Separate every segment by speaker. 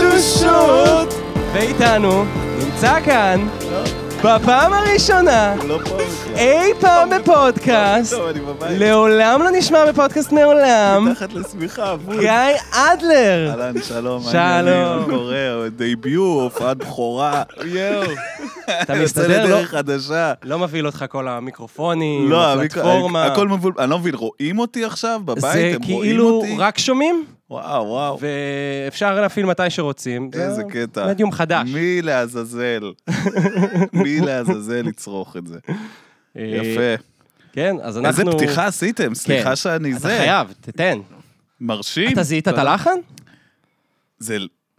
Speaker 1: פשוט. ואיתנו נמצא כאן, בפעם הראשונה,
Speaker 2: לא פה בכלל.
Speaker 1: אי פעם בפודקאסט,
Speaker 2: טוב, אני בבית.
Speaker 1: לעולם לא נשמע בפודקאסט מעולם,
Speaker 2: מתחת לשמיכה, בול.
Speaker 1: גיא אדלר.
Speaker 2: אהלן, שלום, מה
Speaker 1: שלום.
Speaker 2: העניינים? מה קורה? דייביו, הופעת בכורה. יואו.
Speaker 1: אתה
Speaker 2: יוצא
Speaker 1: מסתדר, לא-
Speaker 2: לדרך חדשה.
Speaker 1: לא מבהיל אותך כל המיקרופונים,
Speaker 2: לא,
Speaker 1: הפלטפורמה.
Speaker 2: המיקרו- הכל מבול... אני לא מבין, רואים אותי עכשיו
Speaker 1: זה
Speaker 2: בבית? הם רואים
Speaker 1: כאילו
Speaker 2: אותי?
Speaker 1: רק שומעים,
Speaker 2: וואו, וואו.
Speaker 1: ואפשר להפעיל מתי שרוצים. זה
Speaker 2: איזה קטע.
Speaker 1: מדיום חדש.
Speaker 2: מי לעזאזל? מי לעזאזל יצרוך את זה?
Speaker 1: אה,
Speaker 2: יפה.
Speaker 1: כן, אז
Speaker 2: איזה
Speaker 1: אנחנו... כן.
Speaker 2: פתיחה עשיתם, סליחה שאני
Speaker 1: אתה
Speaker 2: זה.
Speaker 1: חייב, תתן.
Speaker 2: מרשים.
Speaker 1: אתה זיהית את הלחן?
Speaker 2: זה...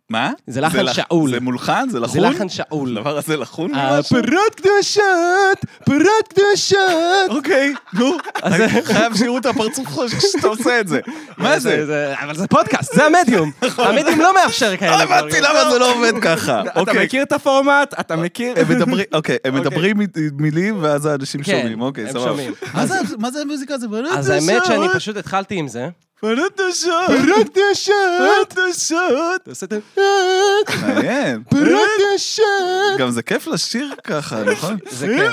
Speaker 2: מה?
Speaker 1: זה לחן
Speaker 2: לח-
Speaker 1: שאול.
Speaker 2: זה מולחן? זה
Speaker 1: זה
Speaker 2: לחון?
Speaker 1: לחן שאול. אה,
Speaker 2: הדבר הזה לחון ממשהו?
Speaker 1: הפרות קדושות, פרות קדושות.
Speaker 2: אוקיי, נו, אני חייב שיראו את הפרצוף שלך כשאתה עושה את זה. מה זה?
Speaker 1: אבל אה, זה פודקאסט, זה המדיום. המדיום לא מאפשר כאלה
Speaker 2: לא
Speaker 1: דברים.
Speaker 2: הבנתי למה זה לא עובד ככה.
Speaker 3: אתה
Speaker 2: אוקיי,
Speaker 3: מכיר את הפורמט? אתה
Speaker 1: אה,
Speaker 3: מכיר?
Speaker 2: הם מדברים, אוקיי, הם מדברים מ- מילים ואז האנשים
Speaker 1: כן,
Speaker 2: שומעים, אוקיי,
Speaker 1: הם
Speaker 2: סבבה.
Speaker 1: שומעים.
Speaker 2: מה זה- מה זה המוזיקה הזאת?
Speaker 1: אז האמת שאני פשוט התחלתי עם זה.
Speaker 2: פרות דשות! פרות דשות! פרות דשות! מעניין.
Speaker 1: אה, פרות קדושות.
Speaker 2: גם זה כיף לשיר ככה, נכון?
Speaker 1: זה כן.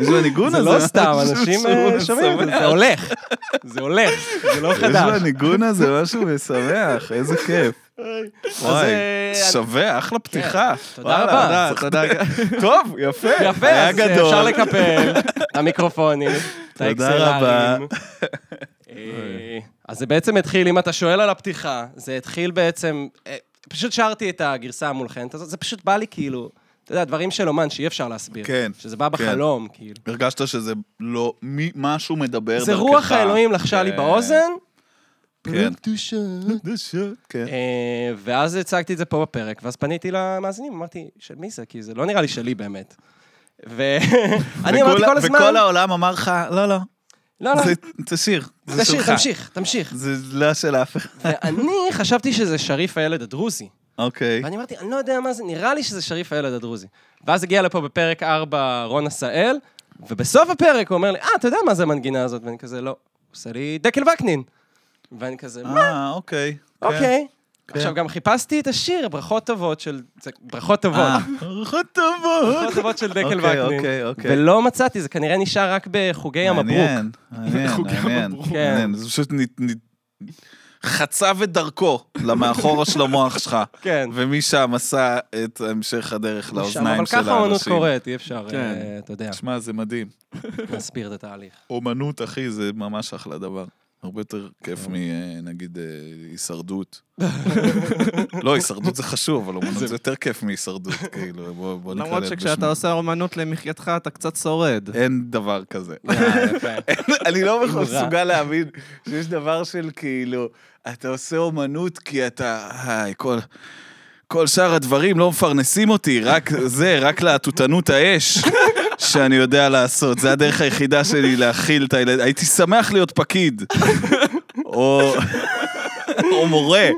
Speaker 2: יש בניגון
Speaker 1: זה
Speaker 2: הזה.
Speaker 1: לא סתם, אנשים אה, שומעים את זה, זה הולך. זה הולך, זה לא
Speaker 2: יש
Speaker 1: חדש.
Speaker 2: בניגון הזה משהו משמח, איזה כיף. וואי,
Speaker 1: אה, אני-
Speaker 2: שווה, אחלה פתיחה.
Speaker 1: תודה
Speaker 2: וואלה,
Speaker 1: רבה.
Speaker 2: תודה, תודה. טוב, יפה.
Speaker 1: יפה,
Speaker 2: היה
Speaker 1: אז אה, אפשר
Speaker 2: גדול.
Speaker 1: לקפל. המיקרופונים, את
Speaker 2: רבה.
Speaker 1: האקסלרים. אה, אז זה בעצם התחיל, אם אתה שואל על הפתיחה, זה התחיל בעצם... אה, פשוט שרתי את הגרסה המולחנת הזאת, זה פשוט בא לי כאילו... אתה יודע, דברים של אומן שאי אפשר להסביר.
Speaker 2: כן,
Speaker 1: שזה בא
Speaker 2: כן.
Speaker 1: בחלום, כאילו.
Speaker 2: הרגשת שזה לא, מי- משהו מדבר דרכך.
Speaker 1: זה רוח האלוהים לחשה לי
Speaker 2: כן,
Speaker 1: באוזן,
Speaker 2: כן. כן.
Speaker 1: אה, ואז הצגתי את זה פה בפרק, ואז פניתי למאזינים, אמרתי, של מי זה? כי זה לא נראה לי שלי באמת. ואני אמרתי
Speaker 2: וכל-
Speaker 1: כל הזמן,
Speaker 2: וכל העולם אמר לך, לא, לא,
Speaker 1: לא, לא,
Speaker 2: זה- זה שיר, זה
Speaker 1: תשאיר,
Speaker 2: שלך.
Speaker 1: תמשיך, תמשיך.
Speaker 2: זה לא של אף אחד.
Speaker 1: ואני חשבתי שזה שריף הילד הדרוזי.
Speaker 2: אוקיי.
Speaker 1: ואני אמרתי, אני לא יודע מה זה, נראה לי שזה שריף הילד עדרוזי. ואז הגיע לפה בפרק 4 רון עשאל, ובסוף הפרק הוא אומר לי, אה, אתה יודע מה זה המנגינה הזאת? ואני כזה, לא. הוא עושה לי דקל וקנין. ואני כזה, מה?
Speaker 2: אה, אוקיי. כן.
Speaker 1: אוקיי.
Speaker 2: כן.
Speaker 1: עכשיו, גם חיפשתי את השיר, ברכות טובות של... זה- ברכות טובות.
Speaker 2: אה, ארוחות טובות.
Speaker 1: ברכות טובות של דקל
Speaker 2: אוקיי,
Speaker 1: וקנין.
Speaker 2: אוקיי, אוקיי.
Speaker 1: ולא מצאתי, זה כנראה נשאר רק בחוגי המברוק.
Speaker 2: מעניין, מעניין,
Speaker 3: חוג
Speaker 2: מעניין.
Speaker 3: המברוק.
Speaker 1: כן.
Speaker 2: מעניין, זה פשוט נ- נ- חצב את דרכו למאחורה של המוח שלך,
Speaker 1: כן.
Speaker 2: ומשם עשה את המשך הדרך
Speaker 1: שם,
Speaker 2: לאוזניים
Speaker 1: אבל
Speaker 2: של
Speaker 1: ככה האומנות
Speaker 2: האנשים.
Speaker 1: קורית, אי אפשר,
Speaker 3: כן.
Speaker 1: אה, אתה יודע,
Speaker 2: שמע, זה מדהים.
Speaker 1: להסביר את התהליך.
Speaker 2: אומנות, אחי, זה ממש אחלה דבר. הרבה יותר כיף
Speaker 3: כן.
Speaker 2: מנגיד אה, הישרדות. לא, הישרדות זה חשוב, אבל אומנות זה יותר כיף מהישרדות, כאילו, בוא בוא נקרא
Speaker 3: למרות
Speaker 2: לזה
Speaker 3: שכשאתה
Speaker 2: בשמו.
Speaker 3: עושה אומנות למחייתך, אתה קצת שורד.
Speaker 2: אין דבר כזה.
Speaker 1: יפה.
Speaker 2: אני לא
Speaker 1: הימורה.
Speaker 2: מסוגל להאמין שיש דבר של כאילו, אתה עושה אומנות כי אתה, היי, כל... כל שאר הדברים לא מפרנסים אותי, רק זה, רק להטוטנות האש שאני יודע לעשות. זה הדרך היחידה שלי להכיל את הילד. הייתי שמח להיות פקיד. או... או מורה,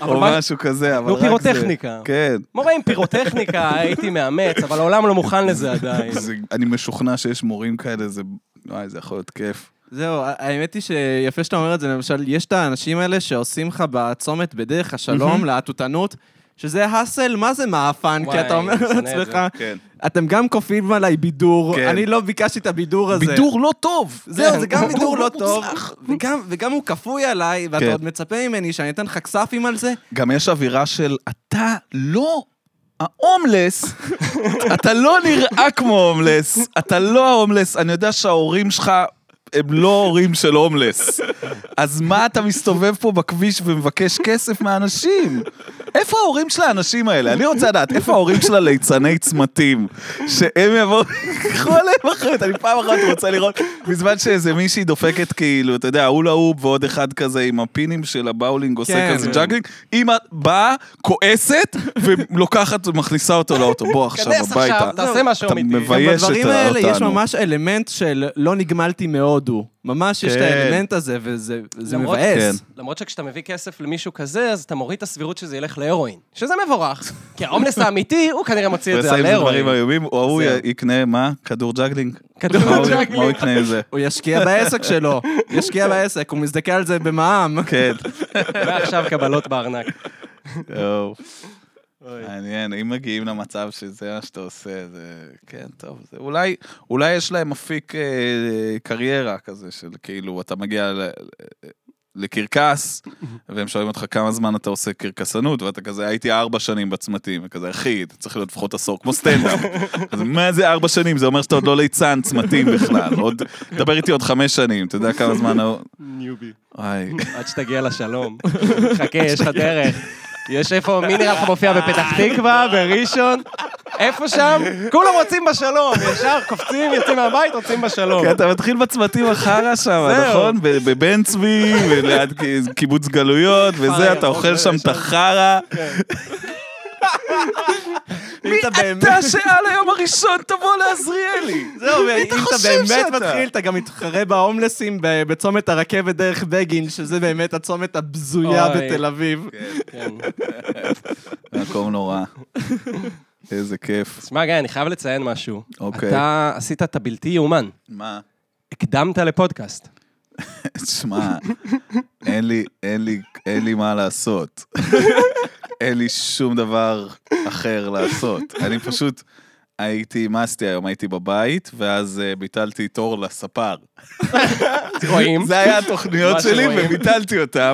Speaker 1: אבל
Speaker 2: או
Speaker 1: מה-
Speaker 2: משהו כזה, אבל
Speaker 1: נו,
Speaker 2: רק זה.
Speaker 1: פירוטכניקה.
Speaker 2: כן.
Speaker 1: מורה עם פירוטכניקה הייתי מאמץ, אבל העולם לא מוכן לזה עדיין.
Speaker 2: זה- אני משוכנע שיש מורים כאלה, זה... וואי, זה יכול להיות כיף.
Speaker 3: זהו, ה- האמת היא שיפה שאתה אומר את זה, למשל, יש את האנשים האלה שעושים לך בצומת בדרך השלום, להטוטנות, שזה האסל, מה זה מאפן? כי
Speaker 1: וואי,
Speaker 3: אתה אומר
Speaker 1: אני שונא את
Speaker 3: לעצמך,
Speaker 2: כן.
Speaker 3: אתם גם כופים עליי בידור,
Speaker 2: כן.
Speaker 3: אני לא ביקשתי את הבידור הזה.
Speaker 2: בידור לא טוב!
Speaker 3: זהו, זה גם בידור לא טוב, וגם- וגם הוא כפוי עליי,
Speaker 2: כן.
Speaker 3: ואתה עוד מצפה ממני שאני אתן לך כספים על זה?
Speaker 2: גם יש אווירה של אתה לא ההומלס, אתה לא נראה כמו הומלס, אתה לא ההומלס, אני יודע שההורים שלך... הם לא הורים של הומלס. אז מה אתה מסתובב פה בכביש ומבקש כסף מהאנשים? איפה ההורים של האנשים האלה? אני רוצה לדעת, איפה ההורים של הליצני צמתים? שהם יבואו, קחו עליהם אחריות. אני פעם אחת רוצה לראות, בזמן שאיזה מישהי דופקת כאילו, אתה יודע, ההוא להוא ועוד אחד כזה עם הפינים של הבאולינג עושה
Speaker 3: כן.
Speaker 2: כזה ג'אגלינג, אמא באה, כועסת, ולוקחת ומכניסה אותו לאוטו. בוא עכשיו
Speaker 1: כנס עכשיו,
Speaker 2: הביתה.
Speaker 1: תעשה משהו
Speaker 2: אתה
Speaker 1: אמיתי.
Speaker 2: מבייש את
Speaker 3: בדברים האלה יש
Speaker 2: אותנו.
Speaker 3: ממש אלמנט של לא נגמלתי מאוד. בהודו. ממש יש את
Speaker 2: כן.
Speaker 3: האלמנט הזה, וזה זה
Speaker 1: למרות-
Speaker 3: מבאס.
Speaker 1: למרות שכשאתה מביא כסף למישהו כזה, אז אתה מוריד את הסבירות שזה ילך להרואין. שזה מבורך, כי ההומלס האמיתי, הוא כנראה מוציא
Speaker 2: הוא
Speaker 1: את זה
Speaker 2: יעשה
Speaker 1: על
Speaker 2: עם זה
Speaker 1: הרואין.
Speaker 2: דברים איומים, או הוא
Speaker 1: זהו.
Speaker 2: יקנה, מה? כדור ג'גלינג?
Speaker 1: כדור
Speaker 2: מה הוא-
Speaker 1: ג'גלינג.
Speaker 2: מה הוא יקנה עם זה?
Speaker 3: הוא ישקיע בעסק שלו, ישקיע בעסק, הוא מסתכל על זה במע"מ.
Speaker 2: כן.
Speaker 1: ועכשיו קבלות בארנק.
Speaker 2: יואו. מעניין, אם מגיעים למצב שזה מה שאתה עושה, זה... כן, טוב. זה... אולי, אולי יש להם אפיק אה, קריירה כזה, של כאילו, אתה מגיע ל... לקרקס, והם שואלים אותך כמה זמן אתה עושה קרקסנות, ואתה כזה, הייתי ארבע שנים בצמתים, וכזה, אחי, אתה צריך להיות לפחות עשור, כמו סטנדאפ. אז מה זה ארבע שנים? זה אומר שאתה עוד לא ליצן צמתים בכלל. עוד, דבר איתי עוד חמש שנים, אתה יודע כמה זמן... ה-
Speaker 1: ניובי.
Speaker 2: וואי.
Speaker 1: עד שתגיע לשלום. חכה, יש לך דרך. יש איפה, מי נראה לך מופיע בפתח תקווה, בראשון? איפה שם? כולם רוצים בשלום, ישר קופצים, יוצאים מהבית, רוצים בשלום.
Speaker 2: כן, אתה מתחיל בצמתים החרא שם,
Speaker 1: זהו.
Speaker 2: נכון? ב- בבן צבי, וליד ק- קיבוץ גלויות, וזה,
Speaker 1: חרא,
Speaker 2: אתה אוכל
Speaker 1: אוכל
Speaker 2: שם את החרא.
Speaker 3: מי
Speaker 2: אתה שעל היום הראשון תבוא לעזריאלי.
Speaker 3: זהו, ואם אתה
Speaker 2: חושב
Speaker 3: באמת
Speaker 2: שאתה?
Speaker 3: מתחיל, אתה גם מתחרה בהומלסים ב- בצומת הרכבת דרך בגין, שזה באמת הצומת הבזויה
Speaker 1: אוי.
Speaker 3: בתל אביב.
Speaker 1: כן.
Speaker 2: מקום נורא. איזה כיף.
Speaker 1: תשמע, גיא, אני חייב לציין משהו.
Speaker 2: אוקיי.
Speaker 1: אתה עשית את הבלתי יאומן.
Speaker 2: מה?
Speaker 1: הקדמת לפודקאסט.
Speaker 2: תשמע, אין לי, אין לי, אין לי מה לעשות. אין לי שום דבר אחר לעשות. אני פשוט הייתי, מאסתי היום, הייתי בבית, ואז אה, ביטלתי תור לספר.
Speaker 1: רואים?
Speaker 2: זה היה התוכניות
Speaker 1: מה
Speaker 2: שלי
Speaker 1: שרואים.
Speaker 2: וביטלתי אותן.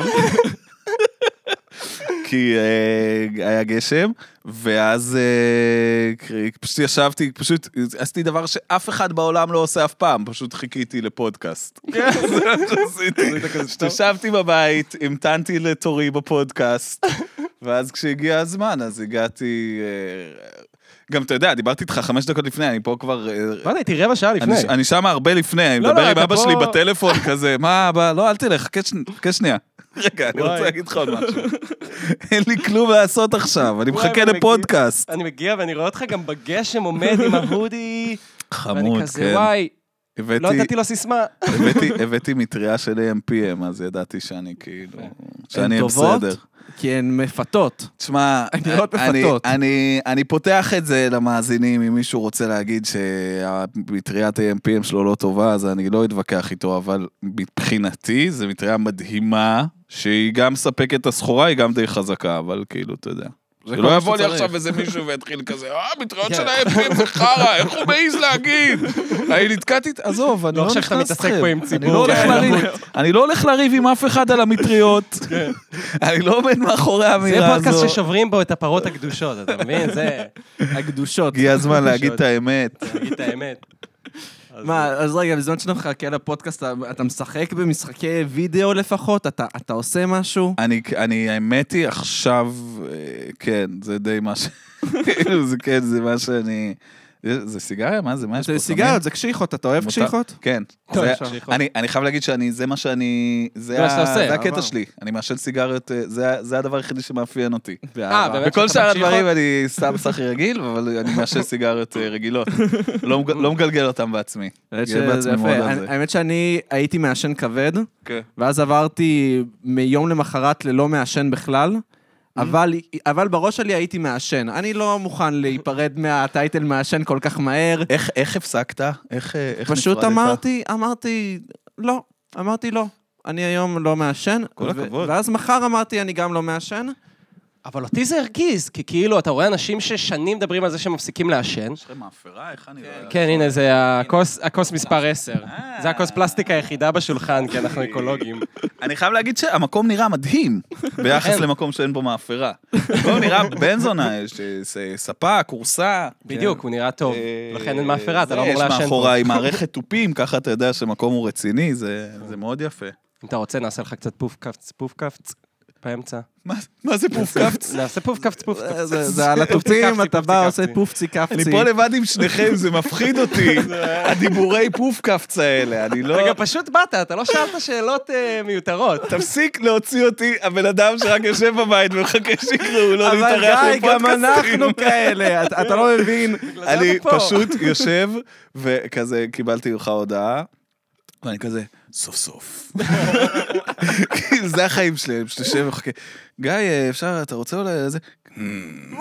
Speaker 2: כי אה, היה גשם, ואז אה, כ- פשוט ישבתי, פשוט עשיתי דבר שאף אחד בעולם לא עושה אף פעם, פשוט חיכיתי לפודקאסט.
Speaker 1: כן.
Speaker 2: זה מה שעשיתי. פשוט ישבתי בבית, המתנתי לתורי בפודקאסט, ואז כשהגיע הזמן, אז הגעתי... אה, גם אתה יודע, דיברתי איתך חמש דקות לפני, אני פה כבר אה,
Speaker 1: מה זה, הייתי רבע שעה לפני.
Speaker 2: אני, אני שם הרבה לפני, אני
Speaker 1: לא,
Speaker 2: מדבר
Speaker 1: לא,
Speaker 2: עם
Speaker 1: אתה
Speaker 2: אבא
Speaker 1: פה-
Speaker 2: שלי בטלפון כזה, מה אבא, לא, אל תלך, חכה שני- חכה שנייה. רגע, אני
Speaker 1: וואי.
Speaker 2: רוצה להגיד לך עוד משהו. אין לי כלום לעשות עכשיו, אני
Speaker 1: וואי,
Speaker 2: מחכה
Speaker 1: אני
Speaker 2: לפודקאסט.
Speaker 1: אני מגיע ואני רואה אותך גם בגשם עומד עם ההודי. ואני
Speaker 2: חמוד,
Speaker 1: כזה,
Speaker 2: כן.
Speaker 1: וואי,
Speaker 2: הבאתי-
Speaker 1: לא נתתי לו סיסמה.
Speaker 2: הבאתי- הבאתי מטריה של AMPM, אז ידעתי שאני כאילו, שאני אהיה
Speaker 3: טובות?
Speaker 2: בסדר.
Speaker 3: כי הן מפתות.
Speaker 2: תשמע,
Speaker 3: הן נראות
Speaker 2: אני-
Speaker 3: מפתות.
Speaker 2: אני- אני פותח את זה למאזינים, אם מישהו רוצה להגיד שמטריית AMPM שלו לא טובה, אז אני לא אתווכח איתו, אבל מבחינתי זו מטריה מדהימה, שהיא גם מספקת את הסחורה, היא גם די חזקה, אבל כאילו, אתה יודע.
Speaker 3: כל מה
Speaker 2: שלא יבוא לי
Speaker 3: שצריך.
Speaker 2: עכשיו איזה מישהו ויתחיל כזה, אה, מטריות של ה-AMPM זה חרא, איך הוא מעז להגיד? אני נתקעתי, עזוב, אני
Speaker 1: לא
Speaker 2: לא
Speaker 1: עכשיו
Speaker 2: נכנס
Speaker 1: שאתה
Speaker 2: לכם.
Speaker 1: מתעסק פה עם ציבור.
Speaker 2: אני לא הולך
Speaker 1: כן,
Speaker 2: לריב- אני לא הולך לריב עם אף אחד על המטריות. אני לא עומד מאחורי
Speaker 1: זה
Speaker 2: האמירה הזו.
Speaker 1: פודקאסט ששוברים בו את הפרות הקדושות, אתה מבין? זה,
Speaker 3: הקדושות.
Speaker 2: הגיע הזמן להגיד את האמת.
Speaker 1: להגיד את האמת.
Speaker 3: מה, אז רגע, בזמן שאתה מחכה לפודקאסט, אתה- אתה משחק במשחקי וידאו לפחות? אתה אתה עושה משהו?
Speaker 2: אני, אני, האמת היא, עכשיו, אה, כן, זה די מה ש... כאילו, זה כן, זה מה שאני... זה זה סיגריה? מה זה? מה יש פה? סמים?
Speaker 3: זה סיגריות, זה קשיחות, אתה אוהב
Speaker 2: מותר?
Speaker 3: קשיחות?
Speaker 2: כן.
Speaker 3: טוב,
Speaker 2: זה-
Speaker 3: אפשר.
Speaker 2: אני, אני חייב להגיד שאני, זה מה שאני... זה,
Speaker 1: זה מה שאתה
Speaker 2: ה-
Speaker 1: עושה.
Speaker 2: זה הקטע
Speaker 3: אהבה.
Speaker 2: שלי. אני מעשן סיגריות, אה, זה, ה- זה הדבר היחידי שמאפיין אותי.
Speaker 1: אה, באמת?
Speaker 2: בכל
Speaker 1: שאתה
Speaker 2: שאר
Speaker 1: ממשיך
Speaker 2: הדברים
Speaker 1: עוד?
Speaker 2: אני סתם סחי רגיל, אבל אני מעשן סיגריות אה, רגילות. לא, מג- לא מגלגל אותם בעצמי. גאה
Speaker 3: האמת שזה
Speaker 2: בעצמי
Speaker 3: יפה.
Speaker 2: מאוד על
Speaker 3: אני-
Speaker 2: זה.
Speaker 3: האמת שאני הייתי מעשן כבד,
Speaker 2: כן.
Speaker 3: ואז עברתי מיום למחרת ללא מעשן בכלל.
Speaker 2: Mm-hmm.
Speaker 3: אבל, אבל בראש שלי הייתי מעשן. אני לא מוכן להיפרד מהטייטל מעשן כל כך מהר.
Speaker 2: איך, איך הפסקת? איך, אה, איך
Speaker 3: פשוט
Speaker 2: נפרדת?
Speaker 3: אמרתי, אמרתי, לא, אמרתי לא. אני היום לא מעשן.
Speaker 2: כל הכבוד.
Speaker 3: ואז מחר אמרתי, אני גם לא מעשן.
Speaker 1: אבל אותי זה הרגיז, כי כאילו, אתה רואה אנשים ששנים מדברים על זה שהם מפסיקים לעשן.
Speaker 2: יש לכם מאפרה? איך אני... לא-
Speaker 1: כן, הנה, זה הכוס, הכוס מספר 10. זה הכוס פלסטיק היחידה בשולחן, כי אנחנו אקולוגים.
Speaker 2: אני חייב להגיד שהמקום נראה מדהים ביחס
Speaker 1: כן.
Speaker 2: למקום שאין בו מאפרה. המקום נראה בן זונה, יש אה, ס- ספה, כורסה.
Speaker 1: בדיוק, הוא נראה טוב.
Speaker 2: אה,
Speaker 1: לכן אין מאפרה, אתה
Speaker 2: זה,
Speaker 1: לא אמור
Speaker 2: יש
Speaker 1: לעשן פה.
Speaker 2: מאחוריי מערכת תופים, ככה אתה יודע שמקום הוא רציני, זה זה מאוד יפה.
Speaker 1: אם אתה רוצה, נעשה לך קצת פוף קפץ, פוף קפץ, באמצע.
Speaker 2: מה- מה זה פוף קפץ? אה,
Speaker 1: נעשה פוף קפץ, פוף קפץ.
Speaker 3: אה, זה זה על התופים,
Speaker 1: קפצי,
Speaker 3: אתה
Speaker 1: קפצי,
Speaker 3: בא,
Speaker 1: קפצי.
Speaker 3: עושה פופצי קפצי.
Speaker 2: אני פה לבד עם שניכם, זה מפחיד אותי, הדיבורי פוף קפץ האלה, אני לא...
Speaker 1: רגע, פשוט באת, אתה לא שאלת שאלות אה, מיותרות.
Speaker 2: תפסיק להוציא אותי, הבן אדם שרק יושב בבית ומחכה שיקראו לו
Speaker 3: אבל
Speaker 2: להתארח
Speaker 3: די, גם
Speaker 2: בפודקאסטים.
Speaker 3: אנחנו כאלה, אתה- אתה לא מבין.
Speaker 1: זה
Speaker 2: אני
Speaker 1: אתה פה.
Speaker 2: פשוט יושב, וכזה קיבלתי ממך הודעה, ואני כזה, סוף סוף. כאילו, זה החיים שלהם, שאתה יושב ומחכה. גיא, אה, אפשר, אתה רוצה אולי זה? "Hmm."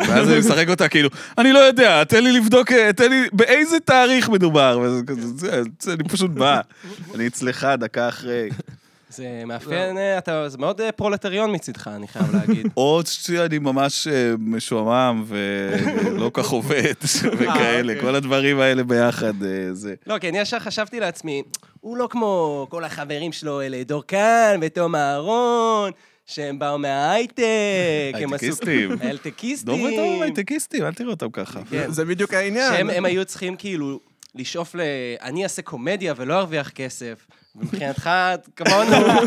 Speaker 2: ואז אני משחק אותה כאילו, אני לא יודע, תן לי לבדוק, אה, תן לי, באיזה תאריך מדובר? וזה כזה, "זה- זה- אני פשוט בא. אני אצלך דקה אחרי.
Speaker 1: זה
Speaker 2: לא.
Speaker 1: מאפיין, אה, אתה, זה מאוד אה, פרולטריון מצידך, אני חייב להגיד.
Speaker 2: או שאני ממש אה, משועמם ולא כך עובד וכאלה, כל הדברים האלה ביחד, אה, זה.
Speaker 1: לא, כי אני ישר חשבתי לעצמי, הוא לא כמו כל החברים שלו, אלה דורקן ותום אהרון, שהם באו מההייטק, הם עשו...
Speaker 2: הייטקיסטים.
Speaker 1: הייטקיסטים.
Speaker 2: דומה טוב, הייטקיסטים, אל תראו אותם ככה.
Speaker 1: כן.
Speaker 3: זה בדיוק העניין.
Speaker 1: שהם הם היו צריכים כאילו לשאוף ל... אני אעשה קומדיה ולא ארוויח כסף. ומבחינתך, כמונו,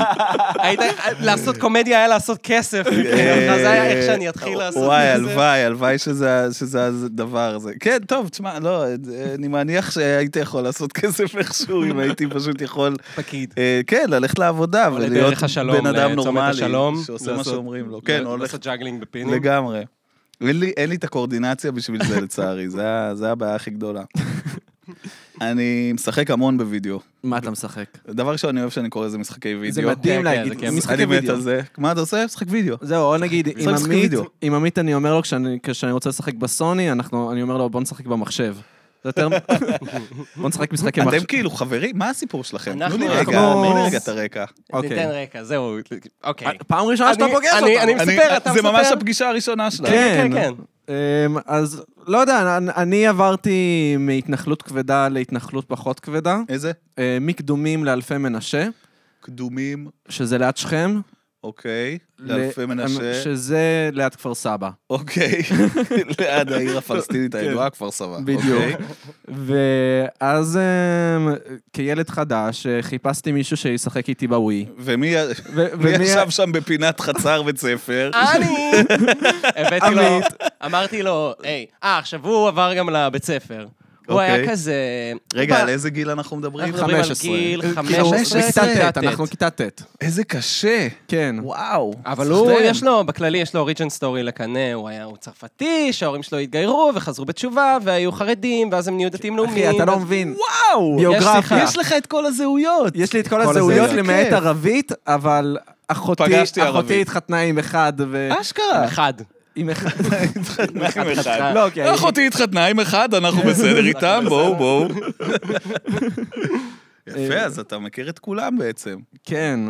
Speaker 1: היית... לעשות קומדיה היה לעשות כסף. מבחינתך כן, זה היה איך שאני אתחיל לעשות כסף.
Speaker 2: אה, וואי, הלוואי, הלוואי שזה שזה הדבר הזה. כן, טוב, תשמע, לא, אני מניח שהיית יכול לעשות כסף איכשהו, אם הייתי פשוט יכול,
Speaker 1: פקיד.
Speaker 2: אה, כן, ללכת לעבודה
Speaker 1: לדרך
Speaker 2: ולהיות
Speaker 1: השלום,
Speaker 2: בן אדם
Speaker 1: לצומת
Speaker 2: נורמלי,
Speaker 1: השלום,
Speaker 2: שעושה מה
Speaker 1: לעשות-
Speaker 2: שאומרים לו. כן, הולך
Speaker 1: לא, לעשות ג'אגלינג בפינים.
Speaker 2: לגמרי. אין לי, אין לי את הקואורדינציה בשביל זה, לצערי. זה, ה- זה הבעיה הכי גדולה. אני משחק המון בווידאו.
Speaker 3: מה אתה משחק? זה
Speaker 2: דבר ראשון, אני אוהב שאני קורא לזה משחקי וידאו.
Speaker 3: מדהים
Speaker 1: כן,
Speaker 3: להגיד,
Speaker 1: זה כיף.
Speaker 3: משחקי
Speaker 2: אני מת
Speaker 3: וידאו.
Speaker 2: על זה. מה אתה עושה? משחק וידאו.
Speaker 3: זהו, או נגיד, עם
Speaker 2: משחק
Speaker 3: עמית,
Speaker 2: וידאו.
Speaker 3: עם עמית אני אומר לו, כשאני, כשאני רוצה לשחק בסוני, אנחנו, אני אומר לו, בוא נשחק במחשב. זה יותר... בוא נשחק משחקי מחשב.
Speaker 2: אתם כאילו חברים, מה הסיפור שלכם? תנו
Speaker 1: אנחנו-
Speaker 2: לי רגע,
Speaker 3: אנחנו-
Speaker 2: תנו לי רגע את הרקע.
Speaker 1: ניתן רקע, זהו. אוקיי.
Speaker 3: אה,
Speaker 2: אה,
Speaker 3: פעם ראשונה שאתה
Speaker 1: אני-
Speaker 3: פוגש אותנו.
Speaker 1: אני- אני מספר, אתה
Speaker 2: זה
Speaker 1: מספר?
Speaker 2: ממש הפגישה הראשונה שלנו.
Speaker 1: כן,
Speaker 3: כן,
Speaker 1: כן.
Speaker 3: אמ, אז לא יודע, אני- אני עברתי מהתנחלות כבדה להתנחלות פחות כבדה,
Speaker 2: איזה?
Speaker 3: אה, מקדומים לאלפי מנשה,
Speaker 2: קדומים,
Speaker 3: שזה ליד שכם.
Speaker 2: אוקיי. לאלפי
Speaker 3: ל- אמ,
Speaker 2: מנשה,
Speaker 3: שזה ליד כפר סבא.
Speaker 2: אוקיי. ליד העיר הפלסטינית הידועה, כפר סבא.
Speaker 3: כן. בדיוק.
Speaker 2: אוקיי.
Speaker 3: ואז אמ, כילד חדש אה, חיפשתי מישהו שישחק איתי בווי.
Speaker 2: ומי
Speaker 3: ו-
Speaker 2: מי
Speaker 3: ומי- אה,
Speaker 2: ישב שם בפינת חצר בית ספר?
Speaker 1: אני! הבאתי לו, אמרתי לו, היי, אה, עכשיו הוא עבר גם לבית ספר. הוא היה
Speaker 2: אוקיי.
Speaker 1: כזה...
Speaker 2: רגע,
Speaker 1: הוא
Speaker 2: על
Speaker 1: בא-
Speaker 2: איזה גיל אנחנו מדברים?
Speaker 1: אנחנו מדברים על
Speaker 3: 15.
Speaker 1: גיל
Speaker 3: אה,
Speaker 1: 15,
Speaker 3: כאילו, בכיתה
Speaker 1: כיתה
Speaker 3: ט',
Speaker 1: ט'.
Speaker 3: אנחנו כיתה ט'.
Speaker 2: איזה קשה.
Speaker 3: כן.
Speaker 2: וואו.
Speaker 1: אבל הוא, יש לו, בכללי יש לו אוריג'ן סטורי לקנא, הוא היה, הוא צרפתי, שההורים שלו התגיירו וחזרו בתשובה, והיו חרדים, ואז הם נהיו דתיים לאומיים.
Speaker 3: אחי, אתה לא
Speaker 1: ואז-
Speaker 3: מבין.
Speaker 2: וואו!
Speaker 3: ביוגרפיה.
Speaker 2: יש לך את כל הזהויות.
Speaker 3: יש לי את כל
Speaker 2: כל
Speaker 3: הזהויות
Speaker 2: הזהויות.
Speaker 3: למעט
Speaker 2: כיף.
Speaker 3: ערבית, אבל אחותי
Speaker 2: פגשתי ערבית.
Speaker 3: אחותי התחתנה עם אחד, ו...
Speaker 1: אה?
Speaker 2: אשכרה.
Speaker 1: אחד.
Speaker 3: עם אחד.
Speaker 2: התחתנה עם
Speaker 1: אחד.
Speaker 2: אחד.
Speaker 3: לא, כי...
Speaker 2: אחותי התחתנה עם אחד, אנחנו כן. בסדר איתם, בואו, בואו. יפה, אז אתה מכיר את כולם בעצם.
Speaker 3: כן.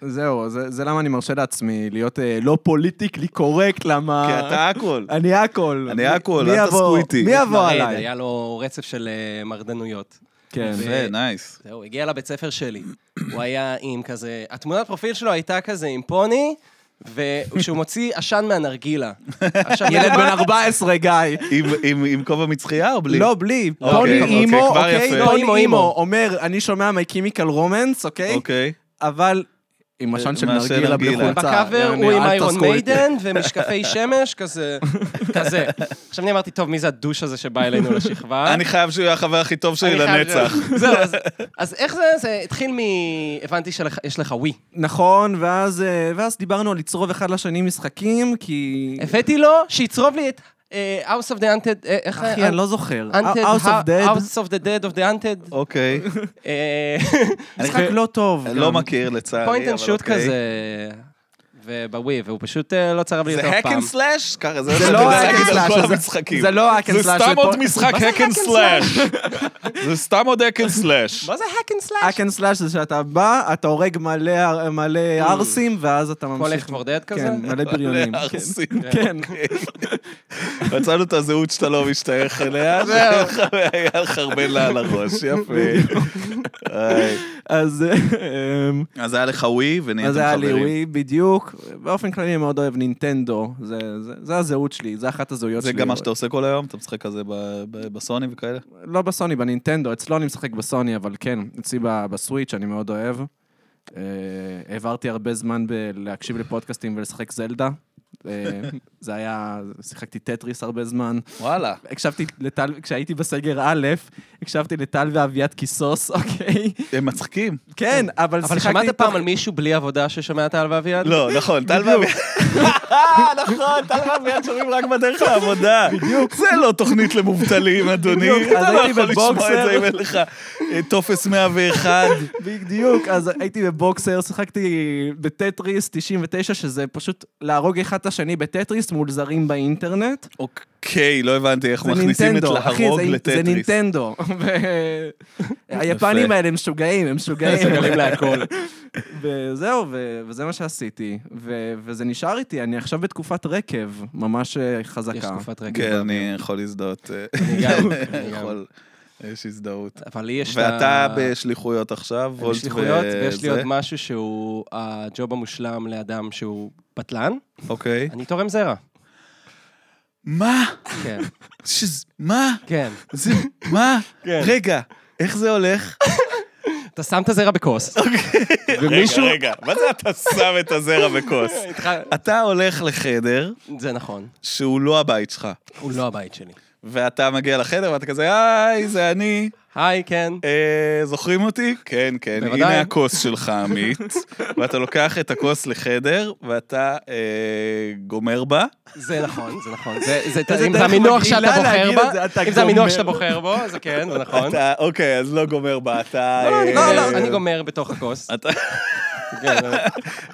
Speaker 3: זהו, זה זה למה אני מרשה לעצמי להיות אה, לא פוליטיקלי קורקט, למה...
Speaker 2: כי אתה הכל.
Speaker 3: אני הכל.
Speaker 2: אני
Speaker 3: מי-
Speaker 2: הכל,
Speaker 3: מי
Speaker 2: אל
Speaker 3: יבוא-
Speaker 2: תעסקו איתי. לא,
Speaker 3: מי יבוא
Speaker 1: מרד,
Speaker 3: עליי?
Speaker 1: היה לו רצף של אה, מרדנויות.
Speaker 3: כן.
Speaker 2: יפה, נייס.
Speaker 1: זהו, הגיע לבית ספר שלי. הוא היה עם כזה... התמונת פרופיל שלו הייתה כזה עם פוני, ושהוא מוציא עשן מהנרגילה. עכשיו,
Speaker 3: ילד
Speaker 1: מה-
Speaker 3: בן 14, גיא.
Speaker 2: עם- עם- עם כובע מצחייה או בלי?
Speaker 3: לא, בלי.
Speaker 2: אוקיי,
Speaker 3: פוני
Speaker 2: אוקיי,
Speaker 3: אימו,
Speaker 2: כבר יפה.
Speaker 3: אוקיי?
Speaker 1: לא,
Speaker 3: פוני
Speaker 1: אימו,
Speaker 3: אימו
Speaker 1: אימו.
Speaker 3: אומר, אני שומע מי קימיקל רומנס, אוקיי?
Speaker 2: אוקיי.
Speaker 3: אבל עם עשן של
Speaker 2: מעשן
Speaker 3: נרגילה בלי
Speaker 2: נרגילה.
Speaker 3: חולצה.
Speaker 1: בקאבר
Speaker 3: יעני,
Speaker 1: הוא עם
Speaker 3: אל
Speaker 1: איירון
Speaker 3: תעסקו איתי.
Speaker 1: מיידן ומשקפי שמש, כזה, כזה. עכשיו אני אמרתי, טוב, מי זה הדוש הזה שבא אלינו לשכבה?
Speaker 2: אני חייב שהוא יהיה החבר הכי טוב שלי
Speaker 1: אני חייב-
Speaker 2: לנצח.
Speaker 1: זהו, אז- אז איך זה, זה התחיל מ... הבנתי שיש לך ווי.
Speaker 3: נכון, ואז, אה, ואז דיברנו על לצרוב אחד לשני משחקים, כי...
Speaker 1: הבאתי לו שיצרוב לי את אה, House of the Unted... אה, איך...
Speaker 3: אחי, אני לא זוכר.
Speaker 1: Unted-
Speaker 3: House of Dead,
Speaker 1: House of the Dead of the Unted.
Speaker 2: אוקיי.
Speaker 1: אה,
Speaker 3: משחק לא טוב.
Speaker 2: לא
Speaker 3: גם.
Speaker 2: מכיר לצערי, אבל
Speaker 1: פוינט
Speaker 2: אוקיי.
Speaker 1: אנד שוט כזה. ובווי, והוא פשוט אה, לא צרב לי
Speaker 2: זה
Speaker 1: אותו אף
Speaker 2: hack
Speaker 1: פעם.
Speaker 2: and slash? ככה, זה מה
Speaker 3: זה לא
Speaker 2: שאתה
Speaker 3: hack
Speaker 2: תגיד
Speaker 3: and
Speaker 2: על
Speaker 3: slash,
Speaker 2: כל
Speaker 3: זה-
Speaker 2: המשחקים.
Speaker 3: זה לא hack and slash.
Speaker 2: זה סתם
Speaker 3: של
Speaker 2: עוד
Speaker 3: פו-
Speaker 2: משחק
Speaker 1: מה זה
Speaker 2: hack and
Speaker 1: hack and
Speaker 2: slash. זה סתם עוד hack and slash.
Speaker 1: מה זה hack and slash?
Speaker 3: hack and slash זה שאתה בא, אתה הורג מלא מלא ערסים, ואז אתה ממשיך.
Speaker 1: Mm. כל Left 4 Dead כזה?
Speaker 3: כן, מלא בריונים. כן.
Speaker 2: להרסים.
Speaker 3: כן.
Speaker 2: מצאנו את הזהות שאתה לא משתייך אליה,
Speaker 1: זהו.
Speaker 2: שהיה לך הרבה לה על הראש, יפה. איי.
Speaker 3: אז... אמ,
Speaker 2: אז היה לך ווי ונהייתם
Speaker 3: אז היה לי
Speaker 2: חברים.
Speaker 3: ווי, בדיוק. באופן כללי אני מאוד אוהב נינטנדו, זה, זה, זה הזהות שלי, זה אחת הזהויות
Speaker 2: זה
Speaker 3: שלי.
Speaker 2: גם מה שאתה עושה כל היום? אתה משחק כזה ב- ב- בסוני וכאלה?
Speaker 3: לא בסוני, בנינטנדו, אצלו אני משחק בסוני, אבל כן, אצלי ב- בסוויץ' אני מאוד אוהב. אה, העברתי הרבה זמן בלהקשיב לפודקאסטים ולשחק זלדה. אה, זה היה, שיחקתי טטריס הרבה זמן.
Speaker 2: וואלה.
Speaker 3: הקשבתי לטל, כשהייתי בסגר א', הקשבתי לטל ואביעד קיסוס, אוקיי?
Speaker 2: הם מצחיקים.
Speaker 3: כן, אבל שיחקתי...
Speaker 1: אבל שמעת פעם
Speaker 3: תוך-
Speaker 1: על מישהו בלי עבודה ששומע טל ואביעד?
Speaker 2: לא, נכון, טל ואביעד. נכון, טל ואביעד שומעים רק בדרך לעבודה. בדיוק. זה לא תוכנית למובטלים, אדוני.
Speaker 3: בדיוק, אז
Speaker 2: אתה לא
Speaker 3: הייתי
Speaker 2: יכול לשמוע
Speaker 3: בבוקסר.
Speaker 2: את זה אם אין לך אה, טופס 101.
Speaker 3: בדיוק, אז הייתי בבוקסר, שיחקתי בטטריס 99, שזה פשוט להרוג אחד את השני בטטריס מול זרים באינטרנט.
Speaker 2: אוקיי, לא הבנתי איך
Speaker 3: זה
Speaker 2: מכניסים את
Speaker 3: נינטנדו, אחי,
Speaker 2: להרוג
Speaker 3: זה- זה
Speaker 2: לטטריס.
Speaker 3: נינטנדו. ו- היפנים האלה הם משוגעים, הם משוגעים.
Speaker 1: מסוגלים להכל.
Speaker 3: וזהו, ו- וזה מה שעשיתי. ו- וזה נשאר איתי, אני עכשיו בתקופת רקב, ממש אה,
Speaker 1: יש
Speaker 3: חזקה.
Speaker 1: תקופת רגע.
Speaker 2: כן, אני יכול להזדהות. אה,
Speaker 1: אני גם,
Speaker 2: אני
Speaker 1: אני גם.
Speaker 2: יכול. יש הזדהות.
Speaker 1: אבל לי יש את ה-
Speaker 2: ואתה בשליחויות עכשיו,
Speaker 1: אני
Speaker 2: וולט
Speaker 1: בשליחויות,
Speaker 2: וזה.
Speaker 1: ויש לי עוד משהו שהוא הג'וב המושלם לאדם שהוא בטלן.
Speaker 2: אוקיי.
Speaker 1: אני תורם זרע.
Speaker 2: מה?
Speaker 1: כן,
Speaker 2: שזה- מה?
Speaker 1: כן.
Speaker 2: זה... מה?
Speaker 1: כן.
Speaker 2: רגע, איך זה הולך?
Speaker 1: אתה שם את הזרע בכוס.
Speaker 3: אוקיי.
Speaker 2: רגע, רגע, מה זה אתה שם את הזרע בכוס? אתה הולך לחדר
Speaker 1: זה נכון,
Speaker 2: שהוא לא הבית שלך,
Speaker 1: הוא לא הבית שלי.
Speaker 2: ואתה מגיע לחדר ואתה כזה, היי, זה אני,
Speaker 1: היי, כן.
Speaker 2: אה, זוכרים אותי? כן, כן,
Speaker 1: בוודאי.
Speaker 2: הנה הכוס שלך, עמית. ואתה לוקח את הכוס לחדר, ואתה אה, גומר בה.
Speaker 1: זה נכון, זה נכון. זה- זה-
Speaker 3: איזה
Speaker 1: אם
Speaker 3: דרך
Speaker 1: זה המינוח
Speaker 3: מגעילה
Speaker 1: שאתה בוחר
Speaker 3: לא להגיד את זה, אתה
Speaker 1: בה, אם זה המינוח
Speaker 3: גומר.
Speaker 1: שאתה בוחר בו, אז כן, זה נכון.
Speaker 2: אתה, אוקיי, אז לא גומר בה, אתה...
Speaker 1: לא,
Speaker 2: אה,
Speaker 1: לא, לא, אני גומר בתוך הכוס.
Speaker 3: אה.
Speaker 2: אתה-
Speaker 1: כן,
Speaker 2: אתה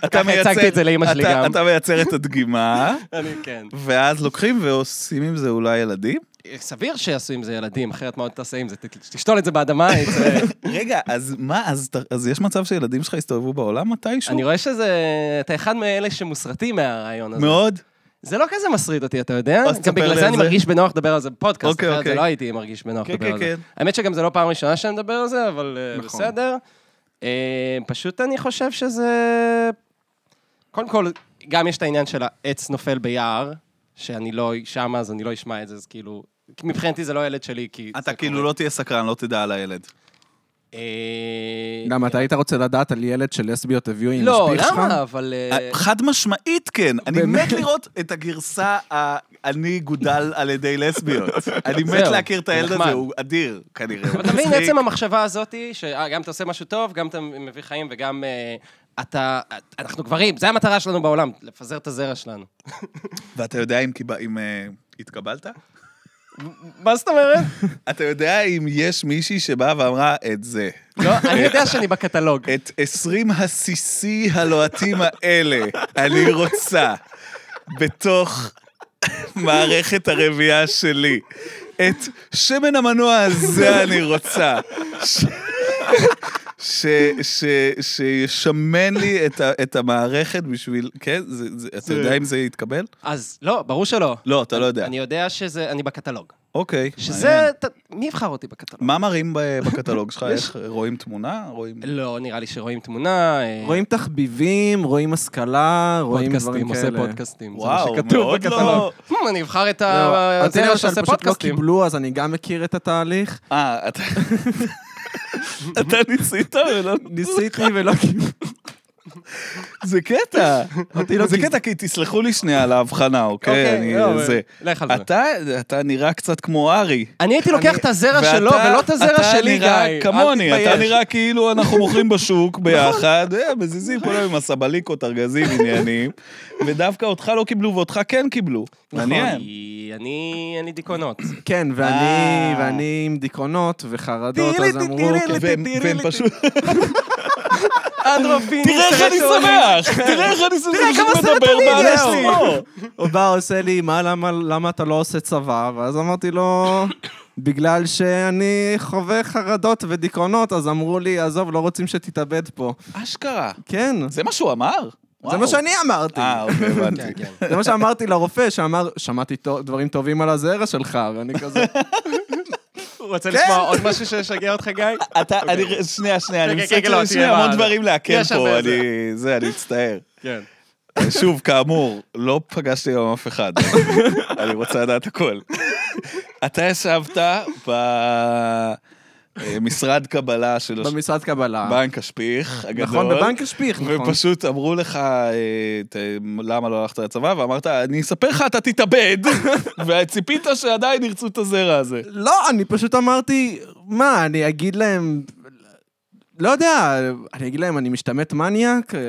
Speaker 1: ככה הצגתי
Speaker 2: מייצר-
Speaker 1: את זה לאמא שלי
Speaker 2: אתה-
Speaker 1: גם.
Speaker 2: אתה מייצר את הדגימה,
Speaker 1: אני כן.
Speaker 2: ואז לוקחים ועושים עם זה אולי ילדים?
Speaker 1: סביר שיעשו עם זה ילדים, אחרת מה עוד תעשה עם זה? ת- תשתול את זה באדמה, יצא-
Speaker 2: רגע, אז מה, אז ת- אז יש מצב שילדים שלך יסתובבו בעולם מתישהו?
Speaker 1: אני רואה שזה... אתה אחד מאלה שמוסרטים מהרעיון הזה.
Speaker 2: מאוד.
Speaker 1: זה לא כזה מסריט אותי, אתה יודע?
Speaker 2: אז
Speaker 1: גם
Speaker 2: תספר
Speaker 1: בגלל
Speaker 2: לי
Speaker 1: זה
Speaker 2: על
Speaker 1: אני
Speaker 2: זה.
Speaker 1: מרגיש בנוח לדבר על זה בפודקאסט,
Speaker 2: אוקיי,
Speaker 1: אחרת זה
Speaker 2: אוקיי.
Speaker 1: לא הייתי מרגיש בנוח
Speaker 2: כן,
Speaker 1: לדבר
Speaker 2: כן,
Speaker 1: על זה.
Speaker 2: כן.
Speaker 1: האמת שגם זה לא פעם ראשונה שאני מדבר על זה, אבל אה,
Speaker 3: נכון.
Speaker 1: בסדר. אה, פשוט אני חושב שזה... קודם כל, גם יש את העניין של העץ נופל ביער, שאני לא שם, אז אני לא אשמע את זה, אז כאילו... מבחינתי זה לא ילד שלי, כי...
Speaker 2: אתה כאילו לא תהיה סקרן, לא תדע על הילד.
Speaker 3: גם אתה היית רוצה לדעת על ילד של לסביות הביאו עם
Speaker 1: אה, לא,
Speaker 3: משפיך שלך?
Speaker 1: למה? אבל... אה,
Speaker 2: חד משמעית כן, אני
Speaker 3: באמת?
Speaker 2: מת לראות את הגרסה ה- אני גודל על ידי לסביות. אני מת
Speaker 1: זהו,
Speaker 2: להכיר את הילד
Speaker 1: נחמד.
Speaker 2: הזה, הוא אדיר כנראה. הוא
Speaker 1: אבל אתה מבין,
Speaker 2: מצחיק.
Speaker 1: עצם המחשבה הזאת, היא שגם אתה עושה משהו טוב, גם אתה מביא חיים וגם אה, אתה... אנחנו גברים, זו המטרה שלנו בעולם, לפזר את הזרע שלנו.
Speaker 2: ואתה יודע אם קיב- אם, אה, התקבלת?
Speaker 1: מה זאת אומרת?
Speaker 2: אתה יודע אם יש מישהי שבאה ואמרה את זה.
Speaker 1: לא, אני יודע שאני בקטלוג.
Speaker 2: את 20 הסיסי הלוהטים האלה אני רוצה בתוך מערכת הרבייה שלי. את שמן המנוע הזה אני רוצה. ש- ש- ש- שישמן לי את ה- את המערכת בשביל... כן? זה- זה- אתה יודע אם זה יתקבל?
Speaker 1: אז לא, ברור שלא.
Speaker 2: לא, אתה לא יודע.
Speaker 1: אני יודע שזה... אני בקטלוג.
Speaker 2: אוקיי. מעניין.
Speaker 1: שזה... ת- מי יבחר אותי בקטלוג?
Speaker 2: מה מראים ב- בקטלוג שלך? איך רואים תמונה? רואים...
Speaker 1: לא, נראה לי שרואים תמונה. אה,
Speaker 3: רואים תחביבים, רואים השכלה, רואים
Speaker 1: פודקאסטים,
Speaker 3: דברים
Speaker 1: עושה
Speaker 3: כאלה.
Speaker 1: פודקאסטים. זה מה
Speaker 2: וואו,
Speaker 1: שכתוב
Speaker 2: מאוד
Speaker 1: בקטלוג.
Speaker 2: לא.
Speaker 1: Hmm, אני אבחר את
Speaker 3: לא,
Speaker 1: ה...
Speaker 3: אותי
Speaker 1: זה
Speaker 3: למשל
Speaker 1: שעושה
Speaker 3: פשוט לא
Speaker 1: פודקאסטים.
Speaker 3: קיבלו, אז אני גם מכיר את התהליך.
Speaker 2: אה, אתה... אתה ניסית ולא...
Speaker 3: ניסיתי ולא
Speaker 1: אה.
Speaker 3: קיבלו.
Speaker 2: זה קטע.
Speaker 3: אותי לא
Speaker 2: זה
Speaker 3: קיב-
Speaker 2: קטע, כי תסלחו לי שנייה על ההבחנה, אוקיי? אני-
Speaker 1: לא, אבל-
Speaker 2: זה.
Speaker 1: לך על זה.
Speaker 2: אתה, אתה נראה קצת כמו ארי.
Speaker 1: אני הייתי לוקח את הזרע
Speaker 2: ואתה-
Speaker 1: שלו, לא, ולא את הזרע
Speaker 2: אתה
Speaker 1: שלי, גיא.
Speaker 2: נראה
Speaker 1: אל
Speaker 2: כמוני, אתה
Speaker 1: תתבייש. נכון.
Speaker 2: נראה כאילו אנחנו מוכרים בשוק ביחד, אה, מזיזים כולם עם הסבליקות, ארגזים, עניינים, ודווקא אותך לא קיבלו ואותך כן קיבלו.
Speaker 1: נכון.
Speaker 2: מעניין.
Speaker 1: כי אני, אין לי דיכאונות.
Speaker 3: כן, ואני
Speaker 2: אה.
Speaker 3: ואני עם דיכאונות וחרדות,
Speaker 1: תראי
Speaker 3: אז
Speaker 1: לי,
Speaker 3: אמרו... "אוקיי."
Speaker 1: תראי לי.
Speaker 2: אוקיי. והם והם פשוט...
Speaker 1: אנדרופיני,
Speaker 2: תראה איך אני שמח! תראה איך אני שמח! כן. תראה
Speaker 1: כמה סרטונים
Speaker 3: יש לי.
Speaker 2: לא.
Speaker 3: הוא בא, עושה לי, מה, למה, למה אתה לא עושה צבא? ואז אמרתי לו, בגלל שאני חווה חרדות ודיכאונות, אז אמרו לי, עזוב, לא רוצים שתתאבד פה.
Speaker 2: אשכרה.
Speaker 3: כן,
Speaker 2: זה מה שהוא אמר?
Speaker 3: זה
Speaker 2: וואו.
Speaker 3: מה שאני אמרתי.
Speaker 2: אה, אוקיי,
Speaker 1: כן,
Speaker 2: הבנתי.
Speaker 1: כן.
Speaker 3: זה מה שאמרתי לרופא, שאמר, שמעתי טו- דברים טובים על הזרע שלך, ואני כזה...
Speaker 1: הוא רוצה לשמוע עוד משהו שישגע אותך, גיא?
Speaker 2: אתה, אני, שנייה, שנייה, אני
Speaker 1: כן,
Speaker 2: מצטער,
Speaker 1: כן, לא,
Speaker 2: יש לי
Speaker 1: תראה,
Speaker 2: המון
Speaker 1: מה-
Speaker 2: דברים לעכל
Speaker 1: יש הרבה
Speaker 2: פה,
Speaker 1: זה.
Speaker 2: אני, זה, אני מצטער.
Speaker 1: כן.
Speaker 2: שוב, כאמור, לא פגשתי היום אף אחד, אני רוצה לדעת הכל. אתה ישבת ב... אה, משרד קבלה של הש-
Speaker 3: במשרד קבלה.
Speaker 2: בנק השפיך הגדול.
Speaker 3: נכון, בבנק השפיך, נכון.
Speaker 2: ופשוט אמרו לך, אה, ת- למה לא הלכת לצבא? ואמרת, אני אספר לך, אתה תתאבד. וציפית שעדיין ירצו את הזרע הזה.
Speaker 3: לא, אני פשוט אמרתי, מה, אני אגיד להם... לא יודע, אני אגיד להם, אני משתמט מניאק? אה,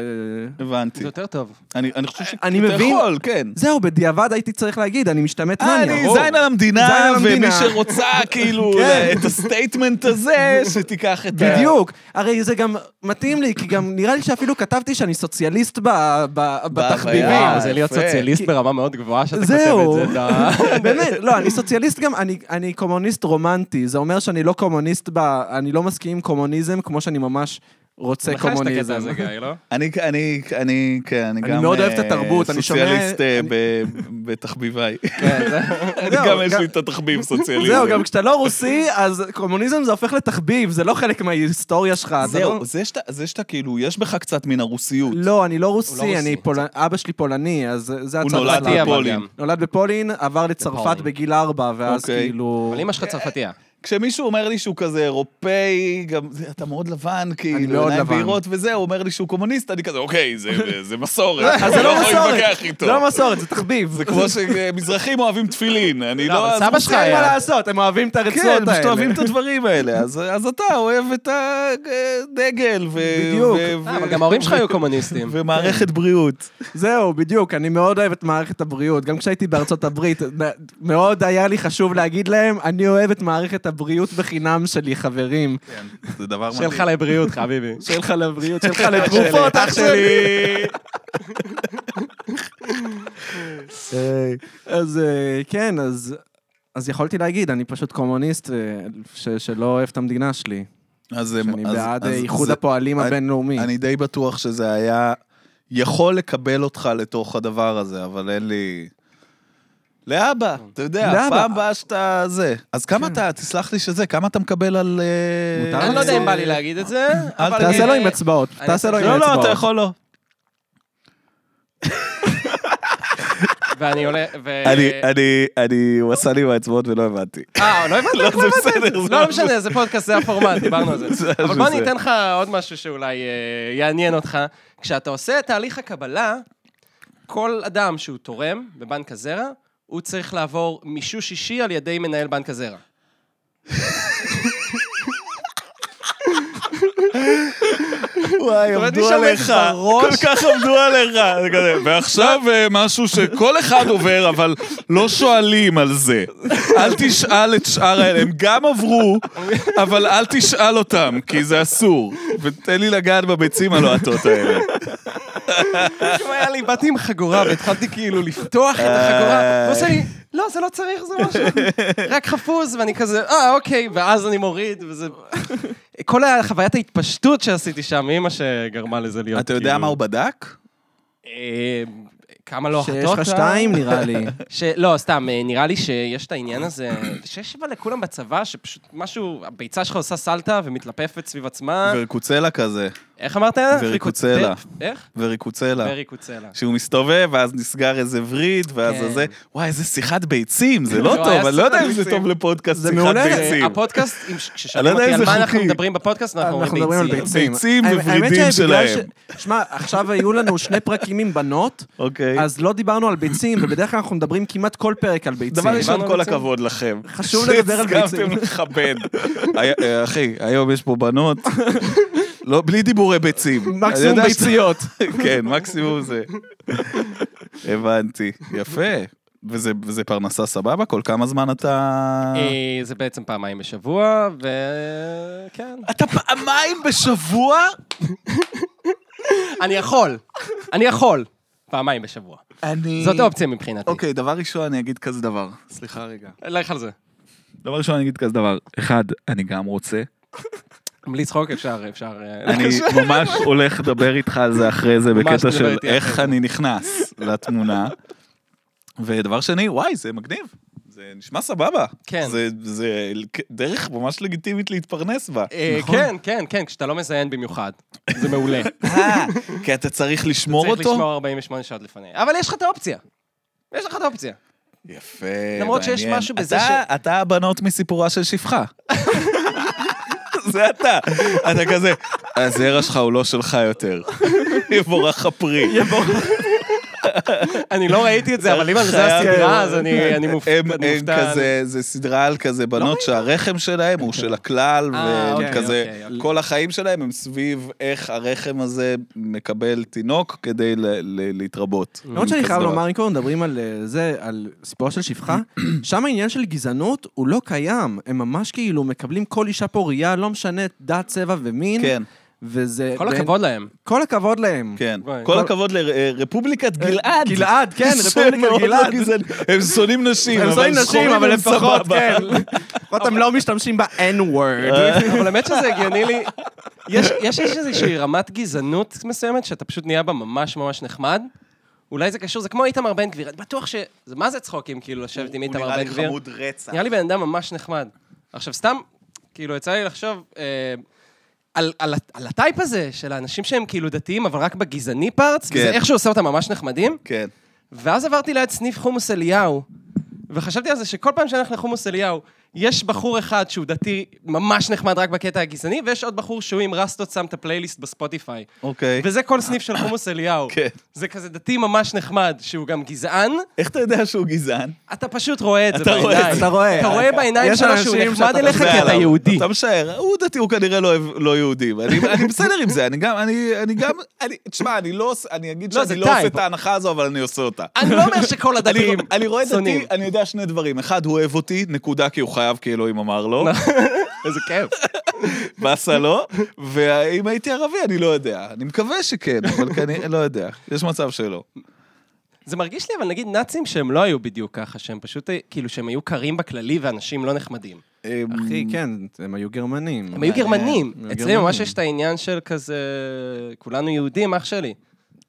Speaker 2: הבנתי.
Speaker 1: זה יותר טוב.
Speaker 2: אני אני חושב שאתה
Speaker 3: אני מבין.
Speaker 2: יכול, כן.
Speaker 3: זהו, בדיעבד הייתי צריך להגיד, אני משתמט
Speaker 2: אה,
Speaker 3: מניאק.
Speaker 2: אני
Speaker 3: ברור.
Speaker 2: זין על
Speaker 3: זין
Speaker 2: המדינה,
Speaker 3: על
Speaker 2: ומי
Speaker 3: המדינה.
Speaker 2: שרוצה, כאילו,
Speaker 3: כן.
Speaker 2: את הסטייטמנט הזה, שתיקח את ה...
Speaker 3: בדיוק. הרי זה גם מתאים לי, כי גם נראה לי שאפילו כתבתי שאני סוציאליסט ב- ב- בתחביבים.
Speaker 2: אה,
Speaker 1: וואו, זה להיות
Speaker 2: יפה.
Speaker 1: סוציאליסט
Speaker 3: כי-
Speaker 1: ברמה מאוד גבוהה שאתה כותב
Speaker 3: זהו.
Speaker 1: את זה. אתה-
Speaker 3: באמת, לא, אני סוציאליסט גם, אני, אני קומוניסט רומנטי. זה אומר שאני לא קומוניסט ב... אני לא מסכים עם קומוניזם כמו שאני ממש רוצה
Speaker 1: לך יש את הקטע
Speaker 3: קומוניזם.
Speaker 1: הזה, גיא, לא?
Speaker 2: אני, אני, אני, כן, אני גם...
Speaker 3: אני מאוד אוהב את
Speaker 2: אה,
Speaker 3: התרבות, אני שומע-
Speaker 2: סוציאליסט אה,
Speaker 3: אני-
Speaker 2: ב- בתחביביי.
Speaker 1: כן, זה...
Speaker 2: אני
Speaker 3: זהו,
Speaker 2: גם יש
Speaker 3: לא, גם-
Speaker 2: לי את התחביב סוציאליזם.
Speaker 3: זהו, גם כשאתה לא רוסי, אז קומוניזם זה הופך לתחביב, זה לא חלק מההיסטוריה שלך. אתה לא-
Speaker 2: זהו, זה שאתה, זה שאתה כאילו, יש בך קצת מן הרוסיות.
Speaker 3: לא, אני לא רוסי,
Speaker 1: רוסי.
Speaker 3: אני פול- אבא שלי פולני, אז זה- זה הצד
Speaker 2: הוא נולד
Speaker 1: צרפתי,
Speaker 3: שלנו.
Speaker 1: אבל
Speaker 2: בפולין.
Speaker 1: גם.
Speaker 3: נולד בפולין, עבר לצרפת
Speaker 1: בפולין.
Speaker 3: בגיל ארבע, ואז
Speaker 2: אוקיי.
Speaker 3: כאילו...
Speaker 1: אבל אמא שלך צרפתייה.
Speaker 2: כשמישהו אומר לי שהוא כזה אירופאי, גם זה- אתה מאוד לבן, כאילו,
Speaker 3: מאוד
Speaker 2: עיניים
Speaker 3: לבן.
Speaker 2: בהירות וזה, הוא אומר לי שהוא קומוניסט, אני כזה, אוקיי, זה- זה מסורת.
Speaker 3: אז זה לא
Speaker 2: אני יכול
Speaker 3: מסורת,
Speaker 2: להתווכח איתו.
Speaker 3: זה לא מסורת, זה תחביב.
Speaker 2: זה כמו שמזרחים אוהבים תפילין, אני
Speaker 1: לא,
Speaker 2: לא...
Speaker 1: אבל
Speaker 2: אז
Speaker 1: סבא
Speaker 2: הוא
Speaker 1: שלך
Speaker 2: עושה-
Speaker 3: אין מה
Speaker 1: היה.
Speaker 3: לעשות, הם אוהבים את הרצועות
Speaker 2: כן,
Speaker 3: האלה.
Speaker 2: פשוט אוהבים את הדברים האלה. אז אז אתה אוהב את הדגל. ו-
Speaker 3: בדיוק.
Speaker 2: ו-
Speaker 1: אה, אבל
Speaker 2: ו-
Speaker 1: גם ההורים שלך היו קומוניסטים.
Speaker 2: ומערכת בריאות.
Speaker 3: זהו, בדיוק, אני מאוד אוהב את מערכת הבריאות. גם כשהייתי בארצות הברית, נ- מאוד היה לי חשוב להגיד להם, אני אוהב את מערכת הבריאות בחינם שלי, חברים.
Speaker 2: כן, זה דבר
Speaker 1: שיהיה לך לבריאות, חביבי.
Speaker 3: שיהיה לך לבריאות, שיהיה לך לתרופות, אח שלי. אז אה, כן, אז... אז יכולתי להגיד, אני פשוט קומוניסט אה, ש- שלא אוהב את המדינה שלי.
Speaker 2: אז
Speaker 3: שאני
Speaker 2: אז-
Speaker 3: בעד
Speaker 2: אז
Speaker 3: אה, איחוד
Speaker 2: זה-
Speaker 3: הפועלים
Speaker 2: אני-
Speaker 3: הבינלאומי.
Speaker 2: אני די בטוח שזה היה יכול לקבל אותך לתוך הדבר הזה, אבל אין לי... לאבא, אתה יודע,
Speaker 3: כן. לאבא. כן.
Speaker 2: פעם הבאה שאתה זה. אז כמה אתה, תסלח לי שזה, כמה אתה מקבל על... אה,
Speaker 3: מותר
Speaker 1: אני לא יודע אם בא לי להגיד את זה, אבל...
Speaker 3: תעשה
Speaker 1: אה,
Speaker 3: לו עם אצבעות, תעשה לו עם
Speaker 2: לא,
Speaker 3: אצבעות.
Speaker 2: לא, אתה יכול לא.
Speaker 1: ואני עולה, ו...
Speaker 2: אני, אני, הוא עשה לי עם האצבעות ולא הבנתי.
Speaker 1: אה, לא הבנת?
Speaker 2: לא,
Speaker 1: לא
Speaker 2: זה
Speaker 1: הבנת?
Speaker 2: בסדר, זה
Speaker 1: לא,
Speaker 2: לא
Speaker 1: לא משנה, זה פודקאסט, זה הפורמט, דיברנו על זה.
Speaker 2: זה
Speaker 1: אבל בוא אני
Speaker 2: בסדר.
Speaker 1: אתן לך עוד משהו שאולי אה, יעניין אותך. כשאתה עושה את תהליך הקבלה, כל אדם שהוא תורם בבנק הזרע, הוא צריך לעבור מישוש אישי על ידי מנהל בנק הזרע.
Speaker 2: וואי,
Speaker 1: אומרת,
Speaker 2: עמדו
Speaker 1: נשאר לי
Speaker 2: עליך, כל כך עמדו עליך. זה כזה, ועכשיו אה, משהו שכל אחד עובר, אבל לא שואלים על זה. אל תשאל את שאר האלה, הם גם עברו, אבל אל תשאל אותם, כי זה אסור. ותן לי לגעת בביצים הלוהטות האלה.
Speaker 1: אם היה לי, באתי עם חגורה והתחלתי כאילו לפתוח את החגורה, הוא עושה לי, לא, זה לא צריך, זה משהו, רק חפוז, ואני כזה, אה, אוקיי, ואז אני מוריד, וזה... כל החוויית ההתפשטות שעשיתי שם, אימא שגרמה לזה להיות
Speaker 2: אתה יודע
Speaker 1: כאילו-
Speaker 2: מה הוא בדק?
Speaker 1: אה, כמה לא החלטות?
Speaker 3: שיש לך שתיים, נראה לי.
Speaker 1: ש... לא, סתם, אה, נראה לי שיש את העניין הזה, שיש אבל לכולם בצבא, שפשוט משהו, הביצה שלך עושה סלטה ומתלפפת סביב
Speaker 2: אה?
Speaker 1: עצמה.
Speaker 2: וריקוצלה כזה,
Speaker 1: איך אמרת?
Speaker 2: וריקוצלה.
Speaker 1: איך?
Speaker 2: וריקוצלה.
Speaker 1: וריקוצלה.
Speaker 2: שהוא מסתובב, ואז נסגר איזה וריד, ואז
Speaker 1: כן.
Speaker 2: זה... וואי, איזה שיחת ביצים, זה לא
Speaker 1: לא, היה
Speaker 2: טוב, אני לא יודע
Speaker 1: שיחת
Speaker 2: אם זה
Speaker 1: ביצים.
Speaker 2: טוב לפודקאסט
Speaker 3: זה
Speaker 2: שיחת
Speaker 3: מעולה,
Speaker 2: ביצים.
Speaker 1: אה, הפודקאסט, אם-
Speaker 2: אני לא
Speaker 1: כששואלים
Speaker 2: יודע
Speaker 1: אותי
Speaker 2: אם
Speaker 1: על
Speaker 2: זה
Speaker 1: מה אנחנו
Speaker 2: חוקי.
Speaker 1: מדברים בפודקאסט, אנחנו אומרים ביצים.
Speaker 2: ביצים
Speaker 3: האמת
Speaker 2: וורידים
Speaker 3: שבגלל
Speaker 2: שלהם.
Speaker 3: ש- שמע, עכשיו היו לנו שני פרקים עם בנות,
Speaker 2: אוקיי.
Speaker 3: אז לא דיברנו על ביצים, ובדרך כלל אנחנו מדברים כמעט כל פרק על ביצים.
Speaker 2: דבר ראשון,
Speaker 1: על
Speaker 2: כל
Speaker 1: ביצים?
Speaker 2: הכבוד לכם.
Speaker 3: חשוב לדבר על ביצים.
Speaker 2: שהסכמתם לכבד. היה- אה, אחי, היום יש פה בנות. לא, בלי דיבורי ביצים. אני
Speaker 3: מקסימום
Speaker 2: יודע שאתה-
Speaker 3: ביציות.
Speaker 2: כן, מקסימום זה. הבנתי. יפה. וזה וזה פרנסה סבבה? כל כמה זמן אתה...
Speaker 1: אה, זה בעצם פעמיים בשבוע, כן. וכן.
Speaker 2: אתה פעמיים בשבוע?
Speaker 1: אני יכול, אני יכול. פעמיים בשבוע.
Speaker 2: אני...
Speaker 1: זאת אופציה מבחינתי.
Speaker 2: אוקיי, דבר ראשון אני אגיד כזה דבר. סליחה רגע.
Speaker 1: לך על זה.
Speaker 2: דבר ראשון אני אגיד כזה דבר. אחד, אני גם רוצה.
Speaker 1: בלי צחוק אפשר, אפשר... אה,
Speaker 2: אני ממש הולך לדבר איתך על זה אחרי זה,
Speaker 1: ממש
Speaker 2: בקטע
Speaker 1: תדבר
Speaker 2: של
Speaker 1: איתי
Speaker 2: איך
Speaker 1: אחרי
Speaker 2: אני נכנס לתמונה. ודבר שני, וואי, זה מגניב. זה נשמע סבבה.
Speaker 1: כן.
Speaker 2: זה, זה דרך ממש לגיטימית להתפרנס בה. נכון?
Speaker 1: אה, כן, כן, כן, כשאתה לא מזיין במיוחד. זה מעולה.
Speaker 2: אה, כי אתה צריך לשמור
Speaker 1: צריך
Speaker 2: אותו?
Speaker 1: לשמור 48 שעות לפני. אבל יש לך את האופציה. יש לך את האופציה.
Speaker 2: יפה,
Speaker 1: למרות שיש
Speaker 2: מעניין.
Speaker 1: משהו בזה
Speaker 2: אתה- אתה הבנות מסיפורה של שפחה. זה אתה. אתה כזה, הזרע שלך הוא לא שלך יותר. יבורך הפרי.
Speaker 1: אני לא ראיתי את זה, אבל אם על זה
Speaker 2: חייב
Speaker 1: הסדרה,
Speaker 2: לראות.
Speaker 1: אז אני אני מופ-
Speaker 2: הם,
Speaker 1: אני
Speaker 2: הם
Speaker 1: מופתע. לא.
Speaker 2: כזה, זה סדרה על כזה בנות שהרחם שלהם הוא של הכלל,
Speaker 1: אה,
Speaker 2: והם
Speaker 1: אוקיי,
Speaker 2: כזה,
Speaker 1: אוקיי, אוקיי.
Speaker 2: כל החיים שלהם הם סביב איך הרחם הזה מקבל תינוק כדי ל- ל- להתרבות.
Speaker 3: למרות שאני חייב
Speaker 2: Mm, כזה דבר.
Speaker 3: לומר, אם כבר מדברים על אה, זה, על סיפורו של שפחה, שם העניין של גזענות הוא לא קיים. הם ממש כאילו מקבלים כל אישה פוריה, לא משנה דת, צבע ומין.
Speaker 2: כן,
Speaker 3: וזה...
Speaker 1: כל
Speaker 3: ואין-
Speaker 1: הכבוד להם.
Speaker 3: כל הכבוד להם. אה,
Speaker 2: כן.
Speaker 1: וואי.
Speaker 2: כל
Speaker 1: כל- אה,
Speaker 2: הכבוד לרפובליקת גלעד.
Speaker 3: גלעד, כן,
Speaker 2: זה
Speaker 3: רפובליקת
Speaker 2: מאוד לא
Speaker 3: גלעד.
Speaker 2: גזעני. הם שונאים נשים,
Speaker 3: הם
Speaker 2: אבל
Speaker 3: שונאים נשים,
Speaker 2: שחורים
Speaker 3: אבל
Speaker 2: הם
Speaker 3: לפחות,
Speaker 2: סבבה.
Speaker 3: כן. לפחות הם לא משתמשים
Speaker 2: אה.
Speaker 3: ב-N-word.
Speaker 1: אבל האמת שזה הגיוני לי. יש יש איזושהי רמת גזענות מסוימת, שאתה פשוט נהיה בה ממש ממש נחמד. אולי זה קשור, זה כמו איתמר בן גביר, אני בטוח ש... זה מה זה צחוקים, כאילו, לשבת עם איתמר בן גביר?
Speaker 2: רצח.
Speaker 1: נראה לי בן אדם ממש נחמד. עכשיו, סתם, כאילו, יצא לי לחשוב אה, על, על, על הטייפ הזה של האנשים שהם כאילו דתיים, אבל רק בגזעני פארטס,
Speaker 2: כן.
Speaker 1: וזה איכשהו עושה אותם ממש נחמדים.
Speaker 2: כן.
Speaker 1: ואז עברתי ליד סניף חומוס אליהו, וחשבתי על זה שכל פעם שאני הולך לחומוס אליהו, יש בחור אחד שהוא דתי ממש נחמד רק בקטע הגזעני, ויש עוד בחור שהוא עם רסטות שם את הפלייליסט בספוטיפיי.
Speaker 2: אוקיי.
Speaker 1: וזה כל סניף של חומוס אליהו.
Speaker 2: כן.
Speaker 1: זה כזה דתי ממש נחמד, שהוא גם גזען,
Speaker 2: איך אתה יודע שהוא גזען?
Speaker 1: אתה פשוט רואה את זה
Speaker 2: אתה רואה
Speaker 1: בעיניים.
Speaker 2: את זה.
Speaker 3: אתה רואה.
Speaker 1: אתה רואה בעיניים
Speaker 3: יש
Speaker 1: שלו שהוא
Speaker 3: אנשים
Speaker 1: נחמד
Speaker 3: שאתה
Speaker 1: אליך
Speaker 3: חושב
Speaker 1: כי אתה
Speaker 2: עליו.
Speaker 1: יהודי.
Speaker 2: אתה משער, הוא דתי, הוא כנראה לא- לא יהודי, ואני אני בסדר עם זה, אני גם, אני אני גם, אני- תשמע, אני לא עושה, אני אגיד
Speaker 1: לא,
Speaker 2: שאני
Speaker 1: זה
Speaker 2: לא עושה
Speaker 1: טייפ.
Speaker 2: את ההנחה הזו, אבל אני עושה אותה.
Speaker 1: אני לא אומר שכל הדתיים
Speaker 2: אני- אני רואה את
Speaker 1: שונאים.
Speaker 2: דתי, אני יודע שני דברים. אחד, הוא אוהב אותי, נקודה, כי הוא חייב, כי אלוהים אמר לו.
Speaker 1: לא. איזה כיף.
Speaker 2: באסה לא, ואם הייתי ערבי, אני לא יודע. אני מקווה שכן, אבל כנראה, לא יודע. יש מצב שלא.
Speaker 1: זה מרגיש לי, אבל נגיד נאצים שהם לא היו בדיוק ככה, שהם פשוט, אה, כאילו, שהם היו קרים בכללי ואנשים לא נחמדים.
Speaker 2: אמ,
Speaker 3: אחי, כן, הם היו גרמנים. אה,
Speaker 1: הם היו גרמנים.
Speaker 3: הם היו
Speaker 1: אצלי
Speaker 3: גרמנים.
Speaker 1: ממש יש את העניין של כזה, כולנו יהודים, אח שלי.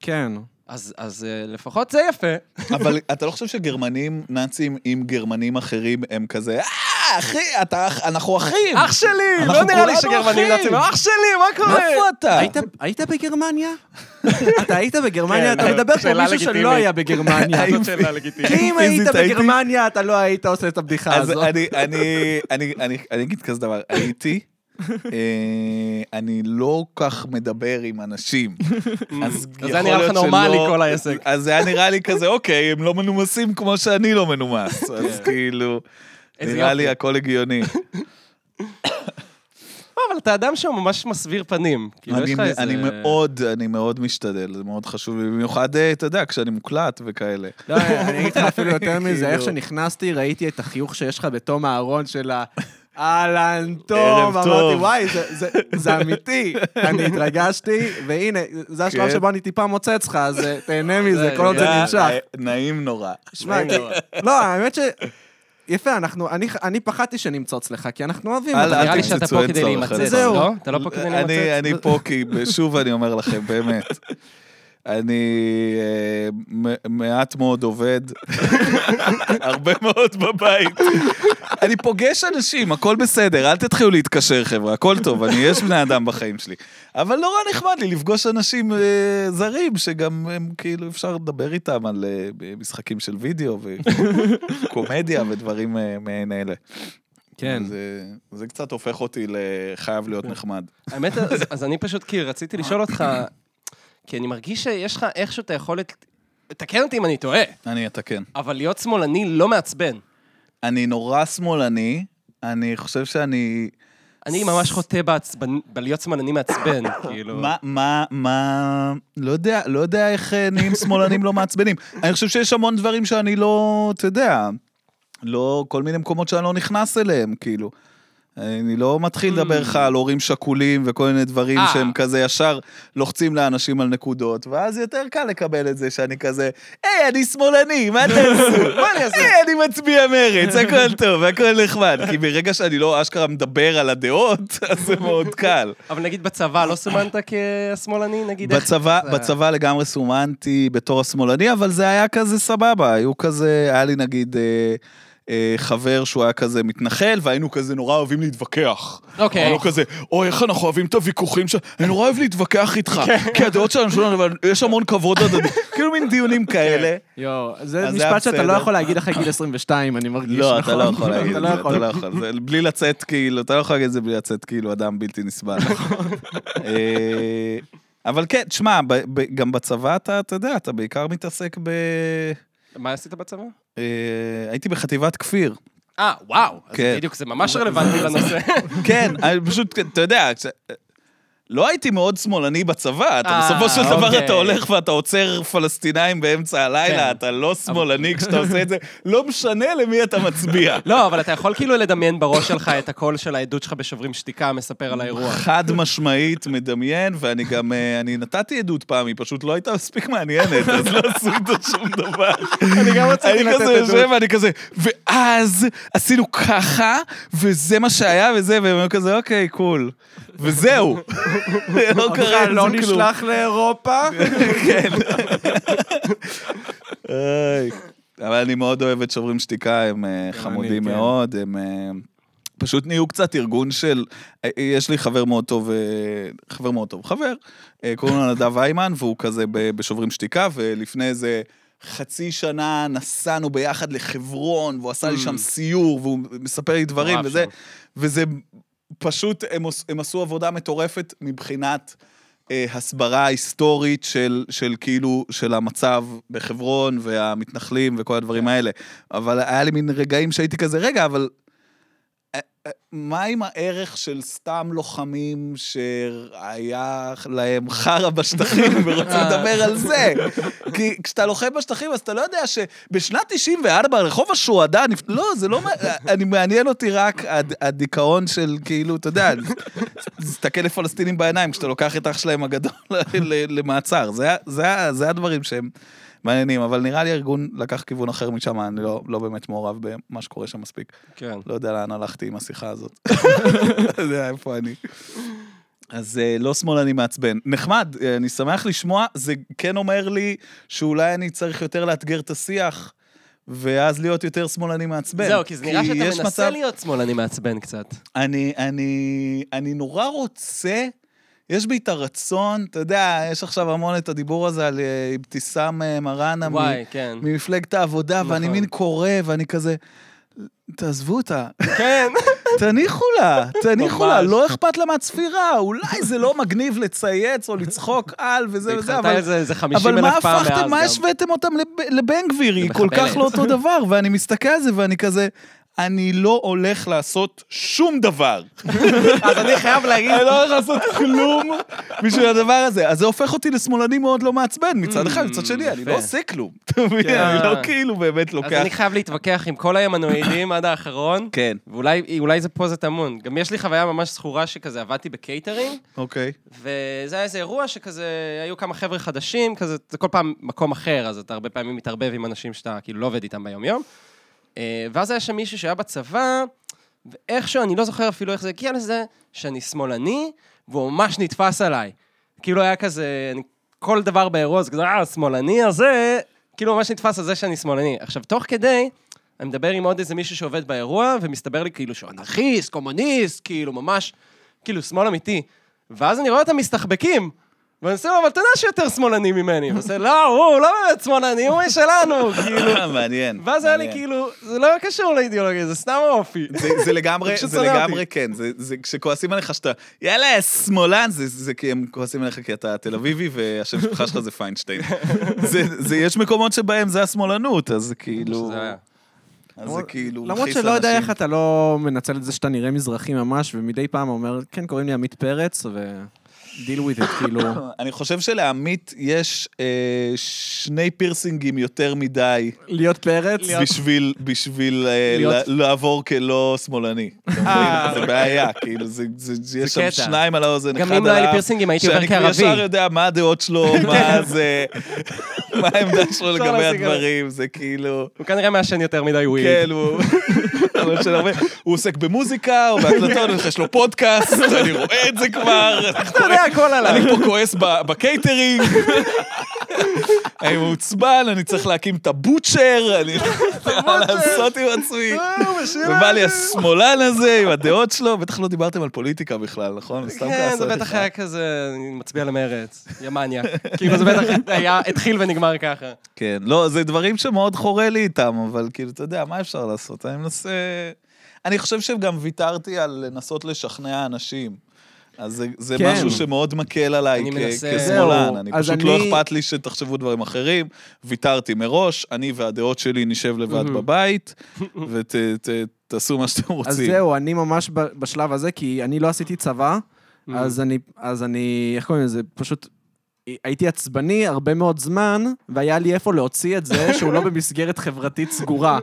Speaker 3: כן.
Speaker 1: אז- אז אה, לפחות זה יפה.
Speaker 2: אבל אתה לא חושב שגרמנים נאצים עם גרמנים אחרים הם כזה, אה, אחי, אתה, אח- אנחנו אחים.
Speaker 1: אח שלי!
Speaker 2: כן. אנחנו
Speaker 1: לא נראה לי
Speaker 2: כולנו
Speaker 1: שגרמנים
Speaker 2: אחים.
Speaker 1: נאצים. אח שלי, מה קורה?
Speaker 3: נכון.
Speaker 2: איפה אתה?
Speaker 3: היית- היית בגרמניה? אתה היית בגרמניה?
Speaker 1: כן,
Speaker 3: אתה מדבר פה
Speaker 1: שאלה
Speaker 3: מישהו שלא
Speaker 1: לגיטימית.
Speaker 3: היה בגרמניה.
Speaker 1: זאת שאלה לגיטימית.
Speaker 3: כי אם היית
Speaker 2: פיזית הייתי-
Speaker 3: בגרמניה, אתה לא היית עושה את הבדיחה
Speaker 2: אז
Speaker 3: הזאת.
Speaker 2: אני, אני, אני, אני, אני אגיד כזה דבר, הייתי, אה, אני לא כך מדבר עם אנשים. אז
Speaker 1: אז
Speaker 2: יכול
Speaker 1: זה נראה
Speaker 2: להיות
Speaker 1: לך נורמלי
Speaker 2: שלא-
Speaker 1: כל העסק.
Speaker 2: אז זה היה נראה לי כזה, אוקיי, הם לא מנומסים כמו שאני לא מנומס. אז כאילו,
Speaker 1: איזה
Speaker 2: נראה לי
Speaker 1: יופי.
Speaker 2: הכל הגיוני.
Speaker 1: לא, אבל אתה אדם שהוא ממש מסביר פנים. כאילו, יש
Speaker 2: אני
Speaker 1: לך איזה...
Speaker 2: אני מאוד, אני מאוד משתדל, זה מאוד חשוב לי, במיוחד, אה, אתה יודע, כשאני מוקלט וכאלה.
Speaker 3: לא, אני אגיד לך אפילו יותר מזה, איך
Speaker 2: כאילו.
Speaker 3: שנכנסתי, ראיתי את החיוך שיש לך בתום הארון של ה... אהלן,
Speaker 2: ערב
Speaker 3: תום, אמרתי,
Speaker 2: טוב.
Speaker 3: וואי, זה- זה- זה אמיתי. אני התרגשתי, והנה, זה השלב
Speaker 2: כן.
Speaker 3: שבו אני טיפה מוצץ לך, אז אה, תהנה מזה,
Speaker 1: זה-
Speaker 3: כל עוד זה אה,
Speaker 1: זה-
Speaker 3: נמשך.
Speaker 2: אה, נעים נורא.
Speaker 3: שמע, לא, האמת ש... יפה, אנחנו, אני, אני פחדתי שנמצוץ לך, כי אנחנו אוהבים.
Speaker 2: אל-
Speaker 3: אותך.
Speaker 1: נראה לי
Speaker 2: תמצא
Speaker 1: שאתה פה
Speaker 2: צועד
Speaker 1: כדי
Speaker 2: צורך,
Speaker 1: להימצא,
Speaker 2: אל
Speaker 3: תצא.
Speaker 1: לא? אתה לא פה כדי
Speaker 2: אני-
Speaker 1: להימצא?
Speaker 2: אני פה כי, שוב אני אומר לכם, באמת. אני אה, מ- מעט מאוד עובד, הרבה מאוד בבית. אני פוגש אנשים, הכל בסדר, אל תתחילו להתקשר, חבר'ה, הכל טוב, אני, יש בני אדם בחיים שלי. אבל נורא נחמד לי לפגוש אנשים אה, זרים, שגם הם, כאילו, אפשר לדבר איתם על אה, משחקים של וידאו וקומדיה ודברים אה, מעין אלה.
Speaker 3: כן.
Speaker 2: זה, זה קצת הופך אותי לחייב להיות נחמד.
Speaker 1: האמת, אז- אז אני פשוט כאילו רציתי לשאול אותך, כי אני מרגיש שיש לך איכשהו את היכולת, תקן אותי אם אני טועה,
Speaker 2: אני אתקן.
Speaker 1: אבל להיות שמאלני לא מעצבן.
Speaker 2: אני נורא שמאלני, אני חושב שאני...
Speaker 1: אני ממש חוטא בעצבנ- בלהיות שמאלני מעצבן, כאילו.
Speaker 2: מה, מה, מה... לא יודע, לא יודע איך אה, נהיים שמאלנים לא מעצבנים. אני חושב שיש המון דברים שאני לא, אתה יודע, לא, כל מיני מקומות שאני לא נכנס אליהם, כאילו. אני לא מתחיל לדבר לך על הורים שכולים וכל מיני דברים
Speaker 1: אה.
Speaker 2: שהם כזה ישר לוחצים לאנשים על נקודות, ואז יותר קל לקבל את זה שאני כזה, היי, אני שמאלני, מה תעשו? מה אני אעשה? היי, אני מצביע מרץ, הכל טוב, הכל נחמד. כי ברגע שאני לא אשכרה מדבר על הדעות, אז זה מאוד קל.
Speaker 1: אבל נגיד בצבא לא סומנת כשמאלני, נגיד? איך-
Speaker 2: בצבא,
Speaker 1: זה-
Speaker 2: בצבא לגמרי סומנתי בתור השמאלני, אבל זה היה כזה סבבה, היו כזה, היה לי נגיד אה, אה, חבר שהוא היה כזה מתנחל, והיינו כזה נורא אוהבים להתווכח.
Speaker 1: אוקיי.
Speaker 2: היינו כזה, אוי, איך אנחנו אוהבים את הוויכוחים שלנו, אני נורא אוהב להתווכח איתך, כי הדעות שלנו שונות, אבל יש המון כבוד הדדי. כן. כאילו מין דיונים כאלה.
Speaker 3: יואו, זה
Speaker 2: אז זה היה
Speaker 3: משפט שאתה לא
Speaker 2: בסדר.
Speaker 3: יכול להגיד אחרי גיל 22, אני מרגיש, נכון?
Speaker 2: לא, אתה לא יכול להגיד
Speaker 3: אתה
Speaker 2: את
Speaker 3: לא
Speaker 2: זה, אתה
Speaker 3: יכול.
Speaker 2: לא יכול. זה בלי לצאת כאילו, אתה לא יכול להגיד את זה בלי לצאת כאילו אדם בלתי נסבל.
Speaker 3: נכון.
Speaker 2: אה, אבל כן, תשמע, ב- ב- גם בצבא אתה, אתה יודע, אתה בעיקר מתעסק ב...
Speaker 1: מה עשית בצבא?
Speaker 2: אה, הייתי בחטיבת כפיר.
Speaker 1: אה, וואו. אז
Speaker 2: כן.
Speaker 1: בדיוק, זה ממש רלוונטי לנושא.
Speaker 2: כן, אני פשוט, אתה יודע, כש- לא הייתי מאוד שמאלני בצבא, אתה
Speaker 1: אה,
Speaker 2: בסופו של דבר
Speaker 1: אוקיי.
Speaker 2: אתה הולך ואתה עוצר פלסטינאים באמצע הלילה,
Speaker 1: כן.
Speaker 2: אתה לא שמאלני כשאתה עושה את זה, לא משנה למי אתה מצביע.
Speaker 1: לא, אבל אתה יכול כאילו לדמיין בראש שלך את הקול של העדות שלך בשוברים שתיקה מספר על האירוע.
Speaker 3: נכון.
Speaker 2: חד משמעית מדמיין, ואני גם, אה, אני נתתי עדות פעם, היא פשוט לא הייתה מספיק מעניינת, אז לא עשו איתה שום דבר.
Speaker 3: אני גם רציתי
Speaker 2: אני
Speaker 3: לתת
Speaker 2: כזה יושב,
Speaker 3: עדות.
Speaker 2: ואני כזה, ואז עשינו ככה, וזה מה שהיה וזה, והם היו כזה, אוקיי, קול. וזהו. לא קרה
Speaker 3: אותך לא
Speaker 2: עם זה כלום.
Speaker 3: נשלח לאירופה?
Speaker 2: כן. איי. אבל אני מאוד אוהב את שוברים שתיקה, הם אה, חמודים
Speaker 3: כן.
Speaker 2: מאוד, הם אה, פשוט נהיו קצת ארגון של... אה, יש לי חבר מאוד טוב, אה, חבר מאוד טוב, חבר, אה, קוראים לו נדב היימן, והוא כזה ב- בשוברים שתיקה, ולפני איזה... חצי שנה נסענו ביחד לחברון, והוא עשה לי שם סיור, והוא מספר לי דברים,
Speaker 1: מטורף
Speaker 2: וזה,
Speaker 1: שם.
Speaker 2: וזה פשוט, הם, עוש- הם עשו עבודה מטורפת מבחינת אה, הסברה היסטורית של, של כאילו, של המצב בחברון והמתנחלים וכל הדברים האלה. אבל היה לי מין רגעים שהייתי כזה, רגע, אבל... אה, אה, מה עם הערך של סתם לוחמים שהיה להם חרא בשטחים ורוצים
Speaker 1: אה.
Speaker 2: לדבר על זה? כי כשאתה לוחם בשטחים, אז אתה לא יודע שבשנת 94, רחוב השוהדא, נפ- לא, זה לא... מע- אני מעניין אותי רק הד- הדיכאון של כאילו, אתה יודע, תסתכל לפלסטינים בעיניים כשאתה לוקח את אח שלהם הגדול ל- למעצר. זה ה- זה ה- זה הדברים שהם מעניינים, אבל נראה לי הארגון לקח כיוון אחר משם, אני לא לא באמת מעורב במה שקורה שם מספיק.
Speaker 1: כן.
Speaker 2: לא יודע לאן הלכתי עם השיחה הזאת. לא יודע איפה אני. אז אה, לא שמאלני מעצבן. נחמד, אה, אני שמח לשמוע, זה כן אומר לי שאולי אני צריך יותר לאתגר את השיח, ואז להיות יותר שמאלני מעצבן.
Speaker 1: זהו, כי זה נראה שאתה
Speaker 2: יש
Speaker 1: מנסה
Speaker 2: מצב-
Speaker 1: להיות שמאלני מעצבן קצת.
Speaker 2: אני, אני, אני נורא רוצה, יש בי את הרצון, אתה יודע, יש עכשיו המון את הדיבור הזה על אה, אבתיסאם אה, מראענה מ-
Speaker 1: וואי, כן.
Speaker 2: ממפלגת העבודה, ואני
Speaker 1: נכון.
Speaker 2: מין קורא, ואני כזה, תעזבו אותה,
Speaker 1: כן.
Speaker 2: תניחו לה, תניחו לה,
Speaker 1: ממש.
Speaker 2: לא אכפת לה מהצפירה, אולי זה לא מגניב לצייץ או לצחוק על וזה וזה,
Speaker 1: התחלת
Speaker 2: אבל...
Speaker 1: איזה איזה 50
Speaker 2: אבל מה
Speaker 1: אלף פעם מאז גם.
Speaker 2: הפכתם, מה השוויתם אותם לב- לבן גביר? היא כל כך
Speaker 1: למחבלת.
Speaker 2: לא אותו דבר, ואני מסתכל על זה ואני כזה, אני לא הולך לעשות שום דבר.
Speaker 1: אז אני חייב להגיד...
Speaker 2: אני לא הולך לעשות כלום בשביל הדבר הזה. אז זה הופך אותי לשמאלני מאוד לא מעצבן, מצד אחד, מצד שני, אני
Speaker 1: Mm, יפה. כן.
Speaker 2: לא עושה כלום. אתה מבין? אני לא כאילו באמת
Speaker 1: אז
Speaker 2: לוקח...
Speaker 1: אני חייב להתווכח עם כל הימנואידים עד האחרון.
Speaker 2: כן,
Speaker 1: ואולי אולי זה פה זה טמון. גם יש לי חוויה ממש זכורה שכזה עבדתי בקייטרינג,
Speaker 2: אוקיי.
Speaker 1: וזה היה איזה אירוע שכזה, היו כמה חבר'ה חדשים, כזה, זה כל פעם מקום אחר, אז אתה הרבה פעמים מתערבב עם אנשים שאתה כאילו לא עובד איתם ביום-יום. אה, ואז היה שם מישהו שהיה בצבא, ואיכשהו, אני לא זוכר אפילו איך זה הגיע לזה, שאני שמאלני, והוא ממש נתפס עליי. כאילו היה כזה, אני, כל דבר באירוע זה כזה, אה, השמאלני הזה, כאילו ממש נתפס על זה שאני שמאלני. עכשיו, תוך כדי, אני מדבר עם עוד איזה מישהו שעובד באירוע, ומסתבר לי כאילו שהוא אנרכיסט, קומוניסט, כאילו ממש, כאילו שמאל אמיתי. ואז אני רואה אותם מסתחבקים. ואני עושה לו, אבל אתה יודע שיותר שמאלני ממני. הוא עושה, לא, הוא לא באמת שמאלני, הוא משלנו, כאילו.
Speaker 2: מעניין.
Speaker 1: ואז היה לי
Speaker 2: מעניין.
Speaker 1: כאילו, זה לא קשור לאידיאולוגיה, זה סתם האופי.
Speaker 2: זה- זה לגמרי,
Speaker 1: פשוט
Speaker 2: זה
Speaker 1: שונא
Speaker 2: לגמרי
Speaker 1: אותי.
Speaker 2: כן, זה- זה כשכועסים עליך שאתה, יאללה, שמאלן, זה- זה כי הם כועסים עליך כי אתה תל אביבי והשם שלך שלך זה פיינשטיין. זה- זה- יש מקומות שבהם זה השמאלנות, אז זה כאילו...
Speaker 1: שזה היה.
Speaker 2: אז זה כאילו
Speaker 3: למרות שלא יודע איך אתה לא מנצל את זה שאתה נראה מזרחי ממש, ומדי פעם אומר, כן, קוראים לי עמית פרץ, ו... deal with it, כאילו.
Speaker 2: אני חושב שלעמית יש אה, שני פירסינגים יותר מדי
Speaker 3: להיות פרץ?
Speaker 2: בשביל- בשביל אה,
Speaker 3: להיות-
Speaker 2: ל- לעבור כלא שמאלני. אתה מבין? זה בעיה, כאילו, זה- זה- יש שם
Speaker 1: אה. קטע.
Speaker 2: שניים על האוזן, אחד
Speaker 1: גם
Speaker 2: על האף.
Speaker 1: אם לא היה לי פירסינגים, הייתי עובר
Speaker 2: שאני ישר
Speaker 1: כערבי. כן.
Speaker 2: יודע מה הדעות שלו, מה זה, מה העמדה שלו
Speaker 1: אפשר
Speaker 2: לגבי
Speaker 1: להשיג עליו.
Speaker 2: הדברים, זה כאילו...
Speaker 1: הוא כנראה מעשן יותר מדי וויד.
Speaker 2: כן, הוא... אבל של הרבה- הוא עוסק במוזיקה, או בהקלטות, יש לו פודקאסט, אני רואה את זה כבר.
Speaker 1: אתה יודע הכל עליו.
Speaker 2: אני פה כועס ב- בקייטרינג. אני מעוצבן, אני צריך להקים את הבוטשר, אני לא יודע מה לעשות עם עצמי. ובא לי השמאלן הזה עם הדעות שלו, בטח לא דיברתם על פוליטיקה בכלל, נכון? סתם
Speaker 1: כן, זה
Speaker 2: כעסתי
Speaker 1: בטח
Speaker 2: לך.
Speaker 1: היה כזה, אני מצביע למרץ, יא מניאק. כאילו זה בטח היה, התחיל ונגמר ככה.
Speaker 2: כן, לא, זה דברים שמאוד חורה לי איתם, אבל כאילו, אתה יודע, מה אפשר לעשות? אני מנסה... אני חושב שגם ויתרתי על לנסות לשכנע אנשים. אז זה, זה
Speaker 3: כן.
Speaker 2: כן. משהו שמאוד מקל עליי
Speaker 1: אני
Speaker 2: כ-
Speaker 1: מנסה-
Speaker 2: כשמאלן.
Speaker 3: זהו,
Speaker 2: אני
Speaker 3: אז
Speaker 2: פשוט לא
Speaker 3: אני-
Speaker 2: אכפת לי שתחשבו דברים אחרים. ויתרתי מראש, אני והדעות שלי נשב לבד
Speaker 1: Mhm.
Speaker 2: בבית, ותעשו מה שאתם
Speaker 3: אז
Speaker 2: רוצים.
Speaker 3: זהו, אני ממש ב- בשלב הזה, כי אני לא עשיתי צבא,
Speaker 1: Mm.
Speaker 3: אז אני, אז אני, איך קוראים לזה? פשוט הייתי עצבני הרבה מאוד זמן, והיה לי איפה להוציא את זה, שהוא לא במסגרת חברתית סגורה,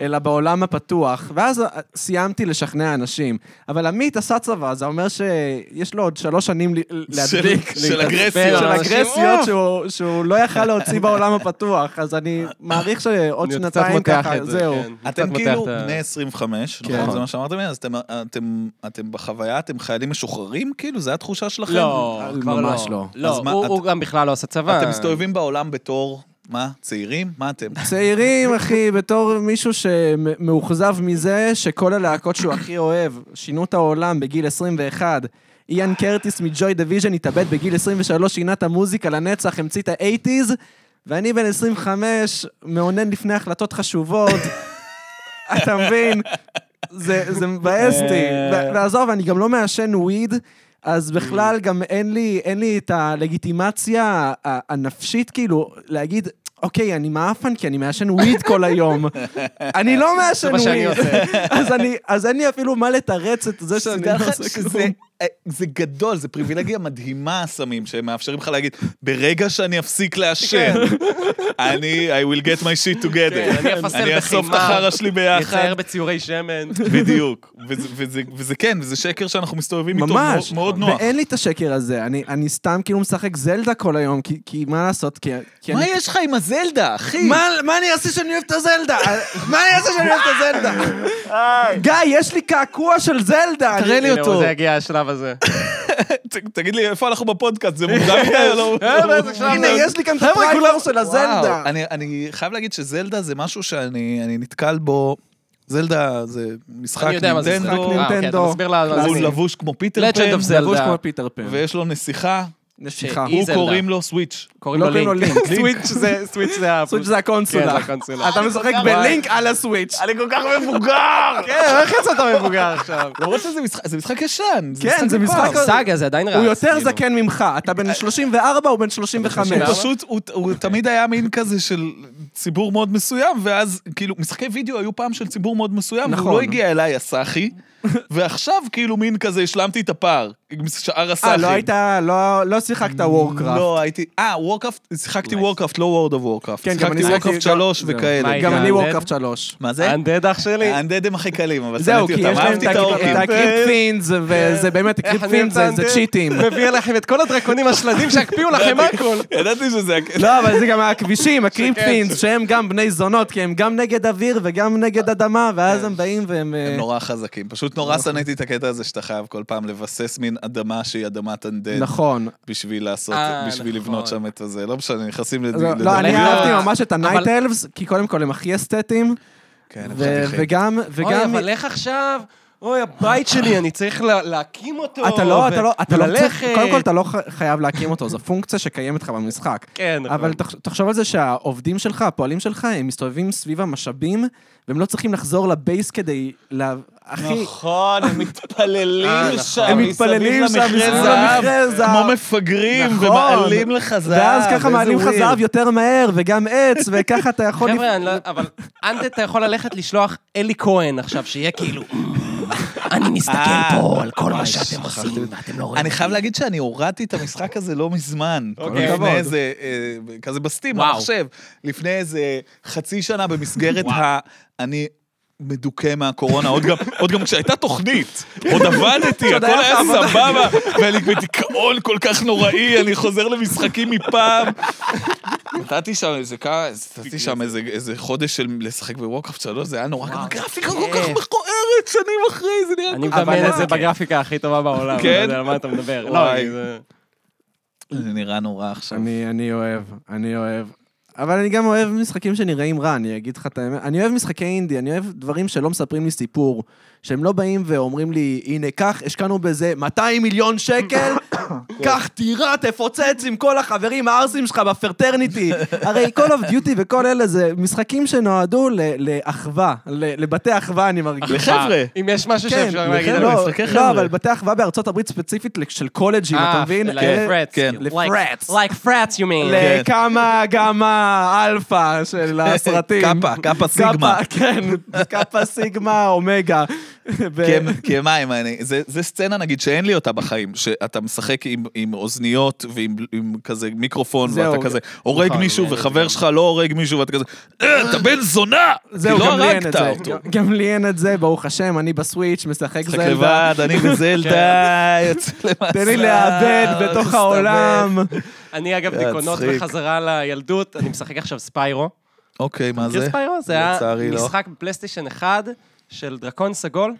Speaker 3: אלא בעולם הפתוח. ואז אה, סיימתי לשכנע אנשים. אבל עמית עשה צבא, זה אומר שיש לו עוד שלוש שנים ל- להדליק.
Speaker 2: של- של אגרסיות.
Speaker 3: של
Speaker 1: אנשים,
Speaker 3: אגרסיות
Speaker 1: אוף.
Speaker 3: שהוא- שהוא לא יכל להוציא בעולם הפתוח, אז אני מעריך שעוד
Speaker 1: אני עוד קצת
Speaker 3: שנתיים
Speaker 1: מותח
Speaker 3: ככה,
Speaker 1: את זה,
Speaker 3: זהו.
Speaker 1: כן. אני קצת
Speaker 2: אתם
Speaker 1: מותח
Speaker 2: כאילו
Speaker 1: את ה-
Speaker 2: בני 25,
Speaker 3: כן.
Speaker 2: נכון? זה מה שאמרתם לי? אז אתם- אתם- אתם בחוויה, אתם חיילים משוחררים? כאילו, זו התחושה שלכם?
Speaker 1: לא,
Speaker 3: אה,
Speaker 1: כבר לא.
Speaker 3: ממש לא.
Speaker 1: לא,
Speaker 2: אז מה,
Speaker 1: הוא
Speaker 2: את-
Speaker 1: הוא גם בכלל לא עשה צבא.
Speaker 2: אתם מסתובבים בעולם בתור, מה, צעירים? מה אתם?
Speaker 3: צעירים, אחי, בתור מישהו שמאוכזב מזה שכל הלהקות שהוא הכי אוהב שינו את העולם בגיל 21. איאן קרטיס מג'וי דיוויז'ן התאבד בגיל 23, שינה את המוזיקה לנצח, המציא את האייטיז, ואני בן 25, מאונן לפני החלטות חשובות. אתה מבין? זה, זה מבאס אותי. ו- ועזוב, אני גם לא מעשן וויד, אז בכלל גם אין לי, אין לי את הלגיטימציה ה- ה- הנפשית, כאילו, להגיד, אוקיי, אני מעפן כי אני מעשן וויד כל היום. אני לא מעשן
Speaker 1: מה
Speaker 3: וויד.
Speaker 1: שאני עושה.
Speaker 3: אז, אני, אז אין לי אפילו מה לתרץ את זה שאני
Speaker 2: שתדע
Speaker 3: לא
Speaker 2: לך
Speaker 3: עושה כלום.
Speaker 2: שזה אה, זה גדול, זה פריבילגיה מדהימה הסמים, שמאפשרים לך להגיד, ברגע שאני אפסיק לעשן, אני, I will get my shit
Speaker 1: כן,
Speaker 2: together.
Speaker 1: אני אפסל
Speaker 2: אני אאסוף את
Speaker 1: בחימה,
Speaker 2: החרא שלי ביחד.
Speaker 1: נצייר בציורי שמן.
Speaker 2: בדיוק. וזה- וזה- וזה כן, וזה שקר שאנחנו מסתובבים איתו
Speaker 3: ממש,
Speaker 2: מאוד- מאוד נוח.
Speaker 3: ואין לי את השקר הזה, אני, אני סתם כאילו משחק זלדה כל היום, כי, כי מה לעשות, כי, כי אני
Speaker 2: מה יש לך עם הזלדה, אחי?
Speaker 3: מה, מה אני אעשה שאני אוהב את הזלדה? מה אני אעשה שאני אוהב את הזלדה? גיא, יש לי קעקוע של זלדה.
Speaker 2: תראה לי
Speaker 1: הנה,
Speaker 2: אותו.
Speaker 1: זה יגיע השלב הזה.
Speaker 2: ת- תגיד לי, איפה אנחנו בפודקאסט? זה מוקדם מדי או לא?
Speaker 1: אה, באיזה שלב
Speaker 3: הנה,
Speaker 1: זה?
Speaker 3: יש לי כאן את הפריימר של הזלדה.
Speaker 2: וואו, אני, אני חייב להגיד שזלדה זה משהו שאני אני נתקל בו. זלדה זה משחק
Speaker 1: אני יודע מה זה
Speaker 2: נינטנדו,
Speaker 1: משחק נינטנדו.
Speaker 3: נינטנדו.
Speaker 1: אתה מסביר לה מה
Speaker 2: הוא
Speaker 1: זה.
Speaker 2: לבוש כמו פיטר
Speaker 1: Legend
Speaker 2: פן,
Speaker 1: of Zelda.
Speaker 3: לבוש כמו פיטר פן.
Speaker 2: ויש לו נסיכה,
Speaker 3: נשיכה.
Speaker 1: היא
Speaker 2: הוא
Speaker 1: זלדה.
Speaker 2: קוראים לו סוויץ'.
Speaker 1: קוראים
Speaker 3: לא
Speaker 1: לו
Speaker 3: קוראים לו
Speaker 1: לינק.
Speaker 3: לינק.
Speaker 1: סוויץ' זה- סוויץ' זה ה...
Speaker 3: סוויץ' זה הקונסולה.
Speaker 1: כן, זה הקונסולה.
Speaker 3: אתה משחק
Speaker 1: וואי.
Speaker 3: בלינק על הסוויץ'.
Speaker 1: אני כל כך מבוגר! כן, איך יצאת מבוגר עכשיו?
Speaker 2: למרות שזה משחק, זה משחק ישן.
Speaker 3: כן, זה
Speaker 2: מפעם.
Speaker 3: משחק-
Speaker 1: סאגה זה
Speaker 2: אה,
Speaker 1: עדיין רץ.
Speaker 3: הוא יותר
Speaker 1: כאילו.
Speaker 3: זקן ממך, אתה בן 34 הוא בן 35.
Speaker 2: הוא פשוט, הוא- הוא תמיד היה מין כזה של ציבור מאוד מסוים, ואז כאילו, משחקי וידאו היו פעם של ציבור מאוד מסוים,
Speaker 3: נכון.
Speaker 2: והוא לא הגיע אליי, הסאחי, ועכשיו כאילו מין כזה, השלמתי את הפער עם שאר
Speaker 3: אה,
Speaker 2: הסאחים.
Speaker 3: לא היית, לא- לא שיחקת וורקראפט.
Speaker 2: לא, הייתי... אה, וורקראפט, שיחקתי
Speaker 1: Nice.
Speaker 2: וורקראפט, לא וורד אוף וורקראפט.
Speaker 3: כן, גם אני
Speaker 2: שיחקתי
Speaker 3: שיחקתי- לא,
Speaker 2: וורקראפט 3
Speaker 3: גם-
Speaker 2: וכאלה.
Speaker 1: מה,
Speaker 3: גם אני
Speaker 1: אה,
Speaker 3: וורקראפט 3.
Speaker 2: מה זה?
Speaker 1: אנדד אח שלי?
Speaker 2: האנדד הם הכי קלים, אבל
Speaker 3: זהו,
Speaker 2: שנאתי
Speaker 3: כי יש
Speaker 2: אותם,
Speaker 3: להם
Speaker 2: אהבתי
Speaker 3: את
Speaker 2: את האורקים.
Speaker 1: כן.
Speaker 3: הקריפינס, וזה באמת,
Speaker 1: איך אני
Speaker 3: הקריפינס
Speaker 1: אוהב את
Speaker 3: זה
Speaker 1: האנדד?
Speaker 3: צ'יטים.
Speaker 1: מביא לכם את כל הדרקונים השלדים שיקפיאו לכם הכל.
Speaker 2: ידעתי שזה...
Speaker 3: לא, אבל זה גם הכבישים, הקריפטינס, שהם גם בני זונות, כי הם גם נגד אוויר וגם נגד אדמה,
Speaker 1: כן.
Speaker 3: ואז הם באים והם... אה,
Speaker 2: הם
Speaker 1: לא-
Speaker 2: נורא חזקים. פשוט נורא
Speaker 3: נכון.
Speaker 2: שנאתי את הקטע הזה שאתה חייב כל פעם לבסס מין אדמה שהיא אדמת
Speaker 1: כן.
Speaker 2: אנדד.
Speaker 3: נכון.
Speaker 2: בשביל לעשות,
Speaker 1: אה,
Speaker 2: בשביל
Speaker 1: נכון.
Speaker 2: לבנות שם את הזה. לא משנה, נכנסים לד-
Speaker 3: לא,
Speaker 2: לדבר.
Speaker 3: לא, אני
Speaker 1: לדבר.
Speaker 3: אהבתי ממש את
Speaker 1: אבל-
Speaker 3: הנייט אלבס, כי קודם כל הם הכי אסתטיים,
Speaker 2: כן,
Speaker 3: ו-
Speaker 2: הם חתיכים.
Speaker 3: וגם...
Speaker 1: אוי,
Speaker 3: וגם-
Speaker 1: אבל איך עכשיו? אוי, הבית שלי, אני צריך לה- להקים אותו.
Speaker 3: אתה לא,
Speaker 1: ו-
Speaker 3: אתה לא, אתה לא צריך,
Speaker 1: וללכת.
Speaker 3: קודם כל אתה לא ח- חייב להקים אותו, זו פונקציה שקיימת לך במשחק.
Speaker 1: כן, נכון.
Speaker 3: אבל תח- תחשוב על זה שהעובדים שלך, הפועלים שלך, הם מסתובבים סביב המשאבים, והם לא צריכים לחזור לבייס כדי... לה- אחי,
Speaker 2: נכון, הם
Speaker 1: אה,
Speaker 2: מתפללים
Speaker 1: נכון.
Speaker 2: שם,
Speaker 1: הם
Speaker 3: מתפללים שם
Speaker 2: מסביב
Speaker 3: מסביב
Speaker 2: למכרה זהב,
Speaker 3: למכרה זהב.
Speaker 2: כמו מפגרים,
Speaker 3: נכון.
Speaker 2: ומעלים לך זהב.
Speaker 3: ואז ככה
Speaker 2: איזה
Speaker 3: מעלים לך
Speaker 2: weird.
Speaker 3: זהב יותר מהר, וגם עץ, וככה אתה יכול... לפ-
Speaker 1: חבר'ה, אני לא... אבל אנדד אתה יכול ללכת לשלוח אלי כהן עכשיו, שיהיה כאילו... אני
Speaker 2: אה,
Speaker 1: מסתכל פה על כל מה
Speaker 2: אוי,
Speaker 1: שאתם
Speaker 2: שכחתי.
Speaker 1: עושים, ואתם לא רואים.
Speaker 2: אני חייב להגיד שאני הורדתי את המשחק הזה לא מזמן.
Speaker 1: אוקיי.
Speaker 2: לפני
Speaker 3: כבוד.
Speaker 2: איזה, אה, כזה בסטים,
Speaker 1: וואו.
Speaker 2: במחשב. לפני איזה חצי שנה במסגרת ה... אני מדוכא מהקורונה, עוד גם- עוד גם כשהייתה תוכנית, עוד עבדתי, הכל
Speaker 3: היה לך
Speaker 2: היה סבבה, ואני בדיכאון כל כך נוראי, אני חוזר למשחקים מפעם. נתתי שם איזה כמה, נתתי שם איזה- איזה חודש של לשחק בווקאפ 3, זה היה נורא, גם הגרפיקה
Speaker 1: כן.
Speaker 2: כל כך
Speaker 1: כיף.
Speaker 2: מכוערת, שנים אחרי, זה נראה
Speaker 1: אני
Speaker 3: אבל
Speaker 1: מדמיין את
Speaker 3: מה,
Speaker 1: זה
Speaker 3: כן.
Speaker 1: בגרפיקה הכי טובה בעולם,
Speaker 2: כן?
Speaker 1: אני לא יודע על מה אתה מדבר. לא,
Speaker 2: וואי.
Speaker 1: זה...
Speaker 2: זה נראה נורא עכשיו.
Speaker 3: אני אוהב, אני אוהב. אבל אני גם אוהב משחקים שנראים רע, אני אגיד לך את האמת. אני אוהב משחקי אינדי, אני אוהב דברים שלא מספרים לי סיפור. שהם לא באים ואומרים לי, הנה, קח, השקענו בזה 200 מיליון שקל, קח, תירה, תפוצץ עם כל החברים הערסים שלך בפרטרניטי. הרי Call of Duty וכל אלה זה משחקים שנועדו ל- לאחווה, ל- לבתי אחווה, אני מרגיש.
Speaker 2: לחבר'ה.
Speaker 1: אם יש משהו
Speaker 2: כן,
Speaker 1: שאפשר להגיד
Speaker 3: לכן
Speaker 1: על
Speaker 3: לא-
Speaker 1: המשחק.
Speaker 2: משחקי
Speaker 3: לא,
Speaker 2: חבר'ה.
Speaker 3: אבל בתי אחווה בארצות הברית ספציפית של קולג'ים,
Speaker 1: אה,
Speaker 3: אתה מבין? אלה-
Speaker 2: כן.
Speaker 3: לפרטס.
Speaker 1: Like frats, you mean.
Speaker 2: כן.
Speaker 3: לקמה גמא אלפא של הסרטים.
Speaker 2: קאפה, קאפה סיגמה.
Speaker 3: קאפה, כן, קאפה סיגמה אומגה. ו-
Speaker 2: כ- כמים, אני- זה- זה סצנה נגיד שאין לי אותה בחיים, שאתה משחק עם- עם אוזניות ועם עם כזה מיקרופון,
Speaker 3: זהו.
Speaker 2: ואתה כזה הורג
Speaker 1: נכון,
Speaker 2: מישהו
Speaker 1: אין לי
Speaker 2: וחבר שלך לא הורג מישהו, ואתה כזה, "אה, אתה בן זונה! כי
Speaker 3: זהו,
Speaker 2: לא
Speaker 3: גם לי אין את
Speaker 2: הרגת
Speaker 3: זה.
Speaker 2: אותו.
Speaker 3: גם- גם לי אין את זה, ברוך השם, אני בסוויץ', משחק
Speaker 2: משחק
Speaker 3: זלדה. כן.
Speaker 2: לבד, אני בזלדה, יוצא למסע.
Speaker 3: תן לי לאבד בתוך
Speaker 2: מסתבך.
Speaker 3: העולם.
Speaker 1: אני אגב דיכאונות
Speaker 2: מצחיק.
Speaker 1: בחזרה לילדות, אני משחק עכשיו ספיירו.
Speaker 2: אוקיי, מה
Speaker 1: מכיר
Speaker 2: זה?
Speaker 1: ספיירו? זה היה
Speaker 2: לצערי לא.
Speaker 1: משחק בפלייסטיישן 1 של דרקון סגול,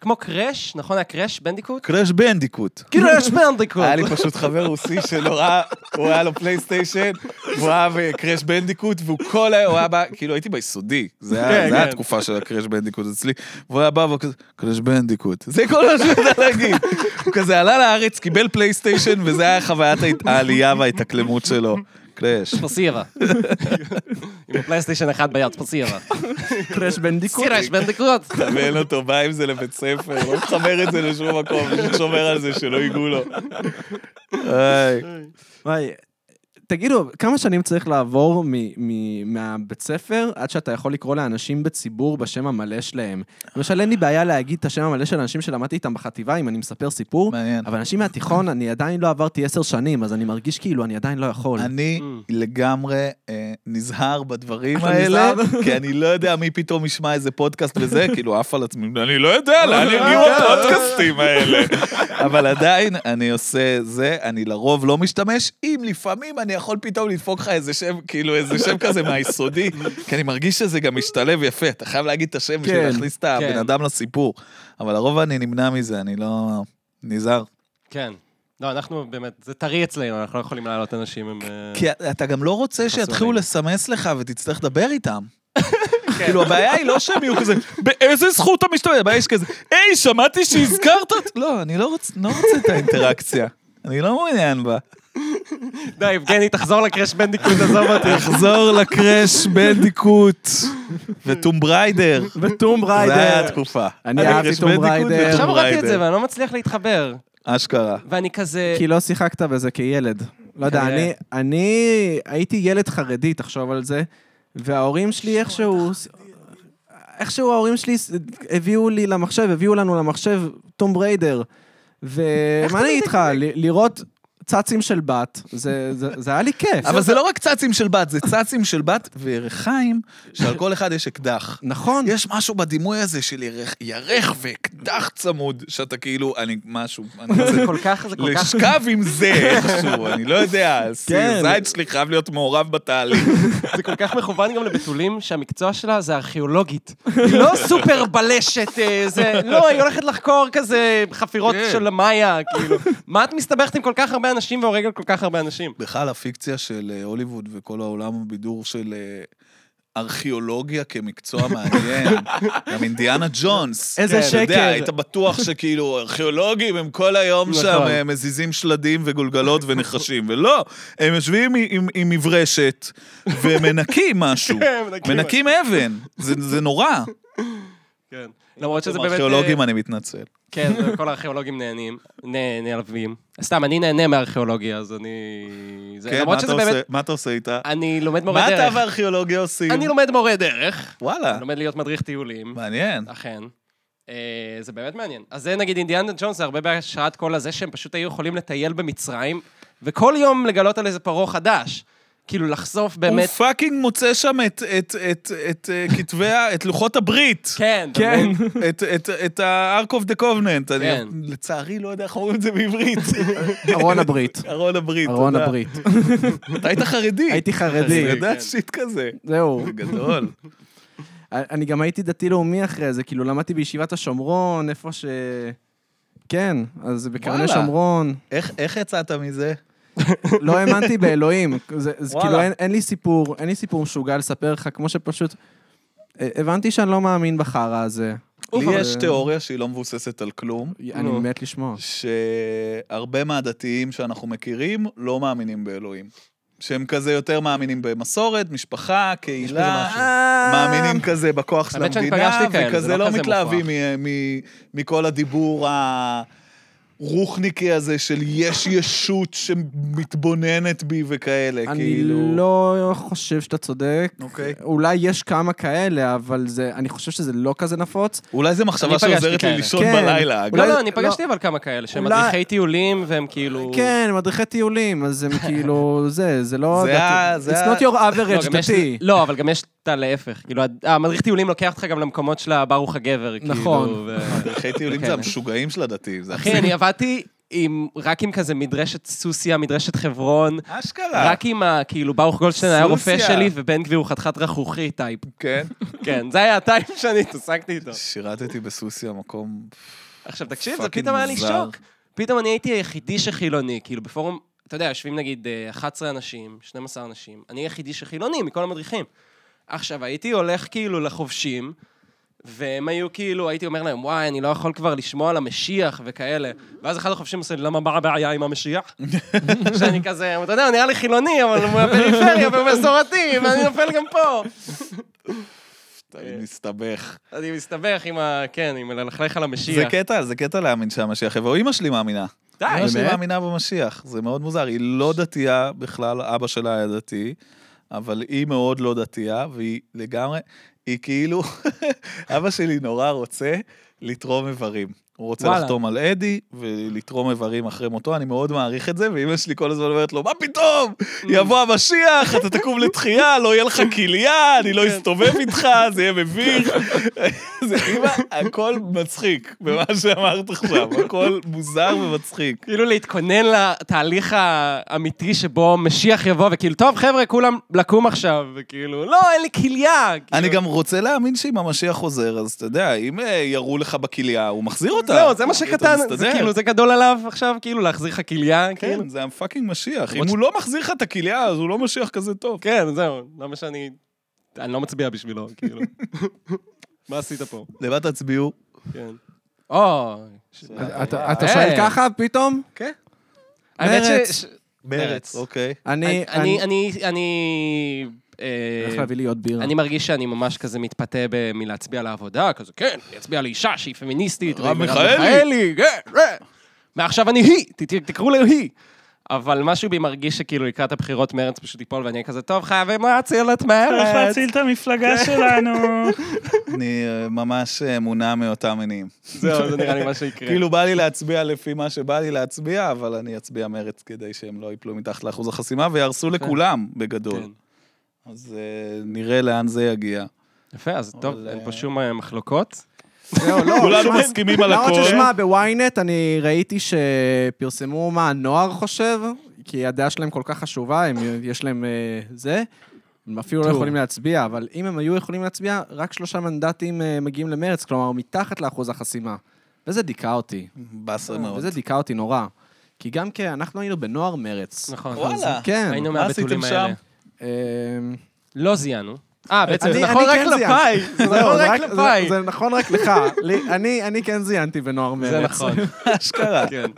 Speaker 1: כמו קראש, נכון היה קראש, בנדיקוט?
Speaker 2: קראש בנדיקוט.
Speaker 1: כאילו יש בנדיקוט.
Speaker 2: היה לי פשוט חבר רוסי שלא ראה, הוא היה לו פלייסטיישן, הוא אהב אה, קראש בנדיקוט, והוא כל היום, הוא היה בא, כאילו הייתי ביסודי, זה היה
Speaker 1: כן,
Speaker 2: זה היה
Speaker 1: כן.
Speaker 2: התקופה של הקראש בנדיקוט אצלי, והוא היה בא והוא כזה, קראש בנדיקוט, זה כל מה שהוא יודע להגיד. הוא כזה עלה לארץ, קיבל פלייסטיישן, וזה היה חוויית ההת- העלייה וההתאקלמות שלו. קראש.
Speaker 1: ספסירה. עם הפלייסטיישן 1 ביד, ספסירה.
Speaker 3: קראש בנדיקוט.
Speaker 1: קראש, בנדיקוט.
Speaker 2: ואין אותו בא עם זה לבית ספר, לא מחבר את זה לשום מקום, פשוט שומר על זה שלא ייגעו לו. איי.
Speaker 3: וואי, תגידו, כמה שנים צריך לעבור מ- מ- מהבית ספר עד שאתה יכול לקרוא לאנשים בציבור בשם המלא שלהם? למשל, אין לי בעיה להגיד את השם המלא של אנשים שלמדתי איתם בחטיבה, אם אני מספר סיפור,
Speaker 2: מעניין.
Speaker 3: אבל אנשים מהתיכון, אני עדיין לא עברתי עשר שנים, אז אני מרגיש כאילו אני עדיין לא יכול.
Speaker 2: אני
Speaker 1: Mm.
Speaker 2: לגמרי אה, נזהר בדברים
Speaker 3: אתה
Speaker 2: האלה,
Speaker 3: נזהר?
Speaker 2: כי אני לא יודע מי פתאום ישמע איזה פודקאסט וזה, כאילו עף על עצמי, אני לא
Speaker 3: אה,
Speaker 2: יודע לאן יגיעו
Speaker 1: כן.
Speaker 2: הפודקאסטים האלה. אבל עדיין אני עושה זה, אני לרוב לא משתמש, אם לפעמים אני יכול פתאום לדפוק לך איזה שם, כאילו איזה שם כזה מהיסודי, כי אני מרגיש שזה גם משתלב יפה, אתה חייב להגיד את השם בשביל
Speaker 3: כן,
Speaker 2: להכניס את הבן
Speaker 1: כן.
Speaker 2: אדם לסיפור. אבל לרוב אני נמנע מזה, אני לא... נזהר.
Speaker 1: כן. לא, אנחנו באמת, זה טרי אצלנו, אנחנו לא יכולים להעלות אנשים עם... אה,
Speaker 2: כי אתה גם לא רוצה
Speaker 1: חסונים.
Speaker 2: שיתחילו לסמס לך ותצטרך לדבר איתם. כאילו, הבעיה היא לא שהם יהיו כזה, באיזה זכות אתה משתמש? הבעיה היא שכזה, היי, שמעתי שהזכרת את... לא, אני לא רוצ- לא רוצה את האינטראקציה. אני לא מעוניין בה.
Speaker 1: די, יבגני, תחזור לקראש בנדיקוט, עזוב אותי.
Speaker 2: תחזור לקראש בנדיקוט וטום בריידר.
Speaker 3: וטום
Speaker 2: זה היה
Speaker 3: ריידר.
Speaker 2: התקופה.
Speaker 3: אני אהבתי
Speaker 2: קראש
Speaker 3: טום
Speaker 2: בנדיקוט
Speaker 3: בריידר.
Speaker 2: וטום
Speaker 1: עכשיו הורדתי את זה
Speaker 2: בריידר.
Speaker 1: ואני לא מצליח להתחבר.
Speaker 2: אשכרה.
Speaker 1: ואני כזה...
Speaker 3: כי לא שיחקת בזה כילד. לא יודע,
Speaker 1: כנראה.
Speaker 3: אני, אני הייתי ילד חרדי, תחשוב על זה, וההורים שלי איכשהו... איכשהו ההורים שלי ס- הביאו לי למחשב, הביאו לנו למחשב טום בריידר. ומה אני איתך, ל- לראות צצים של בת, זה- זה זה היה לי כיף.
Speaker 2: אבל זה לא רק צצים של בת, זה צצים של בת וירכיים, שעל כל אחד יש אקדח.
Speaker 3: נכון.
Speaker 2: יש משהו בדימוי הזה של ירך, ירך ואקדח צמוד, שאתה כאילו, אני משהו, אני
Speaker 1: זה
Speaker 2: כזה,
Speaker 1: כל כך, זה כל כך...
Speaker 2: לשכב עם זה איכשהו, אני לא יודע,
Speaker 3: כן.
Speaker 2: סיר זית שלי חייב להיות מעורב בתהליך.
Speaker 1: זה כל כך מכוון גם לבתולים, שהמקצוע שלה זה ארכיאולוגית. היא לא סופר בלשת, אה, זה... לא, היא הולכת לחקור כזה חפירות
Speaker 2: כן.
Speaker 1: של המאיה, כאילו. מה את מסתבכת עם כל כך הרבה אנשים והורגת כל כך הרבה אנשים?
Speaker 2: בכלל, הפיקציה של אה, הוליווד וכל העולם הבידור של... אה, ארכיאולוגיה כמקצוע מעניין, גם אינדיאנה ג'ונס. כן,
Speaker 3: איזה
Speaker 2: אתה יודע,
Speaker 3: שקר.
Speaker 2: היית בטוח שכאילו ארכיאולוגים הם כל היום שם
Speaker 1: נכון.
Speaker 2: אה, מזיזים שלדים וגולגלות ונחשים, ולא, הם יושבים עם- עם- עם מברשת ומנקים משהו,
Speaker 1: כן, מנקים
Speaker 2: מנקים אבן, זה זה נורא.
Speaker 1: כן. למרות שזה באמת... אה,
Speaker 2: ארכיאולוגים, אני מתנצל.
Speaker 1: כן, כל הארכיאולוגים נהנים, נה- נעלבים. סתם, אני נהנה מארכיאולוגיה, אז אני... זה-
Speaker 2: כן,
Speaker 1: למרות
Speaker 2: מה
Speaker 1: שזה
Speaker 2: אתה
Speaker 1: באמת-
Speaker 2: עושה- מה אתה עושה איתה?
Speaker 1: אני לומד מורה
Speaker 2: מה אתה אה.
Speaker 1: דרך.
Speaker 2: והארכיאולוגיה עושים?
Speaker 1: אני לומד מורה דרך.
Speaker 2: וואלה,
Speaker 1: אני לא- לומד להיות מדריך טיולים,
Speaker 2: מעניין.
Speaker 1: אכן. אה, זה באמת מעניין. אז זה נגיד אינדיאנה ג'ונס, זה הרבה בהשראת כל הזה שהם פשוט היו יכולים לטייל במצרים, וכל יום לגלות על איזה פרעה חדש. כאילו לחשוף
Speaker 2: הוא
Speaker 1: באמת...
Speaker 2: פאקינג מוצא שם את- את- את- את אה, כתבי, ה- את לוחות הברית.
Speaker 1: כן, אתה
Speaker 3: כן.
Speaker 1: מבין?
Speaker 2: את- את- את ה-Ark of the Covenant. אני
Speaker 1: כן.
Speaker 2: לצערי לא יודע איך אומרים את זה בעברית.
Speaker 3: ארון הברית.
Speaker 2: ארון הברית.
Speaker 3: ארון
Speaker 2: תודה.
Speaker 3: הברית.
Speaker 2: אתה היית חרדי.
Speaker 3: הייתי
Speaker 2: חרדי.
Speaker 3: חרדי.
Speaker 2: אתה יודע
Speaker 1: כן.
Speaker 2: שיט כזה.
Speaker 3: זהו.
Speaker 2: גדול.
Speaker 3: אני גם הייתי דתי-לאומי אחרי זה, כאילו למדתי בישיבת השומרון, איפה ש... כן, אז בקרני
Speaker 2: וואלה.
Speaker 3: שומרון.
Speaker 2: איך איך יצאת מזה?
Speaker 3: לא האמנתי באלוהים. זה, זה
Speaker 1: וואלה.
Speaker 3: כאילו, אין, אין לי סיפור, אין לי סיפור משוגע לספר לך, כמו שפשוט... אה, הבנתי שאני לא מאמין בחרא הזה.
Speaker 2: לי
Speaker 3: אוף,
Speaker 2: יש
Speaker 3: אבל-
Speaker 2: תיאוריה שהיא לא מבוססת על כלום,
Speaker 3: אני
Speaker 1: נו.
Speaker 3: מת לשמוע.
Speaker 2: שהרבה מהדתיים שאנחנו מכירים לא מאמינים באלוהים. שהם כזה יותר מאמינים במסורת, משפחה, קהילה, מאמינים כזה בכוח של
Speaker 1: האמת שאני
Speaker 2: המדינה,
Speaker 1: פגשתי כאלה, זה
Speaker 2: וכזה
Speaker 1: לא
Speaker 2: לא
Speaker 1: כזה
Speaker 2: מתלהבים
Speaker 1: מופרך.
Speaker 2: מ- מ- מכל הדיבור הרוחניקי הזה של יש ישות שמתבוננת בי וכאלה,
Speaker 3: אני
Speaker 2: כאילו...
Speaker 3: לא חושב שאתה צודק.
Speaker 2: אוקיי.
Speaker 3: אולי יש כמה כאלה, אבל זה, אני חושב שזה לא כזה נפוץ.
Speaker 2: אולי זו מחשבה
Speaker 1: אני פגשתי
Speaker 2: שעוזרת לי
Speaker 1: כאלה.
Speaker 2: לישון
Speaker 3: כן.
Speaker 2: בלילה, אגב.
Speaker 1: לא,
Speaker 3: אולי-
Speaker 1: לא, אני פגשתי אבל כמה כאלה, שהם
Speaker 3: אולי-
Speaker 1: מדריכי טיולים, והם כאילו...
Speaker 3: כן, מדריכי טיולים, אז הם כאילו, זה, זה לא...
Speaker 2: זה
Speaker 3: דתי.
Speaker 2: ה- זה ה-
Speaker 3: It's not your
Speaker 1: לא,
Speaker 3: average
Speaker 1: גם יש-
Speaker 3: דתי.
Speaker 1: לא, אבל גם יש את הלהפך. כאילו, המדריך טיולים לוקח אותך גם למקומות של הברוך הגבר, כאילו.
Speaker 3: נכון.
Speaker 1: ו-
Speaker 2: מדריכי טיולים זה
Speaker 1: כן.
Speaker 2: המשוגעים של הדתיים, זה
Speaker 1: אחי, אני עבדתי עם, רק עם כזה מדרשת סוסיא, מדרשת חברון.
Speaker 2: אשכרה.
Speaker 1: רק עם ה... כאילו, ברוך גולדשטיין היה רופא
Speaker 2: אה. סוסיא.
Speaker 1: שלי, ובן גביר הוא חתיכת רכרוכי טייפ.
Speaker 2: כן.
Speaker 1: כן, זה היה הטייפ שאני התעסקתי איתו.
Speaker 2: שירתתי בסוסיא, מקום...
Speaker 1: עכשיו, תקשיב, זה
Speaker 2: פאקינג
Speaker 1: פתאום היה לי
Speaker 2: מוזר.
Speaker 1: שוק. פתאום אני הייתי היחידי שחילוני, כאילו, בפורום, אתה יודע, יושבים נגיד אה, 11 אנשים, 12 אנשים, אני היחידי שחילוני מכל המדריכים. עכשיו, הייתי הולך כאילו לחובשים, והם היו כאילו, הייתי אומר להם, וואי, אני לא יכול כבר לשמוע על המשיח וכאלה. ואז אחד החובשים עושה לי, למה מה הבעיה עם המשיח? שאני כזה, אתה יודע, הוא נראה לי חילוני, אבל הוא מהפריפריה ומסורתי, ואני נופל גם פה.
Speaker 2: אני מסתבך.
Speaker 1: אני מסתבך עם ה... כן, עם ללכלך על
Speaker 2: זה כן.
Speaker 1: המשיח.
Speaker 2: קטע, זה קטע להאמין שהמשיח יבוא. אימא שלי מאמינה.
Speaker 1: די,
Speaker 2: אימא שלי
Speaker 3: באמת?
Speaker 2: מאמינה במשיח. זה מאוד מוזר. היא לא דתייה בכלל, אבא שלה היה דתי, אבל היא מאוד לא דתייה, והיא לגמרי... היא כאילו... אבא שלי נורא רוצה לתרום איברים. הוא רוצה
Speaker 1: וואלה.
Speaker 2: לחתום על אדי ולתרום איברים אחרי מותו, אני מאוד מעריך את זה, ואימא שלי כל הזמן אומרת לו, מה פתאום? יבוא המשיח, אתה תקום לתחייה, לא יהיה לך כליה, אני לא אסתובב איתך, זה יהיה מביך. זה אימא, הכל מצחיק במה שאמרת עכשיו, הכל מוזר ומצחיק.
Speaker 1: כאילו להתכונן לתהליך האמיתי שבו משיח יבוא, וכאילו, טוב, חבר'ה, כולם לקום עכשיו, וכאילו, לא, אין לי כליה.
Speaker 2: אני
Speaker 1: כאילו,
Speaker 2: גם רוצה להאמין שאם המשיח חוזר, אז אתה יודע, אם אה, ירו לך בכליה, הוא מחזיר אותה.
Speaker 1: זהו, זה מה שקטן,
Speaker 2: אתה
Speaker 1: זה
Speaker 2: מסתדר.
Speaker 1: כאילו, זה גדול עליו עכשיו, כאילו, להחזיר לך כליה, כאילו.
Speaker 2: כן, זה הפאקינג משיח. אם הוא לא מחזיר לך את הכליה, אז הוא לא משיח כזה טוב.
Speaker 1: כן, זהו, למה שאני... אני לא מצביע בשבילו, כאילו. מה עשית פה?
Speaker 2: למה תצביעו?
Speaker 1: כן. או, ש-
Speaker 3: אתה אתה
Speaker 1: אה.
Speaker 3: שואל ככה פתאום?
Speaker 2: כן.
Speaker 1: האמת
Speaker 3: מרץ.
Speaker 1: ש...
Speaker 2: מרץ. אוקיי.
Speaker 3: אני...
Speaker 1: אני, אני, אני... אה,
Speaker 3: הולך להביא לי עוד
Speaker 2: לא.
Speaker 3: בירה.
Speaker 1: אני מרגיש שאני ממש כזה מתפתה ב- מלהצביע לעבודה, כזה, כן, אני אצביע לאישה שהיא פמיניסטית.
Speaker 2: רב
Speaker 1: והיא
Speaker 2: מיכאלי.
Speaker 1: כן, כן. מעכשיו אני היא, ת- ת- תקראו לי היא. אבל משהו בי מרגיש שכאילו לקראת הבחירות מרץ פשוט ייפול, ואני אהיה כזה, טוב, חייבים להציל את
Speaker 4: צריך
Speaker 1: מרץ.
Speaker 4: להציל את המפלגה שלנו.
Speaker 2: אני אה, ממש אה, מונע מאותם מינים.
Speaker 1: זהו, זה נראה לי מה שיקרה.
Speaker 2: כאילו בא לי להצביע לפי מה שבא לי להצביע, אבל אני אצביע מרץ כדי שהם לא ייפלו מתחת לאחוז החסימה ויהרסו לכולם
Speaker 1: כן. אה,
Speaker 2: בגדול. אז אה, נראה לאן זה יגיע.
Speaker 1: יפה, אז טוב,
Speaker 2: אבל,
Speaker 1: אין
Speaker 2: אה,
Speaker 1: פה שום אה, מחלוקות.
Speaker 3: זהו, לא,
Speaker 2: כולנו
Speaker 3: שמע,
Speaker 2: מסכימים על
Speaker 3: למרות
Speaker 2: הכל.
Speaker 3: ששמע, בוויינט אני ראיתי שפרסמו מה הנוער חושב, כי הדעה שלהם כל כך חשובה, הם, יש להם אה, זה. הם אפילו לא
Speaker 1: טוב.
Speaker 3: יכולים להצביע, אבל אם הם היו יכולים להצביע, רק שלושה מנדטים אה, מגיעים למרץ, כלומר, מתחת לאחוז החסימה. וזה דיכא אותי.
Speaker 2: באסה מאוד.
Speaker 3: אה, וזה דיכא אותי נורא. כי גם כן, אנחנו היינו בנוער מרץ.
Speaker 1: נכון.
Speaker 2: וואלה.
Speaker 3: כן.
Speaker 1: היינו
Speaker 2: מה עשיתם
Speaker 1: מהבתולים האלה.
Speaker 2: שם?
Speaker 3: אמ,
Speaker 1: לא זיהנו. אה, בעצם זה
Speaker 3: אני-
Speaker 1: נכון
Speaker 3: אני
Speaker 1: רק
Speaker 3: כן
Speaker 1: כלפיי.
Speaker 3: זיינתי.
Speaker 1: זה
Speaker 3: זהו,
Speaker 1: נכון רק
Speaker 3: זה-
Speaker 1: כלפיי.
Speaker 3: זה נכון רק לך. לי- אני- אני כן זיינתי בנוער מרץ.
Speaker 1: זה נכון.
Speaker 2: אשכרה.
Speaker 1: כן.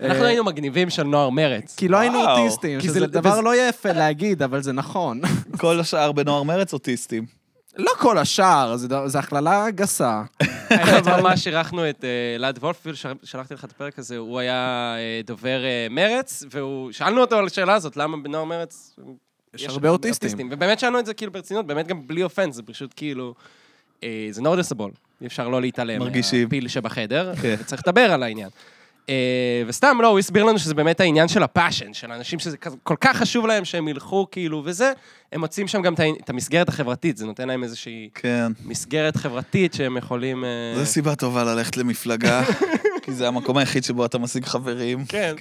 Speaker 1: אנחנו היינו מגניבים של נוער מרץ.
Speaker 3: כי לא היינו
Speaker 2: וואו.
Speaker 3: אוטיסטים,
Speaker 1: כי
Speaker 3: שזה
Speaker 1: זה-
Speaker 3: דבר
Speaker 1: וזה-
Speaker 3: לא יפה להגיד, אבל זה נכון.
Speaker 2: כל השאר בנוער מרץ אוטיסטים.
Speaker 3: לא כל השאר, זה ד- זה הכללה גסה.
Speaker 1: האמת, ממש אירחנו את אה, אלעד וולפילד, ש- שלחתי לך את הפרק הזה, הוא היה אה, דובר אה, מרץ, והוא- שאלנו אותו על השאלה הזאת, למה בנוער מרץ...
Speaker 3: יש הרבה אוטיסטים.
Speaker 1: ובאמת שאלנו את זה כאילו ברצינות, באמת גם בלי אופנס, זה פשוט כאילו... אה, זה נורדסבול, אי אפשר לא להתעלם.
Speaker 2: מרגישים.
Speaker 1: מהפיל שבחדר,
Speaker 2: כן.
Speaker 1: וצריך לדבר על העניין. אה, וסתם, לא, הוא הסביר לנו שזה באמת העניין של הפאשן, של אנשים שזה כזה- כל כך חשוב להם שהם ילכו כאילו וזה, הם מוצאים שם גם את ה- את המסגרת החברתית, זה נותן להם איזושהי
Speaker 2: כן.
Speaker 1: מסגרת חברתית שהם יכולים... אה,
Speaker 2: זו סיבה טובה ללכת למפלגה, כי זה המקום היחיד שבו אתה משיג חברים.
Speaker 1: כן.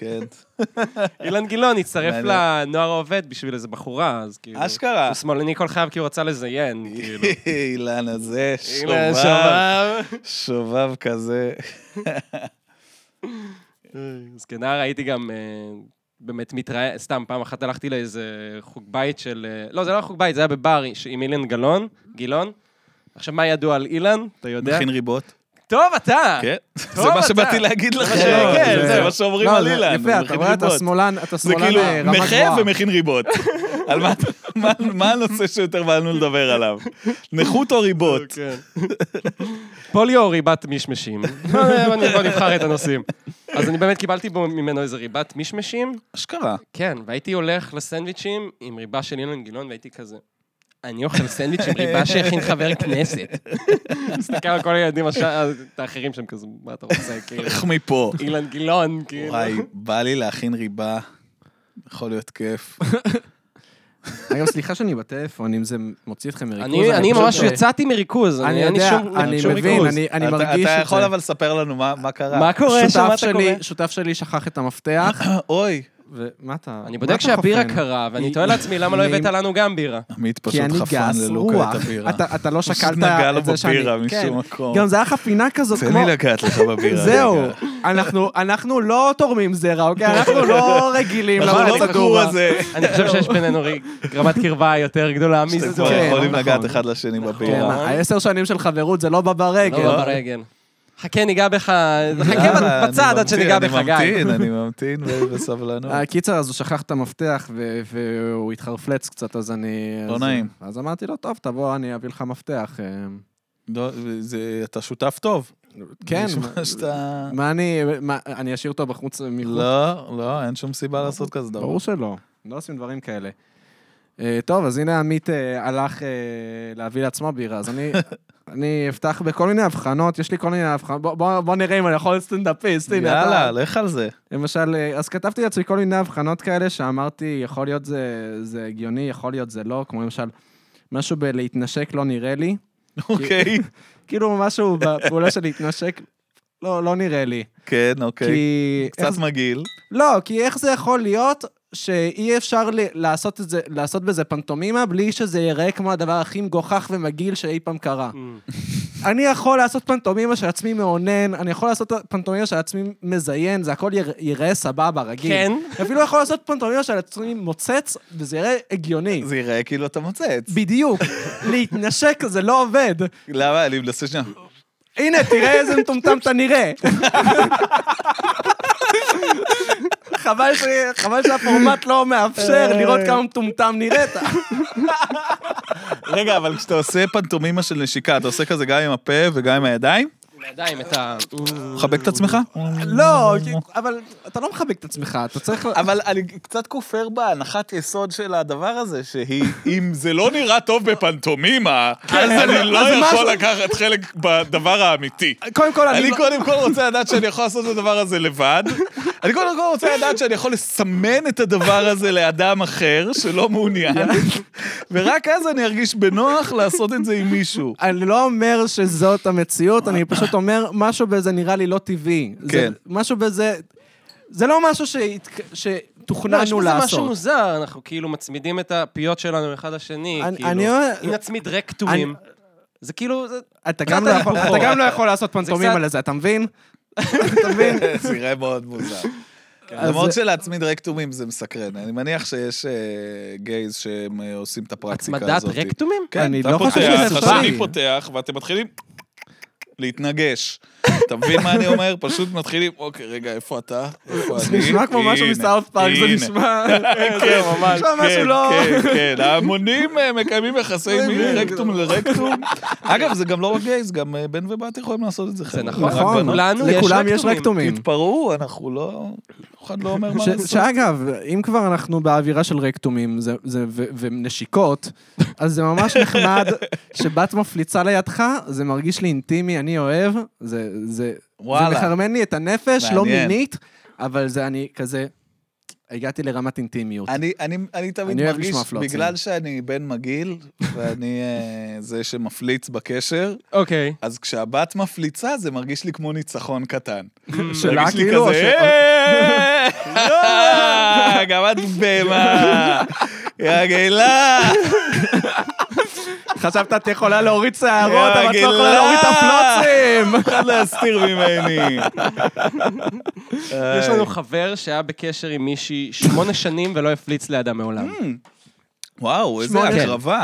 Speaker 1: אילן גילאון הצטרף לנוער העובד בשביל איזה בחורה, אז כאילו...
Speaker 2: אשכרה.
Speaker 1: הוא שמאלני כל חייו כי הוא רצה לזיין, כאילו.
Speaker 2: אילן הזה,
Speaker 1: הנה,
Speaker 2: שובב,
Speaker 1: שובב.
Speaker 2: שובב כזה.
Speaker 1: זקנה ראיתי כן, גם אה, באמת מתראה, סתם, פעם אחת הלכתי לאיזה חוג בית של... אה, לא, זה לא היה חוג בית, זה היה בבר עם אילן גלאון, גילון. עכשיו, מה ידוע על אילן? אתה יודע?
Speaker 2: מכין ריבות.
Speaker 1: טוב,
Speaker 3: אה.
Speaker 1: אתה!
Speaker 2: כן.
Speaker 1: טוב,
Speaker 2: זה מה
Speaker 1: אתה.
Speaker 2: שבאתי להגיד לך,
Speaker 1: זה-
Speaker 2: שכן,
Speaker 1: זה-
Speaker 2: זה מה שאומרים
Speaker 3: כן, לא,
Speaker 2: על
Speaker 3: זה-
Speaker 2: אילן. הוא
Speaker 3: יפה, אתה
Speaker 2: מכין
Speaker 3: רואה, אתה
Speaker 2: ריבות.
Speaker 3: שמאלן, אתה
Speaker 2: זה
Speaker 3: שמאלן
Speaker 2: כאילו
Speaker 3: אה, רמה גבוהה.
Speaker 2: נכה ומכין ריבות. על מה אתה- מה- מה הנושא שיותר מענו לדבר עליו? נכות או ריבות?
Speaker 3: אוקיי.
Speaker 1: כן. פוליו או ריבת מישמשים? בוא נ- בוא נבחר את הנושאים. אז אני באמת קיבלתי בו- ממנו איזה ריבת מישמשים,
Speaker 2: אשכרה.
Speaker 1: כן, והייתי הולך לסנדוויצ'ים עם ריבה של אילן גילאון, והייתי כזה, אני אוכל סנדוויץ' עם ריבה שהכין חבר כנסת. מסתכל על כל הילדים הש- האחרים שם כזה, מה אתה רוצה, כאילו,
Speaker 2: איך מפה?
Speaker 1: אילן גילאון, כאילו.
Speaker 2: וואי, בא לי להכין ריבה. יכול להיות כיף.
Speaker 3: היום, סליחה שאני בטלפון, אם זה מוציא אתכם מריכוז.
Speaker 1: אני אני
Speaker 3: פשוט- אה,
Speaker 1: ממש יצאתי מריכוז,
Speaker 3: אני
Speaker 1: אני אין לי
Speaker 3: יודע,
Speaker 1: שום-
Speaker 3: אני
Speaker 1: שום
Speaker 3: מבין,
Speaker 1: ריכוז.
Speaker 3: אני- אני
Speaker 2: אתה-
Speaker 3: מרגיש
Speaker 2: אתה
Speaker 3: את
Speaker 2: יכול
Speaker 3: זה.
Speaker 2: אבל לספר לנו מה מה קרה.
Speaker 1: מה קורה שם, מה
Speaker 3: שותף
Speaker 1: אתה קורה?
Speaker 3: שלי- שותף שלי שכח את המפתח,
Speaker 2: אוי,
Speaker 3: ומה אתה...
Speaker 1: אני
Speaker 3: מה
Speaker 1: בודק
Speaker 3: אתה
Speaker 1: שהבירה
Speaker 3: חופן?
Speaker 1: קרה, ואני
Speaker 3: היא-
Speaker 1: תוהה לעצמי למה לא
Speaker 3: היא-
Speaker 1: הבאת לנו גם בירה.
Speaker 2: עמית
Speaker 3: כי
Speaker 2: פשוט
Speaker 3: אני
Speaker 2: חפן
Speaker 3: גס
Speaker 2: ללוקה
Speaker 3: רוח.
Speaker 2: את הבירה.
Speaker 3: אתה- אתה לא שקלת
Speaker 2: נגע לו
Speaker 3: את זה שאני...
Speaker 2: בבירה
Speaker 3: כן.
Speaker 2: משום מקום.
Speaker 3: גם זה היה חפינה כזאת,
Speaker 2: תן
Speaker 3: כמו...
Speaker 2: לי לגעת לך בבירה.
Speaker 3: זהו,
Speaker 2: רגע. נכון,
Speaker 3: אנחנו- אנחנו לא תורמים זרע, אוקיי? אנחנו לא רגילים
Speaker 2: אנחנו לא בגרוע הזה.
Speaker 1: אני חושב שיש בינינו רי- רמת קרבה יותר גדולה
Speaker 2: שאתם
Speaker 1: מזו.
Speaker 2: כבר
Speaker 3: כן,
Speaker 2: יכולים
Speaker 3: נכון.
Speaker 2: לגעת אחד לשני
Speaker 3: כן,
Speaker 2: בבירה.
Speaker 1: נכון.
Speaker 3: העשר שנים של חברות זה לא בא ברגל.
Speaker 1: לא ברגל. חכה, ניגע בך, חכה
Speaker 2: יאללה,
Speaker 1: בצד
Speaker 2: לא אני
Speaker 1: עד שניגע
Speaker 2: ממתין,
Speaker 1: בך, גיא.
Speaker 2: אני ממתין, אני ממתין ב- בסבלנות.
Speaker 3: אה, קיצר, אז הוא שכח את המפתח, ו- והוא התחרפלץ קצת, אז אני...
Speaker 2: לא
Speaker 3: אז-
Speaker 2: נעים.
Speaker 3: אז אמרתי לו, טוב, תבוא, אני אביא לך מפתח. אה,
Speaker 2: לא, זה- אתה שותף טוב.
Speaker 3: כן,
Speaker 2: נשמע שאתה...
Speaker 3: מה אני... מה, אני אשאיר אותו בחוץ מחוץ?
Speaker 2: לא, לא, אין שום סיבה לעשות כזה דבר.
Speaker 3: ברור שלא. לא עושים דברים כאלה. אה, טוב, אז הנה עמית אה, הלך אה, להביא לעצמו בירה, אז אני... אני אפתח בכל מיני הבחנות, יש לי כל מיני הבחנות, בוא- בוא בוא נראה אם אני יכול להיות סטנדאפיסט, הנה, אתה-
Speaker 2: יאללה, לך על זה.
Speaker 3: למשל, אה, אז כתבתי לעצמי כל מיני הבחנות כאלה שאמרתי, יכול להיות זה, זה הגיוני, יכול להיות זה לא, כמו למשל, משהו בלהתנשק לא נראה לי,
Speaker 2: אוקיי.
Speaker 3: כאילו משהו בפעולה של להתנשק לא, לא נראה לי.
Speaker 2: כן, אוקיי.
Speaker 3: כי...
Speaker 2: קצת
Speaker 3: איך,
Speaker 2: מגעיל.
Speaker 3: לא, כי איך זה יכול להיות שאי אפשר ל- לעשות, את זה, לעשות בזה פנטומימה בלי שזה ייראה כמו הדבר הכי מגוחך ומגעיל שאי פעם קרה. אני יכול לעשות פנטומימה של עצמי מאונן, אני יכול לעשות פנטומימה של עצמי מזיין, זה הכל יירא- ייראה סבבה, רגיל.
Speaker 1: כן.
Speaker 3: אפילו יכול לעשות פנטומימה של עצמי מוצץ, וזה יראה הגיוני.
Speaker 2: זה ייראה כאילו אתה מוצץ.
Speaker 3: בדיוק. להתנשק זה לא עובד.
Speaker 2: למה? אני מנסה שנייה.
Speaker 3: הנה, תראה איזה מטומטם אתה נראה. חבל ש- חבל שהפורמט לא מאפשר לראות כמה מטומטם נראית.
Speaker 2: רגע, אבל כשאתה עושה פנטומימה של נשיקה, אתה עושה כזה גם עם הפה וגם עם הידיים?
Speaker 1: בידיים את ה...
Speaker 2: מחבק את עצמך?
Speaker 3: לא, כי- אבל אתה לא מחבק את עצמך, אתה צריך...
Speaker 2: אבל אני קצת כופר בהנחת יסוד של הדבר הזה, שהיא, אם זה לא נראה טוב בפנטומימה, אז אני לא
Speaker 3: אז
Speaker 2: יכול
Speaker 3: משהו-
Speaker 2: לקחת חלק בדבר האמיתי.
Speaker 3: קודם כל,
Speaker 2: אני לא-
Speaker 3: אני... לא-
Speaker 2: קודם כל רוצה לדעת שאני יכול לעשות את הדבר הזה לבד. אני קודם כל רוצה לדעת שאני יכול לסמן את הדבר הזה לאדם אחר שלא מעוניין, ורק אז אני ארגיש בנוח לעשות את זה עם מישהו.
Speaker 3: אני לא אומר שזאת המציאות, אני פשוט אומר, משהו בזה נראה לי לא טבעי. זה-
Speaker 2: כן.
Speaker 3: משהו בזה... זה לא משהו שהת-
Speaker 1: לא, יש
Speaker 3: שתוכננו
Speaker 1: בזה משהו
Speaker 3: לעשות.
Speaker 1: מוזר, אנחנו כאילו מצמידים את הפיות שלנו אחד לשני,
Speaker 3: אני-
Speaker 1: כאילו.
Speaker 3: אני אוהב-
Speaker 1: אם נצמיד רקטומים, זה כאילו... זה-
Speaker 3: אתה
Speaker 1: קצת
Speaker 3: גם לא יכול-
Speaker 1: הפוך.
Speaker 3: אתה גם לא יכול לעשות פנטומימה
Speaker 1: קצת-
Speaker 3: לזה, אתה מבין? אתה מבין?
Speaker 2: אה, זה נראה מאוד מוזר. כן,
Speaker 3: אז-
Speaker 2: למרות שלהצמיד רקטומים זה מסקרן, אני מניח שיש אה, גייז שהם אה, עושים את הפרקטיקה הזאת.
Speaker 1: הצמדת רקטומים?
Speaker 3: אני
Speaker 2: כן,
Speaker 3: לא
Speaker 2: אתה
Speaker 3: חושב
Speaker 2: פותח,
Speaker 3: שזה
Speaker 2: השני
Speaker 3: אפשרי.
Speaker 2: פותח, ואתם מתחילים להתנגש. אתה מבין מה אני אומר? פשוט מתחילים, אוקיי, רגע, איפה אתה? איפה אני?
Speaker 3: זה נשמע כמו משהו
Speaker 2: הנה,
Speaker 3: מסאוט פארק, זה
Speaker 2: הנה.
Speaker 3: נשמע...
Speaker 2: כן,
Speaker 3: ממש. נשמע משהו
Speaker 2: כן,
Speaker 3: לא-
Speaker 2: כן, כן, ההמונים אה, מקיימים יחסי
Speaker 3: זה
Speaker 2: מין
Speaker 3: מין.
Speaker 2: רקטום לרקטום. אגב, זה גם לא רק גייז, גם אה, בן ובת יכולים לעשות את זה.
Speaker 1: זה
Speaker 2: חבר'ה.
Speaker 1: נכון.
Speaker 2: רק בנות.
Speaker 1: לכולנו יש
Speaker 3: לכולם יש
Speaker 1: רקטומים.
Speaker 3: רקטומים.
Speaker 2: תתפרעו, אנחנו לא... אף אחד לא אומר מה
Speaker 3: ש-
Speaker 2: לעשות.
Speaker 3: שאגב, אם כבר אנחנו באווירה של רקטומים זה- זה- ו- ונשיקות, אז זה ממש נחמד שבת מפליצה לידך, זה מרגיש לי אינטימי, אני אוהב, זה זה- זה
Speaker 2: וואלה.
Speaker 3: מחרמן לי את הנפש, לא
Speaker 2: מעניין.
Speaker 3: מינית, אבל זה אני כזה, הגעתי לרמת אינטימיות.
Speaker 2: אני, אני, אני תמיד
Speaker 3: אני אוהב
Speaker 2: מרגיש,
Speaker 3: לשמוע פלוצים.
Speaker 2: בגלל שאני בן מגעיל, ואני אה, זה שמפליץ בקשר,
Speaker 1: אוקיי.
Speaker 2: אז כשהבת מפליצה, זה מרגיש לי כמו ניצחון קטן.
Speaker 3: שלה,
Speaker 2: מרגיש לי
Speaker 3: כאילו, או
Speaker 2: כזה,
Speaker 3: ש-
Speaker 2: "אה, גם את בהמה, יא גאילה.
Speaker 3: חשבת את יכולה להוריד שערות, אבל את לא
Speaker 2: יא
Speaker 3: יכולה להוריד את הפלוצים!
Speaker 2: אחד להסתיר ממני. אה,
Speaker 1: יש לנו חבר שהיה בקשר עם מישהי שמונה שנים ולא הפליץ לידה מעולם.
Speaker 2: hmm, וואו, איזה
Speaker 1: שמונה.
Speaker 2: הקרבה.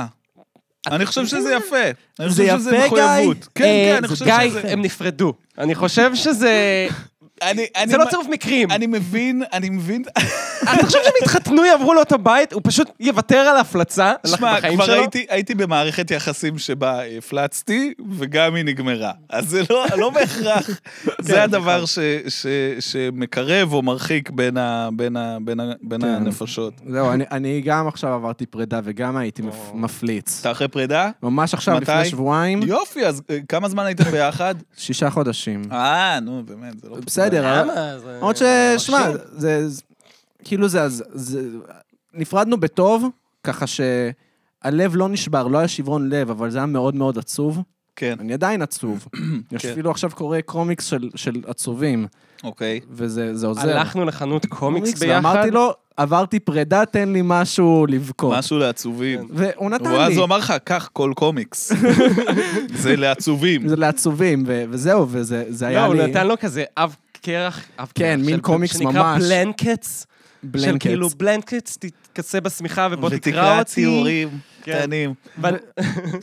Speaker 2: אה, אני חושב שזה יפה. אני
Speaker 3: זה
Speaker 2: חושב שזה
Speaker 3: יפה, גיא?
Speaker 2: מחויבות. כן,
Speaker 1: אה,
Speaker 2: כן, אני
Speaker 1: זה
Speaker 2: חושב
Speaker 1: גיא,
Speaker 2: שזה...
Speaker 1: הם נפרדו. אני חושב שזה...
Speaker 2: אני- אני
Speaker 1: זה לא
Speaker 2: מ-
Speaker 1: צירוף מקרים.
Speaker 2: אני מבין, אני מבין.
Speaker 1: אתה חושב שהם התחתנו, יעברו לאותו בית, הוא פשוט יוותר על ההפלצה הלך
Speaker 2: שמע,
Speaker 1: בחיים
Speaker 2: כבר
Speaker 1: שלו?
Speaker 2: הייתי- הייתי במערכת יחסים שבה הפלצתי, וגם היא נגמרה. אז זה לא- לא בהכרח,
Speaker 1: כן,
Speaker 2: זה
Speaker 1: נכון.
Speaker 2: הדבר ש- ש- שמקרב או מרחיק בין ה- בין ה- בין ה- בין
Speaker 3: כן.
Speaker 2: הנפשות.
Speaker 3: זהו, אני- אני גם עכשיו עברתי פרידה וגם הייתי מפ- מפליץ.
Speaker 2: אתה אחרי פרידה?
Speaker 3: ממש עכשיו,
Speaker 2: מתי?
Speaker 3: לפני שבועיים,
Speaker 2: יופי, אז אה, כמה זמן הייתם ביחד?
Speaker 3: שישה חודשים.
Speaker 2: אה, נו, באמת, זה לא...
Speaker 3: בסדר, אבל-
Speaker 1: למה? זה-
Speaker 3: למרות ש... שמע, זה... זה- כאילו זה... אז- זה- נפרדנו בטוב, ככה שהלב לא נשבר, לא היה שברון לב, אבל זה היה מאוד מאוד עצוב.
Speaker 2: כן,
Speaker 3: אני עדיין עצוב. יש
Speaker 2: כן.
Speaker 3: אפילו עכשיו קורא קומיקס של- של עצובים,
Speaker 2: אוקיי.
Speaker 3: וזה זה עוזר.
Speaker 1: הלכנו לחנות קומיקס ביחד.
Speaker 3: ואמרתי לו, עברתי פרידה, תן לי משהו לבכות.
Speaker 2: משהו
Speaker 1: כן.
Speaker 2: לעצובים.
Speaker 3: והוא נתן לי.
Speaker 2: ואז הוא אמר לך, קח כל קומיקס. זה לעצובים.
Speaker 3: זה לעצובים, ו- וזהו, וזה זה
Speaker 1: לא,
Speaker 3: היה
Speaker 1: הוא
Speaker 3: לי
Speaker 1: נתן לו כזה אב קרח, אב
Speaker 3: כן,
Speaker 1: קרח
Speaker 3: מין
Speaker 1: של-
Speaker 3: קומיקס
Speaker 1: שנקרא
Speaker 3: ממש.
Speaker 1: בלנקטס. של
Speaker 3: בלנקט.
Speaker 1: כאילו בלנקטס, תתכסה בשמיכה ובוא תקרא
Speaker 2: ותקרא
Speaker 1: אותי.
Speaker 2: ציורים קטנים.
Speaker 1: אבל-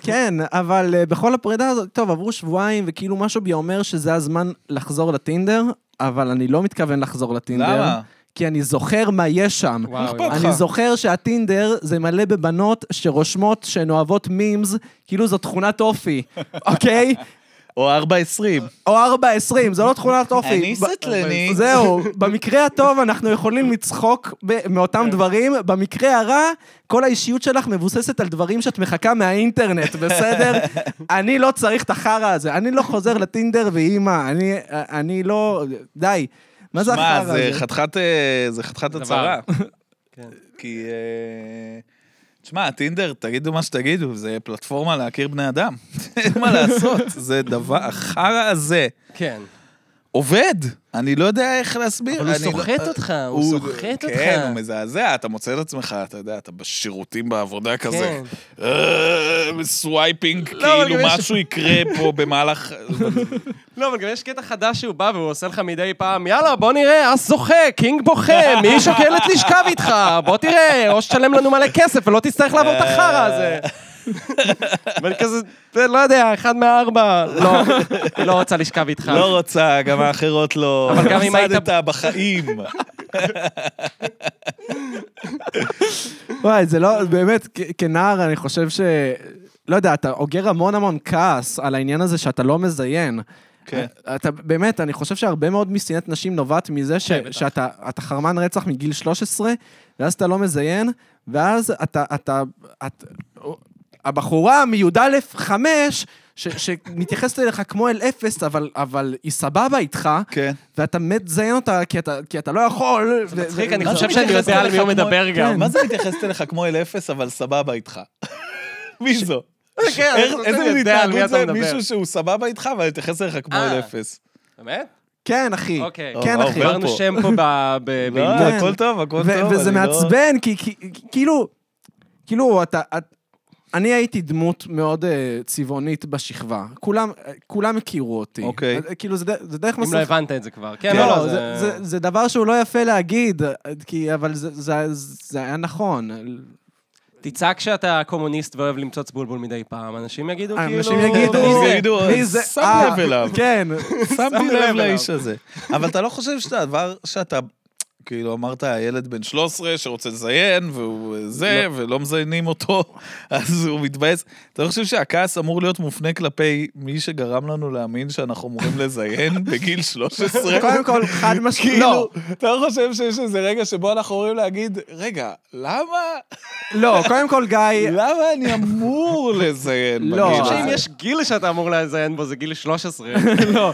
Speaker 3: כן, אבל אה, בכל הפרידה הזאת, טוב, עברו שבועיים, וכאילו משהו בי אומר שזה הזמן לחזור לטינדר, אבל אני לא מתכוון לחזור לטינדר.
Speaker 2: למה?
Speaker 3: כי אני זוכר מה יש שם.
Speaker 1: וואו,
Speaker 2: אכפת
Speaker 1: וואו.
Speaker 2: לך?
Speaker 3: אני זוכר שהטינדר זה מלא בבנות שרושמות שהן אוהבות מימס, כאילו זו תכונת אופי, אוקיי?
Speaker 2: או 420.
Speaker 3: או 4.20, זו לא תכונת אופי.
Speaker 2: אני
Speaker 3: ב-
Speaker 2: סטלני.
Speaker 3: זהו, במקרה הטוב אנחנו יכולים לצחוק ב-
Speaker 2: כן.
Speaker 3: מאותם דברים, במקרה הרע, כל האישיות שלך מבוססת על דברים שאת מחכה מהאינטרנט, בסדר? אני לא צריך את החרא הזה, אני לא חוזר לטינדר ואימא, אני- אני לא... די. מה זה
Speaker 2: מה,
Speaker 3: החרא
Speaker 2: זה
Speaker 3: הזה?
Speaker 2: חתיכת אה, זה חתיכת
Speaker 1: דבר.
Speaker 2: הצהרה.
Speaker 1: כן.
Speaker 2: כי... אה, תשמע, טינדר, תגידו מה שתגידו, זה פלטפורמה להכיר בני אדם. אין מה לעשות, זה דבר, החרא הזה
Speaker 1: כן.
Speaker 2: עובד. אני לא יודע איך להסביר.
Speaker 1: אבל הוא
Speaker 2: אני לא-
Speaker 1: סוחט אותך, הוא סוחט אותך.
Speaker 2: כן, הוא מזעזע, אתה מוצא את עצמך, אתה יודע, אתה בשירותים בעבודה כזה.
Speaker 1: כן. לא,
Speaker 2: אה, סווייפינג,
Speaker 1: אבל
Speaker 2: כאילו
Speaker 1: גם יש-
Speaker 2: משהו יקרה פה במהלך...
Speaker 1: לא, אבל גם יש קטע חדש שהוא בא והוא עושה לך מדי פעם, יאללה, בוא נראה, אס זוכה, קינג בוכה, מי שוקלת לשכב איתך, בוא תראה, או שתשלם לנו מלא כסף ולא תצטרך לעבור את החרא הזה. ואני כזה, "זה, לא יודע, אחד מהארבע, לא, היא לא רוצה לשכב איתך.
Speaker 2: לא רוצה, גם האחרות לא.
Speaker 1: אבל גם אם היית-
Speaker 2: הפסדת בחיים.
Speaker 3: וואי, זה לא, באמת, כ- כנער אני חושב ש... לא יודע, אתה אוגר המון המון כעס על העניין הזה שאתה לא מזיין.
Speaker 2: כן.
Speaker 3: אה, אתה באמת, אני חושב שהרבה מאוד משנאת נשים נובעת מזה ש,
Speaker 1: כן,
Speaker 3: שאתה אתה חרמן רצח מגיל 13, ואז אתה לא מזיין, ואז אתה... אתה, את, הבחורה מי"א 5, ש, שמתייחסת אליך כמו אל אפס, אבל, אבל היא סבבה איתך,
Speaker 2: כן.
Speaker 3: ואתה מת לזיין אותה כי אתה, כי אתה לא יכול. ו-
Speaker 1: מצחיק,
Speaker 3: ו-
Speaker 1: אני
Speaker 3: ו-
Speaker 1: חושב
Speaker 2: מה זה
Speaker 1: שאני
Speaker 2: מתייחסת
Speaker 1: יודע על מי הוא
Speaker 2: אליך כמו- כן.
Speaker 1: מדבר גם.
Speaker 2: מה זה מתייחסת אליך כמו אל אפס, אבל סבבה איתך? מי זו?
Speaker 1: כן,
Speaker 2: איך-
Speaker 1: אני
Speaker 2: איזה
Speaker 1: יודע
Speaker 2: מין
Speaker 1: על מי
Speaker 2: התנהגות
Speaker 1: אתה
Speaker 2: זה
Speaker 1: מדבר.
Speaker 2: מישהו שהוא סבבה איתך, אבל מתייחס אליך כמו
Speaker 1: אה.
Speaker 2: אל אפס?
Speaker 1: באמת?
Speaker 3: כן, אחי.
Speaker 1: אוקיי.
Speaker 3: כן,
Speaker 2: אה,
Speaker 3: אחי.
Speaker 2: עובר
Speaker 1: אמרנו
Speaker 2: פה.
Speaker 1: שם פה ב- ב-
Speaker 2: לא,
Speaker 1: בעניין.
Speaker 3: כן.
Speaker 2: הכל טוב, הכל
Speaker 3: ו-
Speaker 2: טוב.
Speaker 3: וזה
Speaker 2: אני לא-
Speaker 3: מעצבן, כי כי- כי- כאילו, כאילו, אתה... את- אני הייתי דמות מאוד אה, צבעונית בשכבה. כולם אה, כולם הכירו אותי.
Speaker 2: אוקיי.
Speaker 3: אה, כאילו, זה ד- זה דרך
Speaker 1: אם לא
Speaker 3: מסך...
Speaker 1: הבנת את זה כבר. כן, לא,
Speaker 3: לא,
Speaker 1: לא,
Speaker 3: זה- זה- זה דבר שהוא לא יפה להגיד, אה, כי- אבל זה- זה- זה היה נכון.
Speaker 1: תצעק שאתה קומוניסט ואוהב למצוץ בולבול מדי פעם, אנשים יגידו כאילו...
Speaker 3: אנשים יגידו,
Speaker 1: מי זה?
Speaker 2: יגידו,
Speaker 3: מי זה?
Speaker 2: שם
Speaker 3: אה,
Speaker 2: לב אליו.
Speaker 3: כן.
Speaker 2: שמתי
Speaker 1: לב
Speaker 2: לב
Speaker 1: אליו.
Speaker 2: לאיש הזה. אבל אתה לא חושב שאתה הדבר שאתה... כאילו, אמרת, הילד בן 13 שרוצה לזיין, והוא זה,
Speaker 3: לא.
Speaker 2: ולא מזיינים אותו, אז הוא מתבאס. אתה לא חושב שהכעס אמור להיות מופנה כלפי מי שגרם לנו להאמין שאנחנו אמורים לזיין בגיל 13?
Speaker 3: קודם כל, חד משמעית.
Speaker 2: כאילו,
Speaker 3: לא,
Speaker 2: אתה לא חושב שיש איזה רגע שבו אנחנו אמורים להגיד, רגע, למה,
Speaker 3: לא, קודם כל, גיא,
Speaker 2: למה אני אמור לזיין
Speaker 3: לא,
Speaker 2: בגיל
Speaker 1: אני חושב
Speaker 2: הזה?
Speaker 1: שאם יש גיל שאתה אמור לזיין בו, זה גיל 13.
Speaker 3: לא.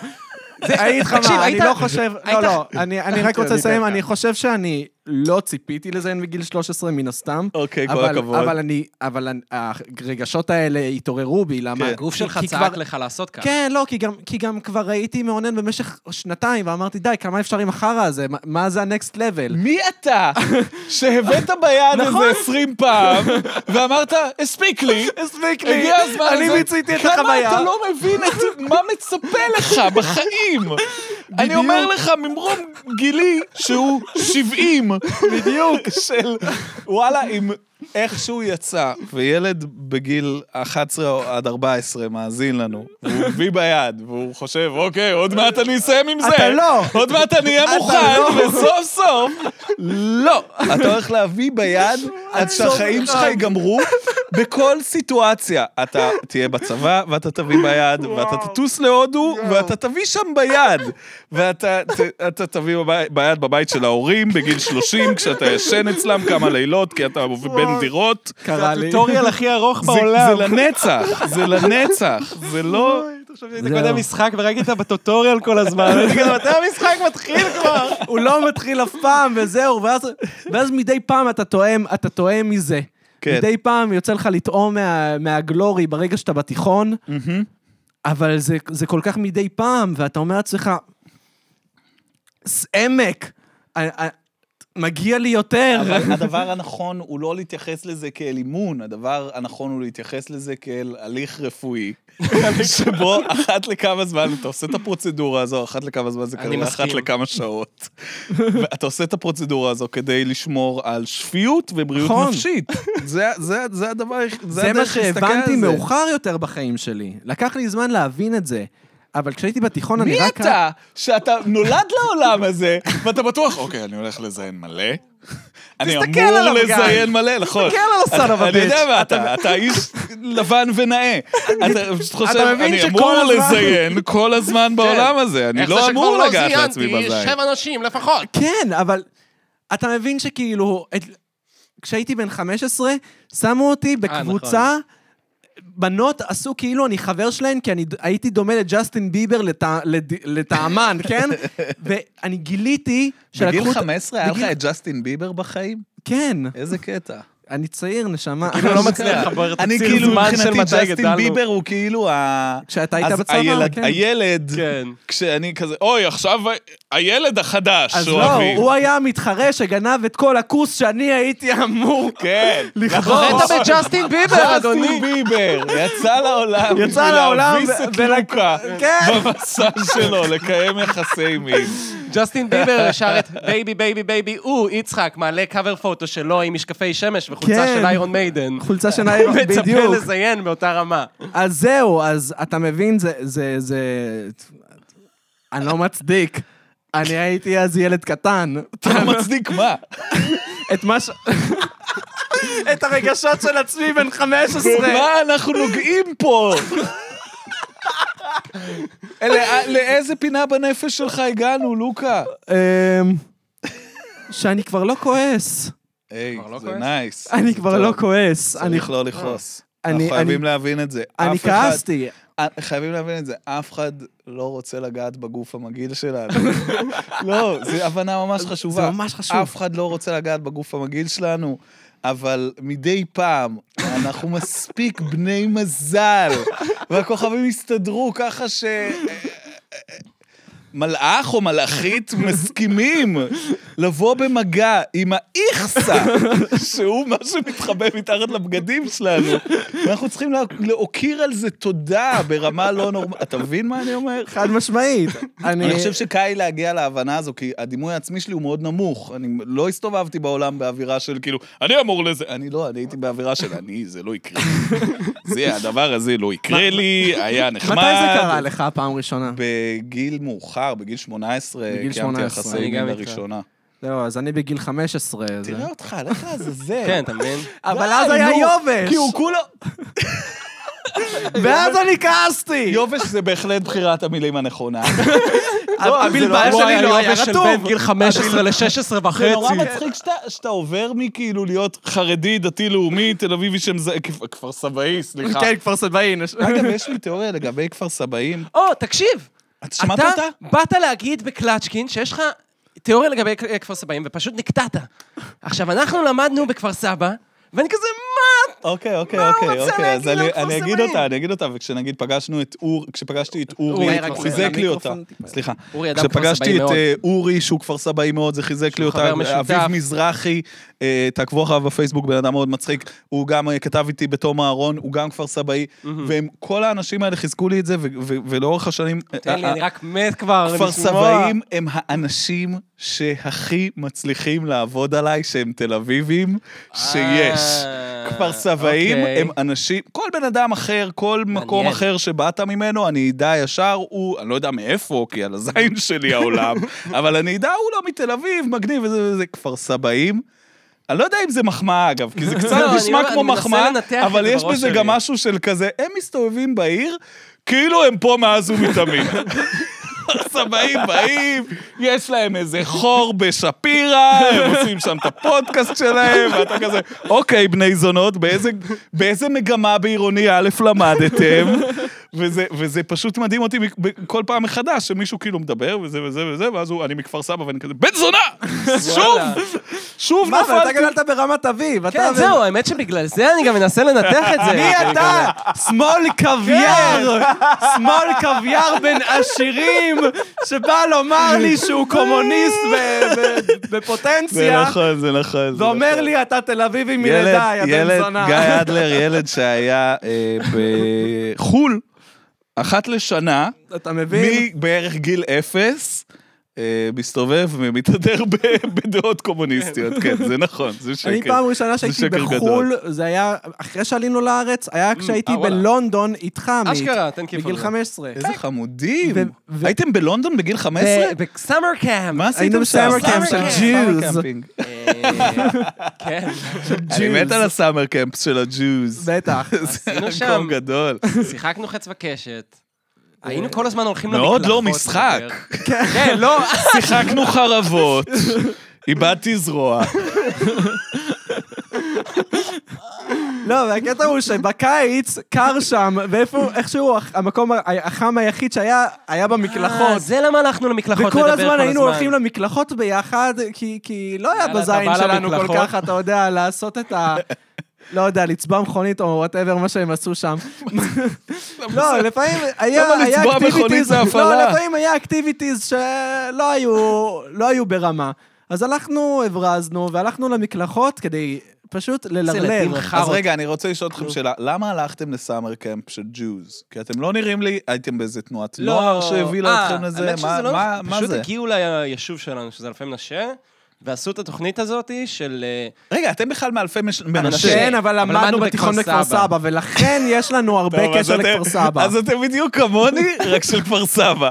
Speaker 3: אני אגיד לך
Speaker 1: תקשיב,
Speaker 3: מה, אני
Speaker 1: היית-
Speaker 3: לא חושב... לא,
Speaker 1: היית- אוקיי,
Speaker 3: לא, אני אני רק
Speaker 1: אני
Speaker 3: רוצה
Speaker 1: כן.
Speaker 3: לסיים,
Speaker 1: אתן לך.
Speaker 3: אני חושב שאני לא ציפיתי לזה מגיל 13, מן הסתם.
Speaker 2: אוקיי, כל
Speaker 3: אבל-
Speaker 2: הכבוד.
Speaker 3: אבל אני, אבל אני- הרגשות האלה התעוררו בי, למה...
Speaker 2: כן.
Speaker 1: הגוף
Speaker 3: כי-
Speaker 1: שלך
Speaker 3: כי
Speaker 1: צעק
Speaker 3: כבר-
Speaker 1: לך לעשות ככה.
Speaker 3: כן, לא, כי גם, כי גם כבר הייתי מאונן במשך שנתיים, ואמרתי, די, כמה אפשר עם החרא הזה? מה, מה זה הנקסט לבל?
Speaker 2: מי אתה שהבאת ביד
Speaker 3: נכון.
Speaker 2: איזה 20 פעם ואמרת, הספיק לי,
Speaker 3: הספיק
Speaker 2: הגיע הזמן הזה.
Speaker 3: אני מיציתי את
Speaker 2: כמה
Speaker 3: החוויה.
Speaker 2: אתה לא מבין את מה מצפה לך בחיים? אני אומר לך ממרום גילי שהוא 70, בדיוק, של וואלה, אם איכשהו יצא, וילד בגיל 11 או- עד 14 מאזין לנו, והוא מביא ביד, והוא חושב, אוקיי, עוד מעט אני אסיים עם זה.
Speaker 3: אתה לא.
Speaker 2: עוד מעט אני אהיה מוכן,
Speaker 3: לא.
Speaker 2: וסוף סוף, לא. אתה הולך להביא ביד עד שהחיים שלך ייגמרו בכל סיטואציה. אתה תהיה בצבא, ואתה תביא ביד, ואתה תטוס להודו, ואתה תביא שם ביד. ואתה ת- אתה תביא בבי- ביד בבית של ההורים בגיל 30, כשאתה ישן אצלם כמה לילות, כי אתה בן דירות.
Speaker 3: קרה לי.
Speaker 1: הטוטוריאל הכי ארוך
Speaker 2: זה-
Speaker 1: בעולם.
Speaker 2: זה לנצח, זה לנצח, זה לא...
Speaker 1: עכשיו שהיית
Speaker 3: זהו.
Speaker 1: קודם משחק וראית בטוטוריאל כל הזמן, הייתי כזה, מתי המשחק מתחיל כבר?
Speaker 3: הוא לא מתחיל אף פעם, וזהו, ואז, ואז מדי פעם אתה טועם, אתה טועם מזה.
Speaker 2: כן.
Speaker 3: מדי פעם יוצא לך לטעום מה, מהגלורי ברגע שאתה בתיכון, אבל זה, זה כל כך מדי פעם, ואתה אומר לעצמך, "ס- עמק, א- א- מגיע לי יותר.
Speaker 2: אבל הדבר הנכון הוא לא להתייחס לזה כאל אימון, הדבר הנכון הוא להתייחס לזה כאל הליך רפואי, שבו אחת לכמה זמן אתה עושה את הפרוצדורה הזו, אחת לכמה זמן זה
Speaker 1: אני
Speaker 2: כנראה אחת
Speaker 1: מסכים.
Speaker 2: לכמה שעות. ואתה עושה את הפרוצדורה הזו כדי לשמור על שפיות ובריאות
Speaker 3: נכון.
Speaker 2: נפשית. זה- זה זה הדבר, היח-
Speaker 3: זה מה
Speaker 2: הדרך להסתכל על
Speaker 3: שהבנתי
Speaker 2: זה.
Speaker 3: מאוחר יותר בחיים שלי. לקח לי זמן להבין את זה, אבל כשהייתי בתיכון אני
Speaker 2: מי
Speaker 3: רק...
Speaker 2: אתה שאתה נולד לעולם הזה, ואתה בטוח, אוקיי, אני הולך לזיין מלא. אני
Speaker 3: תסתכל
Speaker 2: אמור
Speaker 3: עליו, גיא.
Speaker 2: לזיין מלא, נכון.
Speaker 3: תסתכל על
Speaker 2: אתה-
Speaker 3: הסאן of a
Speaker 2: אני יודע
Speaker 3: bitch.
Speaker 2: מה אתה, אתה איש לבן ונאה. אתה פשוט חושב,
Speaker 3: אתה מבין
Speaker 2: אני
Speaker 3: שכל
Speaker 2: אמור
Speaker 3: הזמן- כן.
Speaker 2: לזיין כל הזמן בעולם הזה, אני לא אמור לגעת לעצמי בזין.
Speaker 1: אנשים לפחות.
Speaker 3: כן, אבל אתה מבין שכאילו, את... כשהייתי בן 15, שמו אותי
Speaker 2: אה,
Speaker 3: בקבוצה,
Speaker 2: נכון.
Speaker 3: בנות עשו כאילו אני חבר שלהן, כי אני ד- הייתי דומה לג'סטין ביבר לטע- לד- לטעמן, כן? ואני גיליתי שלקחו...
Speaker 2: בגיל
Speaker 3: את-
Speaker 2: 15 היה לך
Speaker 3: בגיל-
Speaker 2: את ג'סטין ביבר בחיים?
Speaker 3: כן,
Speaker 2: איזה קטע.
Speaker 3: אני צעיר, נשמה.
Speaker 1: כאילו לא מצליח לחבר את
Speaker 2: אני
Speaker 1: הציר
Speaker 2: כאילו,
Speaker 1: זמן של
Speaker 2: מבחינתי
Speaker 1: מתי
Speaker 2: ג'סטין
Speaker 1: גדלנו.
Speaker 2: ביבר הוא כאילו ה...
Speaker 3: כשאתה היית
Speaker 2: אז
Speaker 3: בצבא,
Speaker 2: הילד-
Speaker 3: כן.
Speaker 2: הילד,
Speaker 1: כן.
Speaker 2: כשאני כזה, אוי, עכשיו ה- הילד החדש,
Speaker 3: אז לא,
Speaker 2: אוהבים."
Speaker 3: הוא היה המתחרה שגנב את כל הכוס שאני הייתי אמור
Speaker 2: כן.
Speaker 3: לכבוש.
Speaker 1: אתה בג'סטין ביבר, אדוני.
Speaker 2: ג'סטין ביבר, יצא לעולם.
Speaker 3: יצא לעולם
Speaker 2: להביס את
Speaker 3: ו- ול-
Speaker 2: לוקה
Speaker 3: כן.
Speaker 2: במסע שלו, לקיים יחסי מין.
Speaker 1: ג'סטין ביבר שר את בייבי בייבי בייבי, הוא, יצחק, מעלה קאבר פוטו שלו עם משקפי שמש וחולצה
Speaker 3: כן.
Speaker 1: של איירון מיידן.
Speaker 3: חולצה של איירון,
Speaker 1: מצפה
Speaker 3: בדיוק.
Speaker 1: לזיין באותה רמה.
Speaker 3: אז זהו, אז אתה מבין, זה... זה, זה... אני לא מצדיק. אני הייתי אז ילד קטן.
Speaker 2: אתה לא מצדיק מה?
Speaker 3: את מה ש... את הרגשות של עצמי בן 15.
Speaker 2: מה אנחנו נוגעים פה? אלא- לאיזה פינה בנפש שלך הגענו, לוקה?
Speaker 3: אמ, שאני כבר לא כועס.
Speaker 2: היי,
Speaker 1: כבר לא
Speaker 2: זה
Speaker 1: כועס?
Speaker 2: נייס.
Speaker 3: אני
Speaker 2: זה
Speaker 3: כבר
Speaker 2: טוב.
Speaker 3: לא כועס. אני-
Speaker 2: צריך לא לכעוס.
Speaker 3: אני-
Speaker 2: אנחנו חייבים
Speaker 3: אני-
Speaker 2: להבין את זה.
Speaker 3: אני
Speaker 2: אף אחד-
Speaker 3: כעסתי.
Speaker 2: אה, חייבים להבין את זה, אף אחד לא רוצה לגעת בגוף המגעיל שלנו. לא, זו הבנה ממש חשובה.
Speaker 3: זה ממש חשוב.
Speaker 2: אף אחד לא רוצה לגעת בגוף המגעיל שלנו, אבל מדי פעם אנחנו מספיק בני מזל, והכוכבים הסתדרו ככה ש... מלאך או מלאכית מסכימים לבוא במגע עם האיכסה, שהוא מה שמתחבא מתחת לבגדים שלנו. ואנחנו צריכים לה- להוקיר על זה תודה ברמה לא נורמלית. אתה מבין מה אני אומר?
Speaker 3: חד משמעית. אה,
Speaker 2: אני חושב שקל להגיע להבנה הזו, כי הדימוי העצמי שלי הוא מאוד נמוך. אני לא הסתובבתי בעולם באווירה של כאילו, אני אמור לזה. אני לא, אני הייתי באווירה של אני, זה לא יקרה. זה, הדבר הזה לא יקרה לי, היה נחמד.
Speaker 3: מתי זה קרה לך פעם ראשונה?
Speaker 2: בגיל מאוחר, בגיל 18,
Speaker 3: בגיל
Speaker 2: קיימתי
Speaker 3: 18,
Speaker 2: יחסי
Speaker 1: אני
Speaker 2: מין
Speaker 1: גם איתך.
Speaker 2: לראשונה.
Speaker 3: לא, אז אני בגיל 15. זה-
Speaker 2: תראה אותך, לך לעזאזל.
Speaker 1: כן, אתה מבין?
Speaker 3: אבל
Speaker 2: די,
Speaker 3: אז היה
Speaker 2: נו,
Speaker 3: יובש.
Speaker 2: כי הוא כולו...
Speaker 3: ואז אני כעסתי.
Speaker 2: יובש זה בהחלט בחירת המילים הנכונה.
Speaker 3: הבלבל שלי לא היה
Speaker 1: של בין
Speaker 3: רטוב.
Speaker 1: גיל 15 ל-16
Speaker 2: זה נורא
Speaker 1: וחצי.
Speaker 2: מצחיק שאתה- שאתה עובר מכאילו להיות חרדי, דתי-לאומי, תל אביבי שם זה... כפ- כפר סבאי, סליחה.
Speaker 3: כן, כפר סבאין.
Speaker 2: אגב, יש לי תיאוריה לגבי כפר סבאים.
Speaker 1: או, תקשיב.
Speaker 2: את שמעת
Speaker 1: אתה
Speaker 2: אותה?
Speaker 1: באת להגיד בקלצ'קין שיש לך תיאוריה לגבי כ- כפר סבאים, ופשוט נקטעת. עכשיו, אנחנו למדנו בכפר סבא, ואני כזה, מה?
Speaker 2: אוקיי, אוקיי,
Speaker 1: מה הוא
Speaker 2: אוקיי,
Speaker 1: רוצה
Speaker 2: אוקיי, אז
Speaker 1: להגיד
Speaker 2: אני,
Speaker 1: לכפר
Speaker 2: אני אגיד
Speaker 1: סבאים?
Speaker 2: אותה, אני אגיד אותה, וכשנגיד פגשנו את אור, כשפגשתי את אורי,
Speaker 1: אורי, רק
Speaker 2: הוא חיזק לי אותה.
Speaker 3: למיקרופון טיפה.
Speaker 2: סליחה.
Speaker 1: אורי אדם כפר סבאי
Speaker 2: כשפגשתי את
Speaker 1: מאוד.
Speaker 2: אה, אורי, שהוא כפר סבאי מאוד, זה חיזק לי
Speaker 1: שהוא
Speaker 2: אותה,
Speaker 1: חבר משותף.
Speaker 2: אביב מזרחי, אה, תעקבו אחריו בפייסבוק, בן אדם מאוד מצחיק, הוא גם אה, כתב איתי בתום אהרון, הוא גם כפר סבאי, והם, כל האנשים האלה חיזקו לי את זה, ו- ו- ולאורך השנים...
Speaker 1: תן לי,
Speaker 2: אה,
Speaker 1: אני רק מת כבר
Speaker 2: כפר
Speaker 1: לשמוע.
Speaker 2: סבאים הם האנשים שהכי מצליחים לעבוד עליי, שהם תל אביבים, שיש.
Speaker 1: אה,
Speaker 2: כפר סבאים
Speaker 1: אוקיי.
Speaker 2: הם אנשים, כל בן אדם אחר, כל מקום
Speaker 1: מעניין.
Speaker 2: אחר שבאת ממנו, אני אדע ישר, הוא, אני לא יודע מאיפה, כי על הזין שלי העולם, אבל אני אדע, הוא לא מתל אביב, מגניב, וזה וזה, כפר סבאים. אני לא יודע אם זה מחמאה, אגב, כי זה קצת
Speaker 1: לא, אני
Speaker 2: נשמע
Speaker 1: לא-
Speaker 2: כמו
Speaker 1: אני מנסה
Speaker 2: מחמאה,
Speaker 1: לנתח את
Speaker 2: אבל
Speaker 1: זה
Speaker 2: יש
Speaker 1: בראש
Speaker 2: בזה
Speaker 1: שלי.
Speaker 2: גם משהו של כזה, הם מסתובבים בעיר, כאילו הם פה מאז ומתמיד. סבאים באים, יש להם איזה חור בשפירא, הם עושים שם את הפודקאסט שלהם, ואתה כזה, אוקיי, בני זונות, באיזה, באיזה מגמה בעירוני א' למדתם? וזה, וזה פשוט מדהים אותי מ- ב- כל פעם מחדש, שמישהו כאילו מדבר, וזה וזה וזה, ואז הוא, אני מכפר סבא, ואני כזה, בן זונה! שוב!
Speaker 1: וואלה.
Speaker 2: שוב
Speaker 3: מה, אבל אתה כאילו-
Speaker 2: נפלתי!
Speaker 3: גדלת ברמת אביב. אתה
Speaker 1: כן,
Speaker 3: ו-
Speaker 1: זהו, האמת שבגלל זה אני גם מנסה לנתח את זה.
Speaker 3: מי אתה? שמאל קוויאר! שמאל קוויאר בין עשירים, שבא לומר לי שהוא קומוניסט ב- ב-
Speaker 2: זה
Speaker 3: בפוטנציה,
Speaker 2: נכון, זה נכון. זה
Speaker 3: ואומר
Speaker 2: נכון.
Speaker 3: לי, אתה תל אביבי
Speaker 2: ילד,
Speaker 3: מלידה, יא בן
Speaker 2: ילד,
Speaker 3: זונה.
Speaker 2: גיא אדלר, ילד שהיה אה, בחו"ל, אחת לשנה,
Speaker 3: אתה מבין?
Speaker 2: מבערך גיל אפס, אה, מסתובב ומתהדר ב- בדעות קומוניסטיות, כן, זה נכון, זה שקר.
Speaker 3: אני פעם ראשונה
Speaker 2: זה
Speaker 3: שהייתי
Speaker 2: שקר גדול.
Speaker 3: בחו"ל, זה היה אחרי שעלינו לארץ, היה כשהייתי
Speaker 1: אה, וואלה.
Speaker 3: בלונדון איתך, עמית.
Speaker 1: אשכרה, תן כיף על
Speaker 3: בגיל
Speaker 1: זה.
Speaker 3: 15.
Speaker 2: איזה חמודים.
Speaker 3: כן. ו- ו-
Speaker 2: הייתם בלונדון בגיל 15?
Speaker 1: בסאמר קאמפ.
Speaker 2: מה עשיתם
Speaker 3: היינו
Speaker 2: שם?
Speaker 3: בסאמר
Speaker 1: קאמפ של
Speaker 2: קאמפ,
Speaker 3: Jews.
Speaker 2: סאמר קאמפינג.
Speaker 1: כן,
Speaker 2: אני מת על הסאמר קאמפ של הג'וז.
Speaker 3: בטח.
Speaker 2: זה
Speaker 1: עשינו
Speaker 3: לא
Speaker 2: מקום
Speaker 1: שם.
Speaker 2: גדול.
Speaker 1: שיחקנו חץ וקשת. היינו כל הזמן הולכים למקלחות.
Speaker 2: מאוד לא משחק.
Speaker 1: לדבר. כן, לא,
Speaker 2: שיחקנו חרבות, איבדתי זרוע.
Speaker 3: לא, והקטע הוא שבקיץ קר שם, ואיפה, איכשהו הח- המקום ה- החם היחיד שהיה, היה
Speaker 1: אה,
Speaker 3: במקלחות.
Speaker 1: זה למה הלכנו למקלחות לדבר כל
Speaker 3: וכל
Speaker 1: הזמן.
Speaker 3: הזמן היינו הולכים למקלחות ביחד, כי- כי לא היה
Speaker 1: יאללה, אתה
Speaker 3: בזין
Speaker 1: בא
Speaker 3: שלנו כל
Speaker 1: למקלחות?
Speaker 3: כך, אתה יודע, לעשות את ה... לא יודע, לצבוע מכונית או וואטאבר, מה שהם עשו שם. לא, לפעמים היה
Speaker 2: למה
Speaker 3: היה
Speaker 2: לצבוע מכונית
Speaker 3: אקטיביטיז,
Speaker 2: זה הפעלה?
Speaker 3: לא, לפעמים היה אקטיביטיז שלא היו, לא היו ברמה. אז הלכנו, הברזנו, והלכנו למקלחות כדי פשוט ללרלר.
Speaker 1: ילדים חארות.
Speaker 2: אז רגע, אני רוצה לשאול אתכם שאלה. למה הלכתם לסאמר קמפ של ג'וז? כי אתם לא נראים לי, הייתם באיזה תנועת
Speaker 3: לא.
Speaker 2: נוער
Speaker 3: אה,
Speaker 2: שהובילה אתכם לזה?
Speaker 1: האמת
Speaker 2: מה-
Speaker 1: שזה לא-
Speaker 2: מה- מה
Speaker 1: פשוט
Speaker 2: זה?
Speaker 1: הגיעו ליישוב שלנו, שזה אלפי מנשה, ועשו את התוכנית הזאת של... אה,
Speaker 2: רגע, אתם בכלל מאלפי מש-
Speaker 1: מנשה.
Speaker 2: מנשה.
Speaker 3: כן, אבל
Speaker 1: אבל
Speaker 3: למדנו
Speaker 1: למדנו
Speaker 3: בתיכון
Speaker 1: בכפר
Speaker 3: בכפר
Speaker 1: סבא.
Speaker 3: סבא, ולכן יש לנו הרבה
Speaker 2: טוב, אז
Speaker 3: קשר
Speaker 2: לא, אתם-
Speaker 3: לכפר סבא.
Speaker 2: אז אתם בדיוק כמוני, רק של כפר סבא.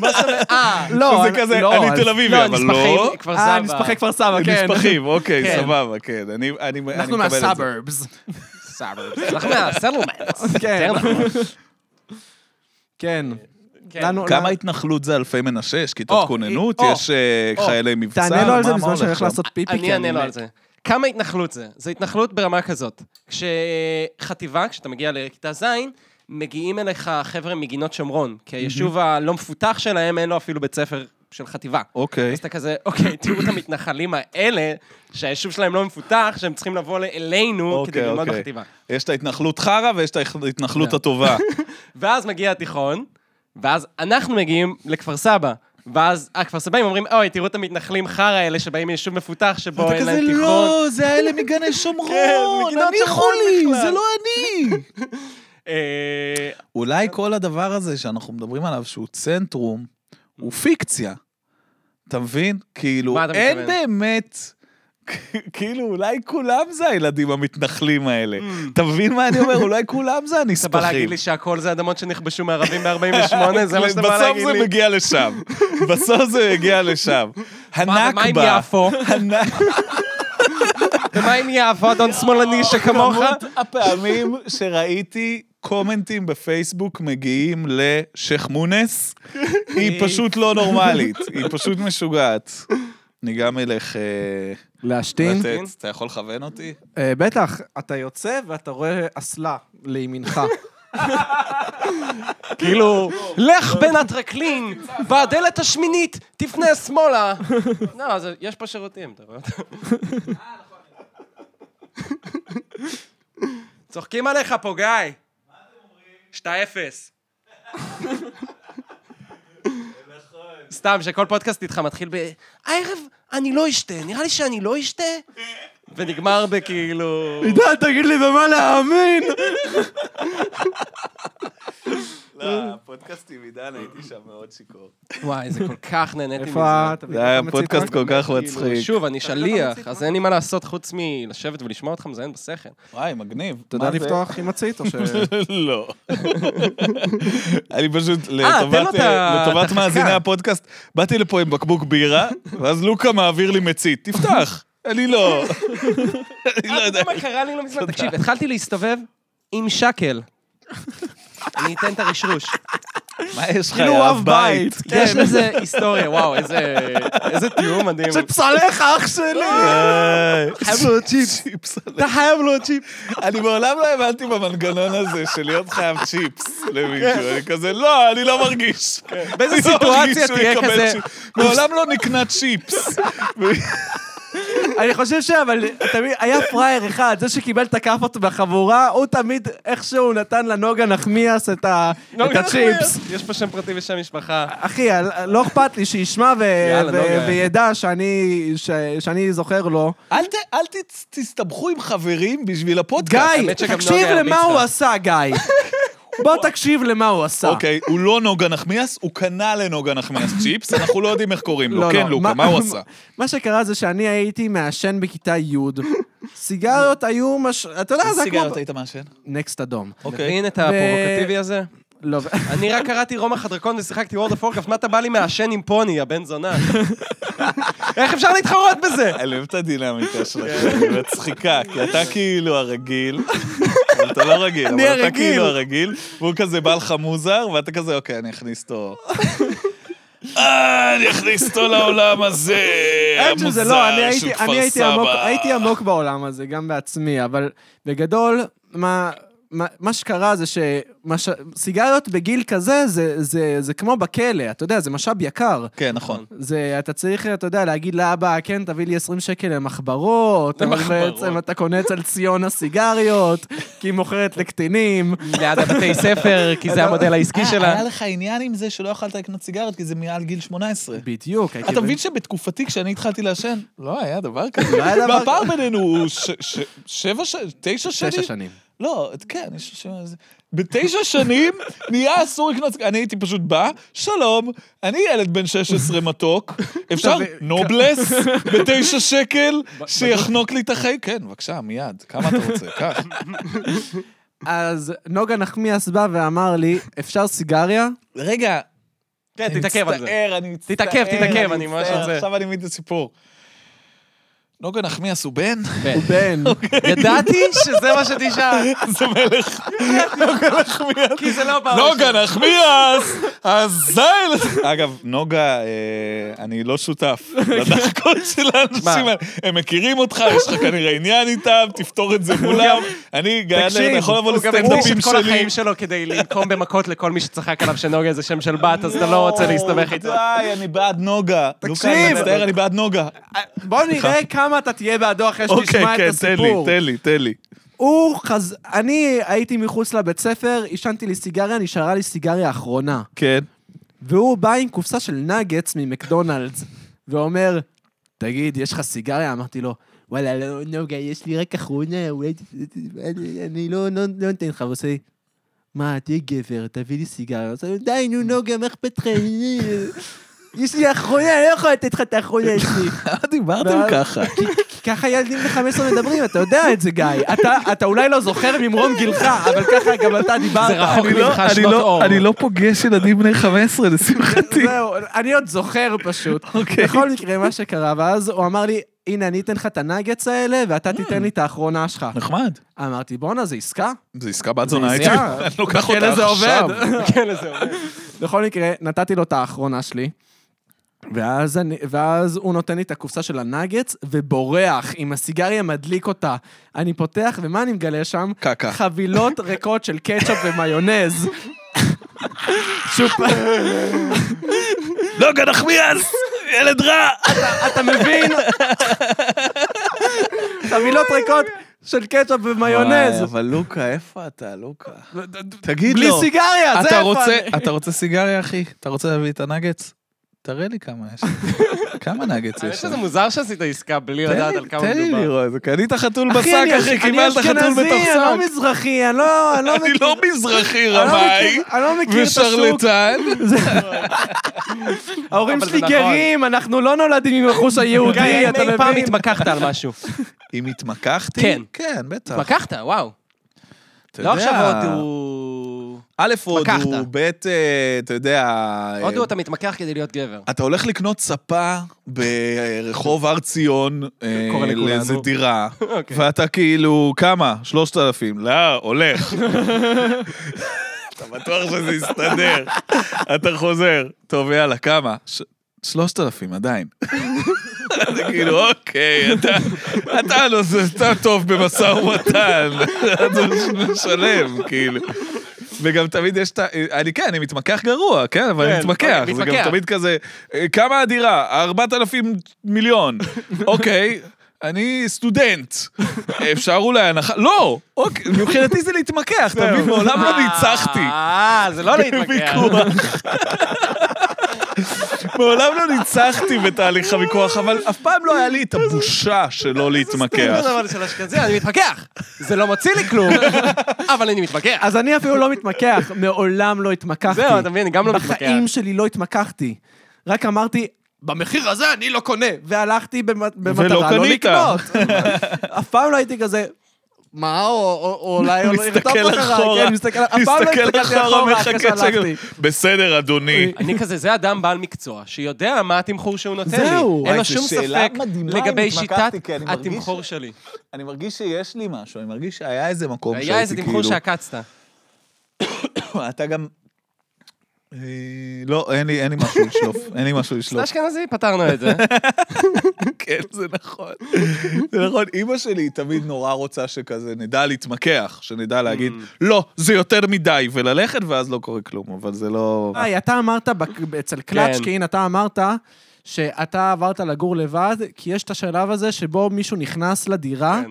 Speaker 1: מה זאת אומרת? אה,
Speaker 3: לא,
Speaker 2: שזה כזה,
Speaker 3: לא,
Speaker 2: אני
Speaker 3: אז-
Speaker 2: תל אביבי,
Speaker 1: לא,
Speaker 2: אבל
Speaker 1: נספחים,
Speaker 2: לא.
Speaker 1: כפר סבא.
Speaker 3: אה, נספחי כפר סבא, כן.
Speaker 2: נספחים, אוקיי,
Speaker 1: כן.
Speaker 2: סבבה, כן. אני אני- אני
Speaker 3: אנחנו
Speaker 2: מקבל את זה.
Speaker 3: מהסאברבס.
Speaker 1: סאברבס. אנחנו מהסטלמנטס.
Speaker 3: כן.
Speaker 1: יותר נכון.
Speaker 3: כן.
Speaker 1: כן.
Speaker 3: לנו-
Speaker 2: כמה
Speaker 3: לנו-
Speaker 2: התנחלות זה אלפי מנשה? יש כיתות
Speaker 1: או,
Speaker 2: כוננות?
Speaker 1: או,
Speaker 2: יש אה,
Speaker 1: או.
Speaker 2: חיילי מבצע?
Speaker 3: תענה לו על
Speaker 2: מה-
Speaker 3: זה
Speaker 2: מה
Speaker 3: בזמן
Speaker 2: הולך
Speaker 3: שאני הולך
Speaker 2: שם?
Speaker 3: לעשות פיפי. כי
Speaker 1: אני אענה לו
Speaker 3: מת.
Speaker 1: על זה. כמה התנחלות זה? זה התנחלות ברמה כזאת. כשחטיבה, כשאתה מגיע לכיתה ז', מגיעים אליך חבר'ה מגינות שומרון, כי היישוב הלא מפותח שלהם, אין לו אפילו בית ספר של חטיבה.
Speaker 2: אוקיי.
Speaker 1: אז אתה כזה, אוקיי, תראו את המתנחלים האלה, שהיישוב שלהם לא מפותח, שהם צריכים לבוא אלינו כדי
Speaker 2: אוקיי,
Speaker 1: ללמוד
Speaker 2: אוקיי.
Speaker 1: בחטיבה.
Speaker 2: יש את ההתנחלות חרא ויש את ההתנחלות
Speaker 1: לא.
Speaker 2: הטובה.
Speaker 1: ואז מגיע התיכון, ואז אנחנו מגיעים לכפר סבא. ואז הכפר סבאים אומרים, אוי, תראו את המתנחלים חרא האלה שבאים מיישוב מפותח שבו אין להם
Speaker 2: "לא."
Speaker 1: תיכון.
Speaker 2: זה האלה מגני
Speaker 1: כן, מגני
Speaker 2: אני
Speaker 1: שומרון
Speaker 2: חולי,
Speaker 1: בכלל."
Speaker 2: זה לא אני.
Speaker 1: אה,
Speaker 2: אולי כל הדבר הזה שאנחנו מדברים עליו, שהוא צנטרום, הוא פיקציה. אתה מבין? כאילו,
Speaker 1: מה אתה
Speaker 2: אין
Speaker 1: מתכוון?
Speaker 2: באמת... כאילו, אולי כולם זה הילדים המתנחלים האלה. אתה מבין מה אני אומר? אולי כולם
Speaker 1: Mm.
Speaker 2: זה
Speaker 1: אתה בא
Speaker 2: הנספחים.
Speaker 1: להגיד לי שהכל זה אדמות שנכבשו מערבים ב-48? זה מה שאתה בא להגיד
Speaker 2: בסוף זה
Speaker 1: לי?
Speaker 2: מגיע לשם. בסוף זה מגיע לשם.
Speaker 1: מה, ומה עם
Speaker 2: הנכבה.
Speaker 1: יפו?
Speaker 2: הנכבה.
Speaker 1: ומה עם יפו, אדון שמאלני שכמוך?
Speaker 2: כמות הפעמים שראיתי קומנטים בפייסבוק מגיעים לשייח' מונס, היא פשוט לא נורמלית, היא פשוט משוגעת. אני גם אלך אה,
Speaker 3: להשתין?
Speaker 2: לתת, אתה יכול לכוון אותי?
Speaker 3: אה, בטח. אתה יוצא ואתה רואה אסלה לימינך.
Speaker 1: כאילו, לך בין הטרקלין, בדלת השמינית, תפנה שמאלה. לא, זה- יש פה שירותים, אתה רואה? צוחקים עליך פה, גיא. 2-0. סתם, שכל פודקאסט איתך מתחיל ב... הערב אני לא אשתה, נראה לי שאני לא אשתה. ונגמר בכאילו...
Speaker 3: עידן, תגיד לי במה להאמין!
Speaker 2: לא, הפודקאסטים עידן, הייתי שם מאוד שיכור.
Speaker 1: וואי, זה כל כך נהניתי מזה.
Speaker 3: איפה אתה? כאילו
Speaker 2: זה היה פודקאסט כל כך מצחיק.
Speaker 1: שוב, אני שליח, אז אין לי מה לעשות חוץ מלשבת ולשמוע אותך מזיין בשכל.
Speaker 2: וואי, מגניב.
Speaker 3: אתה יודע לפתוח עם מצית או ש...
Speaker 2: לא. אני פשוט,
Speaker 1: אה, תן
Speaker 2: לטובת,
Speaker 1: לו את ה- את
Speaker 2: לטובת
Speaker 1: החכה.
Speaker 2: מאזיני הפודקאסט, באתי לפה עם בקבוק בירה, ואז לוקה מעביר לי מצית. תפתח. אני לא... אני לא
Speaker 1: אה, אתה
Speaker 2: יודע.
Speaker 1: יודע מה קרה לי לא מזמן? תקשיב, התחלתי להסתובב עם שקל. אני אתן את הרשרוש.
Speaker 2: מה יש לך,
Speaker 3: כאילו אב בית.
Speaker 1: יש לזה היסטוריה, וואו, איזה איזה תיאום מדהים.
Speaker 3: פסליך, אח שלי!
Speaker 1: אה,
Speaker 2: חייב לו צ'יפס.
Speaker 1: אתה חייב לו צ'יפ.
Speaker 2: אני מעולם לא האמנתי במנגנון הזה של להיות חייב צ'יפס למישהו. אני כזה, לא, אני לא מרגיש.
Speaker 1: כן. באיזה
Speaker 2: אני לא מרגיש
Speaker 1: סיטואציה
Speaker 2: שהוא
Speaker 1: תהיה
Speaker 2: יקבל
Speaker 1: כזה...
Speaker 2: צ'יפ. מעולם לא נקנה צ'יפס.
Speaker 3: אני חושב שאבל, תמיד, היה פראייר אחד, זה שקיבל את הכאפות בחבורה, הוא תמיד איכשהו נתן לנוגה נחמיאס את ה- את הצ'יפס.
Speaker 1: יש פה שם פרטי ושם משפחה.
Speaker 3: אחי, אל- לא אכפת לי שישמע ו-
Speaker 1: יאללה,
Speaker 3: ו-
Speaker 1: נוגה. כן,
Speaker 3: וידע שאני- ש- שאני זוכר לו.
Speaker 2: אל, ת, אל ת, תסתבכו עם חברים בשביל
Speaker 3: גיא,
Speaker 2: הפודקאסט.
Speaker 1: האמת שגם
Speaker 3: תקשיב
Speaker 1: נוגה
Speaker 3: למה
Speaker 1: הרביץ
Speaker 3: הוא
Speaker 1: לה.
Speaker 3: עשה, גיא. בוא תקשיב למה הוא עשה.
Speaker 2: אוקיי, הוא לא נוגה נחמיאס, הוא קנה לנוגה נחמיאס צ'יפס, אנחנו לא יודעים איך קוראים לו. כן, לוקה, מה הוא עשה?
Speaker 3: מה שקרה זה שאני הייתי מעשן בכיתה י', סיגריות היו מש... אתה יודע, זה היה כמו...
Speaker 2: היית מעשן?
Speaker 3: נקסט אדום.
Speaker 2: אוקיי.
Speaker 1: מבין את הפרובוקטיבי הזה?
Speaker 3: לא,
Speaker 1: אני רק קראתי רומא חדרקון ושיחקתי וורד אוף וורקאפט, מה אתה בא לי מעשן עם פוני, הבן זונה? איך אפשר להתחרות בזה?
Speaker 2: אני אוהב את הדינמיקה שלכם, היא מצחיקה, כי אתה כאילו הרגיל, אבל אתה לא רגיל,
Speaker 3: אני
Speaker 2: אבל אתה
Speaker 3: הרגיל.
Speaker 2: כאילו הרגיל, והוא כזה בא לך מוזר, ואתה כזה, אוקיי, אני אכניס אותו. אה, אני אכניס אותו לעולם הזה,
Speaker 3: האמת שזה לא, אני
Speaker 2: המוזר
Speaker 3: הייתי-
Speaker 2: אה, של כפר
Speaker 3: אני הייתי עמוק-
Speaker 2: סבא.
Speaker 3: הייתי עמוק בעולם הזה, גם בעצמי, אבל בגדול, מה... מה- מה שקרה זה שסיגריות בגיל כזה, זה, זה, זה כמו בכלא, אתה יודע, זה משאב יקר.
Speaker 2: כן, נכון.
Speaker 3: זה, אתה צריך, אתה יודע, להגיד לאבא, כן, תביא לי 20 שקל למחברות, אבל
Speaker 1: למחברות.
Speaker 3: בעצם אתה קונה אצל ציונה סיגריות, כי היא מוכרת לקטינים.
Speaker 1: ליד הבתי ספר, כי זה המודל העסקי שלה.
Speaker 2: אה, לך עניין עם זה שלא יכולת לקנות סיגרת, כי זה מעל גיל 18.
Speaker 3: בדיוק, הייתי...
Speaker 2: אתה מבין שבתקופתי, כשאני התחלתי לעשן, לא היה דבר כזה.
Speaker 3: לא היה דבר
Speaker 2: והפער בינינו הוא ש- ש- שבע שנים, תשע שנים?
Speaker 3: תשע שנים.
Speaker 2: לא, כן, יש שם... בתשע שנים נהיה אסור לקנות... סיגריות. אני הייתי פשוט בא, שלום, אני ילד בן 16 מתוק, אפשר
Speaker 3: אתה ב-
Speaker 2: נובלס בתשע שקל, שיחנוק לי את החיים? כן, בבקשה, מיד, כמה אתה רוצה, קח.
Speaker 3: אז נוגה נחמיאס בא ואמר לי, אפשר סיגריה?
Speaker 2: רגע,
Speaker 1: כן, תתעכב על זה.
Speaker 2: מצטער, אני מצטער.
Speaker 1: תתעכב, תתעכב, אני
Speaker 2: מצטער.
Speaker 1: ממש רוצה.
Speaker 2: עכשיו אני מבין את הסיפור. נוגה נחמיאס הוא בן? אוקיי.
Speaker 3: בן.
Speaker 1: ידעתי שזה מה שתשאל,
Speaker 2: זה מלך. נוגה נחמיאס.
Speaker 1: כי זה לא פעם
Speaker 2: נוגה נחמיאס! הזייל! אגב, נוגה, אה, אני לא שותף לדחקות של האנשים האלה. הם מכירים אותך, יש לך כנראה עניין איתם, תפתור את זה מולם. אני, גיא אדלר,
Speaker 3: תקשיב,
Speaker 2: אתה יכול לבוא
Speaker 1: הוא גם הקדיש
Speaker 2: לסטנדאפים
Speaker 1: את כל
Speaker 2: שלי.
Speaker 1: החיים שלו כדי לנקום במכות לכל מי שצחק עליו שנוגה זה שם של בת, אז אתה לא רוצה להסתבך איתו.
Speaker 2: די, אני בעד נוגה.
Speaker 3: תקשיב.
Speaker 2: לוקה, אני מצטער, אני בעד נוגה.
Speaker 3: בוא נראה כמה אתה תהיה בעדו אחרי
Speaker 2: אוקיי,
Speaker 3: שתשמע את
Speaker 2: כן, תן לי,
Speaker 3: הסיפור.
Speaker 2: תן לי, תן לי.
Speaker 3: הוא חז... אני הייתי מחוץ לבית ספר, עישנתי לי סיגריה, נשארה לי סיגריה אחרונה.
Speaker 2: כן.
Speaker 3: והוא בא עם קופסה של נאגץ ממקדונלדס, ואומר, תגיד, יש לך סיגריה? אמרתי לו, וואלה, לא, נוגה, יש לי רק אחרונה, אולי... ת- ת- ת- אני- אני לא לא- לא נותן לך, והוא עושה לי, מה, תהיה גבר, תביא לי סיגריה. אז אני, די, נו, נוגה, מה אכפת לך? יש לי אחרונה, אני לא יכול לתת לך את האחרונה שלי.
Speaker 2: מה דיברתם
Speaker 3: ואז-
Speaker 2: ככה?
Speaker 3: כי- כי ככה ילדים בני 15 מדברים, אתה יודע את זה, גיא. אתה- אתה אולי לא זוכר ממרום גילך, אבל ככה גם אתה דיברת.
Speaker 1: זה רחוק
Speaker 2: אני לא-
Speaker 1: ממך
Speaker 2: אני
Speaker 1: שנות
Speaker 2: לא-
Speaker 1: אור.
Speaker 2: אני לא פוגש ילדים בני 15, לשמחתי.
Speaker 3: זהו, אני עוד זוכר פשוט.
Speaker 2: אוקיי.
Speaker 3: בכל מקרה, מה שקרה, ואז הוא אמר לי, הנה, אני אתן לך את הנאגץ האלה, ואתה תיתן לי את האחרונה שלך.
Speaker 2: נחמד.
Speaker 3: אמרתי, בואנה, זה עסקה?
Speaker 2: זה עסקה בת זונה, הייתי
Speaker 3: עסקה.
Speaker 2: אני לוקח אותה
Speaker 3: בכלא זה
Speaker 2: עכשיו.
Speaker 3: עובד.
Speaker 1: כן, לזה עובד.
Speaker 3: בכל מקרה, נתתי לו את האחרונה שלי. ואז, אני, ואז הוא נותן לי את הקופסה של הנאגץ ובורח, עם הסיגריה מדליק אותה. אני פותח, ומה אני מגלה שם?
Speaker 2: קקה.
Speaker 3: חבילות ריקות של קטשופ ומיונז.
Speaker 4: שהוא פ-
Speaker 2: נוגה נחמיאס! ילד רע!
Speaker 3: אתה מבין? חבילות ריקות של קטשופ ומיונז.
Speaker 2: וואי, אבל לוקה, איפה אתה, לוקה? תגיד
Speaker 3: בלי
Speaker 2: לו.
Speaker 3: סיגריה, זה
Speaker 2: לא. אתה
Speaker 3: איפה
Speaker 2: רוצה,
Speaker 3: אני.
Speaker 2: אתה רוצה סיגריה, אחי? אתה רוצה להביא את הנגץ? תראה לי כמה יש. כמה נגץ
Speaker 1: אני
Speaker 2: יש?
Speaker 1: חושב שזה
Speaker 2: שם?
Speaker 1: מוזר שעשית עסקה בלי
Speaker 2: תן
Speaker 1: לדעת
Speaker 2: לי-
Speaker 1: על כמה
Speaker 2: תן לי
Speaker 1: מדובר.
Speaker 2: לראות, קנית חתול בשק,
Speaker 3: אחי, אני
Speaker 2: אחי,
Speaker 3: אש- אני
Speaker 2: קיבלת חתול
Speaker 3: אשכנזי,
Speaker 2: בתוך
Speaker 3: אני לא
Speaker 2: שק.
Speaker 3: מזרחי, אני לא אני לא
Speaker 2: אני
Speaker 3: מכיר-
Speaker 2: לא מזרחי
Speaker 3: אני לא
Speaker 2: רמאי
Speaker 3: מכיר- אני לא מכיר את השוק.
Speaker 2: ושרלטן.
Speaker 3: ההורים
Speaker 1: אבל
Speaker 3: שלי
Speaker 1: זה נכון.
Speaker 3: גרים, אנחנו לא נולדים עם החוש
Speaker 1: גיא,
Speaker 3: היהודי, אתה
Speaker 1: האם אי פעם
Speaker 3: מבין?
Speaker 1: התמקחת על משהו?
Speaker 2: אם התמקחתי?
Speaker 1: כן.
Speaker 2: כן, בטח.
Speaker 1: התמקחת, וואו.
Speaker 2: אתה
Speaker 1: לא
Speaker 2: יודע,
Speaker 1: עכשיו עוד הוא...
Speaker 2: א', הודו,
Speaker 1: התמקחת.
Speaker 2: ב', אה, אתה יודע... אה,
Speaker 1: הודו אתה מתמקח כדי להיות גבר.
Speaker 2: אתה הולך לקנות ספה ברחוב הר ציון אה,
Speaker 1: קורה לכולנו.
Speaker 2: לאיזה דירה,
Speaker 1: אוקיי.
Speaker 2: ואתה כאילו, כמה? שלושת אלפים. לא, הולך. אתה בטוח שזה יסתדר. אתה חוזר. טוב, יאללה, כמה? ש- שלושת אלפים עדיין. זה כאילו, אוקיי, אתה, אתה, לא, זה- אתה טוב במשא ומתן, אתה משלם, כאילו. וגם תמיד יש את ה... אני כן, אני מתמקח גרוע, כן, אבל אני
Speaker 1: כן,
Speaker 2: מתמקח.
Speaker 1: אוקיי,
Speaker 2: זה גם
Speaker 1: מתמקח.
Speaker 2: תמיד כזה, אה, כמה הדירה? 4,000 מיליון. אוקיי, אני סטודנט. אפשר אולי הנחה? לא! אוקיי, מבחינתי זה להתמקח, אתה מבין? מעולם לא ניצחתי. כן,
Speaker 1: אה, זה לא להתמקח.
Speaker 2: בוויכוח. מעולם לא ניצחתי בתהליך הוויכוח, אבל אף פעם לא היה לי את הבושה שלא להתמקח.
Speaker 1: אבל לא של אשכנזי, אני מתמקח. זה לא מוציא לי כלום, אבל אני מתמקח.
Speaker 3: אז אני אפילו לא מתמקח, מעולם לא התמקחתי.
Speaker 1: זהו, אתה מבין, אני גם לא מתמקח.
Speaker 3: בחיים שלי לא התמקחתי. רק אמרתי, במחיר הזה אני לא קונה. והלכתי במ- במטרה לא
Speaker 2: קנית.
Speaker 3: לקנות. אף פעם לא הייתי כזה... מה, או- או או אולי הוא לא ירדוף
Speaker 2: מסתכל
Speaker 3: אחריי."
Speaker 2: אחורה,
Speaker 3: כן, מסתכל אף פעם לא
Speaker 2: מסתכל
Speaker 3: הסתכלתי
Speaker 2: אחורה,
Speaker 3: אחרי
Speaker 2: מחכה
Speaker 3: שהלכתי.
Speaker 2: שקל. בסדר, אדוני.
Speaker 1: אני כזה, זה אדם בעל מקצוע, שיודע מה התמחור שהוא נותן לי.
Speaker 3: זהו.
Speaker 1: אין
Speaker 2: וואי,
Speaker 1: לו
Speaker 2: זו
Speaker 1: שום
Speaker 2: שאלה
Speaker 1: ספק
Speaker 2: מדהימה,
Speaker 1: לגבי
Speaker 2: אם התמקחתי,
Speaker 1: שיטת
Speaker 2: כי אני מרגיש
Speaker 1: התמחור שלי.
Speaker 2: אני מרגיש שיש לי משהו, אני מרגיש שהיה איזה מקום
Speaker 1: היה איזה תמחור
Speaker 2: כאילו-
Speaker 1: שעקצת.
Speaker 2: אתה גם... אה, לא, אין לי, אין לי משהו לשלוף, אין לי משהו
Speaker 1: זה
Speaker 2: לשלוף.
Speaker 1: אשכנזי, פתרנו את זה.
Speaker 2: אה,
Speaker 1: אה,
Speaker 2: כן, זה נכון. זה נכון, אימא שלי היא תמיד נורא רוצה שכזה נדע להתמקח, שנדע להגיד, לא, זה יותר מדי, וללכת, ואז לא קורה כלום, אבל זה לא...
Speaker 3: היי, אתה אמרת בק- אצל קלצ'קין, אתה אמרת שאתה עברת לגור לבד, כי יש את השלב הזה שבו מישהו נכנס לדירה,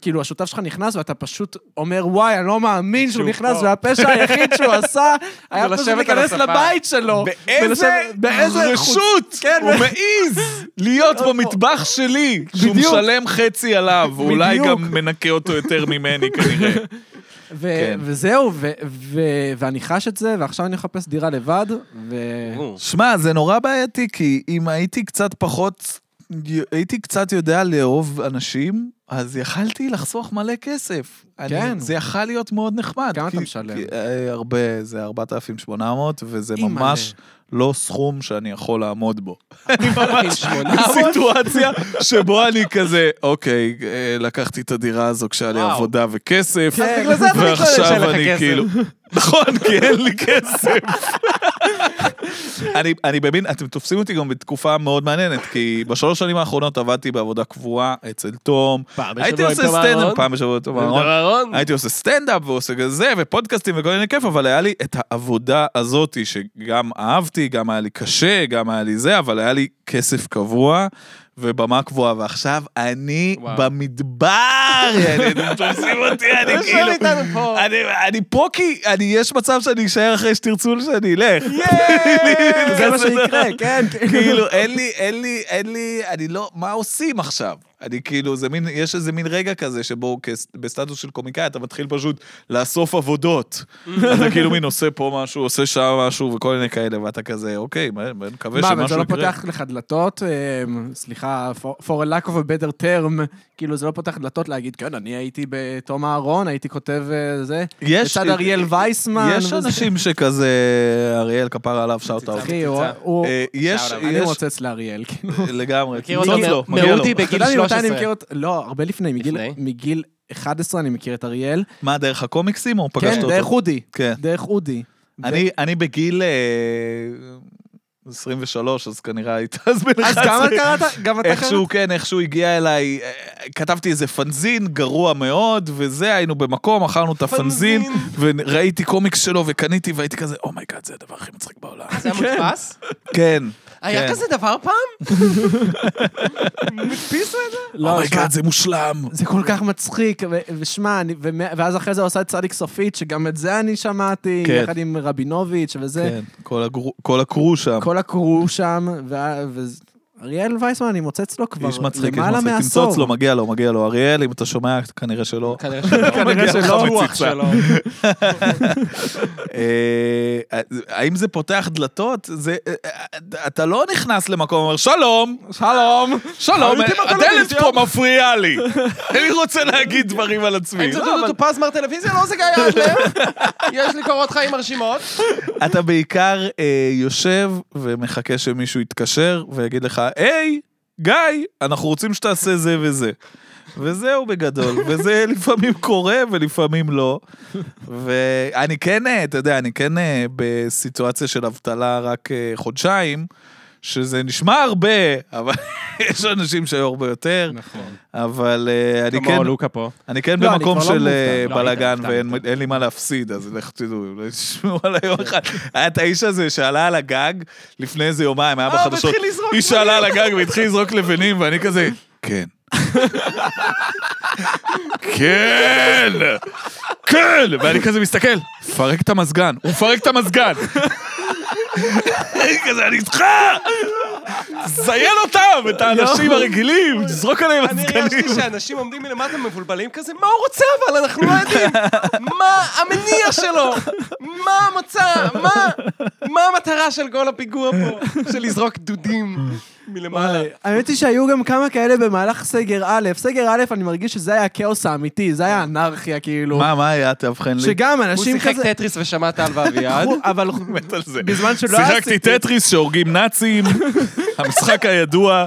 Speaker 3: כאילו, השותף שלך נכנס ואתה פשוט אומר, וואי, אני לא מאמין שהוא
Speaker 1: שהוא
Speaker 3: נכנס,
Speaker 1: פה."
Speaker 3: והפשע היחיד שהוא עשה היה
Speaker 1: זה
Speaker 3: פשוט
Speaker 1: לשבת על
Speaker 3: להיכנס
Speaker 1: הספה.
Speaker 3: לבית שלו.
Speaker 2: באיזה
Speaker 3: ולשבת- באיזה חוץ-
Speaker 2: רשות
Speaker 3: כן,
Speaker 2: הוא
Speaker 3: ב-
Speaker 2: מעז להיות במטבח שלי, שהוא
Speaker 3: בדיוק.
Speaker 2: משלם חצי עליו, ואולי
Speaker 3: בדיוק.
Speaker 2: גם מנקה אותו יותר ממני כנראה.
Speaker 3: ו-
Speaker 2: כן.
Speaker 3: וזהו, ו- ו- ואני חש את זה, ועכשיו אני מחפש דירה לבד, ו...
Speaker 1: ברור.
Speaker 2: שמע, זה נורא בעייתי, כי אם הייתי קצת פחות, הייתי קצת יודע לאהוב אנשים, אז יכלתי לחסוך מלא כסף.
Speaker 3: כן.
Speaker 2: אני, זה יכל להיות מאוד נחמד.
Speaker 3: כמה אתה
Speaker 2: כי-
Speaker 3: משלם?
Speaker 2: כי, אה, הרבה, זה 4,800, וזה
Speaker 3: אימא'לה.
Speaker 2: ממש לא סכום שאני יכול לעמוד בו.
Speaker 1: שמונה.
Speaker 3: לא
Speaker 2: סיטואציה שבו אני כזה, אוקיי, אה, לקחתי את הדירה הזו כשהיה לי
Speaker 1: וואו.
Speaker 2: עבודה וכסף,
Speaker 1: אז בגלל זה אתה מתלונן שאין לך
Speaker 2: ועכשיו אני
Speaker 1: כסף.
Speaker 2: כאילו... נכון, כי אין לי כסף. אני, אני מבין, אתם תופסים אותי גם בתקופה מאוד מעניינת, כי בשלוש שנים האחרונות עבדתי בעבודה קבועה אצל תום.
Speaker 1: פעם בשבוע
Speaker 2: הייתי
Speaker 1: עם לא,
Speaker 2: עושה
Speaker 1: תום אהרון.
Speaker 2: סטנדאפ פעם בשבוע עם תום אהרון.
Speaker 1: אהרון.
Speaker 2: הייתי עושה סטנדאפ ועושה כזה, ופודקאסטים וכל מיני כיף, אבל היה לי את העבודה הזאתי, שגם אהבתי, גם היה לי קשה, גם היה לי זה, אבל היה לי כסף קבוע ובמה קבועה, ועכשיו אני
Speaker 1: וואו.
Speaker 2: במדבר, יעני, אתם תופסים אותי,
Speaker 3: לא
Speaker 2: אני
Speaker 1: יושב
Speaker 2: כאילו...
Speaker 1: איתנו פה.
Speaker 2: אני, אני פה כי אני, יש מצב שאני אשאר אחרי שתרצו שאני אלך.
Speaker 3: זה מה שיקרה, כן.
Speaker 2: כאילו, אין לי, אין לי, אין לי, אני לא, מה עושים עכשיו? אני כאילו, זה מין, יש איזה מין רגע כזה שבו כס- בסטטוס של קומיקאי אתה מתחיל פשוט לאסוף עבודות. אתה כאילו מין עושה פה משהו, עושה שם משהו וכל מיני כאלה, ואתה כזה, אוקיי, מה- מה- נקווה
Speaker 3: מה,
Speaker 2: שמשהו יקרה.
Speaker 3: אבל זה לא פותח לך דלתות? אמ, סליחה, for for a lack of a better term, כאילו זה לא פותח דלתות להגיד, כן, אני הייתי בתום אהרון, הייתי כותב אה, זה,
Speaker 2: יש- אה,
Speaker 3: לצד אריאל וייסמן.
Speaker 2: יש
Speaker 3: וזה."
Speaker 2: אנשים שכזה, אריאל כפרה עליו, שאוט אאוט.
Speaker 3: אחי, הוא- הוא...
Speaker 2: אה, יש,
Speaker 1: שאוט אאוט.
Speaker 3: אני
Speaker 2: יש,
Speaker 3: מוצץ לאריאל, כאילו.
Speaker 2: לגמרי.
Speaker 1: מכיר אותו
Speaker 2: מגיע לו,
Speaker 1: מ-
Speaker 2: מגיע לו.
Speaker 1: מעודי בגיל
Speaker 3: אתה יודע ממתי אני
Speaker 1: 13.
Speaker 3: מכיר אותו? לא, הרבה לפני, מגיל-
Speaker 1: לפני?
Speaker 3: מגיל 11 אני מכיר את אריאל.
Speaker 2: מה, דרך הקומיקסים או פגשת
Speaker 3: כן,
Speaker 2: אותו?
Speaker 3: דרך אודי.
Speaker 2: כן.
Speaker 3: דרך אודי.
Speaker 2: אני, אני בגיל... אה, 23, אז כנראה היית אז בן 11.
Speaker 5: אז גם אתה קראת? גם אתה קראת?
Speaker 2: איכשהו, כן, איכשהו הגיע אליי, אה, כתבתי איזה פנזין גרוע מאוד, וזה, היינו במקום, אכלנו את הפנזין, וראיתי קומיקס שלו וקניתי, והייתי כזה, אומייגאד, זה הדבר הכי מצחיק בעולם.
Speaker 1: זה היה מודפס?
Speaker 2: כן,
Speaker 1: היה
Speaker 2: כן.
Speaker 1: כזה דבר פעם? הדפיסו את זה?
Speaker 3: לא, שמע,
Speaker 2: אומייגאד, "Oh זה מושלם.
Speaker 3: זה כל כך מצחיק, ו- ושמע, אני- ומא- ואז אחרי זה הוא עשה את צדיק סופית, שגם את זה אני שמעתי,
Speaker 2: כן.
Speaker 3: יחד עם רבינוביץ' וזה.
Speaker 2: כן, כל הגרו- כל הקרו שם.
Speaker 3: כל הקרו שם, וה- וזה- אריאל וייסמן, אני מוצץ לו כבר
Speaker 2: איש מצחיק, איש
Speaker 3: למעלה
Speaker 2: מצחיק. תמצוץ לו,
Speaker 3: מעשור.
Speaker 2: מגיע לו, מגיע לו. אריאל, אם אתה שומע, כנראה שלא.
Speaker 1: כנראה שלא.
Speaker 2: כנראה שלא. לא
Speaker 1: הרוח שלו.
Speaker 2: אה, האם זה פותח דלתות? זה... אה, אתה לא נכנס למקום, אומר, שלום,
Speaker 5: שלום.
Speaker 2: שלום,
Speaker 5: הייתי
Speaker 2: הדלת
Speaker 5: בטלוויזיה."
Speaker 2: פה מפריעה לי. אני רוצה להגיד דברים על עצמי.
Speaker 1: אם זה
Speaker 2: לא,
Speaker 1: דודו
Speaker 2: אבל
Speaker 1: טופז מר טלוויזיה, לא זה גיא אדלר. יש לי קורות חיים מרשימות.
Speaker 2: אתה בעיקר אה, יושב ומחכה שמישהו יתקשר ויגיד לך, היי, גיא, אנחנו רוצים שתעשה זה וזה. וזהו בגדול, וזה לפעמים קורה ולפעמים לא. ואני כן, אה, אתה יודע, אני כן אה, בסיטואציה של אבטלה רק אה, חודשיים, שזה נשמע הרבה, אבל יש אנשים שהיו הרבה יותר,
Speaker 5: נכון.
Speaker 2: אבל אה, אני כן...
Speaker 1: כמו לוקה פה.
Speaker 2: אני כן
Speaker 3: לא, אני
Speaker 2: במקום
Speaker 3: כבר לא
Speaker 2: של אה,
Speaker 3: מופתע. לא,
Speaker 2: בלאגן
Speaker 3: היית מופתע,
Speaker 2: ואין אין לי מה להפסיד, אז לך תדעו, לא אולי תשמעו עליי יום אחד. היה את האיש הזה שעלה על הגג לפני איזה יומיים,
Speaker 3: אה,
Speaker 2: היה בחדשות.
Speaker 1: והתחיל לזרוק
Speaker 2: איש שעלה על הגג והתחיל לזרוק לבנים, ואני כזה, כן. כן! כן! ואני כזה מסתכל, פרק את המזגן, הוא מפרק את המזגן. אני כזה, אני איתך! זיין אותם, את
Speaker 3: לא.
Speaker 2: האנשים הרגילים, תזרוק עליהם
Speaker 1: אני
Speaker 2: מזגנים.
Speaker 1: הרגשתי שאנשים עומדים מלמטה מבולבלים כזה, מה הוא רוצה אבל? אנחנו לא יודעים. מה המניע שלו? מה המצע? מה מה המטרה של כל הפיגוע פה? של לזרוק דודים מלמעלה.
Speaker 3: האמת היא שהיו גם כמה כאלה במהלך סגר א'. סגר א', אני מרגיש שזה היה הכאוס האמיתי, זה היה אנרכיה, כאילו.
Speaker 2: כן. מה, מה היה? תאבחן לי.
Speaker 3: שגם
Speaker 1: הוא
Speaker 3: אנשים
Speaker 1: שיחק
Speaker 3: כזה...
Speaker 1: טטריס ושמע טל ואביעד.
Speaker 3: אבל
Speaker 2: מת על זה.
Speaker 3: בזמן שלא
Speaker 2: שיחקתי
Speaker 3: עשיתי-
Speaker 2: טטריס שהורגים נאצים, המשחק הידוע.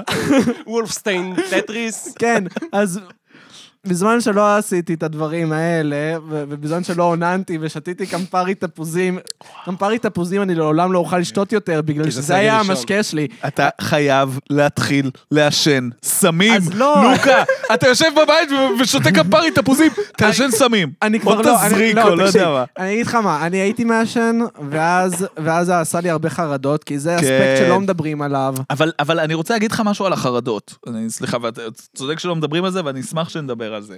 Speaker 1: וולפסטיין טטריס.
Speaker 3: כן, אז בזמן שלא עשיתי את הדברים האלה, ו- ובזמן שלא אוננתי ושתיתי קמפרי תפוזים, קמפרי תפוזים אני לעולם לא אוכל לשתות יותר, בגלל
Speaker 1: זה
Speaker 3: שזה
Speaker 1: סגר
Speaker 3: היה
Speaker 1: ראשון.
Speaker 3: המשקה שלי.
Speaker 2: אתה חייב להתחיל לעשן סמים.
Speaker 3: אז לא.
Speaker 2: לוקה, אתה יושב בבית ו- ושותה קפרי תפוזים, תעשן סמים.
Speaker 3: אני כבר
Speaker 2: או
Speaker 3: לא, אני-
Speaker 2: תזריק או לא
Speaker 3: תקשיב,
Speaker 2: יודע מה.
Speaker 3: אני אגיד לך מה, אני הייתי מעשן, ואז ואז זה עשה לי הרבה חרדות, כי
Speaker 1: כן.
Speaker 3: זה אספקט שלא מדברים עליו.
Speaker 2: אבל, אבל אני רוצה להגיד לך משהו על החרדות. אני, סליחה, ואתה צודק שלא מדברים על זה, ואני אשמח שנדבר על זה.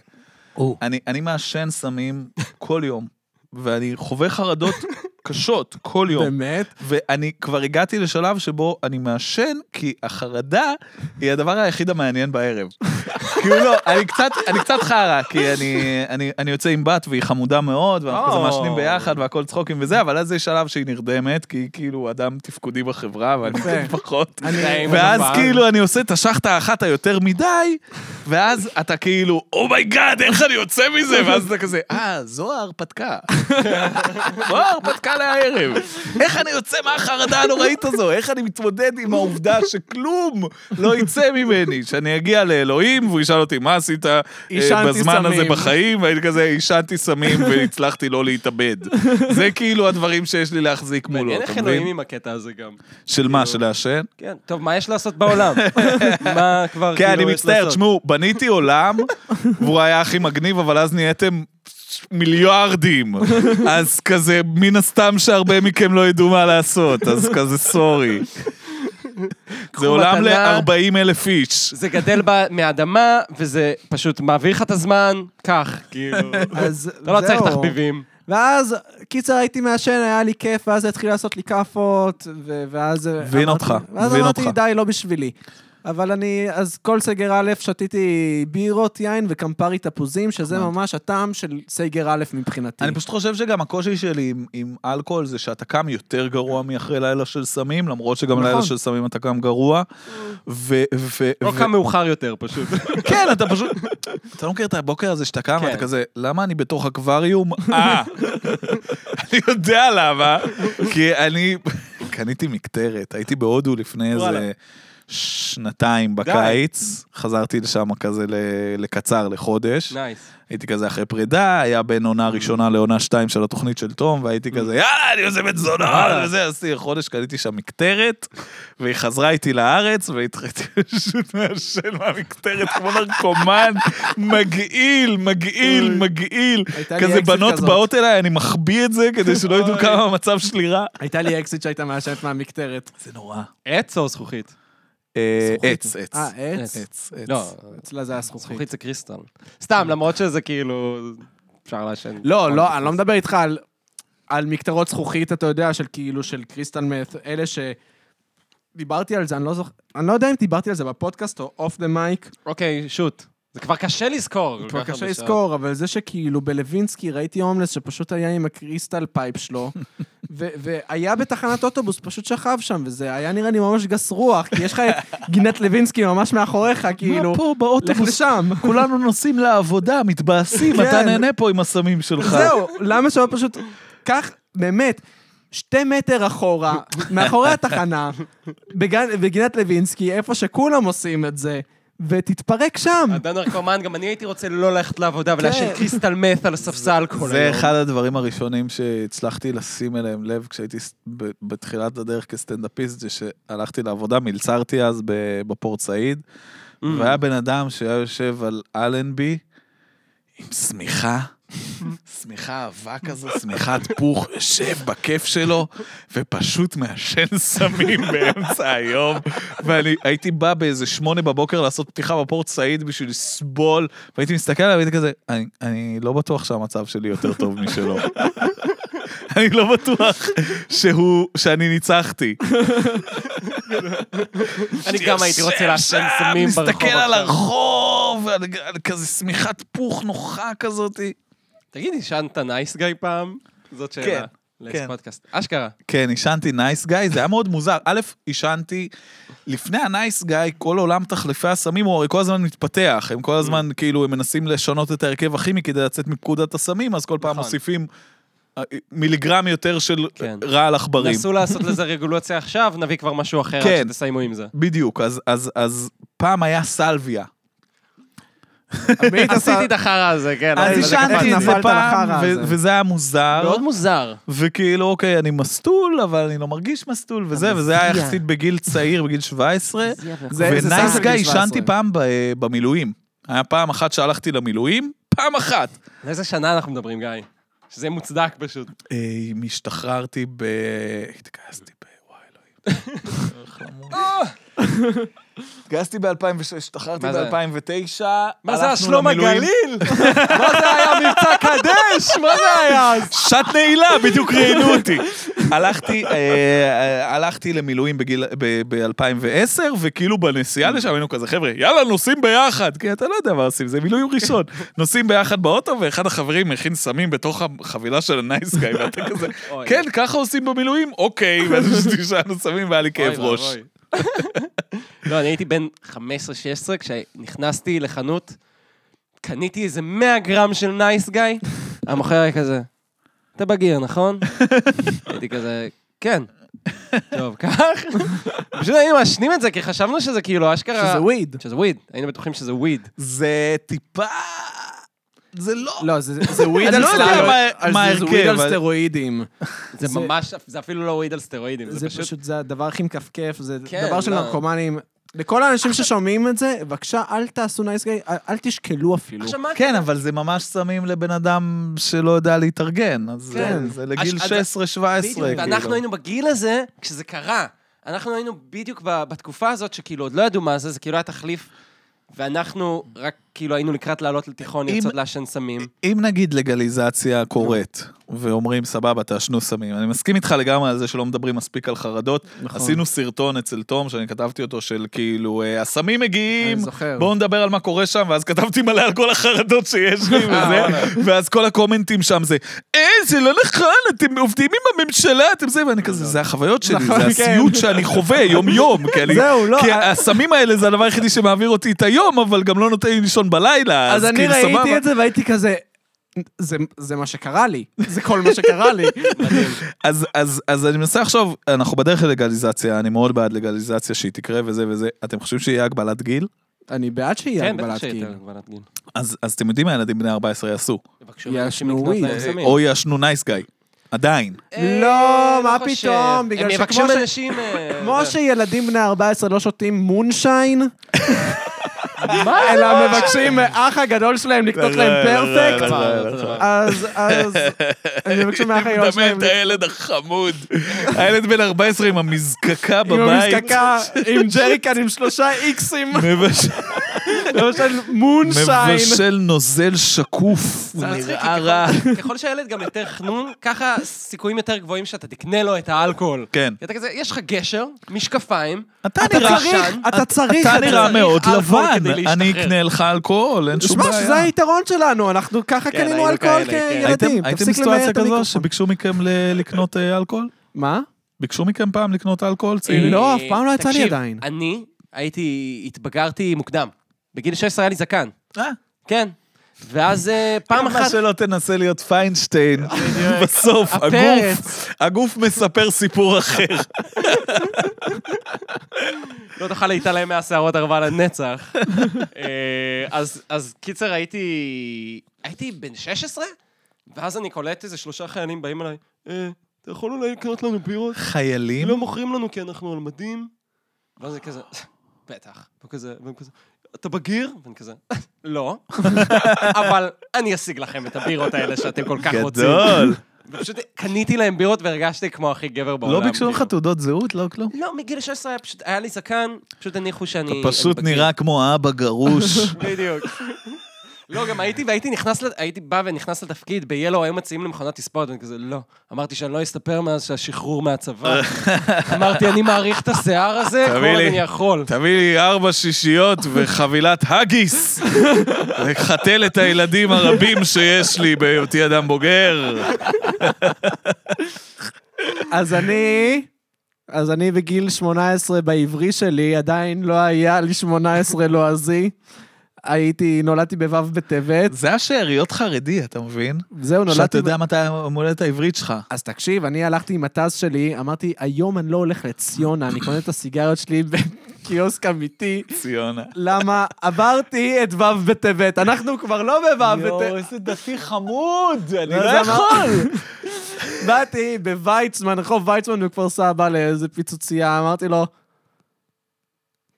Speaker 3: או.
Speaker 2: אני, אני מעשן סמים כל יום, ואני חווה חרדות קשות כל
Speaker 1: לא.
Speaker 2: יום.
Speaker 3: באמת?
Speaker 2: ואני כבר הגעתי לשלב שבו אני מעשן, כי החרדה היא הדבר היחיד המעניין בערב. כאילו לא, אני קצת, אני קצת חרא, כי אני, אני, אני יוצא עם בת והיא חמודה מאוד, ואנחנו כזה
Speaker 1: או.
Speaker 2: מעשנים ביחד והכל צחוקים וזה, אבל אז יש שלב שהיא נרדמת, כי היא כאילו אדם תפקודי בחברה, ואני
Speaker 3: יפה.
Speaker 2: קצת פחות.
Speaker 1: די,
Speaker 2: ואז
Speaker 1: אבל-
Speaker 2: כאילו אני עושה את השחטה האחת היותר מדי, ואז אתה כאילו, אומייגאד, איך אני יוצא מזה? ואז אתה כזה, אה, זו
Speaker 1: לא,
Speaker 2: ההרפתקה. זו ההרפתקה לערב. איך אני יוצא מהחרדה הנוראית הזו? איך אני מתמודד עם העובדה שכלום לא יצא ממני? שאני אגיע לאלוהים והוא ישאל אותי, מה עשית אה,
Speaker 3: עישנתי
Speaker 2: בזמן הזה
Speaker 3: סמים."
Speaker 2: בחיים? והייתי כזה, עישנתי סמים והצלחתי לא להתאבד. זה כאילו הדברים שיש לי להחזיק מולו,
Speaker 1: מעניין איך
Speaker 2: אתה מבין?
Speaker 1: אלוהים עם הקטע הזה גם.
Speaker 2: של מה, של לעשן?
Speaker 1: כן, טוב, מה יש לעשות בעולם? מה כבר
Speaker 2: כן, אני
Speaker 1: כאילו יש
Speaker 2: מצטער,
Speaker 1: לעשות?
Speaker 2: תשמעו, בניתי עולם, והוא היה הכי מגניב, אבל אז נהייתם מיליארדים. אז כזה, מן הסתם שהרבה מכם לא ידעו מה לעשות, אז כזה סורי. זה עולם
Speaker 1: מתנה.
Speaker 2: ל-40 אלף איש.
Speaker 1: זה גדל ב- מהאדמה, וזה פשוט מעביר לך את הזמן, כך, כאילו.
Speaker 3: אז
Speaker 1: אתה לא צריך
Speaker 3: זהו.
Speaker 1: תחביבים.
Speaker 3: ואז, קיצר, הייתי מעשן, היה לי כיף, ואז זה התחיל לעשות לי כאפות, ו- ואז...
Speaker 2: מבין
Speaker 3: אמרתי-
Speaker 2: אותך,
Speaker 3: ואז
Speaker 2: מבין
Speaker 3: אמרתי,
Speaker 2: אותך.
Speaker 3: די, לא בשבילי. אבל אני, אז כל סגר א' שתיתי בירות, יין וקמפרי תפוזים, שזה ממש הטעם של סגר א' מבחינתי.
Speaker 2: אני פשוט חושב שגם הקושי שלי עם, עם אלכוהול זה שאתה קם יותר גרוע מאחרי לילה של סמים, למרות שגם לילה
Speaker 3: נכון.
Speaker 2: של סמים אתה קם גרוע. ו... ו-
Speaker 1: או לא
Speaker 2: ו-
Speaker 1: קם מאוחר יותר, פשוט.
Speaker 2: כן, אתה פשוט... אתה לא מכיר את הבוקר הזה שאתה קם,
Speaker 1: כן.
Speaker 2: אתה כזה, למה אני בתוך אקווריום? אה, אני יודע למה, כי אני קניתי מקטרת, הייתי בהודו לפני
Speaker 1: וואלה.
Speaker 2: איזה שנתיים בקיץ, חזרתי לשם כזה ל- לקצר, לחודש.
Speaker 1: נייס.
Speaker 2: הייתי כזה אחרי פרידה, היה בין
Speaker 3: Mm.
Speaker 2: עונה ראשונה לעונה שתיים של התוכנית של תום, והייתי כזה, יאללה, אני עושה בן זונה, וזה, עשיתי חודש, קניתי שם מקטרת, והיא חזרה איתי לארץ, והתחלתי פשוט מעשן מהמקטרת כמו נרקומן, מגעיל, מגעיל, מגעיל.
Speaker 3: הייתה לי
Speaker 2: כזה
Speaker 3: אקזיט
Speaker 2: בנות
Speaker 3: כזאת.
Speaker 2: באות אליי, אני מחביא את זה כדי שלא ידעו כמה המצב שלי רע.
Speaker 3: הייתה לי אקזיט שהייתה מעשנת מהמקטרת.
Speaker 2: זה נורא.
Speaker 1: עץ או זכוכית?
Speaker 2: אה, עץ, עץ.
Speaker 3: אה, עץ?
Speaker 2: עץ, עץ.
Speaker 1: לא,
Speaker 3: אצלה זה היה זכוכית.
Speaker 1: זכוכית זה קריסטל. סתם, למרות שזה כאילו... אפשר לעשן.
Speaker 3: לא, לא, אני לא מדבר איתך על, על מקטרות זכוכית, אתה יודע, של כאילו, של קריסטל מת, אלה ש... דיברתי על זה, אני לא זוכר, אני לא יודע אם דיברתי על זה בפודקאסט או אוף דה מייק,
Speaker 1: אוקיי, שוט. זה כבר קשה לזכור. כל
Speaker 3: כבר
Speaker 1: כך
Speaker 3: קשה
Speaker 1: הרבה שעות.
Speaker 3: לזכור, אבל זה שכאילו בלווינסקי ראיתי הומלס שפשוט היה עם הקריסטל פייפ שלו, ו- והיה בתחנת אוטובוס, פשוט שכב שם, וזה היה נראה לי ממש גס רוח, כי יש לך את גינת לוינסקי ממש מאחוריך, כאילו,
Speaker 2: מה פה
Speaker 3: לך
Speaker 2: באוטובוס?
Speaker 3: לשם.
Speaker 2: כולנו נוסעים לעבודה, מתבאסים, אתה
Speaker 3: כן.
Speaker 2: נהנה פה עם הסמים שלך.
Speaker 3: זהו, למה שלא פשוט... קח, באמת, שתי מטר אחורה, מאחורי התחנה, בגן- בגינת לוינסקי, איפה שכולם עושים את זה, ותתפרק שם.
Speaker 1: אדם נרקומן, גם אני הייתי רוצה לא ללכת לעבודה
Speaker 3: כן.
Speaker 1: ולעשן קריסטל מת על הספסל כל היום.
Speaker 2: זה אחד הדברים הראשונים שהצלחתי לשים אליהם לב כשהייתי ס- ב- בתחילת הדרך כסטנדאפיסט, זה שהלכתי לעבודה, מלצרתי אז ב- בפורט סעיד,
Speaker 1: Mm.
Speaker 2: והיה בן אדם שהיה יושב על אלנבי עם שמיכה. שמיכה אבק כזו, שמיכת פוך, יושב בכיף שלו, ופשוט מעשן סמים באמצע היום. ואני הייתי בא באיזה שמונה בבוקר לעשות פתיחה בפורט סעיד בשביל לסבול, והייתי מסתכל עליו, והייתי כזה, אני, אני לא בטוח שהמצב שלי יותר טוב משלו. אני לא בטוח שהוא, שאני ניצחתי.
Speaker 1: אני גם הייתי רוצה לעשן סמים ברחוב.
Speaker 2: מסתכל על
Speaker 1: עכשיו.
Speaker 2: הרחוב, על, על כזה שמיכת פוך נוחה כזאתי.
Speaker 1: תגיד, עישנת נייס גיא פעם? זאת
Speaker 2: כן,
Speaker 1: שאלה.
Speaker 2: כן.
Speaker 1: לפודקאסט. אשכרה.
Speaker 2: כן, עישנתי נייס גיא, זה היה מאוד מוזר. א', עישנתי, לפני הנייס גיא, כל עולם תחליפי הסמים הוא הרי כל הזמן מתפתח. הם כל
Speaker 1: Mm.
Speaker 2: הזמן, כאילו, הם מנסים לשנות את ההרכב הכימי כדי לצאת מפקודת הסמים, אז כל פעם
Speaker 1: נכון.
Speaker 2: מוסיפים אה, מיליגרם יותר של
Speaker 1: כן.
Speaker 2: רעל עכברים.
Speaker 1: נסו לעשות לזה רגולציה עכשיו, נביא כבר משהו אחר
Speaker 2: כן.
Speaker 1: עד שתסיימו עם זה.
Speaker 2: בדיוק, אז- אז- אז פעם היה סלוויה.
Speaker 1: עשיתי את החרא הזה, כן.
Speaker 2: אז
Speaker 1: אבל זה כבר-
Speaker 2: עישנתי את זה
Speaker 3: לא, נפלת
Speaker 2: פעם,
Speaker 3: לחרא
Speaker 2: ו-
Speaker 3: הזה. לא?
Speaker 2: וזה היה מוזר.
Speaker 1: מאוד מוזר.
Speaker 2: וכאילו, אוקיי, אני מסטול, אבל אני לא מרגיש מסטול וזה, וזה היה יחסית בגיל צעיר, בגיל 17.
Speaker 3: זה- זה סם
Speaker 2: ונייס
Speaker 3: של
Speaker 2: גיא
Speaker 3: גיל 17.
Speaker 2: עישנתי פעם ב- במילואים. היה פעם אחת שהלכתי למילואים, פעם אחת.
Speaker 1: על איזה שנה אנחנו מדברים, גיא? שזה יהיה מוצדק פשוט.
Speaker 2: אה, אם השתחררתי ב... התגייסתי ב... וואי, אלוהים. איך למות. התגייסתי ב-2006, השתחררתי
Speaker 1: מה זה?
Speaker 2: ב-2009.
Speaker 1: מה זה השלום הגליל? מה זה היה מבצע קדש? מה זה היה? אז?
Speaker 2: שעת נעילה, בדיוק ראיינו אותי. הלכתי, אה, אה, הלכתי למילואים ב-2010, וכאילו בנסיעה לשם היינו כזה, חבר'ה, יאללה, נוסעים ביחד. כי אתה לא יודע מה עושים, זה מילואים ראשון. נוסעים ביחד באוטו, ואחד החברים הכין סמים בתוך החבילה של הנייס גאי, ואתה כזה,
Speaker 1: אוי.
Speaker 2: כן, ככה עושים במילואים? אוקיי, ואז תשענו סמים והיה לי כאב
Speaker 1: אוי
Speaker 2: ראש.
Speaker 1: ואבוי. לא, אני הייתי בן 15-16 כשנכנסתי לחנות, קניתי איזה 100 גרם של נייס גיא, המוכר היה כזה, אתה בגיר, נכון? הייתי כזה, כן. טוב, כך. פשוט היינו מעשנים את זה, כי חשבנו שזה כאילו אשכרה...
Speaker 3: שזה וויד.
Speaker 1: שזה וויד, היינו בטוחים שזה וויד.
Speaker 2: זה טיפה... זה לא...
Speaker 3: לא, זה- זה וויד
Speaker 2: אני
Speaker 3: על
Speaker 2: לא יודע
Speaker 3: סטרואיד-
Speaker 2: מה-
Speaker 3: אז
Speaker 2: מה
Speaker 3: זה- זה וויד על
Speaker 2: ההרכב, אבל-
Speaker 3: סטרואידים.
Speaker 1: זה ממש, זה אפילו לא וויד על סטרואידים,
Speaker 3: זה פשוט, זה הדבר הכי מכפכף, זה
Speaker 1: כן,
Speaker 3: דבר של
Speaker 1: לא.
Speaker 3: נרקומנים. לכל האנשים ששומעים את זה, בבקשה, אל תעשו נייס גיא, אל- אל תשקלו אפילו.
Speaker 1: עכשיו, מה
Speaker 2: כן, אבל זה ממש סמים לבן אדם שלא יודע להתארגן, אז
Speaker 1: כן.
Speaker 2: זה- זה לגיל
Speaker 1: אז-
Speaker 2: 16-17,
Speaker 1: אז-
Speaker 2: כאילו.
Speaker 1: בדיוק, ואנחנו היינו בגיל הזה כשזה קרה. אנחנו היינו בדיוק ב- בתקופה הזאת שכאילו עוד לא ידעו מה זה, זה כאילו היה תחליף, ואנחנו רק כאילו היינו לקראת לעלות לתיכון,
Speaker 2: אם-
Speaker 1: לרצות לעשן סמים.
Speaker 2: אם נגיד לגליזציה קורית, ואומרים, סבבה, תעשנו סמים, אני מסכים איתך לגמרי על זה שלא מדברים מספיק על חרדות.
Speaker 3: נכון.
Speaker 2: עשינו סרטון אצל תום, שאני כתבתי אותו, של כאילו, אה, הסמים מגיעים,
Speaker 3: אני זוכר.
Speaker 2: בואו נדבר על מה קורה שם, ואז כתבתי מלא על כל החרדות שיש
Speaker 3: אה,
Speaker 2: לי וזה, ואז כל הקומנטים שם זה, אה, זה לא נכון, אתם עובדים עם הממשלה, אתם זה, ואני כזה, זה החוויות שלי, זה
Speaker 3: לא. נכון,
Speaker 2: הסיוט שאני חווה יום-יום, כי אני-
Speaker 3: זהו, לא,
Speaker 2: כי
Speaker 3: אה-
Speaker 2: הסמים האלה זה הדבר היחידי שמעביר אותי את היום, אבל גם לא נותן לי לישון בלילה,
Speaker 3: אז אני
Speaker 2: כאילו,
Speaker 3: ראיתי
Speaker 2: סבבה.
Speaker 3: את זה והייתי כזה, זה- זה מה שקרה לי, זה כל מה שקרה לי.
Speaker 2: אז, אז, אז אני מנסה לחשוב, אנחנו בדרך ללגליזציה, אני מאוד בעד לגליזציה שהיא תקרה וזה וזה. אתם חושבים שיהיה הגבלת גיל?
Speaker 3: אני בעד שיהיה
Speaker 1: כן, בטח
Speaker 3: הגבלת גיל.
Speaker 1: שהייתה הגבלת גיל.
Speaker 2: אז, אז אתם יודעים מה ילדים בני 14 יעשו.
Speaker 1: יבקשו מאנשים לקנות
Speaker 3: ישנווי.
Speaker 1: להם סמים.
Speaker 2: או יעשנו נייס גיא. עדיין.
Speaker 1: אה,
Speaker 3: לא,
Speaker 1: לא
Speaker 3: מה
Speaker 1: חושב.
Speaker 3: פתאום, בגלל
Speaker 1: הם
Speaker 3: שכמו
Speaker 1: יבקשו
Speaker 3: ש-
Speaker 1: מאנשים... אה,
Speaker 3: כמו שילדים בני 14 לא שותים מונשיין,
Speaker 1: מה?
Speaker 3: אלא מבקשים מהאח הגדול שלהם לקנות להם פרפקט,
Speaker 1: לא, לא, לא, לא.
Speaker 3: אז, אז, הם מבקשים מהאח הגדול
Speaker 2: מדמה
Speaker 3: שלהם
Speaker 2: את הילד החמוד. הילד בן 14 עם המזקקה
Speaker 3: עם
Speaker 2: בבית.
Speaker 3: המזקקה, עם ג'ריקן, עם שלושה איקסים,
Speaker 2: מבשל-
Speaker 3: למשל מונשיין.
Speaker 2: מבשל נוזל שקוף, הוא
Speaker 1: זה מצחיק,
Speaker 2: נראה
Speaker 1: כי ככל-
Speaker 2: רע.
Speaker 1: ככל שהילד גם יותר חנון, ככה סיכויים יותר גבוהים שאתה תקנה לו את האלכוהול.
Speaker 2: כן.
Speaker 1: כי אתה כזה, יש לך גשר, משקפיים,
Speaker 2: אתה
Speaker 1: אתה
Speaker 2: נראה-
Speaker 1: צריך,
Speaker 3: אתה צריך
Speaker 2: אתה
Speaker 3: את
Speaker 2: נראה
Speaker 1: צריך
Speaker 2: מאוד
Speaker 1: אלכוהול כדי
Speaker 2: לבן, אני
Speaker 1: להשתחרר.
Speaker 2: אקנה לך אלכוהול, אין שום
Speaker 3: שמע,
Speaker 2: בעיה.
Speaker 3: שזה היתרון שלנו, אנחנו
Speaker 1: כן,
Speaker 3: ככה קנינו
Speaker 1: היינו
Speaker 3: אלכוהול
Speaker 1: כאלה, כן.
Speaker 3: כילדים,
Speaker 2: הייתם
Speaker 3: תפסיק למייר
Speaker 2: בסיטואציה
Speaker 3: את
Speaker 2: כזו
Speaker 3: המיקרופון.
Speaker 2: שביקשו מכם ל- לקנות אה, אלכוהול?
Speaker 3: מה?
Speaker 2: ביקשו מכם פעם לקנות אלכוהול צעירים?
Speaker 3: לא,
Speaker 1: אה,
Speaker 3: אף פעם לא יצא לי
Speaker 1: תקשיב,
Speaker 3: עדיין.
Speaker 1: אני הייתי, התבגרתי מוקדם. בגיל 16 היה לי זקן,
Speaker 2: אה,
Speaker 1: כן. ואז אה,
Speaker 3: לא
Speaker 1: פעם
Speaker 2: כמה
Speaker 1: אחת...
Speaker 2: שלא תנסה להיות פיינשטיין, בסוף הגוף-
Speaker 1: הפרץ.
Speaker 2: הגוף מספר סיפור אחר.
Speaker 1: לא תוכל להתעלם מהשערות הרבה לנצח. אה, אז, אז קיצר, הייתי... הייתי בן 16, ואז אני קולט איזה שלושה חיילים באים אליי, אה, אתה יכול אולי לקנות לנו בירות?
Speaker 2: חיילים?
Speaker 1: לא מוכרים לנו כי אנחנו על מדים. ואז אני כזה, בטח. וכזה, והם כזה, אתה בגיר? ואני כזה, לא. אבל אני אשיג לכם את הבירות האלה שאתם כל כך רוצים.
Speaker 2: גדול.
Speaker 1: ופשוט קניתי להם בירות והרגשתי כמו הכי גבר בעולם.
Speaker 2: לא ביקשו לך
Speaker 1: כאילו.
Speaker 2: תעודות זהות? לא כלום?
Speaker 1: לא, מגיל 16 היה פשוט, היה לי זקן, פשוט הניחו שאני...
Speaker 2: אתה פשוט
Speaker 1: אני בגיר.
Speaker 2: נראה כמו האבא גרוש.
Speaker 1: בדיוק. לא, גם הייתי, והייתי נכנס, לת- הייתי בא ונכנס לתפקיד, ביאלו היו מציעים למכונת תספורת, ואני כזה, לא. אמרתי שאני לא אסתפר מאז שהשחרור מהצבא. אמרתי, אני מעריך את השיער הזה, כל
Speaker 2: תביא
Speaker 1: עוד
Speaker 2: לי.
Speaker 1: אני יכול.
Speaker 2: תביא לי ארבע שישיות וחבילת הגיס. לחתל את הילדים הרבים שיש לי בהיותי אדם בוגר.
Speaker 3: אז אני... אז אני בגיל 18 בעברי שלי, עדיין לא היה לי 18 לועזי. הייתי, נולדתי בו' בטבת,
Speaker 2: זה השאריות חרדי, אתה מבין?
Speaker 3: זהו, נולדתי...
Speaker 2: שאתה
Speaker 3: ב-
Speaker 2: יודע מתי יום הולדת העברית שלך.
Speaker 3: אז תקשיב, אני הלכתי עם הטס שלי, אמרתי, היום אני לא הולך לציונה, אני קונה את הסיגריות שלי בקיוסק אמיתי.
Speaker 2: ציונה.
Speaker 3: למה עברתי את ו' בטבת, אנחנו כבר לא בו' בטבת.
Speaker 2: איזה דתי חמוד, אני
Speaker 3: לא יכול. באתי בוויצמן, רחוב ויצמן בכפר סבא לאיזה פיצוצייה, אמרתי לו,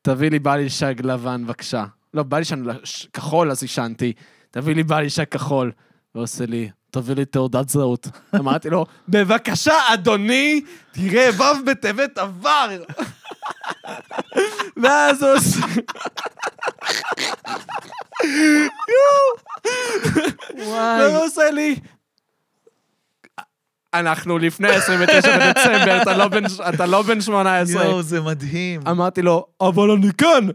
Speaker 3: תביא לי בלישג לבן בבקשה. לא, בלישג לש- כחול אז עישנתי, תביא לי בלישג כחול. ועושה לי, תביא לי תעודת זהות. אמרתי לו, בבקשה, אדוני, תראה, ו' בטבת עבר. ואז הוא עושה...
Speaker 2: לא,
Speaker 3: והוא לא, עושה לי... אנחנו לפני 29 בדצמבר, אתה לא בן- אתה לא בן 18.
Speaker 2: יואו, זה מדהים.
Speaker 3: אמרתי לו, אבל אני כאן,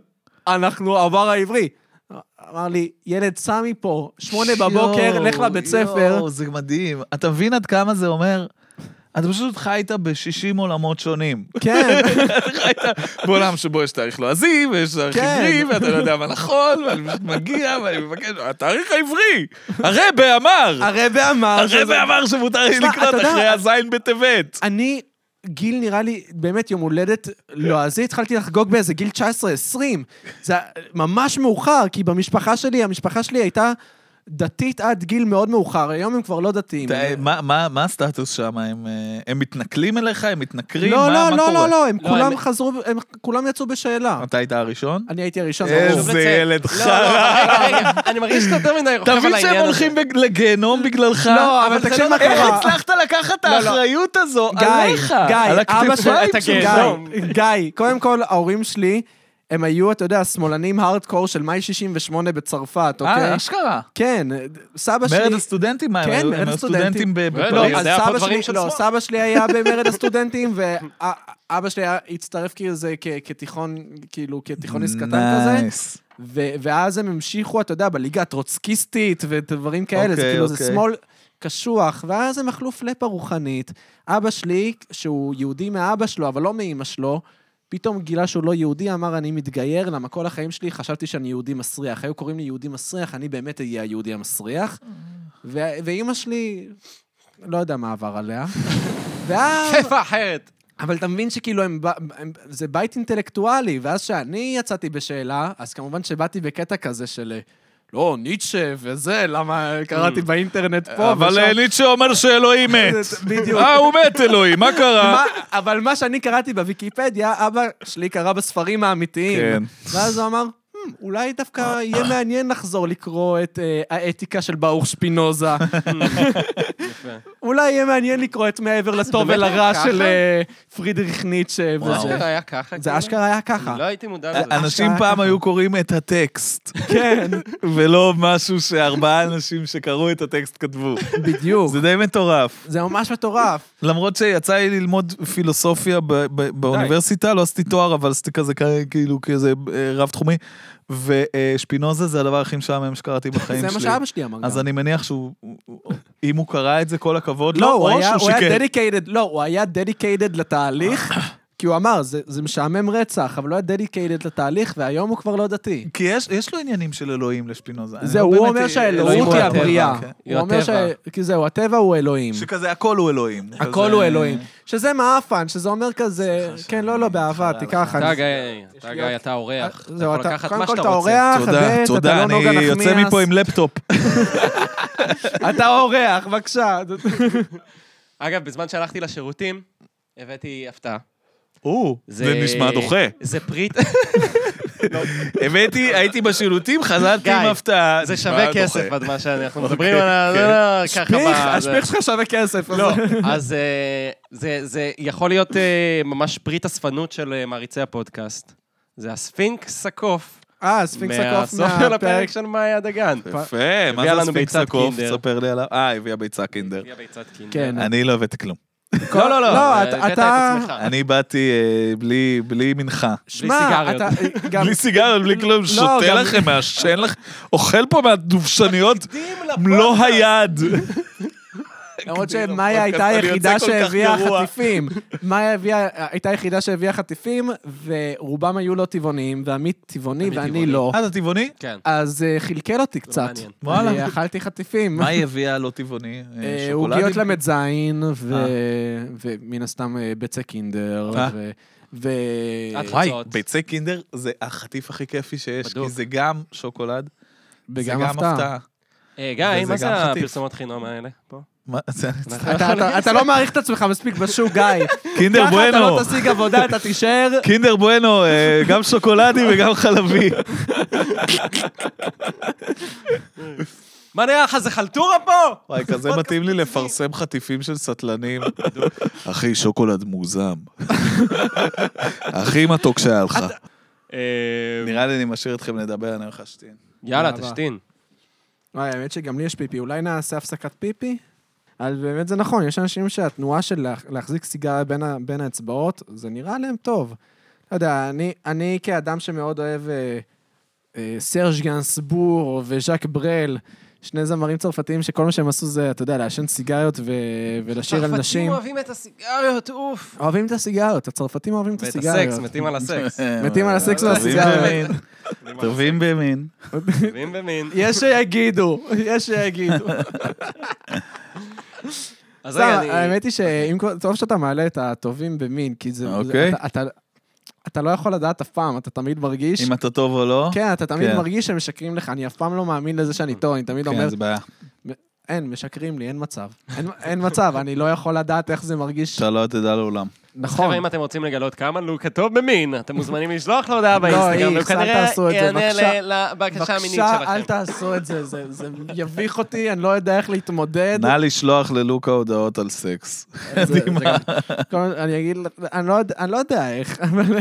Speaker 3: אנחנו עבר העברי. אמר לי, ילד סמי פה, שמונה בבוקר,
Speaker 2: יואו,
Speaker 3: לך לבית ספר.
Speaker 2: יואו, זה מדהים. אתה מבין עד כמה זה אומר? אתה פשוט חיית ב-60 עולמות שונים.
Speaker 3: כן,
Speaker 2: בעולם שבו יש תאריך לועזי, ויש תאריך
Speaker 3: כן.
Speaker 2: עברי, ואתה לא יודע מה נכון, ואני פשוט מגיע, ואני מבקש, התאריך העברי! הרבה אמר!
Speaker 3: הרבי אמר שזה...
Speaker 2: הרבה אמר שמותר לי
Speaker 3: שמע,
Speaker 2: לקנות
Speaker 3: אתה יודע-
Speaker 2: אחרי הזין בטבת.
Speaker 3: אני, גיל נראה לי, באמת יום הולדת לועזי, התחלתי לחגוג באיזה גיל 19-20. זה היה ממש מאוחר, כי במשפחה שלי, המשפחה שלי הייתה דתית עד גיל מאוד מאוחר, היום הם כבר לא דתיים.
Speaker 2: אתה-
Speaker 3: הם-
Speaker 2: מה- מה מה הסטטוס שם? הם, אה, הם מתנכלים אליך? הם מתנכרים? מה-
Speaker 3: לא,
Speaker 2: מה
Speaker 3: לא, לא,
Speaker 2: קורה?
Speaker 3: לא, לא, הם
Speaker 1: לא,
Speaker 3: כולם
Speaker 1: הם-
Speaker 3: חזרו, הם כולם יצאו בשאלה.
Speaker 2: אתה היית הראשון?
Speaker 3: אני הייתי הראשון,
Speaker 2: איזה
Speaker 3: ברור.
Speaker 1: חשוב לציין.
Speaker 2: ילד
Speaker 1: לא, לא,
Speaker 2: חרא.
Speaker 1: רגע, רגע, אני מרגיש שאתה יותר מדי רוכב על
Speaker 2: אתה
Speaker 1: העניין
Speaker 2: מבין
Speaker 1: הזה.
Speaker 2: שהם הולכים בג- לגיהנום בגללך?
Speaker 3: לא, אבל
Speaker 1: אבל זה
Speaker 3: תקשיב
Speaker 1: לא
Speaker 3: מה
Speaker 1: נכון.
Speaker 2: איך
Speaker 3: קרה.
Speaker 2: הצלחת לקחת את
Speaker 3: לא.
Speaker 2: האחריות הזו
Speaker 3: גיא,
Speaker 2: עליך? על
Speaker 3: גיא, אבא
Speaker 2: הכתפיים
Speaker 3: של...
Speaker 2: כן. לא.
Speaker 1: את
Speaker 2: שלך?
Speaker 1: הגזע. גיהנום.
Speaker 3: גיא, גיא, קודם כל, ההורים שלי, הם היו, אתה יודע, שמאלנים הארדקור של מאי 68 בצרפת,
Speaker 2: אה,
Speaker 3: אוקיי?
Speaker 2: אשכרה.
Speaker 3: כן, סבא שלי...
Speaker 2: מרד הסטודנטים, מה, הם
Speaker 3: כן,
Speaker 2: היו-
Speaker 3: מרד
Speaker 2: הם היו סטודנטים
Speaker 3: הסטודנטים.
Speaker 2: ב-
Speaker 1: לא,
Speaker 2: בפריז?
Speaker 1: אז יודע פה
Speaker 3: סבא
Speaker 1: דברים
Speaker 3: שלי,
Speaker 1: של
Speaker 3: לא,
Speaker 1: שמאל.
Speaker 3: סבא שלי היה במרד הסטודנטים, ואבא שלי היה- הצטרף כאילו זה כ- כתיכון, כאילו כתיכוניסט קטן כזה,
Speaker 2: נייס.
Speaker 3: ו- ואז הם המשיכו, אתה יודע, בליגה הטרוצקיסטית ודברים כאלה, זה
Speaker 2: אוקיי,
Speaker 3: כאילו, זה
Speaker 2: אוקיי.
Speaker 3: שמאל קשוח, ואז הם אכלו פלאפה רוחנית. אבא שלי, שהוא יהודי מאבא שלו, אבל לא מאימא שלו, פתאום גילה שהוא לא יהודי, אמר, אני מתגייר, למה כל החיים שלי חשבתי שאני יהודי מסריח. היו קוראים לי יהודי מסריח, אני באמת אהיה היהודי המסריח. ו- ואימא שלי, לא יודע מה עבר עליה. ואז...
Speaker 1: כיפה אחרת.
Speaker 3: אבל אתה מבין שכאילו, הם, ב- הם, זה בית אינטלקטואלי, ואז כשאני יצאתי בשאלה, אז כמובן שבאתי בקטע כזה של, לא, ניטשה וזה, למה קראתי
Speaker 1: Mm.
Speaker 3: באינטרנט פה
Speaker 2: אבל אה, ניטשה אומר שאלוהים מת.
Speaker 3: בדיוק.
Speaker 2: אה, הוא מת, אלוהים, מה קרה?
Speaker 3: מה- אבל מה שאני קראתי בוויקיפדיה, אבא שלי קרא בספרים האמיתיים.
Speaker 2: כן.
Speaker 3: ואז הוא אמר, "Hmm, אולי דווקא יהיה מעניין לחזור לקרוא את אה, האתיקה של ברוך שפינוזה. אולי יהיה מעניין לקרוא את מעבר לטוב
Speaker 1: באמת היה
Speaker 3: ולרע
Speaker 1: ככה?
Speaker 3: של אה, פרידריך ניטשה.
Speaker 1: זה
Speaker 3: וזה."
Speaker 1: אשכרה היה ככה?
Speaker 3: זה
Speaker 1: כאילו?
Speaker 3: אשכרה אה, היה ככה.
Speaker 1: לא הייתי מודע לזה.
Speaker 2: אה, אנשים פעם היו קוראים את הטקסט,
Speaker 3: כן,
Speaker 2: ולא משהו שארבעה אנשים שקראו את הטקסט כתבו.
Speaker 3: בדיוק.
Speaker 2: זה די מטורף.
Speaker 3: זה ממש מטורף.
Speaker 2: למרות שיצא לי ללמוד פילוסופיה ב- ב- באוניברסיטה, לא עשיתי תואר, אבל עשיתי כזה כ- כאילו כזה אה, רב-תחומי, ושפינוזה זה הדבר הכי משעמם שקראתי בחיים
Speaker 3: זה
Speaker 2: שלי.
Speaker 3: מה שאבא שלי אמר.
Speaker 2: אז
Speaker 3: גם.
Speaker 2: אני מניח שהוא, הוא- הוא- אם הוא קרא את זה, כל הכבוד
Speaker 3: לא,
Speaker 2: לו,
Speaker 3: הוא
Speaker 2: או
Speaker 3: היה-
Speaker 2: שהוא
Speaker 3: הוא היה
Speaker 2: שיקר.
Speaker 3: דדיקיידד, לא, הוא היה דדיקיידד לתהליך, כי הוא אמר, "זה- זה משעמם רצח, אבל הוא היה דדיקיידד לתהליך, והיום הוא כבר לא דתי.
Speaker 2: כי יש, יש לו עניינים של אלוהים לשפינוזה. אני
Speaker 3: זהו,
Speaker 2: לא
Speaker 3: הוא
Speaker 2: באמת-
Speaker 3: אומר
Speaker 2: אלוהים
Speaker 3: שהאלוהות
Speaker 2: הוא
Speaker 3: היא
Speaker 2: הטבע,
Speaker 3: הבריאה.
Speaker 2: כן.
Speaker 1: היא
Speaker 3: הוא אומר ש...
Speaker 1: הטבע.
Speaker 3: כי זהו, הטבע הוא אלוהים.
Speaker 2: שכזה הכל הוא אלוהים.
Speaker 3: הכל
Speaker 2: כזה- אה,
Speaker 3: הוא אלוהים. שזה מעפן, שזה אומר כזה, כן, לא, לא, באהבה, תיקח.
Speaker 1: אתה
Speaker 3: אני-
Speaker 1: גיא, אה, אתה גיא, אתה
Speaker 2: אה,
Speaker 1: אורח. אתה
Speaker 3: אה, זהו,
Speaker 1: יכול
Speaker 3: אתה-
Speaker 1: לקחת
Speaker 3: קודם
Speaker 1: מה
Speaker 3: כל
Speaker 1: שאתה
Speaker 3: אתה
Speaker 1: רוצה.
Speaker 3: אורח, ב',
Speaker 2: תודה,
Speaker 3: אתה
Speaker 2: תודה,
Speaker 3: לא
Speaker 2: אני
Speaker 3: נוגה
Speaker 2: יוצא
Speaker 3: נחמיאס.
Speaker 2: מפה עם לפטופ.
Speaker 3: אתה אורח, בבקשה.
Speaker 1: אגב, בזמן שהלכתי לשירותים, הבאתי הפתעה.
Speaker 2: או, זה נשמע דוחה.
Speaker 1: זה פריט...
Speaker 2: הבאתי, הייתי בשילוטים, חזרתי
Speaker 1: גיא,
Speaker 2: עם הפתעה.
Speaker 1: זה
Speaker 2: נשמע
Speaker 1: שווה
Speaker 2: דוחה.
Speaker 1: כסף, עד מה שאנחנו מדברים על ה... לא, לא, ככה
Speaker 3: השפיך,
Speaker 1: ב- זה-
Speaker 3: השפיך שלך שווה כסף. אז-
Speaker 1: לא, אז אה, זה- זה יכול להיות אה, ממש פריט אספנות של אה, מעריצי הפודקאסט. זה הספינקס הקוף.
Speaker 3: אה, ספינקס הקוף
Speaker 1: מהסוף של
Speaker 3: מהפרק
Speaker 1: הפרק של מאיה דגן.
Speaker 2: יפה, מה
Speaker 1: הביאה
Speaker 2: זה
Speaker 1: לנו
Speaker 2: הספיקס
Speaker 1: ביצת
Speaker 2: הקוף?
Speaker 1: קינדר.
Speaker 2: ספר לי עליו. אה, הביאה ביצה קינדר.
Speaker 1: הביאה ביצת קינדר.
Speaker 3: כן.
Speaker 2: אני לא הבאתי כלום.
Speaker 1: לא, לא, לא.
Speaker 3: לא,
Speaker 1: הבאת את
Speaker 3: אתה-
Speaker 1: עצמך.
Speaker 2: אני באתי אה, בלי- בלי מנחה.
Speaker 3: שמע, אתה... גם- לא,
Speaker 2: בלי סיגריות, בלי כלום, שותה
Speaker 3: גם-
Speaker 2: לכם, מעשן לכם, אוכל פה מהדובשניות
Speaker 1: לא
Speaker 2: מלוא היד.
Speaker 3: למרות
Speaker 2: כדי
Speaker 3: שמאיה
Speaker 2: לפודקאסט,
Speaker 3: הייתה
Speaker 2: אני
Speaker 3: היחידה
Speaker 2: יוצא כל כך
Speaker 3: שהביאה
Speaker 2: גרוע.
Speaker 3: חטיפים. מאיה הביאה- הייתה היחידה שהביאה חטיפים, ורובם היו לא טבעוניים, ועמית טבעוני
Speaker 1: עמית
Speaker 3: ואני
Speaker 1: טבעוני.
Speaker 3: לא.
Speaker 2: אה, אתה טבעוני? לא
Speaker 1: כן.
Speaker 3: אז אה, קלקל אותי קצת.
Speaker 1: מעניין.
Speaker 2: וואלה.
Speaker 3: אני אכלתי חטיפים.
Speaker 2: מה היא הביאה לא טבעוני? אה,
Speaker 3: אה,
Speaker 2: שוקולדים?
Speaker 3: עוגיות ל"ז, ו- ומן הסתם אה, ביצי קינדר,
Speaker 2: אה.
Speaker 3: ו- ו-
Speaker 1: את-
Speaker 2: וואי,
Speaker 1: תוצאות.
Speaker 2: ביצי קינדר זה החטיף הכי כיפי שיש,
Speaker 1: בדוק.
Speaker 2: כי זה גם שוקולד, זה
Speaker 3: וגם
Speaker 2: גם
Speaker 3: הפתעה.
Speaker 2: הפתעה.
Speaker 1: אה, גיא,
Speaker 2: וזה
Speaker 1: מה זה
Speaker 2: גם חטיף.
Speaker 1: הפרסומות חינם האלה? פה.
Speaker 2: מה, זה-
Speaker 3: אתה- אתה- אתה לא מעריך את עצמך מספיק בשוק, גיא.
Speaker 2: קינדר
Speaker 3: ככה אתה
Speaker 2: בואנו,
Speaker 3: לא תשיג עבודה, אתה תישאר.
Speaker 2: קינדר בואנו, אה, גם שוקולדי וגם חלבי.
Speaker 1: מה נראה לך, זה חלטורה פה?
Speaker 2: וואי, כזה מתאים לי לפרסם חטיפים של סטלנים. אחי, שוקולד מוגזם. הכי מתוק שהיה לך.
Speaker 1: אה,
Speaker 2: נראה לי אני משאיר אתכם לדבר, אני הולך להשתין.
Speaker 1: יאללה,
Speaker 3: יאללה.
Speaker 1: תשתין.
Speaker 3: וואי, האמת שגם לי יש פיפי, אולי נעשה הפסקת פיפי? אז באמת זה נכון, יש אנשים שהתנועה של לה- להחזיק סיגריה בין, ה- בין האצבעות, זה נראה להם טוב. לא יודע, אני, אני כאדם שמאוד אוהב אה, אה, סרז' גנסבור וז'אק ברל, שני זמרים צרפתיים שכל מה שהם עשו זה, אתה יודע, לעשן סיגריות ו, ולשיר על נשים.
Speaker 1: אוהבים את הסיגריות, אוף.
Speaker 3: אוהבים את הסיגריות, הצרפתים אוהבים את
Speaker 1: ואת
Speaker 3: הסיגריות.
Speaker 1: הסקס, מתים על הסקס.
Speaker 3: מתים על הסקס ועל
Speaker 2: אה, טובים
Speaker 3: הסיגריות.
Speaker 2: במין, טובים במין.
Speaker 1: טובים במין.
Speaker 3: יש שיגידו, יש שיגידו.
Speaker 1: אז
Speaker 3: סתם,
Speaker 1: רגע, אני...
Speaker 3: לא, האמת היא שאם כבר- טוב שאתה מעלה את הטובים במין, כי זה... זה-
Speaker 2: אוקיי.
Speaker 3: אתה- אתה- אתה לא יכול לדעת אף פעם, אתה תמיד מרגיש...
Speaker 2: אם אתה טוב או לא.
Speaker 3: כן, אתה תמיד
Speaker 2: כן.
Speaker 3: מרגיש שהם משקרים לך, אני אף פעם לא מאמין לזה שאני טוב, אני תמיד אומר,
Speaker 2: כן, זה בעיה.
Speaker 3: אין, משקרים לי, אין מצב. אין- אין מצב, אני לא יכול לדעת איך זה מרגיש.
Speaker 2: אתה לא תדע לעולם.
Speaker 3: נכון.
Speaker 1: חבר'ה, אם אתם רוצים לגלות כמה לוק הטוב במין, אתם מוזמנים לשלוח לו הודעה
Speaker 3: איקס,
Speaker 1: באינסטגרם,
Speaker 3: אל
Speaker 1: והוא כנראה
Speaker 3: לא, תעשו את זה,
Speaker 1: יענה
Speaker 3: בבקשה.
Speaker 1: ל- לבקשה המינית
Speaker 3: בבקשה, אל
Speaker 1: שלכם.
Speaker 3: תעשו את זה, זה זה יביך אותי, אני לא יודע איך להתמודד.
Speaker 2: נא לשלוח ללוקה הודעות על סקס.
Speaker 3: זה- זה גם- כל- אני אגיד, אני לא יודע- אני לא יודע איך, אבל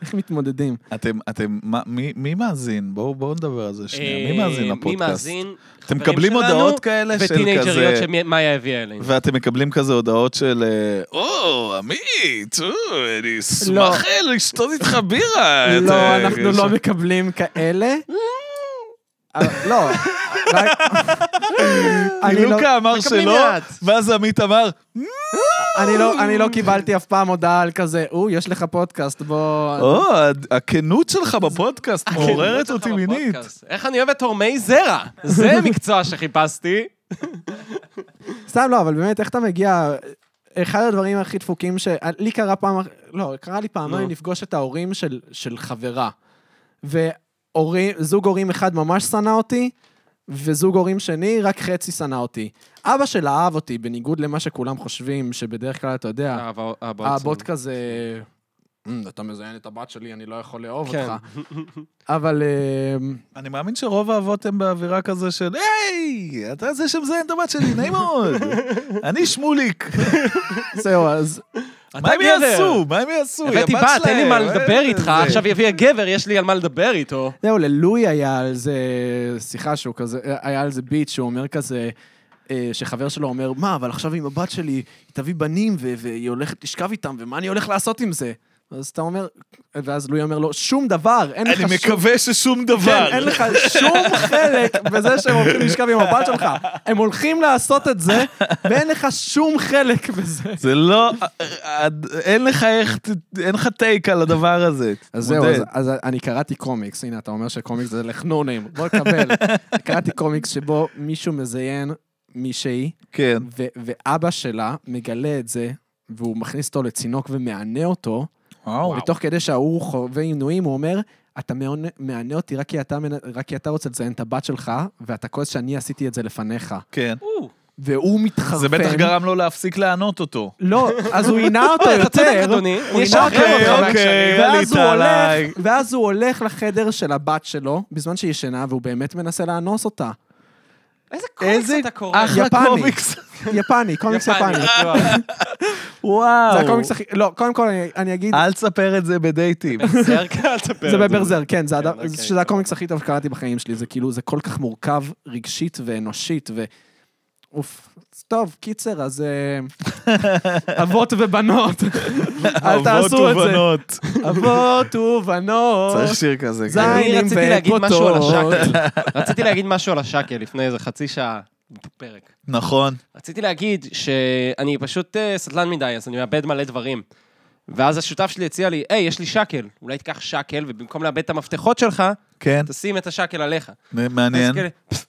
Speaker 3: איך מתמודדים.
Speaker 2: אתם, אתם, מה- מי- מי מאזין? בואו בואו נדבר על זה שנייה. מי מאזין
Speaker 1: אה, מי
Speaker 2: לפודקאסט?
Speaker 1: מאזין?
Speaker 2: אתם
Speaker 1: חברים
Speaker 2: מקבלים
Speaker 1: שלנו
Speaker 2: הודעות כאלה של
Speaker 1: וטינג'ריות
Speaker 2: כזה... כן.
Speaker 1: שמאיה הביאה אלינו.
Speaker 2: ואתם מקבלים כזה הודעות של, אה, או, עמית, או, אני
Speaker 3: לא.
Speaker 2: אשמח אה, לשתות איתך בירה. את,
Speaker 3: לא,
Speaker 2: אה,
Speaker 3: אנחנו
Speaker 2: יש-
Speaker 3: לא מקבלים כאלה. אבל- לא. רק- אני לא-
Speaker 2: לוקה אמר
Speaker 1: מקבלים
Speaker 2: שלא,
Speaker 1: מעט.
Speaker 2: ואז עמית אמר,
Speaker 3: אני לא- אני לא קיבלתי אף פעם הודעה על כזה, או, יש לך פודקאסט, בוא...
Speaker 2: או, הכנות שלך בפודקאסט מעוררת אותי מינית.
Speaker 1: איך אני אוהב את תורמי זרע. זה מקצוע שחיפשתי,
Speaker 3: סתם לא, אבל באמת, איך אתה מגיע... אחד הדברים הכי דפוקים ש... אה, לי קרה פעם... אח- לא, קרה לי פעמיים
Speaker 1: נו.
Speaker 3: לפגוש את ההורים של, של חברה. וזוג הורים אחד ממש שנא אותי, וזוג הורים שני, רק חצי שנא אותי. אבא שלה אהב אותי, בניגוד למה שכולם חושבים, שבדרך כלל, אתה יודע, הבוט כזה... "אמ, אתה מזיין את הבת שלי, אני לא יכול לאהוב
Speaker 1: כן.
Speaker 3: אותך. אבל... אמ,
Speaker 2: אני מאמין שרוב האבות הם באווירה כזה של, היי, אתה זה שמזיין את הבת שלי, נעים מאוד. אני שמוליק.
Speaker 3: זהו, אז...
Speaker 2: מה הם
Speaker 1: הגבר?
Speaker 2: יעשו? מה הם יעשו? היא
Speaker 1: הבאתי
Speaker 2: הבת
Speaker 1: בת, אין לי מה
Speaker 2: שלהם,
Speaker 1: לדבר
Speaker 2: אה,
Speaker 1: איתך,
Speaker 2: זה.
Speaker 1: עכשיו יביא הגבר, יש לי על מה לדבר איתו.
Speaker 3: זהו, ללואי היה על זה שיחה שהוא כזה, היה על זה ביט שהוא אומר כזה, אה, שחבר שלו אומר, מה, אבל עכשיו עם הבת שלי, היא תביא בנים ו- והיא הולכת לשכב איתם, ומה אני הולך לעשות עם זה? אז אתה אומר, ואז לואי אומר לו, שום דבר, אין לך
Speaker 2: אני
Speaker 3: שום...
Speaker 2: מקווה ששום
Speaker 3: כן,
Speaker 2: דבר.
Speaker 3: אין לך שום חלק בזה שהם הולכים לשכב עם הבת שלך. הם הולכים לעשות את זה, ואין לך שום חלק בזה.
Speaker 2: זה לא, אין לך איך, אין לך טייק על הדבר הזה.
Speaker 3: אז זהו,
Speaker 2: מודד.
Speaker 3: אז, אז אני קראתי קומיקס, הנה, אתה אומר שקומיקס זה לחנונים, בוא תקבל. קראתי קומיקס שבו מישהו מזיין מישהי,
Speaker 2: כן.
Speaker 3: ו- ואבא שלה מגלה את זה, והוא מכניס אותו לצינוק ומענה אותו,
Speaker 2: וואו.
Speaker 3: ותוך כדי שההוא חווה עינויים, הוא אומר, אתה מעונה- מענה אותי רק כי אתה, מנ- רק כי אתה רוצה לציין את הבת שלך, ואתה כועס שאני עשיתי את זה לפניך.
Speaker 2: כן.
Speaker 3: והוא מתחרפן.
Speaker 2: זה בטח גרם לו להפסיק לענות אותו.
Speaker 3: לא, אז הוא עינה אותו יותר.
Speaker 1: אתה צודק, אדוני.
Speaker 3: הוא
Speaker 1: אני
Speaker 3: עינה אותו
Speaker 1: אשחרר
Speaker 3: יותר.
Speaker 1: אותך.
Speaker 2: אוקיי,
Speaker 3: ואז הוא
Speaker 2: עלית
Speaker 3: הולך-
Speaker 2: עליי.
Speaker 3: ואז הוא הולך לחדר של הבת שלו, בזמן שהיא ישנה, והוא באמת מנסה לאנוס אותה.
Speaker 1: איזה קומיקס
Speaker 2: איזה
Speaker 1: אתה קורא?
Speaker 2: אחלה
Speaker 3: יפני.
Speaker 2: קומיקס.
Speaker 3: אה, יפני, קומיקס יפני.
Speaker 1: בטוח.
Speaker 2: וואו. אה,
Speaker 3: זה הקומיקס הכי... לא, קודם כל אני- אני אגיד,
Speaker 2: אל תספר את זה בדייטים.
Speaker 1: ברזרקה, אל תספר.
Speaker 3: זה
Speaker 1: את
Speaker 3: בברזר, כן, זה הדבר-
Speaker 1: אוקיי,
Speaker 3: שזה הקומיקס הכי טוב שקראתי בחיים שלי, זה כאילו, זה כל כך מורכב רגשית ואנושית, ו... אוף, אז טוב, קיצר, אז אה, אבות ובנות, אל תעשו את זה.
Speaker 2: זה.
Speaker 3: אבות ובנות.
Speaker 2: צריך שיר כזה. כן.
Speaker 3: זין.
Speaker 1: אני רציתי
Speaker 3: עניינים
Speaker 1: להגיד משהו על
Speaker 3: ופוטות.
Speaker 1: השקיה. רציתי להגיד משהו על השקיה לפני איזה חצי שעה בפרק.
Speaker 2: נכון.
Speaker 1: רציתי להגיד שאני פשוט אה, סטלן מדי, אז אני מאבד מלא דברים. ואז השותף שלי הציע לי, היי, יש לי שקל, אולי תיקח שקל, ובמקום לאבד את המפתחות שלך,
Speaker 2: כן.
Speaker 1: תשים את השקל עליך.
Speaker 2: מ-
Speaker 1: אז
Speaker 2: מעניין.
Speaker 3: כאילו-
Speaker 1: כאלה,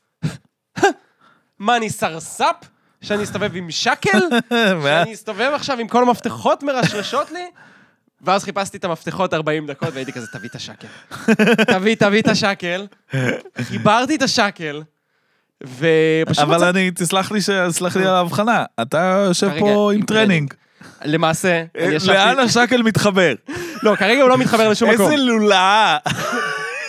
Speaker 1: מה, אני סרספ? שאני אסתובב עם שקל?
Speaker 2: מה?
Speaker 1: שאני אסתובב עכשיו עם כל המפתחות מרשרשות לי? ואז חיפשתי את המפתחות 40 דקות, והייתי כזה, תביא את השקל. תביא, תביא את השקל. חיברתי את השקל, ופשוט
Speaker 2: אבל
Speaker 1: מצאתי...
Speaker 2: אני, תסלח לי ש- סלח לי על ההבחנה. אתה יושב
Speaker 1: כרגע
Speaker 2: פה
Speaker 1: עם
Speaker 2: עם טרנינג.
Speaker 1: למעשה, אני
Speaker 2: אה, לאן
Speaker 1: ישבתי...
Speaker 2: השקל מתחבר?
Speaker 1: לא, כרגע הוא לא מתחבר לשום מקום.
Speaker 2: איזה לולאה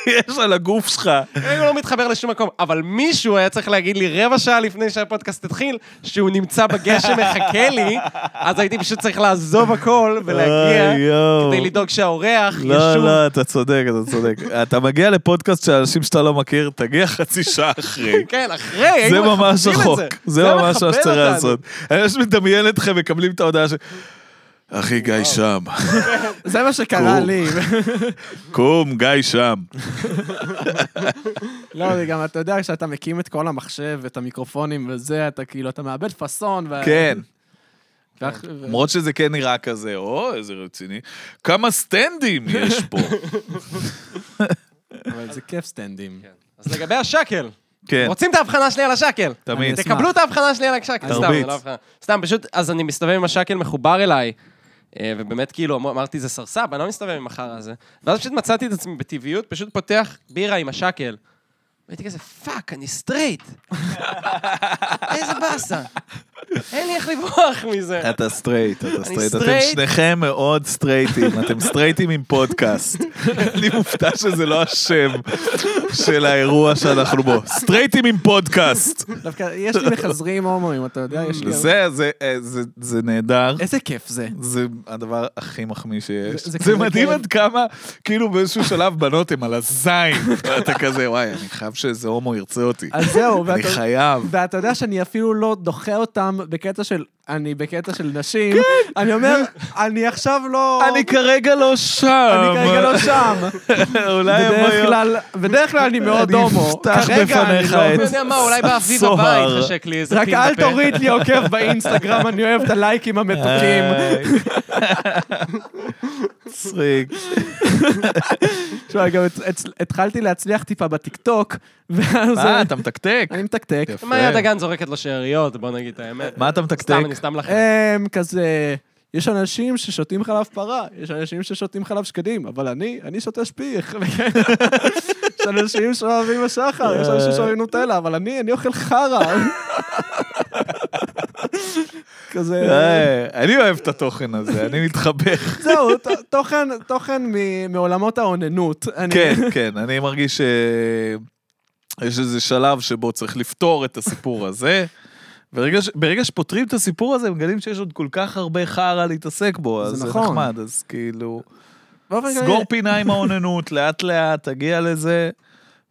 Speaker 2: יש על הגוף שלך.
Speaker 1: כרגע הוא לא מתחבר לשום מקום. אבל מישהו היה צריך להגיד לי רבע שעה לפני שהפודקאסט התחיל, שהוא נמצא בגשם, מחכה לי, אז הייתי פשוט צריך לעזוב הכל ולהגיע,
Speaker 2: אוי, יואו.
Speaker 1: כדי לדאוג שהאורח
Speaker 2: לא,
Speaker 1: ישוב
Speaker 2: לא, אתה צודק, אתה צודק. אתה מגיע לפודקאסט של אנשים שאתה לא מכיר, תגיע חצי שעה אחרי.
Speaker 1: כן, אחרי, היינו
Speaker 2: זה ממש
Speaker 1: מכבדים את
Speaker 2: החוק, זה
Speaker 1: היה
Speaker 2: ממש מה
Speaker 1: מכבד
Speaker 2: שצריך
Speaker 1: אותנו.
Speaker 2: לעשות. אני ממש מדמיין אתכם מקבלים את ההודעה ש... אחי, גיא שם.
Speaker 3: זה מה שקרה
Speaker 2: קור.
Speaker 3: לי.
Speaker 2: קום, גיא שם.
Speaker 3: לא, זה גם, אתה יודע, כשאתה מקים את כל המחשב, את המיקרופונים וזה, אתה כאילו, אתה מאבד פאסון. ו-
Speaker 2: כן.
Speaker 3: ואח- ו-
Speaker 2: למרות שזה כן נראה כזה, או, איזה רציני. כמה סטנדים יש פה.
Speaker 3: אבל זה כיף סטנדים.
Speaker 1: אז לגבי השקל,
Speaker 2: כן,
Speaker 1: רוצים את ההבחנה שלי על השקל?
Speaker 2: תמיד.
Speaker 3: אני אשמח.
Speaker 1: תקבלו את ההבחנה שלי על השקל, סתם,
Speaker 2: תרביץ.
Speaker 1: זה לא הבחנה. סתם, פשוט, אז אני מסתובב עם השקל מחובר אליי, אה, ובאמת, כאילו, אמר- אמרתי, זה סרסב, אני לא מסתובב עם החרא הזה. ואז פשוט מצאתי את עצמי בטבעיות, פשוט פותח בירה עם השקל. והייתי כזה, פאק, אני סטרייט. איזה באסה. אין לי איך לברוח מזה.
Speaker 2: אתה סטרייט, אתה סטרייט. אתם
Speaker 1: סטרייט.
Speaker 2: שניכם מאוד סטרייטים, אתם סטרייטים עם פודקאסט. אני מופתע שזה לא השם של האירוע שאנחנו בו. סטרייטים עם פודקאסט.
Speaker 3: דווקא, יש לי מחזרים הומואים, אתה יודע, יש לי...
Speaker 2: זה, זה, אה, זה- זה נהדר.
Speaker 3: איזה כיף זה.
Speaker 2: זה הדבר הכי מחמיא שיש.
Speaker 3: זה- זה
Speaker 2: זה,
Speaker 3: כזה
Speaker 2: מדהים
Speaker 3: כן.
Speaker 2: עד כמה, כאילו באיזשהו שלב בנות הן על הזין. ואתה כזה, וואי, אני חייב שאיזה הומו ירצה אותי.
Speaker 3: אז זהו,
Speaker 2: אני
Speaker 3: ואתה-
Speaker 2: חייב.
Speaker 3: ואתה יודע שאני אפילו לא דוחה אותם בקטע של, אני בקטע של נשים, אני אומר, אני עכשיו לא...
Speaker 2: כן. אני כרגע לא שם.
Speaker 3: אני כרגע לא שם.
Speaker 2: אולי יבוא
Speaker 3: בדרך
Speaker 2: יום.
Speaker 3: כלל, בדרך כלל אני מאוד הומו.
Speaker 2: אפתח
Speaker 3: כרגע אני
Speaker 2: בפניך
Speaker 3: לא-
Speaker 2: את-
Speaker 1: אוקיי, אני יודע מה, אולי באביב
Speaker 2: הסוהר.
Speaker 1: הבא יתחשק לי איזה
Speaker 3: רק
Speaker 1: פיל
Speaker 3: אל
Speaker 1: בפה.
Speaker 3: תוריד לי עוקב באינסטגרם, אני אוהב את הלייקים המתוקים.
Speaker 2: אה, מצחיק.
Speaker 3: תשמע, גם הצ- הצ- התחלתי להצליח טיפה בטיקטוק, ואז אה,
Speaker 2: מה, אתה מתקתק?
Speaker 3: אני מתקתק.
Speaker 2: יפה.
Speaker 1: מאיה דגן זורקת לו שאריות, בוא נגיד את האמת.
Speaker 2: כן. מה אה, אתה
Speaker 1: סתם,
Speaker 2: מתקתק?
Speaker 1: אני סתם לכם.
Speaker 3: הם אמ, כזה, יש אנשים ששותים חלב פרה, יש אנשים ששותים חלב שקדים, אבל אני, אני שותה שפיך. יש אנשים שאוהבים השחר, יש
Speaker 2: אה.
Speaker 3: אנשים שאוהבים נוטלה, אבל אני, אני אוכל חרא. כזה...
Speaker 2: אה, אני אוהב את התוכן הזה, אני מתחבך.
Speaker 3: זהו, ת- תוכן, תוכן מ- מעולמות האוננות. אני-
Speaker 2: כן, כן, אני מרגיש שיש איזה שלב שבו צריך לפתור את הסיפור הזה. ברגע, ש... ברגע שפותרים את הסיפור הזה, מגלים שיש עוד כל כך הרבה חרא להתעסק בו, אז
Speaker 3: זה
Speaker 2: זה
Speaker 3: נכון.
Speaker 2: נחמד, אז כאילו...
Speaker 3: באופן כללי-
Speaker 2: סגור פינה עם האוננות, לאט-לאט, תגיע לזה,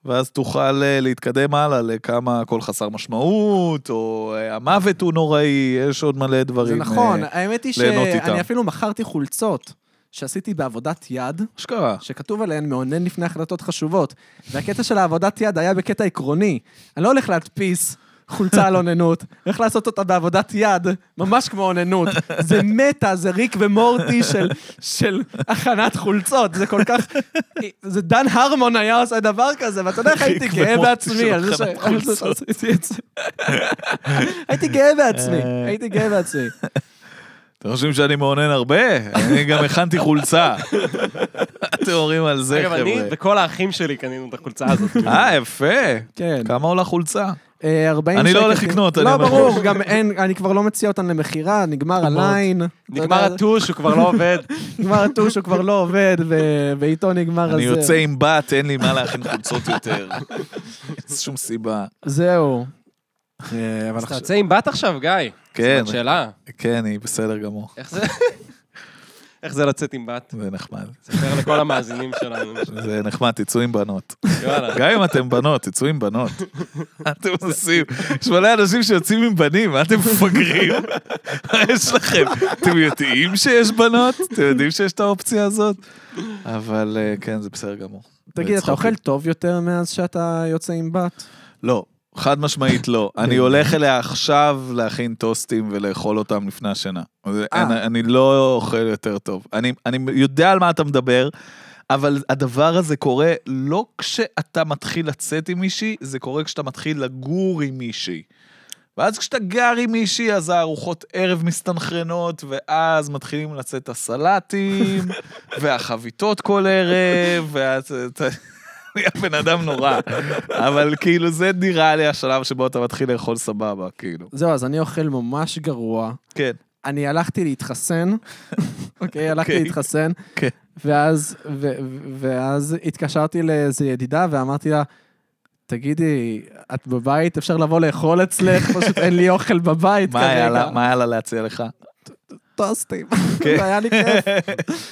Speaker 2: ואז תוכל אה, להתקדם הלאה לכמה הכל חסר משמעות, או אה, המוות הוא נוראי, יש עוד מלא
Speaker 3: זה
Speaker 2: דברים.
Speaker 3: נכון,
Speaker 2: אה,
Speaker 3: האמת היא
Speaker 2: ליהנות איתם.
Speaker 3: שאני אפילו מכרתי חולצות שעשיתי בעבודת יד.
Speaker 2: מה שקרה?
Speaker 3: שכתוב עליהן מאונן לפני החלטות חשובות. והקטע של העבודת יד היה בקטע עקרוני. אני לא הולך להדפיס חולצה על אוננות, הולך לעשות אותה בעבודת יד, ממש כמו אוננות. זה מטה, זה ריק ומורטי של, של הכנת חולצות, זה כל כך... זה דן הרמון היה עושה דבר כזה, ואתה יודע איך הייתי
Speaker 2: ריק
Speaker 3: גאה
Speaker 2: ומורטי
Speaker 3: בעצמי
Speaker 2: של
Speaker 3: על זה ש-
Speaker 2: הכנת
Speaker 3: על זה שעשיתי את זה. הייתי גאה בעצמי, הייתי גאה בעצמי.
Speaker 2: אתם חושבים שאני מאונן הרבה? אני גם הכנתי חולצה. אתם אומרים על זה,
Speaker 1: אגב, אני
Speaker 2: חבר'ה.
Speaker 1: וכל האחים שלי קנינו את החולצה הזאת.
Speaker 2: אה, יפה.
Speaker 3: כן.
Speaker 2: כמה עולה חולצה?
Speaker 3: אה, 40
Speaker 2: אני לא
Speaker 3: שקל.
Speaker 2: הולך לקנות, אני
Speaker 3: לא,
Speaker 2: אומר.
Speaker 3: ברור, גם אין, אני כבר לא מציע אותן למכירה, נגמר הליין.
Speaker 1: נגמר הטוש, הוא כבר לא עובד.
Speaker 3: נגמר הטוש, הוא כבר לא עובד, ו- ואיתו נגמר הזה.
Speaker 2: אני יוצא
Speaker 1: אה,
Speaker 2: עם בת, אין לי מה להכין חולצות יותר. אין שום סיבה.
Speaker 3: זהו.
Speaker 2: אה,
Speaker 1: אז אתה יוצא עם בת עכשיו, גיא.
Speaker 2: כן,
Speaker 1: זאת שאלה.
Speaker 2: כן, היא בסדר גמור.
Speaker 1: איך זה... איך זה לצאת עם בת?
Speaker 2: זה נחמד.
Speaker 1: ספר לכל המאזינים שלנו.
Speaker 2: זה נחמד, תצאו עם בנות.
Speaker 1: יאללה.
Speaker 2: גם אם אתם בנות, תצאו עם בנות. מה אתם עושים? יש מלא אנשים שיוצאים עם בנים, מה אתם מפגרים? מה יש לכם? אתם יודעים שיש בנות? אתם יודעים שיש את האופציה הזאת? אבל אה, כן, זה בסדר גמור.
Speaker 3: תגיד, אתה
Speaker 2: בצחוקים.
Speaker 3: אוכל טוב יותר מאז שאתה יוצא עם בת?
Speaker 2: לא, חד משמעית לא. אני הולך אליה עכשיו להכין טוסטים ולאכול אותם לפני השינה. זה-
Speaker 3: אה.
Speaker 2: אין- אני לא אוכל יותר טוב. אני אני יודע על מה אתה מדבר. אבל הדבר הזה קורה לא כשאתה מתחיל לצאת עם מישהי, זה קורה כשאתה מתחיל לגור עם מישהי. ואז כשאתה גר עם מישהי, אז הארוחות ערב מסתנכרנות, ואז מתחילים לצאת הסלטים, והחביתות כל ערב, ואז אתה... אני הבן אדם נורא. אבל כאילו, זה נראה לי השלב שבו אתה מתחיל לאכול סבבה, כאילו.
Speaker 3: זהו, אז אני אוכל ממש גרוע.
Speaker 2: כן.
Speaker 3: אני הלכתי להתחסן, אוקיי, הלכתי
Speaker 2: אוקיי.
Speaker 3: להתחסן,
Speaker 2: כן.
Speaker 3: ואז, ו- ו- ואז התקשרתי לאיזו ידידה ואמרתי לה, תגידי, את בבית? אפשר לבוא לאכול אצלך? פשוט אין לי אוכל בבית
Speaker 2: מה היה
Speaker 3: כרגע.
Speaker 2: לה- מה היה לה להציע לך?
Speaker 3: טוסטים.
Speaker 2: כן.
Speaker 3: זה היה לי כיף.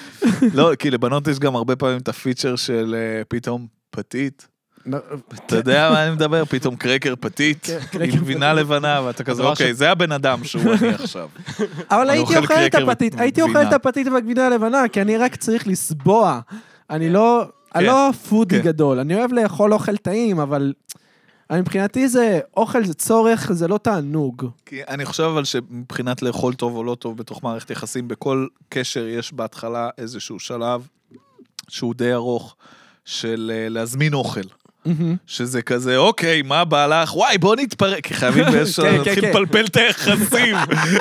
Speaker 2: לא, כי לבנות יש גם הרבה פעמים את הפיצ'ר של אה, פתאום פתית.
Speaker 3: לא,
Speaker 2: אתה יודע מה אני מדבר? פתאום קרקר פתית, עם גבינה לבנה, ואתה כזה,
Speaker 1: הדבר
Speaker 2: אוקיי, זה הבן אדם שהוא אני עכשיו.
Speaker 3: אבל
Speaker 2: אני
Speaker 3: הייתי
Speaker 2: אוכל
Speaker 3: אוכל את
Speaker 2: קרקר
Speaker 3: הפתית, הייתי
Speaker 2: וגבינה.
Speaker 3: אוכל את הפתית והגבינה הלבנה, כי אני רק צריך לסבוע. אני לא, אני
Speaker 2: כן.
Speaker 3: לא פודי
Speaker 2: כן.
Speaker 3: גדול, אני אוהב לאכול אוכל טעים, אבל אני, מבחינתי זה, אוכל זה צורך, זה לא תענוג.
Speaker 2: כי אני חושב אבל שמבחינת לאכול טוב או לא טוב בתוך מערכת יחסים, בכל קשר יש בהתחלה איזשהו שלב שהוא די ארוך של אה, להזמין אוכל. שזה כזה, אוקיי, מה בא לך? וואי, בוא נתפרק, כי חייבים באיזשהו...
Speaker 3: כן, כן,
Speaker 2: להתחיל
Speaker 3: כן.
Speaker 2: לפלפל את היחסים.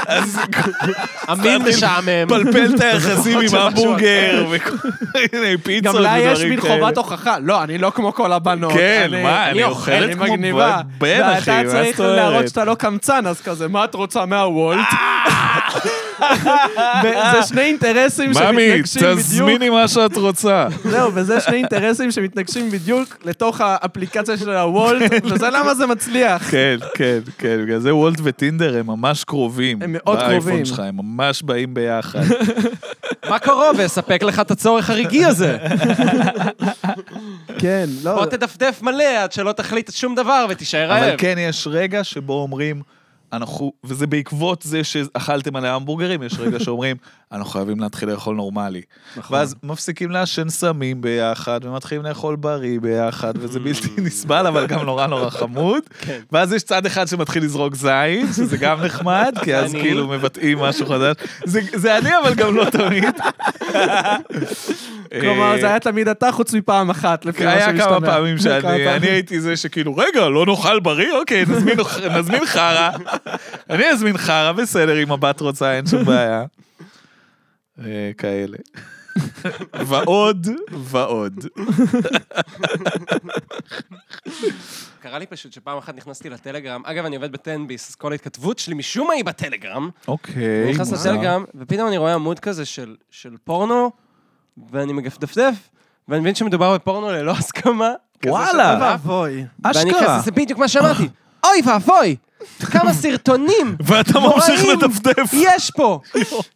Speaker 2: אז
Speaker 1: אמין משעמם.
Speaker 2: פלפל את היחסים עם המבורגר, וכל מיני פיצות
Speaker 3: גם
Speaker 2: ודברים
Speaker 3: לה
Speaker 2: כאלה.
Speaker 3: יש מין חובת הוכחה. לא, אני לא כמו כל הבנות.
Speaker 2: כן, מה, אני אוכלת
Speaker 3: אני
Speaker 2: כמו
Speaker 3: מגניבה.
Speaker 2: בת בן, אחי, מה
Speaker 3: ואתה
Speaker 2: זאת
Speaker 3: צריך
Speaker 2: אומרת?
Speaker 3: להראות שאתה לא קמצן, אז כזה, מה את רוצה מהוולט? וזה שני אינטרסים
Speaker 2: ממי,
Speaker 3: שמתנגשים בדיוק.
Speaker 2: תזמיני מה שאת רוצה.
Speaker 3: זהו, וזה שני אינטרסים שמתנגשים בדיוק לתוך האפליקציה של הוולט, וזה למה זה מצליח.
Speaker 2: כן, כן, כן, בגלל זה וולט וטינדר הם ממש קרובים.
Speaker 3: הם מאוד
Speaker 2: באייפון
Speaker 3: קרובים.
Speaker 2: שלך, הם ממש באים ביחד.
Speaker 1: מה קרוב? אספק לך את הצורך הרגעי הזה.
Speaker 3: כן,
Speaker 1: בוא
Speaker 3: לא.
Speaker 1: תדפדף מלא עד שלא תחליט שום דבר ותישאר
Speaker 2: אבל
Speaker 1: רעב.
Speaker 2: כן, יש רגע שבו אומרים, אנחנו, וזה בעקבות זה שאכלתם עליה המבורגרים, יש רגע שאומרים, אנחנו חייבים להתחיל לאכול נורמלי. ואז מפסיקים לעשן סמים ביחד, ומתחילים לאכול בריא ביחד, וזה בלתי נסבל, אבל גם נורא נורא חמוד.
Speaker 1: כן.
Speaker 2: ואז יש צד אחד שמתחיל לזרוק זין, שזה גם נחמד, כי אז
Speaker 1: אני.
Speaker 2: כאילו מבטאים משהו חדש. זה- זה אני, אבל גם לא תמיד.
Speaker 3: כלומר, זה היה תמיד אתה חוץ מפעם אחת, לפי מה
Speaker 2: היה
Speaker 3: שמשתמע.
Speaker 2: כאילו, כמה פעמים שאני
Speaker 3: פעמים.
Speaker 2: אני הייתי זה שכאילו, רגע, לא נאכל בריא? אוקיי, נזמין- נזמין חרא. אני אזמין חרא, בסדר, אם הבת רוצה, אין שום בעיה. אה, כאלה. ועוד ועוד.
Speaker 1: קרה לי פשוט שפעם אחת נכנסתי לטלגרם, אגב, אני עובד בטנביס, אז כל ההתכתבות שלי משום מה היא בטלגרם.
Speaker 2: אוקיי.
Speaker 1: אני נכנס
Speaker 2: מוזר.
Speaker 1: לטלגרם, ופתאום אני רואה עמוד כזה של, של פורנו, ואני מדפדף, ואני מבין שמדובר בפורנו ללא הסכמה. כזה
Speaker 2: וואלה.
Speaker 1: של טרף,
Speaker 3: אבוי.
Speaker 1: ואני
Speaker 2: אשכרה. אה.
Speaker 1: כזה, זה בדיוק מה שאמרתי. אוי ואבוי! כמה סרטונים
Speaker 2: ואתה ממשיך
Speaker 1: נוראים.
Speaker 2: לדפדף.
Speaker 1: יש פה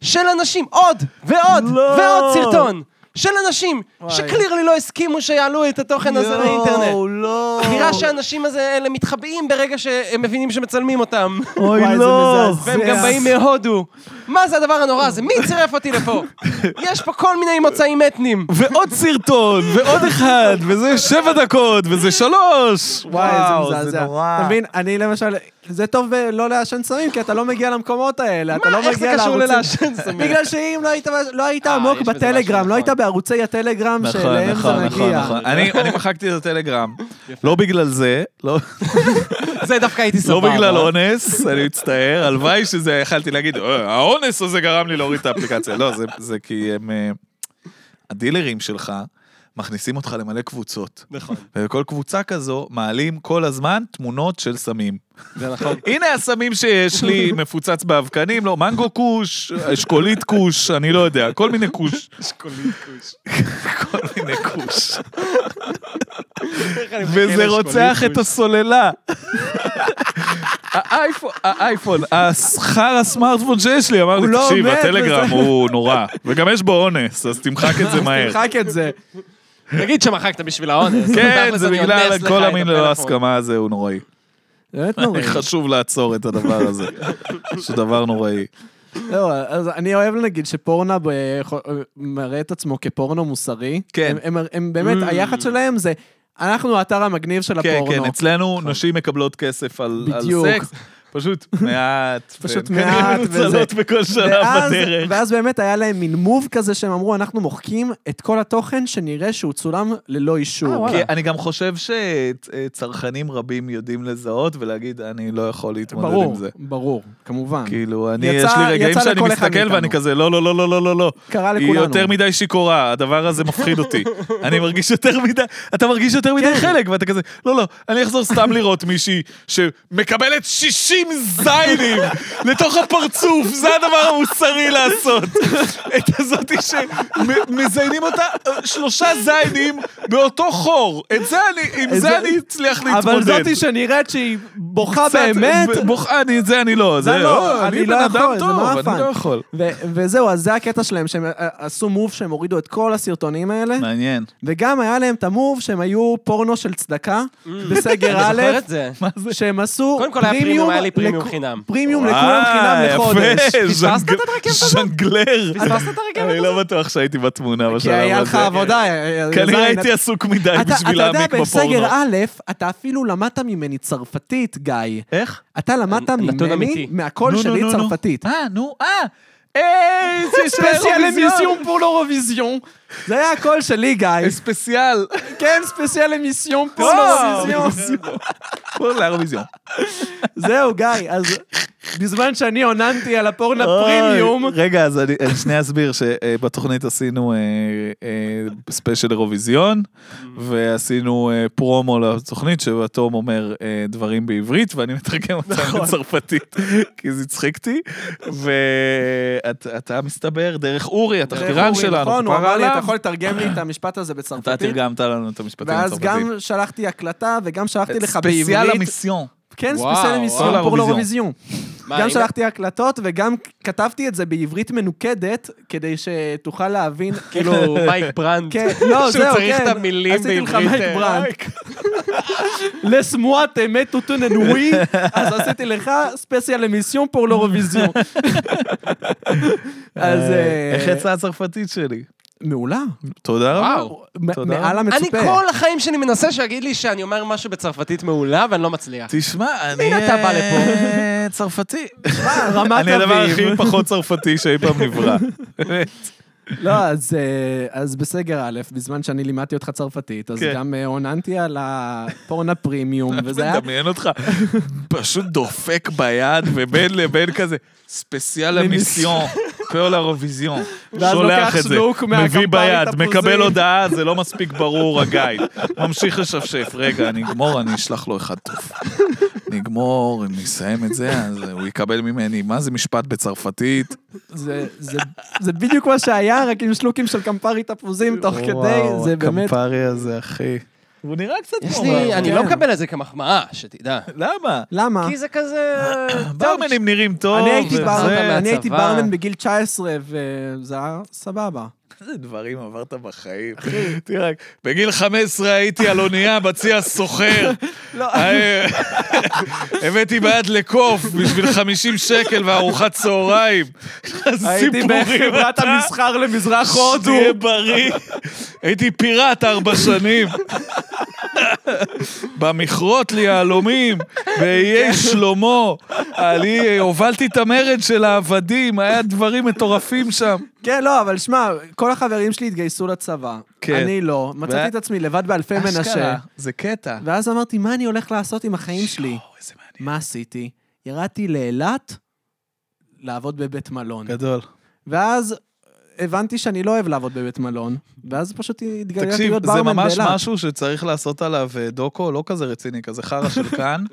Speaker 1: של אנשים, עוד ועוד
Speaker 2: לא.
Speaker 1: ועוד סרטון של אנשים שקלירלי לא הסכימו שיעלו את התוכן הזה לאינטרנט.
Speaker 2: לא.
Speaker 1: נראה שהאנשים הזה, האלה מתחבאים ברגע שהם מבינים שמצלמים אותם.
Speaker 2: אוי,
Speaker 3: וואי, זה
Speaker 2: לא.
Speaker 3: מזעזע.
Speaker 1: והם גם באים מהודו. מה זה הדבר הנורא הזה? מי צירף אותי לפה? יש פה כל מיני מוצאים אתניים.
Speaker 2: ועוד סרטון, ועוד אחד, וזה שבע דקות, וזה שלוש.
Speaker 3: וואי,
Speaker 2: וואו,
Speaker 3: זה מזעזע. אתה מבין, אני למשל, זה טוב ב- לא לעשן סמים, כי אתה לא מגיע למקומות האלה, אתה
Speaker 1: מה,
Speaker 3: לא
Speaker 1: איך זה
Speaker 3: מגיע
Speaker 1: קשור
Speaker 3: לערוצים.
Speaker 1: ללעשן סמים?
Speaker 3: בגלל שאם לא היית- לא היית
Speaker 1: אה,
Speaker 3: עמוק
Speaker 1: יש בזה משהו,
Speaker 3: בטלגרם, לא היית
Speaker 1: נכון.
Speaker 3: בערוצי הטלגרם
Speaker 2: נכון,
Speaker 3: שאליהם זה מגיע.
Speaker 2: אני אני מחקתי את הטלגרם. לא בגלל זה, לא
Speaker 1: זה דווקא הייתי
Speaker 2: לא
Speaker 1: סבבה.
Speaker 2: בגלל אונס, אני מצטער, הלוואי שזה, יכלתי להגיד, "אה, האונס הזה גרם לי להוריד את האפליקציה. לא, זה- זה כי הם... אה, הדילרים שלך מכניסים אותך למלא קבוצות.
Speaker 1: נכון,
Speaker 2: ובכל קבוצה כזו מעלים כל הזמן תמונות של סמים.
Speaker 1: זה נכון.
Speaker 2: הנה הסמים שיש לי, מפוצץ באבקנים, לא, מנגו כוש, אשכולית כוש, אני לא יודע, כל מיני כוש. כל מיני כוש. וזה רוצח את הסוללה. האייפון,
Speaker 1: אה,
Speaker 2: האייפון, השכר הסמארטפון שיש לי, אמר לי,
Speaker 3: לא
Speaker 2: תקשיב,
Speaker 3: עומד
Speaker 2: הטלגרם
Speaker 3: בזה."
Speaker 2: הוא נורא, וגם יש בו אונס, אז תמחק את זה מהר.
Speaker 3: תמחק את זה.
Speaker 1: תגיד שמחקת בשביל האונס.
Speaker 2: כן,
Speaker 1: תכלס,
Speaker 2: זה
Speaker 1: אני
Speaker 2: בגלל
Speaker 1: אונס לך את
Speaker 2: כל המין ללא
Speaker 1: הפלאפון.
Speaker 2: הסכמה הזה, הוא נוראי.
Speaker 3: באמת נוראי.
Speaker 2: חשוב לעצור את הדבר הזה, שדבר נוראי.
Speaker 3: לא, אז אני אוהב נגיד שפורנו ב- יכול- מראה את עצמו כפורנו מוסרי.
Speaker 2: כן.
Speaker 3: הם- הם- הם באמת,
Speaker 1: Mm.
Speaker 3: היחד שלהם זה, אנחנו האתר המגניב של
Speaker 2: כן,
Speaker 3: הפורנו.
Speaker 2: כן, אצלנו נשים מקבלות כסף על על
Speaker 3: נכון. בדיוק.
Speaker 2: סקס. פשוט מעט.
Speaker 3: פשוט
Speaker 2: והן כנראה
Speaker 3: מעט, וזה-
Speaker 2: מנוצלות בכל שלב
Speaker 3: ואז,
Speaker 2: בדרך.
Speaker 3: ואז באמת היה להם מין מוב כזה שהם אמרו, אנחנו מוחקים את כל התוכן שנראה שהוא צולם ללא
Speaker 1: אה,
Speaker 3: אישור.
Speaker 2: כי אני גם חושב שצרכנים רבים יודעים לזהות ולהגיד, אני לא יכול להתמודד עם
Speaker 3: ברור,
Speaker 2: זה.
Speaker 3: ברור, כמובן.
Speaker 2: כאילו, אני,
Speaker 3: יצא-
Speaker 2: יש לי רגעים
Speaker 3: יצא
Speaker 2: שאני
Speaker 3: לכל אחד
Speaker 2: מסתכל
Speaker 3: מאיתנו.
Speaker 2: ואני כזה, לא, לא, לא, לא, לא, לא, לא.
Speaker 3: קרה
Speaker 2: היא
Speaker 3: לכולנו.
Speaker 2: יותר מדי שיכורה, הדבר הזה מפחיד אותי. אני מרגיש יותר מדי, אתה מרגיש יותר
Speaker 3: כן.
Speaker 2: מדי חלק, ואתה כזה, לא, לא, אני אחזור סתם לראות מישהי שמקבלת 60 זיינים לתוך הפרצוף, זה הדבר המוסרי לעשות. את הזאתי שמזיינים אותה אה, שלושה זיינים באותו חור. את זה אני, עם
Speaker 3: את
Speaker 2: זה
Speaker 3: זה-
Speaker 2: אני אצליח להתמודד.
Speaker 3: אבל זאתי שנראית שהיא בוכה
Speaker 2: קצת,
Speaker 3: באמת,
Speaker 2: ב- בוכה, אני, זה אני לא, זה
Speaker 3: זה
Speaker 2: לא,
Speaker 3: לא,
Speaker 2: אני
Speaker 3: אני
Speaker 2: בן
Speaker 3: לא
Speaker 2: אדם
Speaker 3: יכול, זה
Speaker 2: טוב, אני
Speaker 3: מעפן.
Speaker 2: לא יכול.
Speaker 3: ו- וזהו, אז זה הקטע שלהם, שהם אה, עשו מוב שהם הורידו את כל הסרטונים האלה,
Speaker 2: מעניין.
Speaker 3: וגם היה להם את המוב שהם היו פורנו של צדקה, בסגר
Speaker 1: Mm. אני זוכר
Speaker 3: א',
Speaker 1: את זה.
Speaker 3: שהם עשו
Speaker 1: קודם כל היה פרימיום, היה לי פרימיום
Speaker 3: לכ-
Speaker 1: חינם.
Speaker 3: פרימיום לכולם
Speaker 2: אה,
Speaker 3: חינם לחודש.
Speaker 1: פספסת את הרכבת הזאת?
Speaker 2: ז'נגלר.
Speaker 1: פספסת את הרכבת
Speaker 2: אני
Speaker 1: הזאת?
Speaker 2: לא בטוח שהייתי בתמונה בשלב הזה.
Speaker 3: כי היה לך עבודה. אה,
Speaker 2: כנראה
Speaker 3: זין,
Speaker 2: כן. הייתי עסוק מדי
Speaker 3: אתה-
Speaker 2: בשביל להעמיק
Speaker 3: אתה יודע, אה?
Speaker 2: בפורנו.
Speaker 3: בסגר א', אתה אפילו למדת ממני צרפתית, גיא.
Speaker 2: איך?
Speaker 3: אתה למדת
Speaker 1: נ- נתון
Speaker 3: ממני,
Speaker 1: אמיתי.
Speaker 3: מהקול
Speaker 2: נו,
Speaker 3: שלי
Speaker 2: נו, נו, נו.
Speaker 3: צרפתית.
Speaker 2: אה, נו, אה. איזה
Speaker 3: ספיישל אמיסיון פור לאירוויזיון. זה היה הקול שלי, גיא.
Speaker 2: אה,
Speaker 3: לא.
Speaker 2: ספיישל.
Speaker 3: כן, ספיישל אמיסיון פור
Speaker 2: אה,
Speaker 3: לאירוויזיון.
Speaker 2: פור לאירוויזיון.
Speaker 3: זהו, גיא, אז בזמן שאני עוננתי על הפורנה
Speaker 2: אוי,
Speaker 3: פרימיום,
Speaker 2: רגע, אז אני אני שנייה אסביר שבתוכנית עשינו אה, אה, ספיישל אירוויזיון, ועשינו אה, פרומו לתוכנית, שבתום אומר אה, דברים בעברית, ואני מתרגם אותם
Speaker 3: נכון.
Speaker 2: לצרפתית, כי זה הצחיקתי. ואתה מסתבר, דרך אורי, התחקירן
Speaker 3: אורי,
Speaker 2: שלנו,
Speaker 3: נכון, הוא
Speaker 2: כפרה
Speaker 3: אמר לי, אתה
Speaker 2: עליו,
Speaker 3: יכול לתרגם לי את המשפט הזה
Speaker 2: אתה
Speaker 3: בצרפתית?
Speaker 2: תרגמת לנו את המשפטים
Speaker 3: ואז
Speaker 2: הצרפתית.
Speaker 3: גם שלחתי הקלטה וגם שלחתי לך בעברית.
Speaker 2: ספיישל המיסיון.
Speaker 3: כן,
Speaker 1: וואו,
Speaker 3: ספיישל
Speaker 1: וואו.
Speaker 3: אמיסיון, פור לאירוויזיון.
Speaker 1: מה,
Speaker 3: גם
Speaker 1: הנה-
Speaker 3: שלחתי הקלטות וגם כתבתי את זה בעברית מנוקדת, כדי שתוכל להבין, כאילו...
Speaker 1: כאילו, מייק ברנד.
Speaker 3: כן, לא, זהו, כן.
Speaker 1: שהוא צריך את המילים
Speaker 3: עשיתי לך
Speaker 1: בעברית.
Speaker 3: מייק
Speaker 1: אה,
Speaker 3: ברנד.
Speaker 1: מייק.
Speaker 3: Laisse moi t'aimer tout un oui, אז עשיתי לך ספייסל אמיסיון פור לאירוויזיון. אז... אה,
Speaker 2: איך יצאה הצרפתית שלי?
Speaker 3: מעולה.
Speaker 2: תודה רבה.
Speaker 1: וואו.
Speaker 3: מ-
Speaker 2: תודה.
Speaker 3: מעל
Speaker 1: אני
Speaker 3: המצופה.
Speaker 1: כל החיים שלי מנסה שיגיד לי שאני אומר משהו בצרפתית מעולה ואני לא מצליח.
Speaker 2: תשמע, אני...
Speaker 1: אתה בא לפה?
Speaker 2: אה, צרפתי.
Speaker 3: אה, רמת
Speaker 2: אני הדבר הכי
Speaker 3: אביב.
Speaker 2: פחות צרפתי שאי פעם נברא.
Speaker 3: לא, אז, אה, אז בסגר א', בזמן שאני לימדתי אותך צרפתית, אז
Speaker 2: כן.
Speaker 3: גם אה, הוננתי על הפורן הפרימיום, וזה היה...
Speaker 2: מדמיין אותך, פשוט דופק ביד, ובין לבין כזה, ספציאל המיסיון, פאול אירוויזיון.
Speaker 3: ואז
Speaker 2: שולח
Speaker 3: לוקח
Speaker 2: את זה,
Speaker 3: סנוק
Speaker 2: מביא
Speaker 3: מהקמפרי
Speaker 2: ביד,
Speaker 3: תפוזים.
Speaker 2: מקבל הודעה, זה לא מספיק ברור, הגייד. ממשיך לשפשף, רגע, אני אגמור, אני אשלח לו אחד טוב. נגמור, אם נסיים את זה, אז הוא יקבל ממני, מה זה משפט בצרפתית?
Speaker 3: זה, זה, זה בדיוק מה שהיה, רק עם שלוקים של קמפרי תפוזים תוך כדי, זה באמת...
Speaker 2: הקמפרי הזה, אחי. הוא נראה קצת
Speaker 1: יש
Speaker 2: כמו...
Speaker 1: לי, אני
Speaker 3: כן. אה.
Speaker 1: לא מקבל את זה כמחמאה, שתדע.
Speaker 2: למה?
Speaker 3: למה?
Speaker 1: כי זה לא כזה...
Speaker 2: ברמנים נראים טוב.
Speaker 3: אני הייתי
Speaker 2: וזה-
Speaker 1: חזרת
Speaker 3: ברמן, אני
Speaker 1: מהצבא.
Speaker 3: הייתי ברמן בגיל 19, וזה היה סבבה.
Speaker 2: איזה דברים עברת בחיים. תראה, בגיל 15 הייתי על אונייה בצי הסוחר. אה, הבאתי ביד לקוף בשביל 50 שקל וארוחת צהריים.
Speaker 3: הייתי
Speaker 2: סיפורים,
Speaker 3: בחברת
Speaker 2: אתה-
Speaker 3: המסחר למזרח הודו.
Speaker 2: תהיה בריא. הייתי פיראט ארבע שנים. במכרות ליהלומים, באיי שלמה. אני הובלתי את המרד של העבדים, היה דברים מטורפים שם.
Speaker 3: כן, לא, אבל שמע, כל החברים שלי התגייסו לצבא.
Speaker 2: כן.
Speaker 3: אני לא. מצאתי
Speaker 2: ו-
Speaker 3: את עצמי לבד באלפי מנשה.
Speaker 2: זה קטע.
Speaker 3: ואז אמרתי, מה אני הולך לעשות עם החיים שלי?
Speaker 2: או, איזה מעניין.
Speaker 3: מה עשיתי? ירדתי לאילת לעבוד בבית מלון.
Speaker 2: גדול.
Speaker 3: ואז הבנתי שאני לא אוהב לעבוד בבית מלון, ואז פשוט התגלגלתי
Speaker 2: תקשיב,
Speaker 3: להיות
Speaker 2: זה
Speaker 3: ברמן
Speaker 2: ממש
Speaker 3: באילת.
Speaker 2: משהו שצריך לעשות עליו אה, דוקו, לא כזה רציני, כזה חרא של כאן,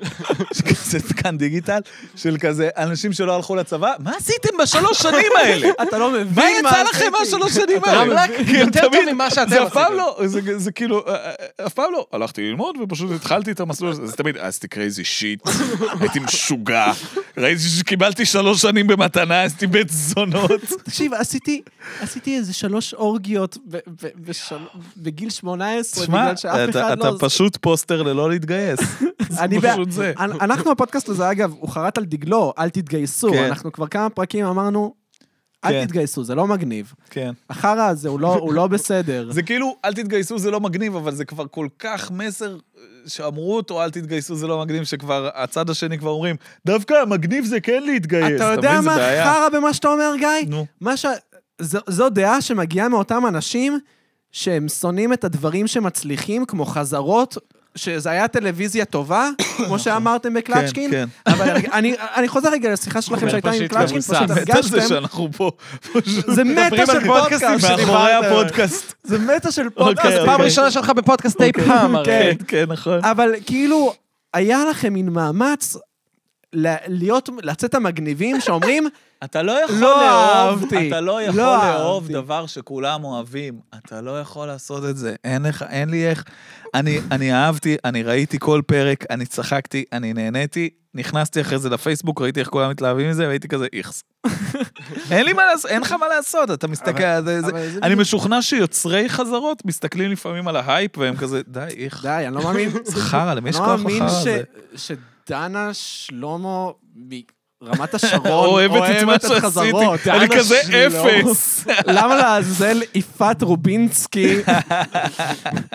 Speaker 2: שכזה כאן דיגיטל, של כזה אנשים שלא הלכו לצבא, מה עשיתם בשלוש שנים האלה?
Speaker 3: אתה לא מבין
Speaker 2: מה יצא
Speaker 3: עשיתי.
Speaker 2: לכם מהשלוש שנים האלה?
Speaker 1: רמלק
Speaker 2: כן,
Speaker 1: יותר טוב
Speaker 2: תמיד-
Speaker 1: ממה שאתם
Speaker 2: זה אף פעם
Speaker 1: עשיתם.
Speaker 2: לא, זה- זה כאילו, אה, אה, אף פעם לא. הלכתי ללמוד ופשוט התחלתי את המסלול הזה, זה תמיד, עשיתי קרייזי שיט, הייתי משוגע, ראיתי שקיבלתי שלוש שנים במתנה, עשיתי בית זונות.
Speaker 3: תקשיב, עשיתי, עשיתי איזה שלוש אורגיות ב- ב- בשל- בגיל 18,
Speaker 2: תשמע,
Speaker 3: בגלל שאף
Speaker 2: אתה-
Speaker 3: אחד
Speaker 2: אתה
Speaker 3: לא...
Speaker 2: פשוט פוסטר ללא להתגייס.
Speaker 3: אני
Speaker 2: זה
Speaker 3: בע-
Speaker 2: פשוט זה.
Speaker 3: אנ- אנחנו, הפודקאסט הזה, אגב, הוא חרט על דגלו, אל תתגייסו.
Speaker 2: כן.
Speaker 3: אנחנו כבר כמה פרקים אמרנו,
Speaker 2: כן.
Speaker 3: אל תתגייסו, זה לא מגניב.
Speaker 2: כן.
Speaker 3: החרא הזה הוא לא- הוא לא בסדר.
Speaker 2: זה כאילו, אל תתגייסו זה לא מגניב, אבל זה כבר כל כך מסר אה, שאמרו אותו, אל תתגייסו זה לא מגניב, שכבר הצד השני כבר אומרים, דווקא המגניב זה כן להתגייס.
Speaker 3: אתה יודע
Speaker 2: מבין? זה
Speaker 3: מה
Speaker 2: בעיה.
Speaker 3: חרא במה שאתה אומר, גיא?
Speaker 2: נו.
Speaker 3: מה ש... זו, זו דעה שמגיעה מאותם אנשים שהם שונאים את הדברים שמצליחים, כמו חזרות, שזה היה טלוויזיה טובה, כמו שאמרתם בקלצ'קין.
Speaker 2: נכון. כן,
Speaker 3: אבל אני- אני, אני חוזר רגע לשיחה שלכם שהייתה עם
Speaker 1: פשוט
Speaker 3: קלצ'קין,
Speaker 1: מבוסס.
Speaker 3: פשוט
Speaker 2: מתה זה
Speaker 3: הרגשתם,
Speaker 2: שאנחנו פה פשוט
Speaker 3: זה מטה של פודקאסט,
Speaker 2: מאחורי הפודקאסט.
Speaker 3: זה מטה של פודקאסט,
Speaker 2: אוקיי,
Speaker 1: פעם
Speaker 2: אוקיי.
Speaker 1: ראשונה שלך בפודקאסט
Speaker 3: אוקיי.
Speaker 1: אי פעם, הרי.
Speaker 2: כן, כן, נכון.
Speaker 3: אבל כאילו, היה לכם מין מאמץ ל- להיות, לצאת המגניבים שאומרים,
Speaker 2: אתה לא יכול
Speaker 3: לא
Speaker 2: לאהוב,
Speaker 3: אהבתי.
Speaker 2: אתה לא יכול
Speaker 3: לא
Speaker 2: לאהוב
Speaker 3: אהבתי.
Speaker 2: דבר שכולם אוהבים. אתה לא יכול לעשות את זה. אין לך, אין לי איך. אני, אני אהבתי, אני ראיתי כל פרק, אני צחקתי, אני נהניתי, נכנסתי אחרי זה לפייסבוק, ראיתי איך כולם מתלהבים מזה, והייתי כזה איכס. אין לי מה לעשות, אין לך מה לעשות, אתה מסתכל, על זה, זה,
Speaker 3: אבל זה
Speaker 2: אני
Speaker 3: בדיוק-
Speaker 2: משוכנע שיוצרי חזרות מסתכלים לפעמים על ההייפ, והם כזה, די, איך.
Speaker 3: די, אני לא מאמין,
Speaker 2: זה חרא, למי יש
Speaker 3: לא
Speaker 2: כוח
Speaker 3: מאמין
Speaker 2: לחרא הזה?
Speaker 3: ש- שדנה שלמה מרמת השרון
Speaker 2: אוהבת את מה שעשיתי,
Speaker 3: חזרות.
Speaker 2: אני
Speaker 3: דנה
Speaker 2: כזה
Speaker 3: שלמה.
Speaker 2: אפס.
Speaker 3: למה לעזאזל יפעת רובינסקי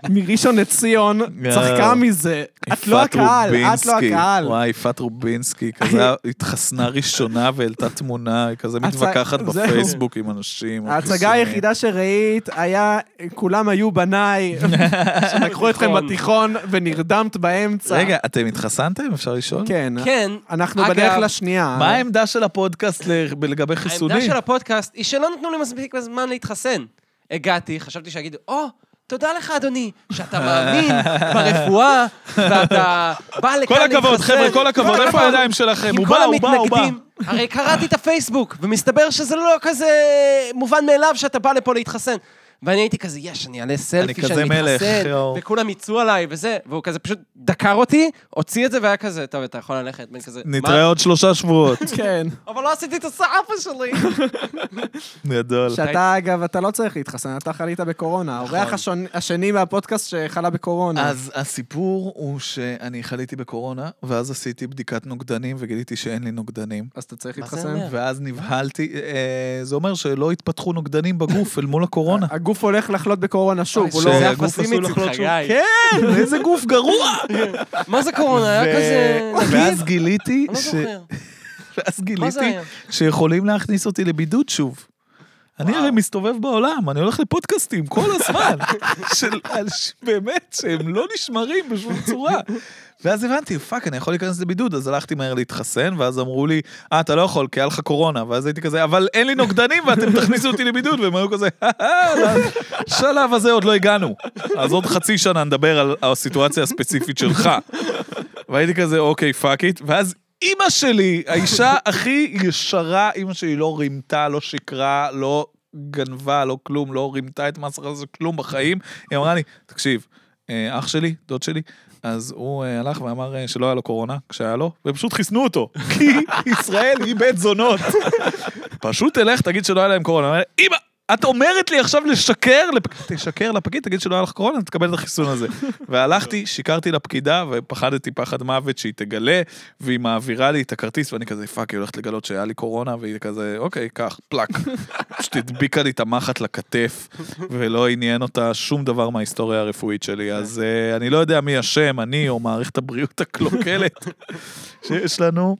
Speaker 3: מראשון לציון צחקה מזה? את לא
Speaker 2: יפעת
Speaker 3: הקהל, את לא
Speaker 2: רובינסקי.
Speaker 3: הקהל.
Speaker 2: וואי, יפעת רובינסקי, כזה התחסנה ראשונה והעלתה תמונה, היא כזה מתווכחת
Speaker 3: זהו.
Speaker 2: בפייסבוק עם אנשים. על
Speaker 3: ההצגה
Speaker 2: חיסונים.
Speaker 3: היחידה שראית היה כולם היו בניי, שלקחו אתכם
Speaker 1: בתיכון.
Speaker 3: בתיכון ונרדמת באמצע.
Speaker 2: רגע, אתם התחסנתם? אפשר לשאול?
Speaker 3: כן.
Speaker 1: כן.
Speaker 3: אנחנו
Speaker 1: אגב,
Speaker 3: בדרך לשנייה.
Speaker 2: מה העמדה של הפודקאסט ל- לגבי
Speaker 1: העמדה
Speaker 2: חיסונים?
Speaker 1: של הפודקאסט היא שלא נתנו לי מספיק זמן להתחסן. הגעתי, חשבתי שיגידו, או, תודה לך, אדוני, שאתה מאמין ברפואה, ואתה בא לכאן להתחסן.
Speaker 2: כל הכבוד, חבר'ה, כל הכבוד, איפה
Speaker 1: הכבוד.
Speaker 2: הידיים שלכם?
Speaker 1: עם
Speaker 2: הוא
Speaker 1: כל
Speaker 2: בא, הוא בא, הוא בא.
Speaker 1: המתנגדים, הרי קראתי את הפייסבוק, ומסתבר שזה לא כזה מובן מאליו שאתה בא לפה להתחסן. ואני הייתי כזה, יש, אני אעלה סלפי
Speaker 2: כזה
Speaker 1: שאני
Speaker 2: מלך,
Speaker 1: מתחסן,
Speaker 2: יואו.
Speaker 1: וכולם יצאו עליי וזה, והוא כזה פשוט דקר אותי, הוציא את זה והיה כזה, טוב, אתה יכול ללכת, בן כזה,
Speaker 2: נתראה עוד שלושה שבועות.
Speaker 3: כן.
Speaker 1: "מה? אבל לא עשיתי את הסעפה שלי.
Speaker 2: גדול.
Speaker 3: שאתה, אגב, אתה לא צריך להתחסן, אתה חלית בקורונה.
Speaker 1: נכון.
Speaker 3: האורח השון- השני מהפודקאסט שחלה
Speaker 1: כן.
Speaker 3: בקורונה.
Speaker 2: אז הסיפור הוא שאני חליתי בקורונה, ואז עשיתי בדיקת נוגדנים וגיליתי שאין לי נוגדנים.
Speaker 3: אז אתה צריך
Speaker 1: מה זה
Speaker 3: להתחסן.
Speaker 1: אומר?
Speaker 2: ואז נבהלתי, אה, זה אומר שלא התפתחו נוגדנים בגוף אל מול הקורונה.
Speaker 3: הגוף הולך לחלות בקורונה שוב, הוא
Speaker 2: ש-
Speaker 3: לא...
Speaker 1: זה
Speaker 2: הגוף
Speaker 1: אפסים
Speaker 2: עשוי
Speaker 1: איציק
Speaker 2: לחלות שוב.
Speaker 1: חגי.
Speaker 2: כן, איזה גוף גרוע!
Speaker 1: מה זה קורונה? היה
Speaker 2: ו-
Speaker 1: כזה...
Speaker 2: ואז גיליתי,
Speaker 1: אני לא
Speaker 2: ש-
Speaker 1: זוכר.
Speaker 2: ואז
Speaker 1: מה זה
Speaker 2: גיליתי
Speaker 1: היה?
Speaker 2: שיכולים להכניס אותי לבידוד שוב. אני הרי מסתובב בעולם, אני הולך לפודקאסטים כל הזמן, של, על, ש- באמת, שהם לא נשמרים בשום צורה. ואז הבנתי, פאק, אני יכול להיכנס לבידוד, אז הלכתי מהר להתחסן, ואז אמרו לי, אה, אתה לא יכול, כי היה לך קורונה, ואז הייתי כזה, אבל אין לי נוגדנים ואתם תכניסו אותי לבידוד, והם היו כזה, לשלב הזה עוד לא הגענו. אז עוד חצי שנה נדבר על הסיטואציה הספציפית שלך. והייתי כזה, אוקיי, פאק איט, ואז אימא שלי, האישה הכי ישרה, אימא שלי לא רימתה, לא שיקרה, לא גנבה, לא כלום, לא רימתה את מס הכנסה, כלום בחיים. היא אמרה לי, תקשיב, אה, אח שלי, דוד שלי, אז הוא אה, הלך ואמר אה, שלא היה לו קורונה, כשהיה לו, ופשוט חיסנו אותו, כי ישראל היא בית זונות. פשוט תלך, תגיד שלא היה להם קורונה. אני אומר, אמא! את אומרת לי עכשיו לשקר, לפק... תשקר לפקיד, תגיד שלא היה לך קורונה, תקבל את החיסון הזה. והלכתי, שיקרתי לפקידה, ופחדתי פחד מוות שהיא תגלה, והיא מעבירה לי את הכרטיס, ואני כזה, פאק, היא הולכת לגלות שהיה לי קורונה, והיא כזה, אוקיי, קח, פלאק. פשוט הדביקה לי את המחט לכתף, ולא עניין אותה שום דבר מההיסטוריה הרפואית שלי. אז אה, אני לא יודע מי אשם, אני או מערכת הבריאות הקלוקלת שיש לנו,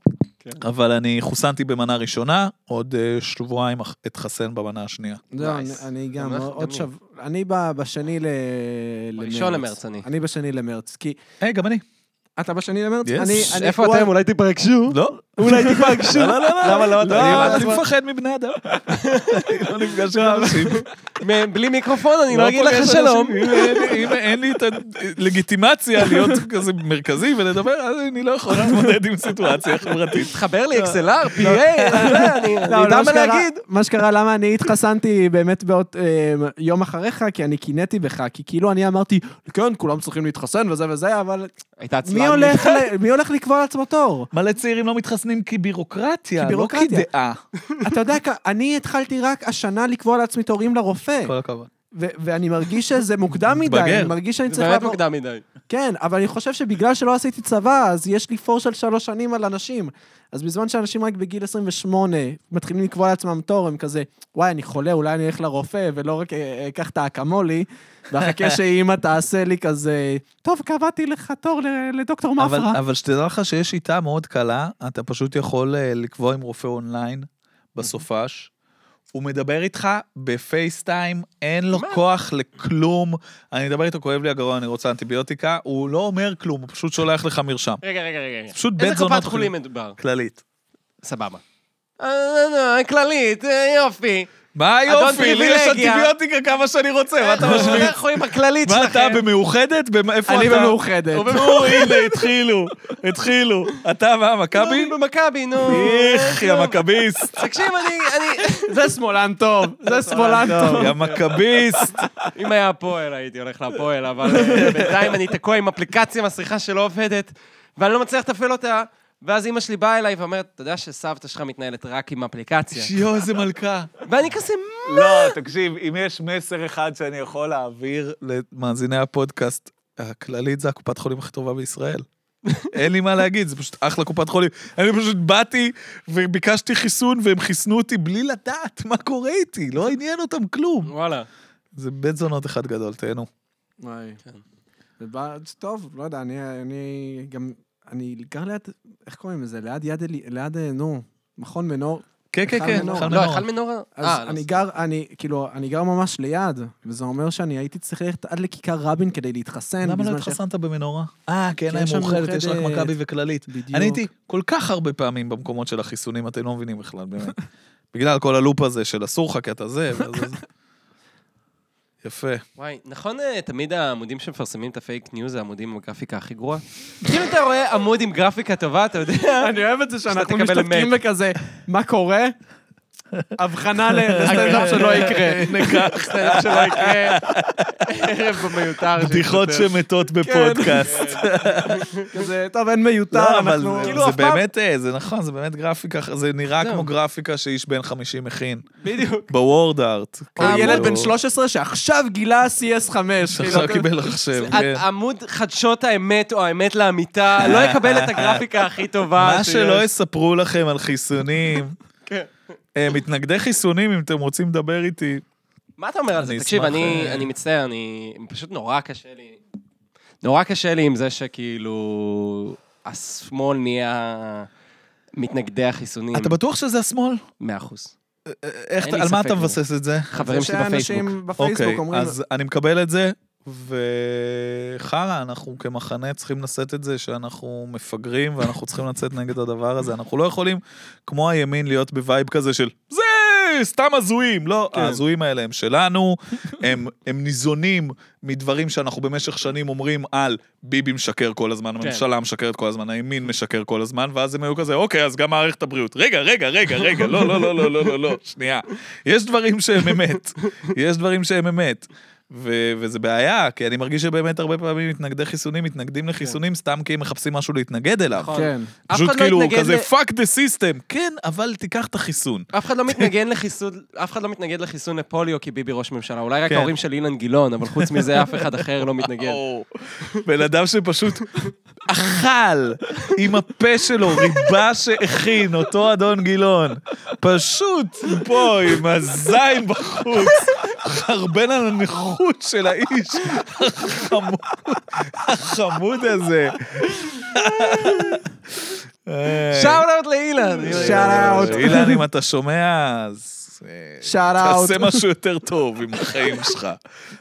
Speaker 2: אבל אני חוסנתי במנה ראשונה, עוד אה, שבועיים אח- אתחסן במנה השנייה.
Speaker 3: לא, אני-
Speaker 1: Nice.
Speaker 3: אני גם,
Speaker 1: ממש
Speaker 3: עוד
Speaker 1: גמור.
Speaker 3: שבוע... אני ב- בשני ל- למרץ.
Speaker 1: בראשון למרץ אני.
Speaker 3: אני בשני למרץ, כי...
Speaker 2: היי, גם אני.
Speaker 3: אתה בשני למרץ?
Speaker 2: Yes.
Speaker 3: אני- אני-
Speaker 1: איפה
Speaker 3: וואי,
Speaker 1: אתם? אולי תיפגשו?
Speaker 2: לא,
Speaker 1: אולי תיפגשו?
Speaker 2: לא, לא, לא.
Speaker 1: למה לא?
Speaker 2: לא,
Speaker 1: אתה-
Speaker 2: אני מפחד מבני אדם. אני לא נפגש עם אנשים.
Speaker 1: מ- בלי מיקרופון, אני לא אגיד
Speaker 2: פוגש
Speaker 1: לך
Speaker 2: אנשים.
Speaker 1: שלום.
Speaker 2: אם אין לי- אם אין לי את הלגיטימציה להיות כזה מרכזי ולדבר, אז אני לא יכול להתמודד עם סיטואציה חברתית.
Speaker 1: תחבר לי אקסלר, PA, אתה יודע, אני אני
Speaker 3: לא, אבל
Speaker 1: יודע
Speaker 3: מה
Speaker 1: מה
Speaker 3: שקרה-
Speaker 1: להגיד.
Speaker 3: מה שקרה, למה אני התחסנתי באמת בעוד אה, יום אחריך, כי אני קינאתי בך, כי כאילו אני אמרתי, כן, כולם צריכים להתחסן וזה וזה, אבל
Speaker 1: הייתה עצלן.
Speaker 3: מי הולך ל- מי הולך לקבוע לעצמו תור?
Speaker 2: מלא צעירים לא מתחסנים כי בירוקרטיה,
Speaker 3: כי
Speaker 2: לא כי
Speaker 3: בירוקרטיה.
Speaker 2: דעה.
Speaker 1: אה.
Speaker 3: אתה יודע, כ- אני התחלתי רק השנה לקבוע לעצמי תורים לרופא,
Speaker 2: כל הכבוד.
Speaker 3: ו- ואני מרגיש שזה מוקדם מדי,
Speaker 2: מתבגר.
Speaker 3: אני מרגיש שאני
Speaker 1: זה
Speaker 3: צריך
Speaker 1: באמת
Speaker 3: לעבור...
Speaker 1: מוקדם מדי.
Speaker 3: כן, אבל אני חושב שבגלל שלא עשיתי צבא, אז יש לי פור של שלוש שנים על אנשים. אז בזמן שאנשים רק בגיל 28 מתחילים לקבוע לעצמם תור, הם כזה, וואי, אני חולה, אולי אני אלך לרופא, ולא רק אה, אקח את האקמולי, ואחכה שאימא תעשה לי כזה, טוב, קבעתי לך תור ל- לדוקטור
Speaker 2: אבל,
Speaker 3: מפרה.
Speaker 2: אבל שתדע לך שיש שיטה מאוד קלה, אתה פשוט יכול אה, לקבוע עם רופא אונליין בסופש. הוא מדבר איתך בפייסטיים, אין לו כוח לכלום. אני מדבר איתו, כואב לי הגרון, אני רוצה אנטיביוטיקה. הוא לא אומר כלום, הוא פשוט שולח לך מרשם.
Speaker 1: רגע, רגע, רגע.
Speaker 2: פשוט
Speaker 1: איזה
Speaker 2: בית זונות
Speaker 1: קופת חולים
Speaker 2: אחרים.
Speaker 1: מדובר?
Speaker 2: כללית.
Speaker 1: סבבה. אה, אה, אה, כללית, אה, יופי.
Speaker 2: מה
Speaker 1: אדון
Speaker 2: יופי, לי יש
Speaker 1: פריבילגיה.
Speaker 2: אנטיביוטיקה כמה שאני רוצה, מה אתה
Speaker 1: בתי
Speaker 2: משווים?
Speaker 1: החולים הכללית
Speaker 2: מה אתה
Speaker 1: שלכם.
Speaker 2: במאוחדת? במ- איפה אתה?
Speaker 3: אני במאוחדת.
Speaker 2: הוא במאוחדת. הנה, התחילו, התחילו. אתה מה, מכבי?
Speaker 1: נו, במכבי, נו.
Speaker 2: איך, יא מכביסט.
Speaker 1: תקשיב, אני... אני...
Speaker 3: זה שמאלן טוב, זה שמאלן טוב.
Speaker 2: לא, יא מכביסט.
Speaker 1: אם היה הפועל, הייתי הולך להפועל, אבל אה, בינתיים אני תקוע עם אפליקציה מסריחה שלא עובדת, ואני לא מצליח לתפעל אותה. ואז אימא שלי באה אליי ואומרת, אתה יודע שסבתא שלך מתנהלת רק עם אפליקציה?
Speaker 2: יואו, איזה מלכה.
Speaker 1: ואני כזה, מה?
Speaker 2: לא, תקשיב, אם יש מסר אחד שאני יכול להעביר למאזיני הפודקאסט, הכללית זה הקופת חולים הכי טובה בישראל. אין לי מה להגיד, זה פשוט אחלה קופת חולים. אני פשוט באתי וביקשתי חיסון והם חיסנו אותי בלי לדעת מה קורה איתי, לא עניין אותם כלום.
Speaker 1: וואלה.
Speaker 2: זה בית זונות אחד גדול, תהנו.
Speaker 3: וואי.
Speaker 1: כן.
Speaker 3: זה בא- טוב, לא יודע, אני- אני גם... אני גר ליד, איך קוראים לזה? ליד יד אלי... ליד, אה, נו, מכון מנור.
Speaker 2: כן, כן,
Speaker 3: היכל
Speaker 2: כן,
Speaker 3: מנורה.
Speaker 2: היכל
Speaker 1: לא,
Speaker 2: מנורה.
Speaker 1: היכל מנורה?
Speaker 3: אז
Speaker 1: אה, לא,
Speaker 3: אני
Speaker 1: סליחה.
Speaker 3: גר, אני, כאילו, אני גר ממש ליד, וזה אומר שאני הייתי צריך ללכת עד לכיכר רבין כדי להתחסן.
Speaker 2: למה לא
Speaker 3: בזמן ש-
Speaker 2: התחסנת במנורה? אה, כן,
Speaker 3: כי
Speaker 2: אין
Speaker 3: יש שם אה,
Speaker 2: מאוחדת, יש רק
Speaker 3: מאוחדת.
Speaker 2: מכבי וכללית.
Speaker 3: בדיוק.
Speaker 2: אני הייתי כל כך הרבה פעמים במקומות של החיסונים, אתם לא מבינים בכלל, באמת. בגלל כל הלופ הזה של אסור לך כי אתה זה, ואז... אז- יפה.
Speaker 1: וואי, נכון אה, תמיד העמודים שמפרסמים את הפייק ניוז זה העמודים עם הגרפיקה הכי גרועה? כאילו אתה רואה עמוד עם גרפיקה טובה, אתה יודע?
Speaker 3: אני אוהב את זה
Speaker 1: שאתה תקבל מייל.
Speaker 3: וכזה, מה קורה?
Speaker 4: הבחנה לסטנדאפ שלא יקרה.
Speaker 1: סטנדאפ שלא יקרה, ערב במיותר. של
Speaker 2: בדיחות
Speaker 1: שוטר.
Speaker 2: שמתות בפודקאסט.
Speaker 4: כזה, טוב, אין מיותר,
Speaker 2: לא, אבל
Speaker 4: אנחנו...
Speaker 2: זה-
Speaker 1: כאילו,
Speaker 2: זה
Speaker 1: אף פעם-
Speaker 2: באמת, אה, זה נכון, זה באמת גרפיקה, זה נראה
Speaker 1: זהו.
Speaker 2: כמו גרפיקה שאיש בן 50 הכין.
Speaker 1: בדיוק.
Speaker 2: בוורד ארט. כאילו,
Speaker 4: או כאילו, ילד בן 13 שעכשיו גילה CS5. כאילו,
Speaker 2: שעכשיו
Speaker 4: אוקיי.
Speaker 2: קיבל מחשב, כן.
Speaker 1: עמוד חדשות האמת או האמת לאמיתה לא יקבל את הגרפיקה הכי טובה.
Speaker 2: מה
Speaker 1: שיש.
Speaker 2: שלא יספרו לכם על חיסונים,
Speaker 1: כן.
Speaker 2: אה, מתנגדי חיסונים, אם אתם רוצים לדבר איתי,
Speaker 1: מה אתה אומר על זה?
Speaker 2: אני
Speaker 1: תקשיב,
Speaker 2: אשמח,
Speaker 1: אני,
Speaker 2: אה,
Speaker 1: אני מצטער, אני... פשוט נורא קשה לי... נורא קשה לי עם זה שכאילו... השמאל נהיה מתנגדי החיסונים.
Speaker 2: אתה בטוח שזה השמאל?
Speaker 1: מאה אחוז.
Speaker 2: איך,
Speaker 1: אין
Speaker 2: אתה-
Speaker 1: לי
Speaker 2: על מה
Speaker 1: ספק
Speaker 2: אתה
Speaker 1: בזה.
Speaker 2: מבסס את זה?
Speaker 1: חברים שלי בפייסבוק.
Speaker 4: שאנשים בפייסבוק
Speaker 2: אוקיי,
Speaker 4: אומרים...
Speaker 2: אז אני מקבל את זה, וחרא, אנחנו כמחנה צריכים לשאת את זה שאנחנו מפגרים ואנחנו צריכים לצאת נגד הדבר הזה. אנחנו לא יכולים, כמו הימין, להיות בווייב כזה של זה סתם הזויים. לא,
Speaker 4: כן.
Speaker 2: ההזויים האלה הם שלנו, הם, הם ניזונים מדברים שאנחנו במשך שנים אומרים על ביבי משקר כל הזמן,
Speaker 1: כן.
Speaker 2: הממשלה משקרת כל הזמן, הימין משקר כל הזמן, ואז הם היו כזה, אוקיי, אז גם מערכת הבריאות. רגע, רגע, רגע, רגע, לא, לא, לא, לא, לא, לא, לא, שנייה. יש דברים שהם אמת, יש דברים שהם אמת. ו- וזה בעיה, כי אני מרגיש שבאמת הרבה פעמים מתנגדי חיסונים מתנגדים לחיסונים סתם כי הם מחפשים משהו להתנגד אליו.
Speaker 1: כן. נכון.
Speaker 4: כן.
Speaker 1: אף
Speaker 2: פשוט
Speaker 1: אחד לא
Speaker 2: כאילו,
Speaker 1: התנגד
Speaker 2: כזה
Speaker 1: ל-
Speaker 2: fuck the system. כן, אבל תיקח את החיסון.
Speaker 1: אף אחד לא מתנגד לחיסון, אף אחד לא מתנגד לחיסון לפוליו כי ביבי ראש ממשלה. אולי רק
Speaker 2: כן.
Speaker 1: ההורים של אילן גילאון, אבל חוץ מזה אף אחד אחר לא מתנגד.
Speaker 2: או, בן אדם שפשוט אכל עם הפה שלו ריבה שהכין אותו אדון גילאון. פשוט פה עם הזין בחוץ. חרבן על הנכות של האיש החמוד, החמוד הזה.
Speaker 1: שאוט אאוט לאילן!
Speaker 4: שאוט-אאוט.
Speaker 2: אה, אילן, אם אתה שומע, אז... אה,
Speaker 4: שאט-אאוט.
Speaker 2: תעשה משהו יותר טוב עם החיים שלך.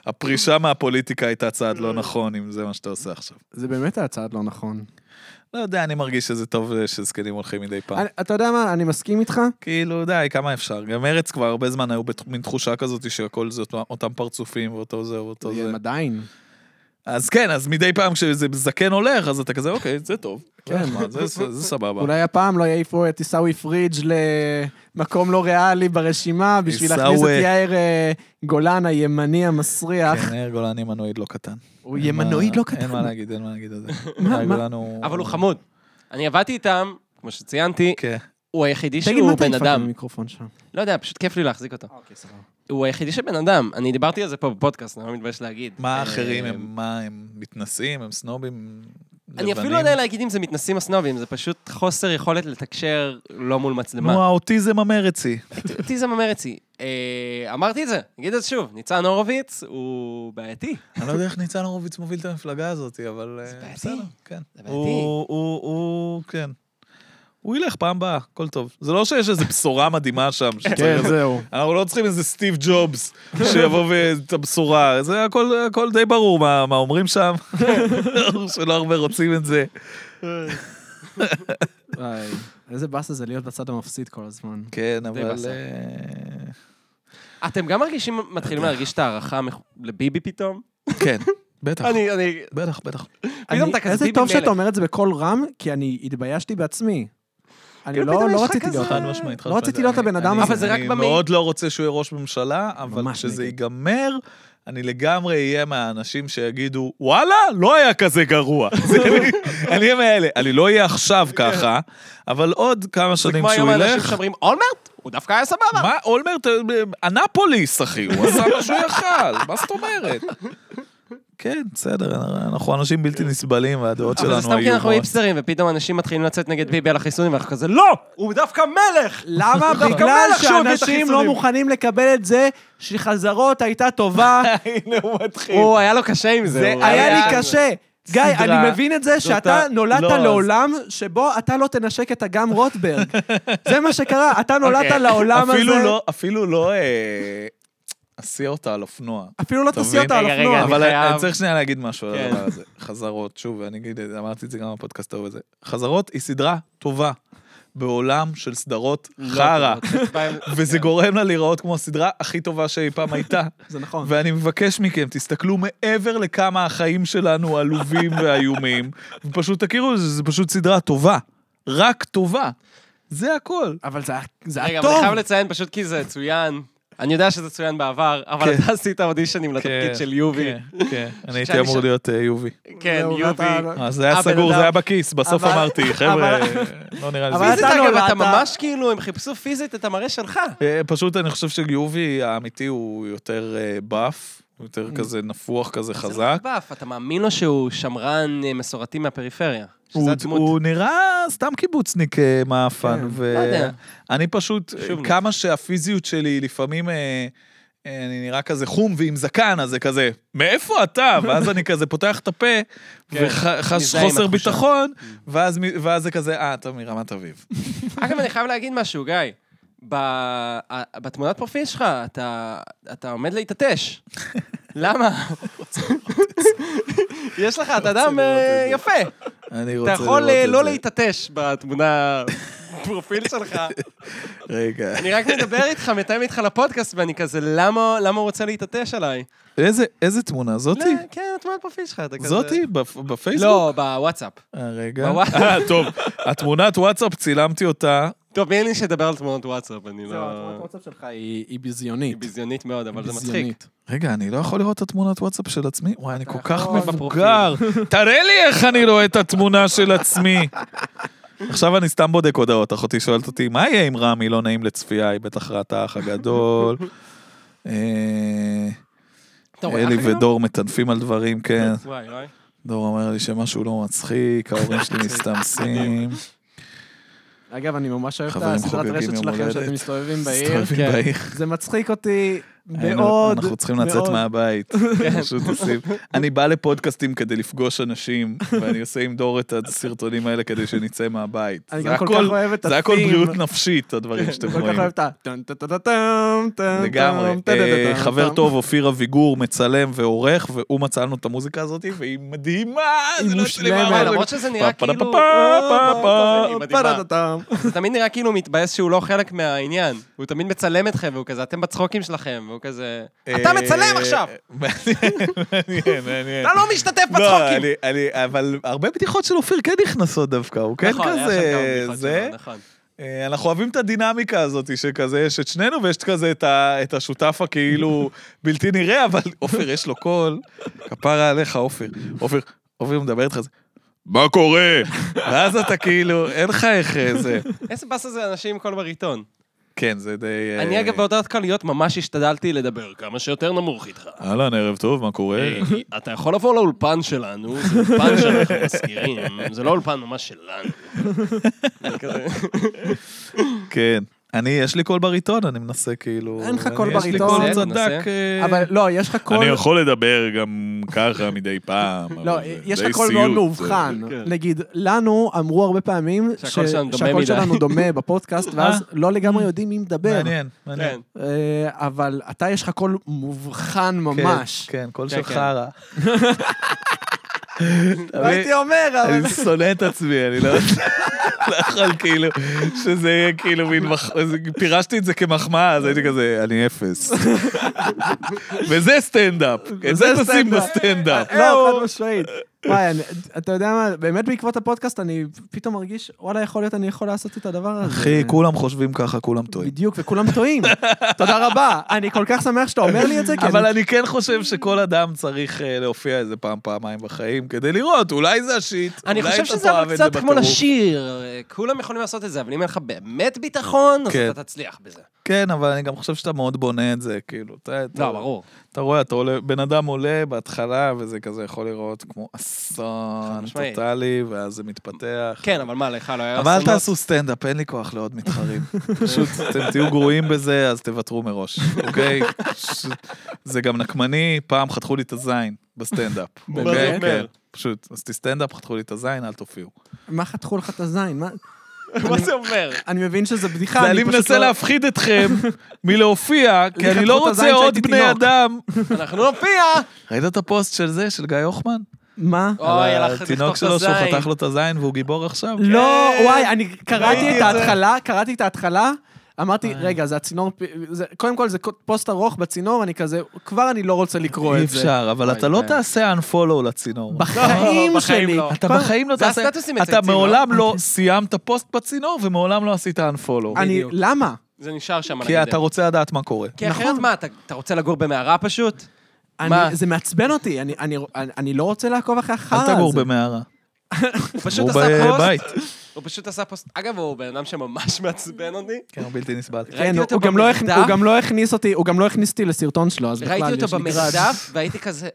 Speaker 2: הפרישה מהפוליטיקה הייתה צעד לא נכון, אם זה מה שאתה עושה עכשיו.
Speaker 4: זה באמת היה צעד לא נכון.
Speaker 2: לא יודע, אני מרגיש שזה טוב אה, שזקנים הולכים מדי פעם.
Speaker 4: אני- אתה יודע מה, אני מסכים איתך.
Speaker 2: כאילו, די, כמה אפשר? גם מרץ כבר הרבה זמן היו במין תחושה כזאת שהכל זה אותו- אותם פרצופים ואותו זה ואותו זה.
Speaker 4: הם עדיין.
Speaker 2: אז כן, אז מדי פעם כשזה זקן הולך, אז אתה כזה, אוקיי, זה טוב. זה
Speaker 4: כן.
Speaker 2: נחמד, זה- זה זה סבבה.
Speaker 4: אולי הפעם לא יעיפו את עיסאווי פריג' למקום לא ריאלי ברשימה בשביל להכניס את
Speaker 2: עיסאווי.
Speaker 4: יאיר אה, גולן הימני המסריח.
Speaker 2: כן, יאיר גולן ימנואיד לא קטן.
Speaker 4: הוא
Speaker 2: אין מה-
Speaker 4: ימנואיד לא
Speaker 2: אין
Speaker 4: קטן.
Speaker 2: מה להגיד, אין מה להגיד על זה.
Speaker 4: מה-
Speaker 2: יאיר גולן הוא...
Speaker 1: אבל הוא חמוד. אני עבדתי איתם, כמו שציינתי,
Speaker 2: כן.
Speaker 1: הוא היחידי
Speaker 4: תגיד
Speaker 1: שהוא
Speaker 4: מתי
Speaker 1: בן
Speaker 4: הפעלת
Speaker 1: אדם.
Speaker 4: מיקרופון שם.
Speaker 1: לא יודע, פשוט כיף לי להחזיק אותו. הוא היחידי שבן אדם. אני דיברתי על זה פה בפודקאסט, אני לא מתבייש להגיד.
Speaker 2: מה
Speaker 1: אה,
Speaker 2: האחרים הם, מה, הם מתנשאים, הם סנובים?
Speaker 1: אני אפילו
Speaker 2: לבנים?
Speaker 1: לא יודע להגיד אם זה מתנסים או סנובים, זה פשוט חוסר יכולת לתקשר לא מול
Speaker 2: נו,
Speaker 1: מצלמה.
Speaker 2: האוטיזם המרצי.
Speaker 1: אותי זה ממרצי. אמרתי את זה, נגיד את זה שוב, ניצן הורוביץ הוא בעייתי.
Speaker 2: אני לא יודע איך ניצן הורוביץ מוביל את המפלגה הזאת, אבל...
Speaker 1: זה
Speaker 2: אה,
Speaker 1: בעייתי.
Speaker 2: בסדר, כן.
Speaker 1: זה בעייתי.
Speaker 2: הוא, הוא, הוא, כן. הוא ילך פעם הבאה, הכל טוב. זה לא שיש איזו בשורה מדהימה שם. שצריך-
Speaker 4: כן, זהו.
Speaker 2: אנחנו לא צריכים איזה סטיב ג'ובס שיבוא ואת הבשורה. זה הכל, הכל די ברור מה, מה אומרים שם. ברור שלא הרבה רוצים את זה.
Speaker 4: וואי, איזה באסה זה להיות בצד המפסיד כל הזמן.
Speaker 2: כן, אבל...
Speaker 1: באסה.
Speaker 2: אה,
Speaker 1: אתם גם מרגישים, מתחילים להרגיש את ההערכה מח- לביבי פתאום?
Speaker 2: כן, בטח.
Speaker 1: אני, אני...
Speaker 2: בטח, בטח.
Speaker 1: פתאום
Speaker 4: אני-
Speaker 1: אתה כזה
Speaker 4: איזה
Speaker 1: ביבי
Speaker 4: טוב שאתה
Speaker 1: מלך.
Speaker 4: אומר את זה בקול רם, כי אני התביישתי בעצמי. אני
Speaker 1: כאילו,
Speaker 4: לא
Speaker 1: פתאום יש
Speaker 4: לא
Speaker 1: לך
Speaker 4: רציתי
Speaker 1: כזה-
Speaker 4: להיות...
Speaker 2: חד משמעית, חד
Speaker 4: לא רציתי
Speaker 2: משמעית.
Speaker 4: להיות הבן
Speaker 2: אני-
Speaker 4: אדם
Speaker 2: אני-
Speaker 1: הזה. אבל זה רק
Speaker 2: אני
Speaker 1: במעיל.
Speaker 2: מאוד לא רוצה שהוא יהיה ראש ממשלה, אבל
Speaker 4: ממש
Speaker 2: כשזה
Speaker 4: נגד.
Speaker 2: ייגמר, אני לגמרי אהיה מהאנשים שיגידו, וואלה, לא היה כזה גרוע. זה אני- אני אהיה מאלה. אני לא אהיה עכשיו ככה, אבל עוד כמה
Speaker 1: כן. זה
Speaker 2: שנים
Speaker 1: כמו היום
Speaker 2: שהוא
Speaker 1: האנשים
Speaker 2: ילך...
Speaker 1: שאומרים, אולמרט? הוא דווקא היה סבבה.
Speaker 2: מה, אולמרט, אה, אנאפוליס, אחי, הוא עשה מה שהוא יכל, מה זאת אומרת? כן, בסדר, אנחנו אנשים בלתי נסבלים, והדעות שלנו
Speaker 1: כן. אבל
Speaker 2: היו...
Speaker 1: זה סתם כי אנחנו
Speaker 2: מאוד-
Speaker 1: היפסטרים, ופתאום אנשים מתחילים לצאת נגד ביבי על החיסונים, ואנחנו כזה, לא! הוא דווקא מלך!
Speaker 4: למה?
Speaker 1: דווקא
Speaker 4: בגלל
Speaker 1: מלך שהוא הביא את
Speaker 4: שאנשים לא
Speaker 1: החיסונים.
Speaker 4: מוכנים לקבל את זה שחזרות הייתה טובה,
Speaker 2: הנה הוא מתחיל.
Speaker 1: הוא, היה לו קשה עם זה. הוא
Speaker 4: כאילו. היה
Speaker 2: היה-
Speaker 4: לי קשה. גיא,
Speaker 2: סדרה,
Speaker 4: אני מבין את זה שאתה
Speaker 2: זאת ה-
Speaker 4: נולדת
Speaker 2: לא, אז-
Speaker 4: לעולם שבו אתה לא תנשק את אגם רוטברג. זה מה שקרה, אתה נולדת
Speaker 1: אוקיי.
Speaker 4: לעולם הזה.
Speaker 2: אפילו לא, אפילו לא אה, אסיע אותה על אופנוע.
Speaker 4: אפילו לא
Speaker 2: אתה
Speaker 4: תסיע אותה על
Speaker 1: מבין? רגע,
Speaker 4: אופנוע.
Speaker 1: רגע,
Speaker 2: אבל
Speaker 1: חייב-
Speaker 2: אני אני צריך שנייה להגיד משהו על
Speaker 1: כן.
Speaker 2: הדבר הזה. חזרות, שוב, אני אגיד, את זה, אמרתי את זה גם בפודקאסט ההוא הזה. חזרות היא סדרה טובה בעולם של סדרות
Speaker 1: לא,
Speaker 2: חרא.
Speaker 1: אתה
Speaker 4: כאילו,
Speaker 1: רוצה-
Speaker 2: וזה גורם לה להיראות כמו הסדרה הכי טובה שאי פעם הייתה.
Speaker 4: זה נכון.
Speaker 2: ואני מבקש מכם, תסתכלו מעבר לכמה החיים שלנו עלובים ואיומים, ופשוט תכירו, זה זה פשוט סדרה טובה. רק טובה. זה הכל.
Speaker 4: אבל זה היה- זה
Speaker 1: רגע,
Speaker 4: היה
Speaker 1: אבל אני
Speaker 4: טוב.
Speaker 1: חייב לציין פשוט כי זה צוין. אני יודע שזה צוין בעבר, אבל
Speaker 2: כן.
Speaker 1: אתה עשית אודישנים לתפקיד של יובי.
Speaker 2: כן, כן. אני
Speaker 1: שאני
Speaker 2: הייתי אמור
Speaker 1: שם-
Speaker 2: להיות אה, יובי.
Speaker 1: כן,
Speaker 4: זהו,
Speaker 1: יובי.
Speaker 4: ואתה-
Speaker 2: אה, זה היה
Speaker 1: הבן
Speaker 2: סגור,
Speaker 1: אדם-
Speaker 2: זה היה בכיס, בסוף
Speaker 4: אבל-
Speaker 2: אמרתי, חבר'ה,
Speaker 4: אבל-
Speaker 2: לא נראה לי
Speaker 4: אבל
Speaker 2: זה.
Speaker 1: פיזית,
Speaker 4: אתה
Speaker 1: אגב,
Speaker 4: נולדת-
Speaker 1: אתה ממש כאילו, הם חיפשו פיזית את המראה שלך.
Speaker 2: אה, פשוט אני חושב שיובי האמיתי הוא יותר אה, באף, הוא יותר כזה נפוח, כזה
Speaker 1: Mm. זה לא
Speaker 2: חזק.
Speaker 1: חבף, אתה מאמין לו שהוא שמרן אה, מסורתי מהפריפריה.
Speaker 2: הוא,
Speaker 1: שזה הדמות.
Speaker 2: הוא נראה סתם קיבוצניק אה,
Speaker 4: כן,
Speaker 2: מאפן,
Speaker 1: לא יודע.
Speaker 2: ואני פשוט, אה,
Speaker 1: שובניק.
Speaker 2: כמה שהפיזיות שלי לפעמים, אה, אה, אני נראה כזה חום ועם זקן, אז זה כזה, מאיפה אתה? ואז אני כזה פותח את הפה,
Speaker 1: כן,
Speaker 2: וחש
Speaker 1: מזדהה עם
Speaker 2: חוסר
Speaker 1: התחושה.
Speaker 2: ביטחון, ואז, מ- ואז זה כזה, אה, אתה מרמת אביב.
Speaker 1: אגב, אני חייב להגיד משהו, גיא. ב... ה- בתמונת פרופיל שלך, אתה, אתה עומד להתעטש. למה? יש לך,
Speaker 4: לא,
Speaker 1: אתה אדם
Speaker 2: לראות את
Speaker 1: אה,
Speaker 2: זה.
Speaker 1: יפה.
Speaker 2: אני
Speaker 1: אתה
Speaker 2: רוצה
Speaker 1: יכול אה,
Speaker 2: לראות את
Speaker 1: לא
Speaker 2: זה.
Speaker 1: להתעטש בתמונה פרופיל שלך.
Speaker 2: רגע.
Speaker 1: אני רק מדבר איתך, מתאם איתך לפודקאסט, ואני כזה, למה למה הוא רוצה להתעטש עליי?
Speaker 2: איזה, איזה תמונה?
Speaker 1: לא,
Speaker 2: זאתי?
Speaker 1: כן, תמונת פרופיל שלך, אתה כזה...
Speaker 2: זאתי? בפ- בפייסבוק?
Speaker 1: לא, בוואטסאפ.
Speaker 2: אה, רגע.
Speaker 1: בוואטסאפ.
Speaker 2: אה, טוב, התמונת וואטסאפ, צילמתי אותה.
Speaker 1: טוב, אין לי שתדבר על תמונות וואטסאפ, אני
Speaker 4: זהו, התמונת
Speaker 1: לא...
Speaker 4: וואטסאפ שלך היא היא ביזיונית.
Speaker 1: היא ביזיונית מאוד, אבל זה מצחיק.
Speaker 4: ביזיונית.
Speaker 2: רגע, אני לא יכול לראות את התמונת וואטסאפ של עצמי? וואי, אני כל כך
Speaker 1: יכול
Speaker 2: מבוגר. תראה לי איך אני רואה את התמונה של עצמי. עכשיו אני סתם בודק הודעות. אחותי שואלת אותי, מה יהיה עם רמי? לא נעים לצפייה, היא בטח ראתה האח הגדול. אה,
Speaker 1: אתה רואה
Speaker 2: אלי
Speaker 1: אחר כך?
Speaker 2: ודור מטנפים על דברים, כן.
Speaker 1: וואי, וואי.
Speaker 2: דור אומר לי שמשהו לא מצחיק, ההורים שלי
Speaker 1: כן.
Speaker 2: מסתמסים.
Speaker 4: אגב, אני ממש אוהב את
Speaker 2: חברים
Speaker 4: הסדרת
Speaker 2: חוגגים
Speaker 4: רשת
Speaker 2: יום
Speaker 4: שלכם
Speaker 2: הולדת.
Speaker 4: שאתם מסתובבים בעיר.
Speaker 2: מסתובבים
Speaker 1: כן.
Speaker 2: בעיר.
Speaker 4: זה מצחיק אותי
Speaker 2: היינו-
Speaker 4: מאוד.
Speaker 2: אה, אנחנו צריכים לצאת
Speaker 4: מאוד.
Speaker 2: מהבית.
Speaker 4: כן.
Speaker 2: פשוט עושים. אני בא לפודקאסטים כדי לפגוש אנשים, ואני עושה עם דור את הסרטונים האלה כדי שנצא מהבית.
Speaker 4: אני
Speaker 2: זה
Speaker 4: גם כל
Speaker 2: הכל-
Speaker 4: כך אוהב את
Speaker 2: זה הכל
Speaker 4: ה-theme.
Speaker 2: בריאות נפשית, הדברים שאתם
Speaker 4: כל כך
Speaker 2: רואים.
Speaker 4: אוהב את ה... טן, טן, טן, טן, טן, טן,
Speaker 2: לגמרי.
Speaker 4: טן, טן,
Speaker 2: אה,
Speaker 4: טן,
Speaker 2: חבר
Speaker 4: טן.
Speaker 2: טוב, אופיר אביגור, מצלם ועורך, והוא מצא לנו את המוזיקה הזאת, והיא מדהימה!
Speaker 4: היא
Speaker 2: זה לא שלי
Speaker 4: מושלמת.
Speaker 2: מאמר.
Speaker 1: למרות שזה נראה
Speaker 2: פה, פה,
Speaker 1: כאילו-
Speaker 2: פה,
Speaker 4: אה,
Speaker 2: פה, פה,
Speaker 1: היא מדהימה.
Speaker 4: טן, טן, טן.
Speaker 1: אה, זה תמיד נראה כאילו הוא מתבאס שהוא לא חלק מהעניין. הוא תמיד מצלם אתכם, והוא כזה, אתם בצחוקים שלכם, והוא כזה... אתה
Speaker 2: אה,
Speaker 1: מצלם עכשיו!
Speaker 2: מעניין, מעניין, מעניין.
Speaker 1: אתה לא משתתף
Speaker 2: לא,
Speaker 1: בצחוקים!
Speaker 2: אני, אני, אבל הרבה בדיחות של אופיר כן נכנסות דווקא, הוא כן
Speaker 1: נכון, היה שם כמה
Speaker 2: כזה,
Speaker 1: בדיחות
Speaker 2: זה.
Speaker 1: שלו, נכון.
Speaker 2: אה, אנחנו אוהבים את הדינמיקה הזאת, שכזה יש את שנינו ויש כזה את, ה, את השותף הכאילו בלתי נראה, אבל עופר יש לו קול, כפרה עליך עופר, עופר, עופר מדבר איתך, זה, מה קורה? ואז אתה כאילו, אין לך איך אה, זה.
Speaker 1: איזה באסה זה אנשים עם קול בריטון.
Speaker 2: כן, זה די... אה,
Speaker 1: אני אגב בהודעות קוליות ממש השתדלתי לדבר כמה שיותר נמוך איתך.
Speaker 2: אהלן, ערב טוב, מה קורה?
Speaker 4: אה.
Speaker 1: היי, אתה יכול לבוא לאולפן שלנו, זה אולפן שאנחנו מזכירים, זה לא אולפן ממש שלנו. אני כזה-
Speaker 2: כן. אני, יש לי קול בריטון, אני מנסה כאילו...
Speaker 4: אין לך קול
Speaker 2: אני-
Speaker 4: בריטון.
Speaker 2: יש לי
Speaker 1: כן,
Speaker 2: קול
Speaker 1: מנסה.
Speaker 2: צדק. אה,
Speaker 4: אבל לא, יש לך קול...
Speaker 2: אני יכול לדבר גם ככה מדי פעם. אבל
Speaker 4: לא,
Speaker 2: זה
Speaker 4: יש
Speaker 2: די
Speaker 4: לך קול מאוד
Speaker 2: סיוט,
Speaker 4: מאובחן.
Speaker 1: כן.
Speaker 4: נגיד, לנו אמרו הרבה פעמים ש-
Speaker 1: שהקול שלנו דומה
Speaker 4: שהקול
Speaker 1: מדי.
Speaker 4: שלנו דומה בפודקאסט, ואז לא לגמרי יודעים מי
Speaker 2: זה-
Speaker 4: מדבר.
Speaker 2: מעניין,
Speaker 1: כן.
Speaker 2: מעניין.
Speaker 4: אה, אבל אתה, יש לך קול מובחן ממש.
Speaker 2: כן, כן, קול
Speaker 1: כן,
Speaker 2: של
Speaker 1: כן.
Speaker 2: חרא.
Speaker 4: לא הייתי אומר, אבל...
Speaker 2: אני שונא את עצמי, אני לא לא יכול כאילו, שזה יהיה כאילו מין, מח- אז פירשתי את זה כמחמאה, אז הייתי כזה, אני אפס. וזה סטנדאפ, את זה תשים בסטנדאפ.
Speaker 1: אה,
Speaker 4: לא, חד משמעית. וואי, אני- אתה יודע מה, באמת בעקבות הפודקאסט אני פתאום מרגיש, וואלה, יכול להיות אני יכול לעשות את הדבר הזה. אה,
Speaker 2: אחי, כולם חושבים ככה, כולם טועים.
Speaker 4: בדיוק, וכולם טועים. תודה רבה. אני כל כך שמח שאתה אומר לי את זה, כי
Speaker 2: אבל
Speaker 4: אני...
Speaker 2: אני כן חושב שכל אדם צריך אה, להופיע איזה פעם, פעמיים בחיים, כדי לראות, אולי זה השיט,
Speaker 1: אני
Speaker 2: אולי
Speaker 1: חושב
Speaker 2: אתה
Speaker 1: שזה
Speaker 2: תאהב
Speaker 1: אבל
Speaker 2: את זה
Speaker 1: קצת כמו
Speaker 2: בטירוף.
Speaker 1: לשיר, אה, כולם יכולים לעשות את זה, אבל אם אין לך באמת ביטחון, אז
Speaker 2: כן.
Speaker 1: אתה תצליח בזה.
Speaker 2: כן, אבל אני גם חושב שאתה מאוד בונה את זה, כאילו. אתה, אתה,
Speaker 1: לא, ברור.
Speaker 2: אתה רואה, אתה עולה, בן אדם עולה בהתחלה, וזה כזה יכול להיראות כמו אסון
Speaker 1: משמעית.
Speaker 2: טוטאלי, ואז זה מתפתח.
Speaker 1: כן, אבל מה, לך לא היה
Speaker 2: אבל אל
Speaker 1: אסונות?
Speaker 2: תעשו סטנדאפ, אין לי כוח לעוד מתחרים. פשוט, אתם תהיו גרועים בזה, אז תוותרו מראש, אוקיי? ש- זה גם נקמני, פעם חתכו לי את הזין בסטנדאפ.
Speaker 1: מה זה
Speaker 2: אוקיי?
Speaker 1: אומר?
Speaker 2: כן, פשוט, עשיתי סטנדאפ, חתכו לי את הזין, אל תופיעו.
Speaker 4: מה חתכו לך את הזין? מה-
Speaker 1: מה זה אומר?
Speaker 4: אני מבין שזה בדיחה.
Speaker 2: ואני
Speaker 4: פשוט
Speaker 2: מנסה
Speaker 4: לא-
Speaker 2: להפחיד אתכם מלהופיע, כי
Speaker 4: לי
Speaker 2: אני
Speaker 4: חתכו
Speaker 2: לא
Speaker 4: את הזין
Speaker 2: רוצה עוד
Speaker 4: כשהייתי
Speaker 2: בני
Speaker 4: תינוק.
Speaker 2: אדם.
Speaker 1: אנחנו לא נופיע!
Speaker 2: ראית את הפוסט של זה, של גיא הוחמן?
Speaker 4: מה?
Speaker 2: אה,
Speaker 1: אוי, הלך
Speaker 2: התינוק
Speaker 1: לחתוך את
Speaker 2: לא שלו שהוא
Speaker 1: הזין.
Speaker 2: חתך לו את הזין והוא גיבור עכשיו?
Speaker 4: לא, וואי, אני קראתי
Speaker 1: ראיתי
Speaker 4: את
Speaker 1: את זה.
Speaker 4: ההתחלה, קראתי את ההתחלה,
Speaker 3: אמרתי, רגע, זה הצינור, פ- זה- קודם כל זה פוסט ארוך בצינור, אני כזה, כבר אני לא רוצה לקרוא
Speaker 2: אי
Speaker 3: את זה.
Speaker 2: אפשר, אבל
Speaker 1: אוי,
Speaker 2: אתה לא
Speaker 1: כן.
Speaker 2: תעשה unfollow לצינור.
Speaker 3: בחיים
Speaker 1: לא, בחיים
Speaker 3: שלי.
Speaker 1: לא.
Speaker 2: אתה
Speaker 3: קודם-
Speaker 2: בחיים לא
Speaker 1: זה
Speaker 2: תעשה...
Speaker 1: הסטטוסים
Speaker 2: אתה
Speaker 1: מצייצים, לא?
Speaker 2: מעולם לא סיימת פוסט בצינור ומעולם לא עשית unfollow.
Speaker 3: אני,
Speaker 1: בדיוק.
Speaker 3: למה?
Speaker 1: זה נשאר שם על
Speaker 2: כי אתה
Speaker 1: הגדר.
Speaker 2: רוצה לדעת מה קורה.
Speaker 1: כי אחרת
Speaker 3: נכון.
Speaker 1: מה, אתה- אתה רוצה לגור במערה פשוט? מה?
Speaker 3: אני, זה מעצבן אותי, אני, אני, אני, אני לא רוצה לעקוב אחרי החרא
Speaker 2: אל
Speaker 3: הזה.
Speaker 2: תגור במערה.
Speaker 1: הוא פשוט
Speaker 2: גור
Speaker 1: עשה פוסט,
Speaker 2: בבית.
Speaker 1: הוא פשוט עשה פוסט, אגב, הוא בן אדם שממש מעצבן אותי.
Speaker 2: כן, הוא בלתי נסבל.
Speaker 1: ראיתי
Speaker 3: כן, הוא,
Speaker 1: אותו
Speaker 3: הוא, גם לא הכ...
Speaker 1: במרדף.
Speaker 3: הוא גם לא הכניס אותי, הוא גם לא הכניס אותי לסרטון שלו, אז בכלל יש לי...
Speaker 1: ראיתי אותו
Speaker 3: גרעד.
Speaker 1: במרדף, והייתי כזה,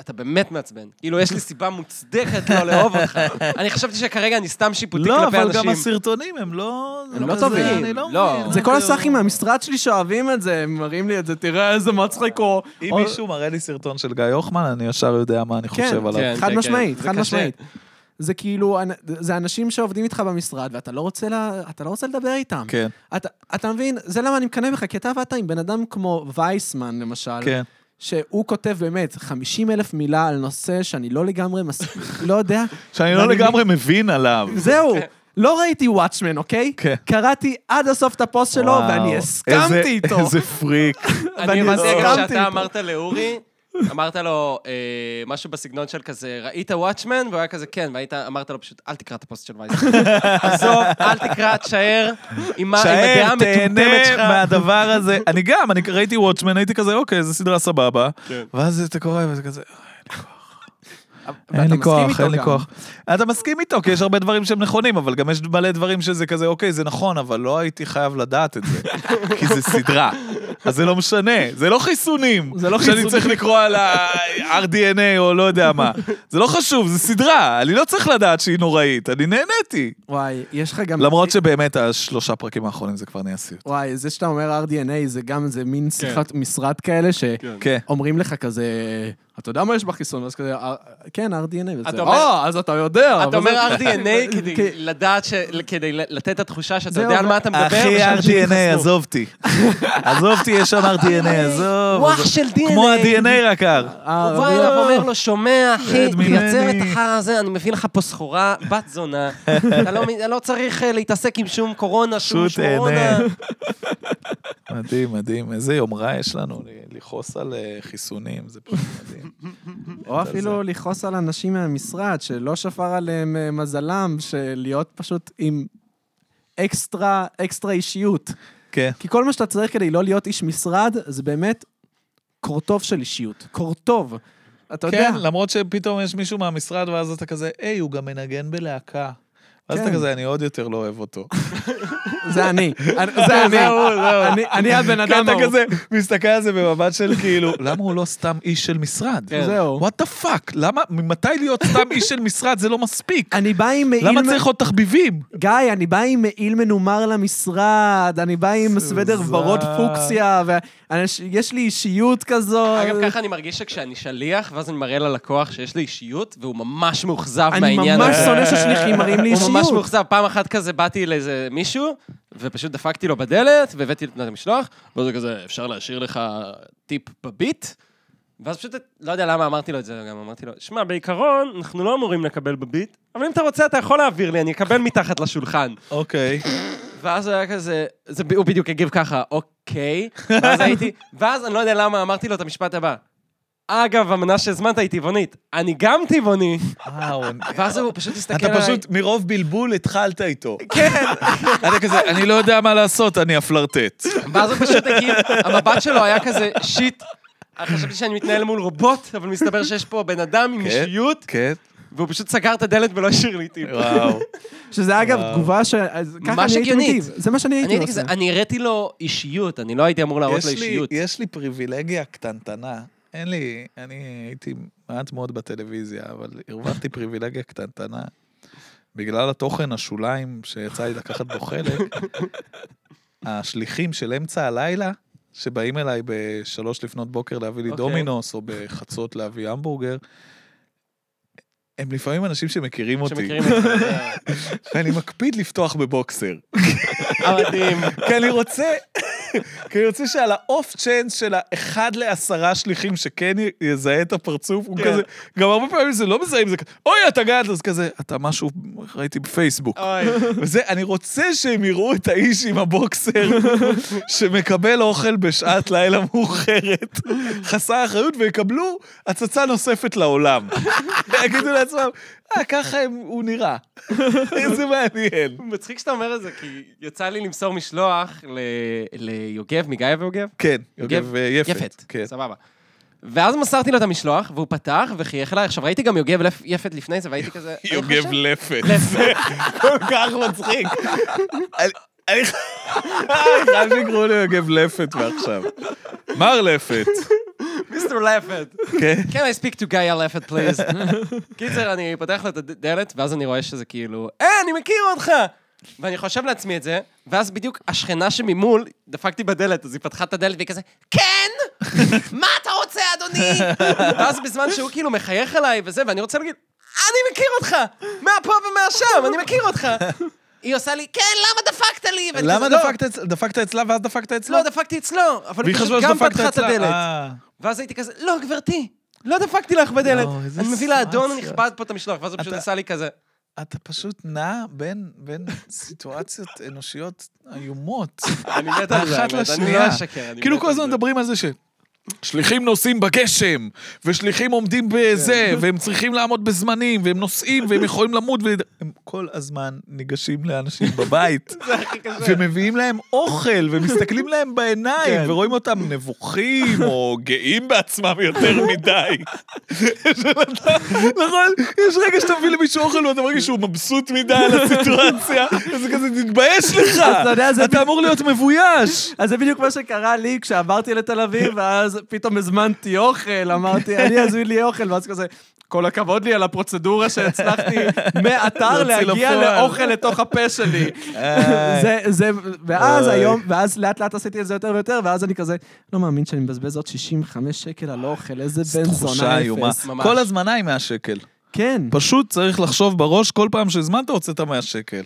Speaker 1: אתה באמת מעצבן. כאילו, יש לי סיבה מוצדקת לא לאהוב אותך. אני חשבתי שכרגע אני סתם שיפוטי
Speaker 2: לא,
Speaker 1: כלפי
Speaker 2: אבל גם
Speaker 1: אנשים.
Speaker 2: הסרטונים הם לא... זה
Speaker 1: הם לא
Speaker 2: כזה,
Speaker 1: טובים.
Speaker 2: אני לא
Speaker 1: לא.
Speaker 2: מבין.
Speaker 3: זה כל
Speaker 2: כאילו,
Speaker 3: הסאחים מהמשרד שלי שאוהבים את זה, הם מראים לי את זה, תראה איזה מצחיק הוא.
Speaker 2: אם
Speaker 3: או-
Speaker 2: מישהו מראה לי סרטון של גיא הוחמן, אני ישר יודע מה אני חושב עליו.
Speaker 1: כן,
Speaker 3: חד
Speaker 1: כן,
Speaker 3: משמעית,
Speaker 1: כן.
Speaker 3: חד
Speaker 1: זה קשה.
Speaker 3: משמעית. זה כאילו, אנ- זה אנשים שעובדים איתך במשרד, ואתה לא רוצה, לה, אתה לא רוצה לדבר איתם.
Speaker 2: כן,
Speaker 3: אתה, אתה מבין? זה למה אני מקנא בך, כי אתה עבדת עם בן אדם כמו וייסמן, למשל,
Speaker 2: כן.
Speaker 3: שהוא כותב באמת 50 אלף מילה על נושא שאני לא לגמרי מספיק, לא יודע.
Speaker 2: שאני לא
Speaker 3: ואני-
Speaker 2: לגמרי מבין עליו.
Speaker 3: זהו, לא ראיתי וואטשמן, אוקיי?
Speaker 2: כן.
Speaker 3: קראתי עד הסוף את הפוסט שלו,
Speaker 2: וואו,
Speaker 3: לא, ואני
Speaker 2: איזה-
Speaker 3: הסכמתי איתו.
Speaker 2: איזה פריק.
Speaker 1: אני
Speaker 3: ואני
Speaker 1: הבנתי אגב
Speaker 3: הסכמתי
Speaker 1: שאתה
Speaker 3: איתו.
Speaker 1: אמרת לאורי, אמרת לו אה, משהו בסגנון של כזה, ראית וואטשמן? והוא היה כזה, כן, והיית, אמרת לו פשוט, אל תקרא את הפוסט של וייזר. עזוב, אל תקרא, תשאר עם מה- עם הדעה
Speaker 2: שער,
Speaker 1: המטומטמת
Speaker 2: תהנה
Speaker 1: שלך.
Speaker 2: מהדבר הזה. אני גם, אני ראיתי וואטשמן, הייתי כזה, אוקיי, זו סדרה סבבה.
Speaker 3: כן.
Speaker 2: ואז אתה קורא וזה כזה, "אה, אין
Speaker 3: ואתה
Speaker 2: לי
Speaker 3: מסכים
Speaker 2: כוח,
Speaker 3: איתו
Speaker 2: אין לי
Speaker 3: גם.
Speaker 2: כוח. אתה מסכים איתו, כי יש הרבה דברים שהם נכונים, אבל גם יש מלא דברים שזה כזה, אוקיי, זה נכון, אבל לא הייתי חייב לדעת את זה, כי זה סדרה. אז זה לא משנה, זה לא חיסונים.
Speaker 3: זה לא
Speaker 2: שאני
Speaker 3: חיסונים.
Speaker 2: צריך לקרוא על ה-RDNA או לא יודע מה. זה לא חשוב, זה סדרה, אני לא צריך לדעת שהיא נוראית, אני נהניתי.
Speaker 3: וואי, יש לך גם...
Speaker 2: למרות שבאמת השלושה פרקים האחרונים זה כבר נהיה סיוט.
Speaker 3: וואי, זה שאתה אומר RDNA זה גם איזה
Speaker 1: כן.
Speaker 3: מין שיחת משרד כאלה
Speaker 2: כן.
Speaker 3: שאומרים לך כזה, אתה יודע מה יש בחיסון? ואז כזה, "אה, כן, RDNA. וזה,
Speaker 1: אתה אומר-
Speaker 3: אה, אז אתה יודע. אבל
Speaker 1: אתה אומר
Speaker 3: זה-
Speaker 1: RDNA כדי
Speaker 3: כן.
Speaker 1: לדעת, ש- כדי לתת את התחושה שאתה
Speaker 3: זהו,
Speaker 1: יודע על מה אתה מדבר.
Speaker 2: אחי,
Speaker 1: ושאנשים
Speaker 2: RDNA,
Speaker 1: יתחסנו.
Speaker 2: עזוב אותי. עזוב אותי, יש שם RDNA, עזוב.
Speaker 1: אה, וואח של DNA.
Speaker 2: כמו ה-DNA רק הר.
Speaker 3: אה,
Speaker 1: הוא בא אליו ואומר לו, שומע, אחי,
Speaker 2: רד
Speaker 1: תייצר את
Speaker 2: ממני."
Speaker 1: החרא הזה, אני מביא לך פה סחורה, בת זונה. אתה לא מ- לא צריך אה, להתעסק עם שום קורונה, שום
Speaker 2: פשוט
Speaker 1: שמורונה.
Speaker 2: תהנה. מדהים, מדהים. איזה יומרה יש לנו ל- לכעוס על אה, חיסונים, זה פשוט מדהים.
Speaker 3: או אפילו לכעוס על אנשים מהמשרד שלא שפר עליהם אה, מזלם, של להיות פשוט עם אקסטרה, אקסטרה אישיות.
Speaker 2: כן.
Speaker 3: כי כל מה שאתה צריך כדי לא להיות איש משרד, זה באמת קורטוב של אישיות. קורטוב. אתה יודע.
Speaker 2: כן, למרות שפתאום יש מישהו מהמשרד, ואז אתה כזה, היי, הוא גם מנגן בלהקה. ואז אתה
Speaker 3: כן.
Speaker 2: כזה, אני עוד יותר לא אוהב אותו.
Speaker 3: זה אני. זה אני. אני- אני הבן
Speaker 2: כי
Speaker 3: אדם
Speaker 2: אתה
Speaker 3: ההוא.
Speaker 2: כזה מסתכל על זה במבט של כאילו, למה הוא לא סתם איש של משרד?
Speaker 1: כן.
Speaker 3: זהו.
Speaker 2: וואט דה פאק, למה, ממתי להיות סתם איש של משרד זה לא מספיק?
Speaker 3: אני בא עם מעיל...
Speaker 2: למה
Speaker 3: מ-
Speaker 2: צריך עוד תחביבים?
Speaker 3: גיא, אני בא עם מעיל מנומר למשרד, אני בא עם סוודר
Speaker 2: סוזן.
Speaker 3: ורוד פוקסיה, ויש לי אישיות כזו.
Speaker 1: אגב, ככה אני מרגיש שכשאני שליח, ואז אני מראה ללקוח שיש לי אישיות, והוא ממש מאוכזב
Speaker 3: אני
Speaker 1: מהעניין
Speaker 3: ממש
Speaker 1: הזה.
Speaker 3: שונא ששליחים מראים לי
Speaker 1: הוא ממש
Speaker 3: אישיות.
Speaker 1: מאוכזב. פעם אחת כזה באתי לאיזה מישהו, ופשוט דפקתי לו בדלת, והבאתי לו את המשלוח, ואז הוא כזה, אפשר להשאיר לך טיפ בביט? ואז פשוט, לא יודע למה אמרתי לו את זה, גם אמרתי לו, שמע, בעיקרון, אנחנו לא אמורים לקבל בביט, אבל אם אתה רוצה, אתה יכול להעביר לי, אני אקבל מתחת לשולחן.
Speaker 2: אוקיי.
Speaker 1: ואז הוא היה כזה, זה, ב- הוא בדיוק הגיב ככה, אוקיי. ואז הייתי, ואז אני לא יודע למה אמרתי לו את המשפט הבא. אגב, המנה שהזמנת היא טבעונית. אני גם טבעוני. ואז הוא פשוט הסתכל
Speaker 2: אתה
Speaker 1: עליי.
Speaker 2: פשוט מרוב בלבול התחלת איתו.
Speaker 1: כן.
Speaker 2: אתה כזה, אני לא יודע מה לעשות, אני אפלרטט.
Speaker 1: ואז הוא פשוט הגיב, המבט שלו היה כזה, שיט. חשבתי שאני מתנהל מול רובוט, אבל מסתבר שיש פה בן אדם עם אישיות,
Speaker 2: כן.
Speaker 1: והוא פשוט סגר את הדלת ולא השאיר לי טיפ.
Speaker 2: וואו.
Speaker 3: שזה אגב תגובה ש... אז ככה אני הייתי
Speaker 1: הגיונית.
Speaker 3: מגיב. זה מה שאני
Speaker 1: אני
Speaker 3: הייתי
Speaker 1: הייתי כזה,
Speaker 3: עושה.
Speaker 1: אני הראתי לו אישיות, אני לא הייתי אמור להראות
Speaker 2: יש
Speaker 1: לו
Speaker 2: לי-
Speaker 1: אישיות.
Speaker 2: יש לי פריבילגיה קטנטנה. אין לי, אני הייתי מעט מאוד בטלוויזיה, אבל הרווחתי פריבילגיה קטנטנה. בגלל התוכן השוליים שיצא לי לקחת בו חלק, השליחים של אמצע הלילה, שבאים אליי בשלוש לפנות בוקר להביא לי okay.
Speaker 1: אוקיי.
Speaker 2: דומינוס, או בחצות להביא המבורגר, הם לפעמים אנשים שמכירים אותי,
Speaker 1: שמכירים אותי.
Speaker 2: ואני מקפיד לפתוח בבוקסר.
Speaker 1: מדהים.
Speaker 2: כי אני רוצה, כי אני רוצה שעל האוף צ'אנס של האחד לעשרה שליחים שכן י- יזהה את הפרצוף, הוא כזה, גם הרבה פעמים זה לא מזהים, זה כזה, אוי, אתה גד, אז כזה, אתה משהו, ראיתי בפייסבוק.
Speaker 1: אה.
Speaker 2: וזה, אני רוצה שהם יראו את האיש עם הבוקסר שמקבל אוכל בשעת לילה מאוחרת, חסר אחריות, ויקבלו הצצה נוספת לעולם. יגידו לעצמם, אה, ככה הם- הוא נראה. איזה מעניין.
Speaker 1: מצחיק שאתה אומר את זה, כי יצא לי למסור משלוח ל- ליוגב, מגיא ויוגב?
Speaker 2: כן, יוגב אה, יפת. כן.
Speaker 1: יפת, סבבה. ואז מסרתי לו את המשלוח, והוא פתח וחייך אליי. עכשיו, ראיתי גם יוגב לפ- יפת לפני זה, והייתי כזה... אני
Speaker 2: יוגב
Speaker 1: חושב-
Speaker 2: לפת. זה כל כך מצחיק. אני- אני ח- אני חייב שיקראו לי יוגב לפת מעכשיו. מר לפת.
Speaker 1: מיסטר לפת.
Speaker 2: כן.
Speaker 1: Can I speak to גיא לפת, פליז? קיצר, אני פותח לו את הדלת, ואז אני רואה שזה כאילו, אה, אני מכיר אותך! ואני חושב לעצמי את זה, ואז בדיוק השכנה שממול, דפקתי בדלת, אז היא פתחה את הדלת והיא כזה, כן! מה אתה רוצה, אדוני? ואז בזמן שהוא כאילו מחייך אליי וזה, ואני רוצה להגיד, אני מכיר אותך! מהפה ומהשם, אני מכיר אותך! היא עושה לי, כן, למה דפקת לי? ואני
Speaker 2: למה
Speaker 1: כזה, "לא,
Speaker 2: דפקת אצ- דפקת אצלה ואז דפקת אצלה?
Speaker 1: לא, דפקתי אצלו, אבל היא
Speaker 2: והיא
Speaker 1: פשוט
Speaker 2: חשבה
Speaker 1: גם
Speaker 2: שדפקת
Speaker 1: פתחה את
Speaker 2: אצלה.
Speaker 1: הדלת.
Speaker 2: אה.
Speaker 1: ואז הייתי כזה, לא, גברתי, לא דפקתי לך בדלת.
Speaker 2: לא, איזה
Speaker 1: אני מביא לאדון
Speaker 2: סיטואציה.
Speaker 1: הנכבד פה את המשלוח, ואז הוא פשוט
Speaker 2: אתה-
Speaker 1: עשה לי כזה.
Speaker 2: אתה פשוט נע בין, בין סיטואציות אנושיות איומות.
Speaker 1: אני מת
Speaker 2: על
Speaker 1: על
Speaker 2: זה,
Speaker 1: זה,
Speaker 2: האמת, אני לא
Speaker 1: אני לא
Speaker 2: אשקר,
Speaker 1: אשקר.
Speaker 2: כאילו כל הזמן מדברים על זה ש... שליחים נוסעים בגשם, ושליחים עומדים
Speaker 1: כן.
Speaker 2: בזה, והם צריכים לעמוד בזמנים, והם נוסעים, והם יכולים למות, והם כל הזמן ניגשים לאנשים בבית, ומביאים להם אוכל, ומסתכלים להם
Speaker 1: כן.
Speaker 2: בעיניים, ורואים אותם נבוכים, או גאים בעצמם יותר מדי. נכון, יש רגע שאתה מביא למישהו אוכל ואתה מרגיש שהוא מבסוט מדי על הסיטואציה, וזה כזה, תתבייש לך,
Speaker 4: אתה יודע, זה
Speaker 2: אתה אמור להיות מבויש.
Speaker 4: אז זה בדיוק מה שקרה לי כשעברתי לתל אביב, ואז פתאום הזמנתי אוכל, אמרתי, אני אזמין לי אוכל, ואז כזה, כל הכבוד לי על הפרוצדורה שהצלחתי מהאתר
Speaker 2: להוציא
Speaker 4: להגיע
Speaker 2: לפועל."
Speaker 4: לאוכל לתוך הפה שלי.
Speaker 1: אה,
Speaker 4: זה, זה, ואז
Speaker 2: אוי.
Speaker 4: היום, ואז לאט לאט עשיתי את זה יותר ויותר, ואז אני כזה, לא מאמין שאני מבזבז עוד 65 שקל על אוכל, איזה בן זונה אפס.
Speaker 1: ממש.
Speaker 2: כל הזמנה היא 100 שקל.
Speaker 4: כן.
Speaker 2: פשוט צריך לחשוב בראש, כל פעם שהזמנת הוצאת 100 שקל.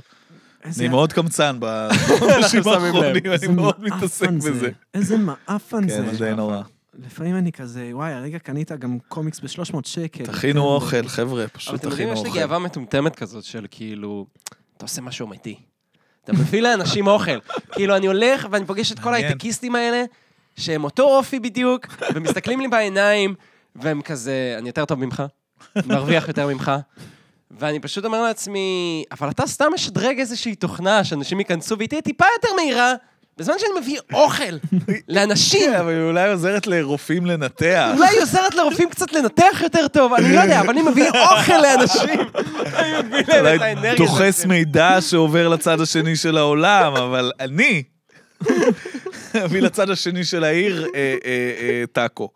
Speaker 4: איזה-
Speaker 2: אני מאוד קמצן בחודשים
Speaker 1: שמים לב.
Speaker 2: האחרונים, אני
Speaker 4: איזה
Speaker 2: מאוד
Speaker 4: מעפן
Speaker 2: מתעסק
Speaker 4: זה.
Speaker 2: בזה.
Speaker 4: איזה מעפן
Speaker 2: כן,
Speaker 4: זה.
Speaker 2: זה נורא.
Speaker 4: לפעמים אני כזה, וואי, הרגע קנית גם קומיקס ב-300 שקל. כן.
Speaker 2: תכינו אוכל, חבר'ה,
Speaker 1: אבל
Speaker 2: פשוט
Speaker 1: אתם יודעים,
Speaker 2: תכינו
Speaker 1: יש לי
Speaker 2: אוכל.
Speaker 1: גאווה מטומטמת כזאת של כאילו, אתה עושה משהו אמיתי. אתה מביא לאנשים אוכל. כאילו, אני הולך ואני פוגש את כל
Speaker 2: מעניין.
Speaker 1: ההייטקיסטים האלה, שהם אותו אופי בדיוק, ומסתכלים לי בעיניים, והם כזה, אני יותר טוב ממך, מרוויח יותר ממך. ואני פשוט אומר לעצמי, אבל אתה סתם משדרג איזושהי תוכנה, שאנשים ייכנסו והיא תהיה טיפה יותר מהירה, בזמן שאני מביא אוכל לאנשים.
Speaker 2: כן, אבל היא אולי עוזרת לרופאים לנתח.
Speaker 1: אולי היא עוזרת לרופאים קצת לנתח יותר טוב, אני לא יודע, אבל אני מביא אוכל לאנשים. אני מביא להם את האנרגיה.
Speaker 2: אולי דוחס מידע שעובר לצד השני של העולם, אבל אני אביא לצד השני של העיר אה, אה, אה, טאקו.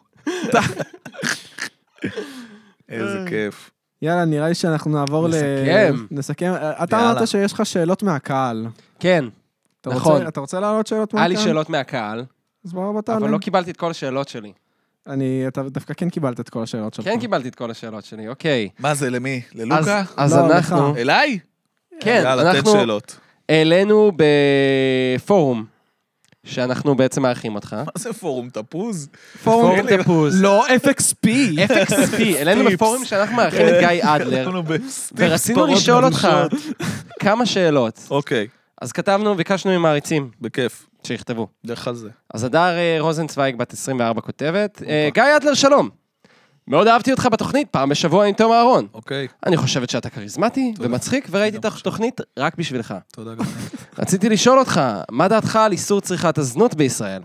Speaker 2: איזה כיף.
Speaker 4: יאללה, נראה לי שאנחנו נעבור ל...
Speaker 1: נסכם.
Speaker 4: נסכם. אתה
Speaker 2: יאללה.
Speaker 4: אמרת שיש לך שאלות מהקהל.
Speaker 1: כן,
Speaker 4: אתה
Speaker 1: נכון.
Speaker 4: רוצה- אה, אתה רוצה להעלות שאלות
Speaker 1: היה
Speaker 4: מהקהל?
Speaker 1: לי שאלות מהקהל,
Speaker 4: אז בוא, בוא
Speaker 1: אבל
Speaker 4: תעלה.
Speaker 1: לא קיבלתי את כל השאלות שלי.
Speaker 4: אני, אתה דווקא כן קיבלת את כל השאלות שלך.
Speaker 2: אוקיי.
Speaker 1: כן קיבלתי את כל השאלות שלי, אוקיי.
Speaker 2: מה זה, למי?
Speaker 1: אז-
Speaker 2: ללוקה?
Speaker 1: אז
Speaker 4: לא,
Speaker 1: אנחנו,
Speaker 4: לך.
Speaker 2: אליי?
Speaker 1: כן,
Speaker 2: יאללה, תן
Speaker 1: אנחנו
Speaker 2: שאלות.
Speaker 1: העלינו בפורום, שאנחנו בעצם מארחים אותך.
Speaker 2: מה זה פורום תפוז?
Speaker 4: פורום
Speaker 1: פורום תפוז.
Speaker 4: לא, FXP.
Speaker 1: FXP, העלינו בפורום שאנחנו מארחים את כן, גיא אדלר,
Speaker 2: אנחנו בסטיפס
Speaker 1: ורצינו
Speaker 2: פרות
Speaker 1: לשאול אותך
Speaker 2: קדושות.
Speaker 1: כמה שאלות.
Speaker 2: אוקיי,
Speaker 1: אז כתבנו, ביקשנו ממעריצים
Speaker 2: בכיף.
Speaker 1: שיכתבו.
Speaker 2: לך על זה.
Speaker 1: אז הדר אה, רוזנצוויג, בת 24, כותבת, אה, גיא אדלר, שלום. מאוד אהבתי אותך בתוכנית, פעם בשבוע עם תום אהרון.
Speaker 2: אוקיי,
Speaker 1: אני חושבת שאתה כריזמטי ומצחיק, וראיתי את התוכנית רק בשבילך.
Speaker 2: תודה גם.
Speaker 1: רציתי לשאול אותך, מה דעתך על איסור צריכת הזנות בישראל?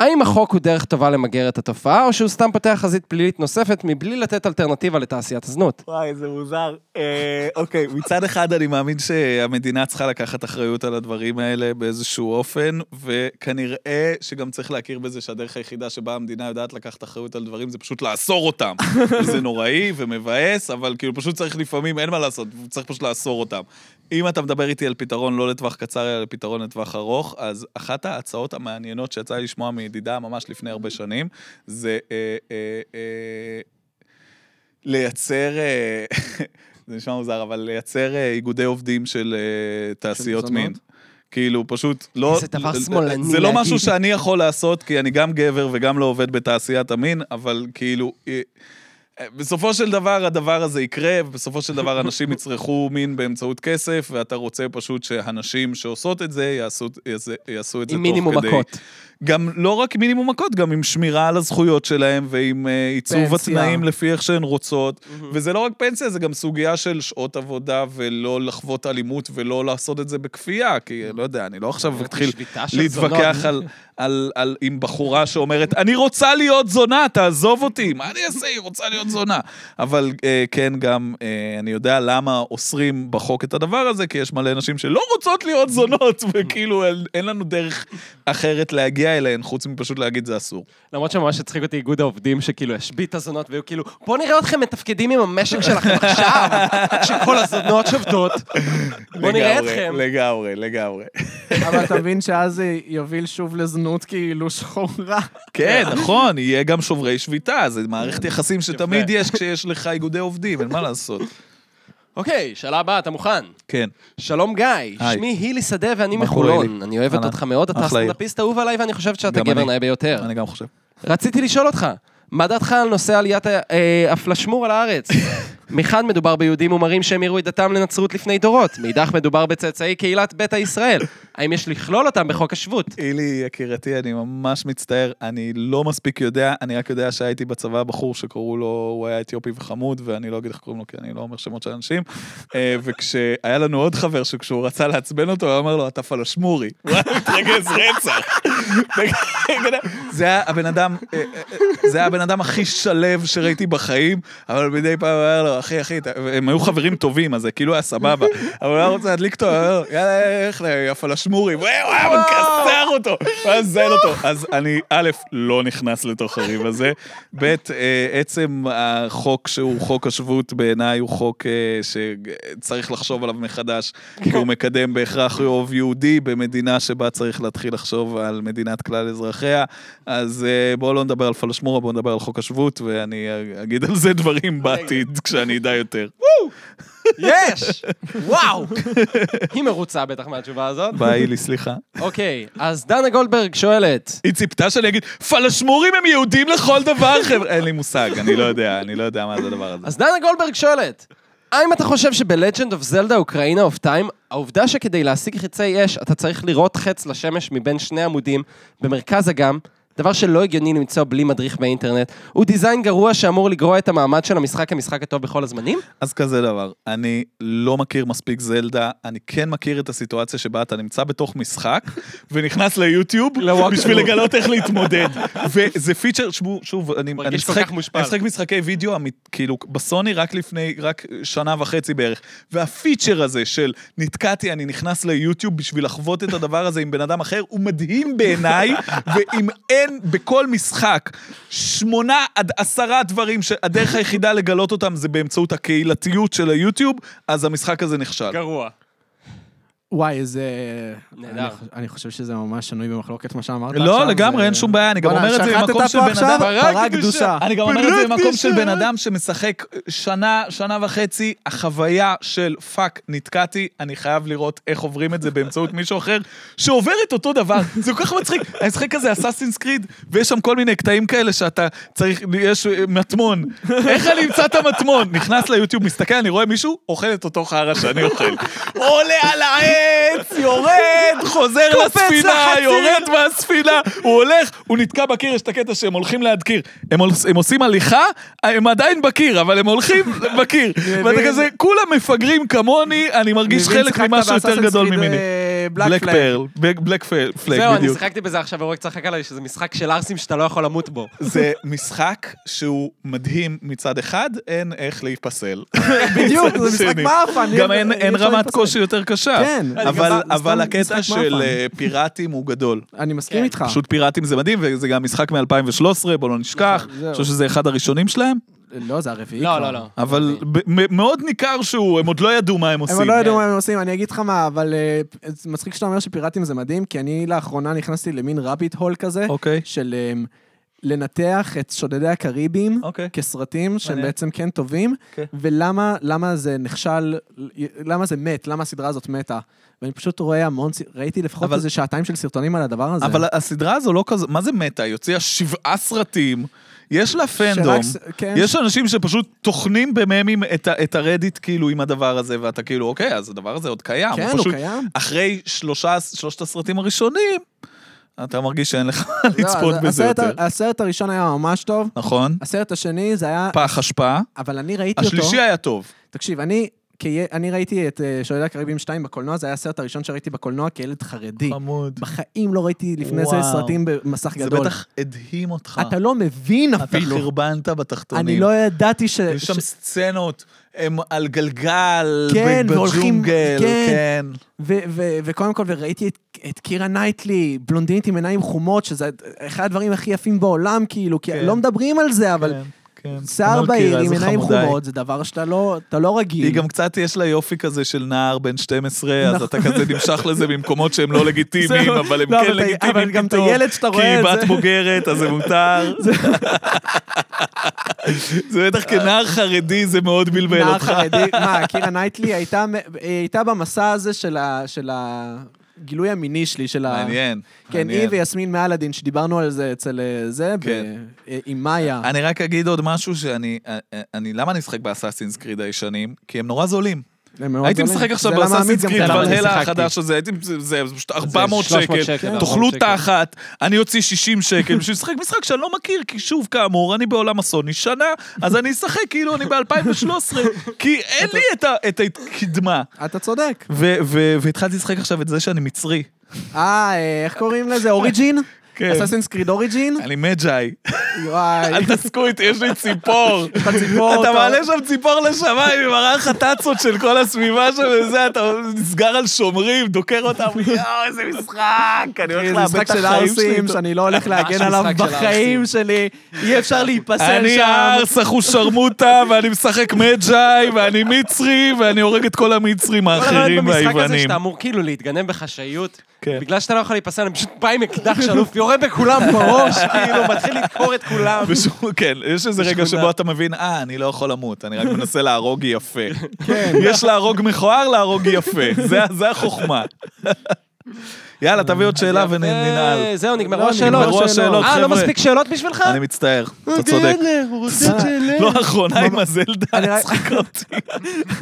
Speaker 1: האם החוק הוא דרך טובה למגר את התופעה, או שהוא סתם פותח חזית פלילית נוספת מבלי לתת אלטרנטיבה לתעשיית הזנות?
Speaker 2: וואי, זה מוזר. אה, אוקיי, מצד אחד אני מאמין שהמדינה צריכה לקחת אחריות על הדברים האלה באיזשהו אופן, וכנראה שגם צריך להכיר בזה שהדרך היחידה שבה המדינה יודעת לקחת אחריות על דברים זה פשוט לאסור אותם. וזה נוראי ומבאס, אבל כאילו פשוט צריך לפעמים, אין מה לעשות, צריך פשוט לאסור אותם. אם אתה מדבר איתי על פתרון לא לטווח קצר, אלא לפתרון לטווח ארוך, אז אחת ההצעות המעניינות שיצא לי לשמוע מידידה ממש לפני הרבה שנים, זה... אה, אה, אה, לייצר, אה, זה נשמע מוזר, אבל לייצר אה, איגודי עובדים של אה, תעשיות
Speaker 4: זונות?
Speaker 2: מין. כאילו, פשוט לא...
Speaker 1: איזה דבר שמאלני
Speaker 2: זה לא
Speaker 1: להגיד.
Speaker 2: משהו שאני יכול לעשות, כי אני גם גבר וגם לא עובד בתעשיית המין, אבל כאילו... אה, אה, בסופו של דבר הדבר הזה יקרה, ובסופו של דבר אנשים יצרכו מין באמצעות כסף, ואתה רוצה פשוט שהנשים שעושות את זה יעשו, יעשו, יעשו את זה
Speaker 1: עם
Speaker 2: תוך
Speaker 1: מינימום
Speaker 2: כדי...
Speaker 1: מכות.
Speaker 2: גם לא רק מינימום מכות, גם עם שמירה על הזכויות שלהם ועם אה, עיצוב
Speaker 4: פנסיה.
Speaker 2: התנאים לפי איך שהן רוצות. וזה לא רק פנסיה, זה גם סוגיה של שעות עבודה ולא לחוות אלימות ולא לעשות את זה בכפייה, כי לא יודע, אני לא עכשיו אתחיל
Speaker 1: שביתה של
Speaker 2: להתווכח
Speaker 1: זונות.
Speaker 2: על, על, על, עם בחורה שאומרת, אני רוצה להיות זונה, תעזוב אותי, מה אני אעשה, היא רוצה להיות זונה. אבל אה, כן, גם אה, אני יודע למה אוסרים בחוק את הדבר הזה, כי יש מלא נשים שלא רוצות להיות זונות, וכאילו אין, אין לנו דרך אחרת להגיע אליהן, חוץ מפשוט להגיד זה אסור.
Speaker 1: למרות שממש הצחיק אותי איגוד העובדים, שכאילו השבית הזונות, והיו כאילו, בואו נראה אתכם מתפקדים עם המשק שלכם עכשיו, כשכל הזונות שבתות. בואו נראה
Speaker 2: לגמרי,
Speaker 1: אתכם.
Speaker 2: לגמרי, לגמרי.
Speaker 4: אבל אתה מבין שאז זה יוביל שוב לזנות כאילו שחורה.
Speaker 2: כן, נכון, יהיה גם שוברי שביתה, זה מערכת יחסים שתמיד יש כשיש לך איגודי עובדים, אין מה לעשות.
Speaker 1: אוקיי, שאלה הבאה, אתה מוכן?
Speaker 2: כן.
Speaker 1: שלום גיא,
Speaker 2: היי.
Speaker 1: שמי הילי שדה ואני
Speaker 2: מה קורה,
Speaker 1: מחולון.
Speaker 2: הילי?
Speaker 1: אני אוהבת
Speaker 2: אהלן.
Speaker 1: אותך מאוד, אתה
Speaker 2: אחלה עיר.
Speaker 1: הסטנדאפיסט האהוב עליי ואני חושבת שאתה
Speaker 2: גם
Speaker 1: גבר
Speaker 2: אני.
Speaker 1: נאה ביותר.
Speaker 2: אני גם חושב.
Speaker 1: רציתי לשאול אותך, מה דעתך על נושא עליית ה- אה, הפלשמור על הארץ? מחד מדובר ביהודים ומרים שהמירו את דתם לנצרות לפני דורות, מאידך מדובר בצאצאי קהילת ביתא ישראל. האם יש לכלול אותם בחוק השבות?
Speaker 2: אילי, יקירתי, אני ממש מצטער, אני לא מספיק יודע, אני רק יודע שהייתי בצבא בחור שקראו לו, הוא היה אתיופי וחמוד, ואני לא אגיד איך קוראים לו, כי אני לא אומר שמות של אנשים. אה, וכשהיה לנו עוד חבר שכשהוא רצה לעצבן אותו, הוא אמר לו, אתה פלשמורי. הוא היה מתרגז רצח. זה היה הבן אדם, אה, אה, אה, זה היה הבן אדם הכי שלו שראיתי בחיים, אבל מדי פעם הוא היה לו, אחי, אחי, אתה-" הם היו חברים טובים, אז זה כאילו היה סבבה. אבל הוא היה רוצה להדליק אותו, הוא היה לו, יאללה, איך, ל- הפלשמורי, והוא היה מקסר אותו, הוא היה מזיין אותו. אז אני, א', לא נכנס לתוך הריב הזה, ב', אה, עצם החוק שהוא חוק השבות, בעיניי הוא חוק אה, שצריך לחשוב עליו מחדש, כי הוא מקדם בהכרח רוב יהודי במדינה שבה צריך להתחיל לחשוב על מדינת כלל אזרחיה. אז אה, בואו לא נדבר על פלשמורה, בואו נדבר על חוק השבות, ואני אגיד על זה דברים בעתיד, כשאני אדע יותר.
Speaker 1: יש! וואו! היא מרוצה בטח מהתשובה הזאת.
Speaker 2: ביי, לי, סליחה.
Speaker 1: אוקיי, אז דנה גולדברג שואלת,
Speaker 2: היא ציפתה שאני אגיד, פלשמורים הם יהודים לכל דבר, חבר'ה. אין לי מושג, אני לא יודע, אני לא יודע מה זה הדבר הזה.
Speaker 1: אז דנה גולדברג שואלת, האם אתה חושב שבלג'נד אוף זלדה אוקראינה אוף טיים, העובדה שכדי להשיג חצי אש אתה צריך לירות חץ לשמש מבין שני עמודים במרכז אגם, דבר שלא הגיוני למצוא בלי מדריך באינטרנט, הוא דיזיין גרוע שאמור לגרוע את המעמד של המשחק כמשחק הטוב בכל הזמנים?
Speaker 2: אז כזה דבר, אני לא מכיר מספיק זלדה, אני כן מכיר את הסיטואציה שבה אתה נמצא בתוך משחק ונכנס ליוטיוב
Speaker 1: לוואקטרו.
Speaker 2: בשביל לגלות איך להתמודד. וזה פיצ'ר, שמו- שוב, אני אני
Speaker 1: מרגיש כל
Speaker 2: משחק
Speaker 1: כך מושפל.
Speaker 2: אני משחק משחקי וידאו, אמית- כאילו, בסוני רק לפני, רק שנה וחצי בערך. והפיצ'ר הזה של נתקעתי, אני נכנס ליוטיוב בשביל לחוות את הדבר הזה עם בן אדם אחר, הוא מדהים בעיניי, ואם אין בכל משחק שמונה עד עשרה דברים שהדרך היחידה לגלות אותם זה באמצעות הקהילתיות של היוטיוב, אז המשחק הזה נכשל.
Speaker 1: גרוע.
Speaker 4: וואי, זה...
Speaker 1: נהדר.
Speaker 4: אני חוש- אני חושב שזה ממש שנוי במחלוקת מה שאמרת עכשיו.
Speaker 2: לא, לגמרי,
Speaker 4: זה-
Speaker 2: אין שום בעיה, אני גם
Speaker 4: בואנה,
Speaker 2: אומר את זה
Speaker 4: שחטת
Speaker 2: ממקום של
Speaker 4: פה
Speaker 2: בן
Speaker 4: עכשיו
Speaker 2: אדם...
Speaker 4: פרה קדושה. לא
Speaker 2: אני גם אומר את זה ממקום של בן אדם שמשחק שנה, שנה וחצי, החוויה של פאק, נתקעתי, אני חייב לראות איך עוברים את זה באמצעות מישהו אחר, שעובר את אותו דבר. זה כל כך מצחיק. המשחק הזה, אסאסינס קריד, ויש שם כל מיני קטעים כאלה שאתה צריך, יש אה, מטמון. איך אני אמצא את המטמון? נכנס ליוטיוב, מסתכל, אני רואה מישהו, אוכל את אותו חרא שאני אוכל. עולה על העץ, יורד, חוזר לספינה,
Speaker 1: לחציר.
Speaker 2: יורד יורד מהספינה, הוא הולך, הוא נתקע בקיר, יש את הקטע שהם הולכים ליד קיר. הם, הולס- הם עושים הליכה, הם עדיין בקיר, אבל הם הולכים בקיר. ואתה כזה, כולם מפגרים כמוני, אני מרגיש
Speaker 4: מבין,
Speaker 2: חלק ממשהו
Speaker 4: שיחקת
Speaker 2: יותר גדול
Speaker 4: ב-Assassin's Creed,
Speaker 2: ממני.
Speaker 4: אה,
Speaker 2: בלק
Speaker 4: בלק פלאג.
Speaker 2: פרל, בלק- בלק פלאג,
Speaker 1: זהו, אני
Speaker 2: בדיוק.
Speaker 1: שיחקתי בזה עכשיו, ואורק צחק עליי שזה משחק של ערסים שאתה לא יכול למות בו.
Speaker 2: זה משחק שהוא מדהים מצד אחד, אין איך להיפסל.
Speaker 4: בדיוק, זה משחק
Speaker 2: שני.
Speaker 4: מאפן.
Speaker 2: גם אין-
Speaker 4: אי אפשר
Speaker 2: אין רמת
Speaker 4: להתפספס.
Speaker 2: קושי יותר קשה.
Speaker 4: כן. אני
Speaker 2: אבל-
Speaker 4: גם- סתם
Speaker 2: אבל הקטע
Speaker 4: משחק
Speaker 2: של
Speaker 4: מאפן. אה.
Speaker 2: אה, פיראטים הוא גדול.
Speaker 4: אני מסכים
Speaker 1: כן.
Speaker 4: איתך.
Speaker 2: פשוט פיראטים זה מדהים, וזה גם משחק מ-2013, בואו לא נשכח.
Speaker 4: נכון, זהו.
Speaker 2: אני חושב שזה אחד הראשונים שלהם,
Speaker 4: לא, זה הרביעי
Speaker 1: לא,
Speaker 4: כבר.
Speaker 1: לא, לא.
Speaker 2: אבל ב- מ- מאוד ניכר שהוא, הם עוד לא ידעו מה הם
Speaker 4: הם
Speaker 2: עושים.
Speaker 4: עוד לא ידעו
Speaker 1: כן.
Speaker 4: מה הם עושים, אני אגיד לך מה, אבל אה, זה מצחיק שאתה אומר שפיראטים זה מדהים, כי אני לאחרונה נכנסתי למין רביט הול כזה,
Speaker 2: אוקיי.
Speaker 4: של אמ,
Speaker 3: אה, לנתח את שודדי הקריבים
Speaker 2: אוקיי.
Speaker 3: כסרטים שהם
Speaker 2: מעניין.
Speaker 3: בעצם כן טובים,
Speaker 2: כן.
Speaker 3: ולמה למה זה נכשל, למה זה מת, למה הסדרה הזאת מתה. ואני פשוט רואה המון, ס- ראיתי לפחות
Speaker 2: אבל-
Speaker 3: איזה שעתיים של סרטונים על הדבר הזה.
Speaker 2: אבל הסדרה הזו לא כזה, מה זה מתה? היא הוציאה שבעה סרטים, יש לה פנדום.
Speaker 3: שרק ס- כן.
Speaker 2: יש אנשים שפשוט טוחנים בממים את, ה- את הרדיט כאילו עם הדבר הזה, ואתה כאילו, אוקיי, אז הדבר הזה עוד קיים.
Speaker 3: כן, הוא
Speaker 2: פשוט,
Speaker 3: קיים.
Speaker 2: אחרי שלושה, שלושת הסרטים הראשונים, אתה מרגיש שאין לך מה לצפות
Speaker 3: לא, אז
Speaker 2: בזה
Speaker 3: הסרט ה-
Speaker 2: יותר.
Speaker 3: הסרט הראשון היה ממש טוב,
Speaker 2: נכון?
Speaker 3: הסרט השני זה היה,
Speaker 2: פח אשפה.
Speaker 3: אבל אני ראיתי אותו.
Speaker 2: השלישי היה טוב.
Speaker 3: תקשיב, אני... כי אני ראיתי את אה, שודדי הקריבים 2 בקולנוע, זה היה הסרט הראשון שראיתי בקולנוע כילד חרדי.
Speaker 2: חמוד.
Speaker 3: בחיים לא ראיתי לפני זה
Speaker 2: וואו.
Speaker 3: סרטים במסך
Speaker 2: נכון. זה
Speaker 3: גדול.
Speaker 2: בטח הדהים אותך.
Speaker 3: אתה לא מבין
Speaker 2: אתה
Speaker 3: אפילו.
Speaker 2: חרבנת בתחתונים.
Speaker 3: אני לא ידעתי ש...
Speaker 2: יש שם
Speaker 3: ש-
Speaker 2: סצנות, הם על גלגל,
Speaker 3: כן,
Speaker 2: ב-
Speaker 3: והולכים-
Speaker 2: בג'ונגל,
Speaker 3: כן.
Speaker 2: כן.
Speaker 3: ו- ו- וקודם כל, וראיתי את, את קירה נייטלי, בלונדינית עם עיניים חומות, שזה אחד הדברים הכי יפים בעולם, כאילו, כי
Speaker 2: כן.
Speaker 3: לא מדברים על זה, אבל
Speaker 2: כן.
Speaker 3: שיער
Speaker 2: אמר
Speaker 3: בהיר
Speaker 2: קירה,
Speaker 3: עם
Speaker 2: איזה
Speaker 3: עיניים
Speaker 2: חמודה היא.
Speaker 3: חומות, זה דבר שאתה לא, אתה לא רגיל.
Speaker 2: היא גם קצת, יש לה יופי כזה של נער בן 12, אז
Speaker 3: נכון.
Speaker 2: אתה כזה נמשך לזה במקומות שהם לא לגיטימיים,
Speaker 3: זהו.
Speaker 2: אבל הם
Speaker 3: לא,
Speaker 2: כן
Speaker 3: אבל אתה-
Speaker 2: לגיטימיים
Speaker 3: אבל גם את
Speaker 2: פתאום,
Speaker 3: הילד שאתה
Speaker 2: כי
Speaker 3: רואה
Speaker 2: היא
Speaker 3: את
Speaker 2: בת
Speaker 3: זה.
Speaker 2: בוגרת, אז זה מותר. זה בטח כנער חרדי, זה מאוד בלבל
Speaker 3: נער
Speaker 2: אותך.
Speaker 3: חרדי, מה, קירה נייטלי הייתה, מ- היא הייתה במסע הזה של ה... של ה... גילוי המיני שלי של ה...
Speaker 2: מעניין.
Speaker 3: כן,
Speaker 2: מעניין.
Speaker 3: היא ויסמין מאלאדין, שדיברנו על זה אצל אה, זה, ב-
Speaker 2: כן.
Speaker 3: אה, עם מאיה.
Speaker 2: אני רק אגיד עוד משהו שאני, אני, למה אני משחק באסאסינס קריד הישנים? כי הם נורא זולים.
Speaker 3: הם מאוד
Speaker 2: הייתי
Speaker 3: זולים.
Speaker 2: משחק עכשיו
Speaker 3: זה למה
Speaker 2: באסאסינס
Speaker 3: עמית גם
Speaker 2: קריד,
Speaker 3: ככה
Speaker 1: למה אני
Speaker 2: ולהלה
Speaker 1: שיחקתי.
Speaker 2: החדש הזה, הייתי, זה- זה זה פשוט 400
Speaker 1: 300 שקל,
Speaker 2: שקל,
Speaker 1: כן.
Speaker 2: תאכלו
Speaker 1: 400 שקל.
Speaker 2: תחת, אני אוציא 60 שקל בשביל לשחק משחק שאני לא מכיר, כי שוב, כאמור, אני בעולם הסוני שנה, אז אני אשחק כאילו אני ב-2013, כי אין לי את ה- את הקדמה.
Speaker 3: אתה צודק.
Speaker 2: ו- ו- והתחלתי לשחק עכשיו את זה שאני מצרי.
Speaker 3: אה, אה, איך קוראים לזה? אוריג'ין?
Speaker 2: כן.
Speaker 3: אסאסינס קריד אוריג'ין?
Speaker 2: אני מג'אי.
Speaker 3: וואי.
Speaker 2: אל תעסקו איתי, יש לי ציפור.
Speaker 3: ציפור,
Speaker 2: אתה
Speaker 3: אתה-
Speaker 2: מעלה שם ציפור לשמיים, היא מראה לך טאצות של כל הסביבה שם וזה, אתה נסגר על שומרים, דוקר אותם, יואו, איזה משחק, אני הולך
Speaker 3: זה
Speaker 2: לאבד
Speaker 3: משחק
Speaker 2: את
Speaker 3: של
Speaker 2: החיים שלי.
Speaker 3: ערסים שאני לא הולך להגן עליו
Speaker 1: משחק של
Speaker 3: בחיים שלי, אי אפשר להיפסל
Speaker 2: אני
Speaker 3: שם.
Speaker 2: הארס, אחו שרמוטה, ואני משחק מג'אי, ואני מצרי, ואני הורג את כל המצרים
Speaker 1: כל הרעיון
Speaker 2: האחרים
Speaker 1: לא במשחק הזה
Speaker 2: והיוונים.
Speaker 1: שאתה אמור כאילו להתגנב בחשאיות,
Speaker 2: כן.
Speaker 1: בגלל שאתה לא יכול להיפסל, אני פשוט בא עם אקדח שלוף, יורה בכולם בראש, כאילו, מתחיל לדקור את כולם.
Speaker 2: בשום- כן, יש איזה רגע
Speaker 1: בשכונה.
Speaker 2: שבו אתה מבין, אה, אני לא יכול למות, אני רק מנסה להרוג יפה. יש להרוג מכוער, להרוג יפה. זה- זה החוכמה. יאללה, תביא עוד שאלה וננעל.
Speaker 1: ו- אה, זהו, נגמרו
Speaker 3: לא,
Speaker 1: השאלות.
Speaker 2: נגמרו השאלות,
Speaker 1: אה, לא
Speaker 2: חבר'ה.
Speaker 1: מספיק אוקיי, שאלות בשבילך?
Speaker 2: אני מצטער, אתה צודק. לא, האחרונה עם הזלדה
Speaker 3: אני רק-
Speaker 2: הצחיקה אותי.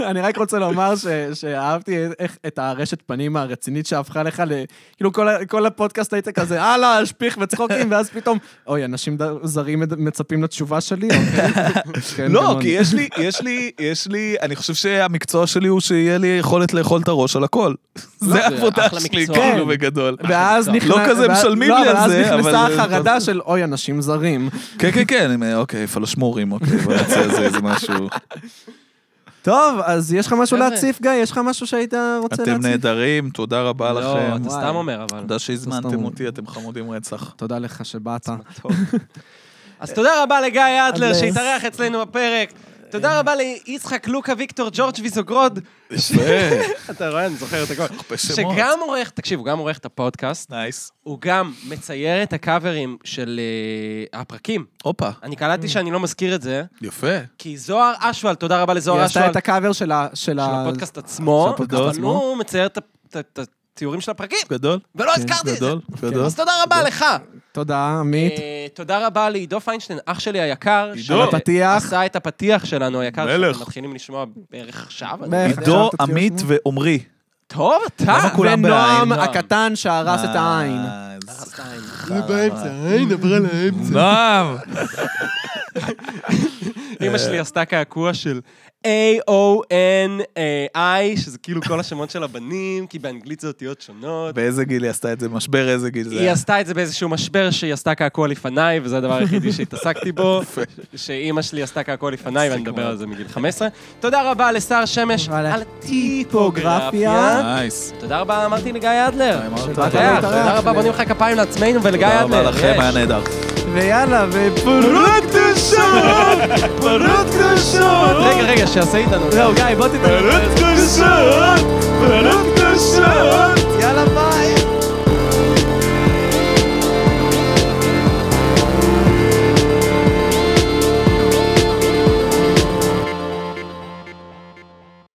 Speaker 3: אני רק רוצה לומר ש- שאהבתי איך- את הרשת פנים הרצינית שהפכה לך ל... כאילו כל ה- כל הפודקאסט היית כזה, הלאה, שפיך וצחוקים, ואז פתאום, אוי, אנשים ד- זרים מד- מצפים לתשובה שלי, אוקיי? כן,
Speaker 2: לא,
Speaker 3: כמוני.
Speaker 2: כי יש לי, יש לי, יש לי, אני חושב שהמקצוע שלי הוא שיהיה לי יכולת לאכול את הראש על הכל. זה
Speaker 1: לא, זה
Speaker 2: העבודה
Speaker 1: אחלה
Speaker 2: שלי,
Speaker 1: מקצוע.
Speaker 2: כאילו,
Speaker 3: כן.
Speaker 2: בגדול.
Speaker 3: ואז נכנס...
Speaker 2: לא כזה
Speaker 3: ואז-
Speaker 2: משלמים
Speaker 3: לא,
Speaker 2: לי על זה,
Speaker 3: אבל אז
Speaker 2: אבל- אה,
Speaker 3: נכנסה החרדה של, אוי, אנשים זרים.
Speaker 2: כן, כן, כן, אני- אוקיי, פלשמורים, אוקיי, בוא נעשה על זה איזה משהו.
Speaker 3: טוב, אז יש לך משהו
Speaker 1: חבר'ה.
Speaker 3: להציף, גיא? יש לך משהו שהיית רוצה
Speaker 2: אתם
Speaker 3: להציף?
Speaker 2: נהדרים, תודה רבה
Speaker 1: לא,
Speaker 2: לכם.
Speaker 1: אתה סתם אומר, אבל.
Speaker 2: תודה שהזמנתם
Speaker 3: סתם.
Speaker 2: אותי, אתם חמודים רצח.
Speaker 3: תודה לך שבאת.
Speaker 1: אז תודה רבה לגיא אדלר
Speaker 3: אדלר.
Speaker 1: שהתארח אצלנו בפרק.
Speaker 2: אה.
Speaker 1: תודה רבה ליצחק לוקה ויקטור ג'ורג' ויזוגרוד. אתה רואה, אני זוכר את הכל.
Speaker 2: בשמות.
Speaker 1: שגם עורך, תקשיב, הוא גם עורך את הפודקאסט,
Speaker 2: נייס.
Speaker 1: הוא גם מצייר את הקאברים של אה, הפרקים.
Speaker 2: הופה,
Speaker 1: אני
Speaker 2: Mm.
Speaker 1: קלטתי שאני לא מזכיר את זה,
Speaker 2: יפה.
Speaker 1: כי זוהר אשוואל, תודה רבה
Speaker 3: היא
Speaker 1: לזוהר
Speaker 3: עשתה
Speaker 1: אשוואל,
Speaker 3: את הקאבר של ה... של
Speaker 1: של
Speaker 3: ה-
Speaker 1: הפודקאסט עצמו,
Speaker 2: הפודקאסט
Speaker 1: אבל
Speaker 2: עצמו.
Speaker 1: הוא מצייר את ה- את ה- את התיאורים של הפרקים,
Speaker 2: גדול,
Speaker 1: ולא הזכרתי את זה.
Speaker 2: כן,
Speaker 1: כן, אוקיי,
Speaker 2: גדול, גדול.
Speaker 1: אז תודה רבה לך.
Speaker 3: תודה, עמית.
Speaker 1: אה, תודה רבה לעידו פיינשטיין, אח שלי היקר.
Speaker 2: עידו.
Speaker 1: שעשה
Speaker 3: הפתיח.
Speaker 1: עשה את הפתיח שלנו היקר,
Speaker 2: מלך.
Speaker 1: שאתם מתחילים לשמוע בערך עכשיו. אני לא
Speaker 3: בערך.
Speaker 1: יודע.
Speaker 2: עידו,
Speaker 3: תתחיל
Speaker 2: עמית
Speaker 3: לשמוע.
Speaker 2: ועומרי.
Speaker 1: טוב, אתה.
Speaker 2: למה כולם
Speaker 3: ונועם
Speaker 1: בעין?
Speaker 3: הקטן שהרס את העין.
Speaker 2: אה, איזה
Speaker 1: הרסת עין.
Speaker 2: העין עברה לאמצע. נועם!
Speaker 1: אמא
Speaker 2: אה,
Speaker 1: שלי עשתה קעקוע של A-O-N-I, שזה כאילו כל השמות של הבנים, כי באנגלית זה אותיות שונות.
Speaker 2: באיזה גיל היא עשתה את זה? משבר איזה גיל זה
Speaker 1: היא
Speaker 2: היה?
Speaker 1: עשתה את זה באיזשהו משבר שהיא עשתה קעקוע לפניי, וזה הדבר היחידי שהתעסקתי בו, שאימא שלי עשתה קעקוע לפניי, ואני מדבר על זה מגיל 15. תודה רבה לשר שמש
Speaker 3: ועל
Speaker 1: על הטיפוגרפיה.
Speaker 3: הטיפוגרפיה.
Speaker 2: נייס.
Speaker 1: תודה רבה, אמרתי לגיא אדלר.
Speaker 2: אמרת.
Speaker 1: שבאת
Speaker 2: תודה
Speaker 1: לארח.
Speaker 3: רבה.
Speaker 1: תודה רבה, בוא נמחא כפיים לעצמנו ולגיא
Speaker 2: תודה
Speaker 1: אדלר.
Speaker 2: רבה לכם,
Speaker 1: יש.
Speaker 2: היה נהדר.
Speaker 3: ויאללה, ופרות קדושות! פרות קדושות!
Speaker 1: רגע, רגע, שיעשה איתנו.
Speaker 3: זהו, גיא, בוא תתן...
Speaker 2: פרות קדושות! פרות קדושות!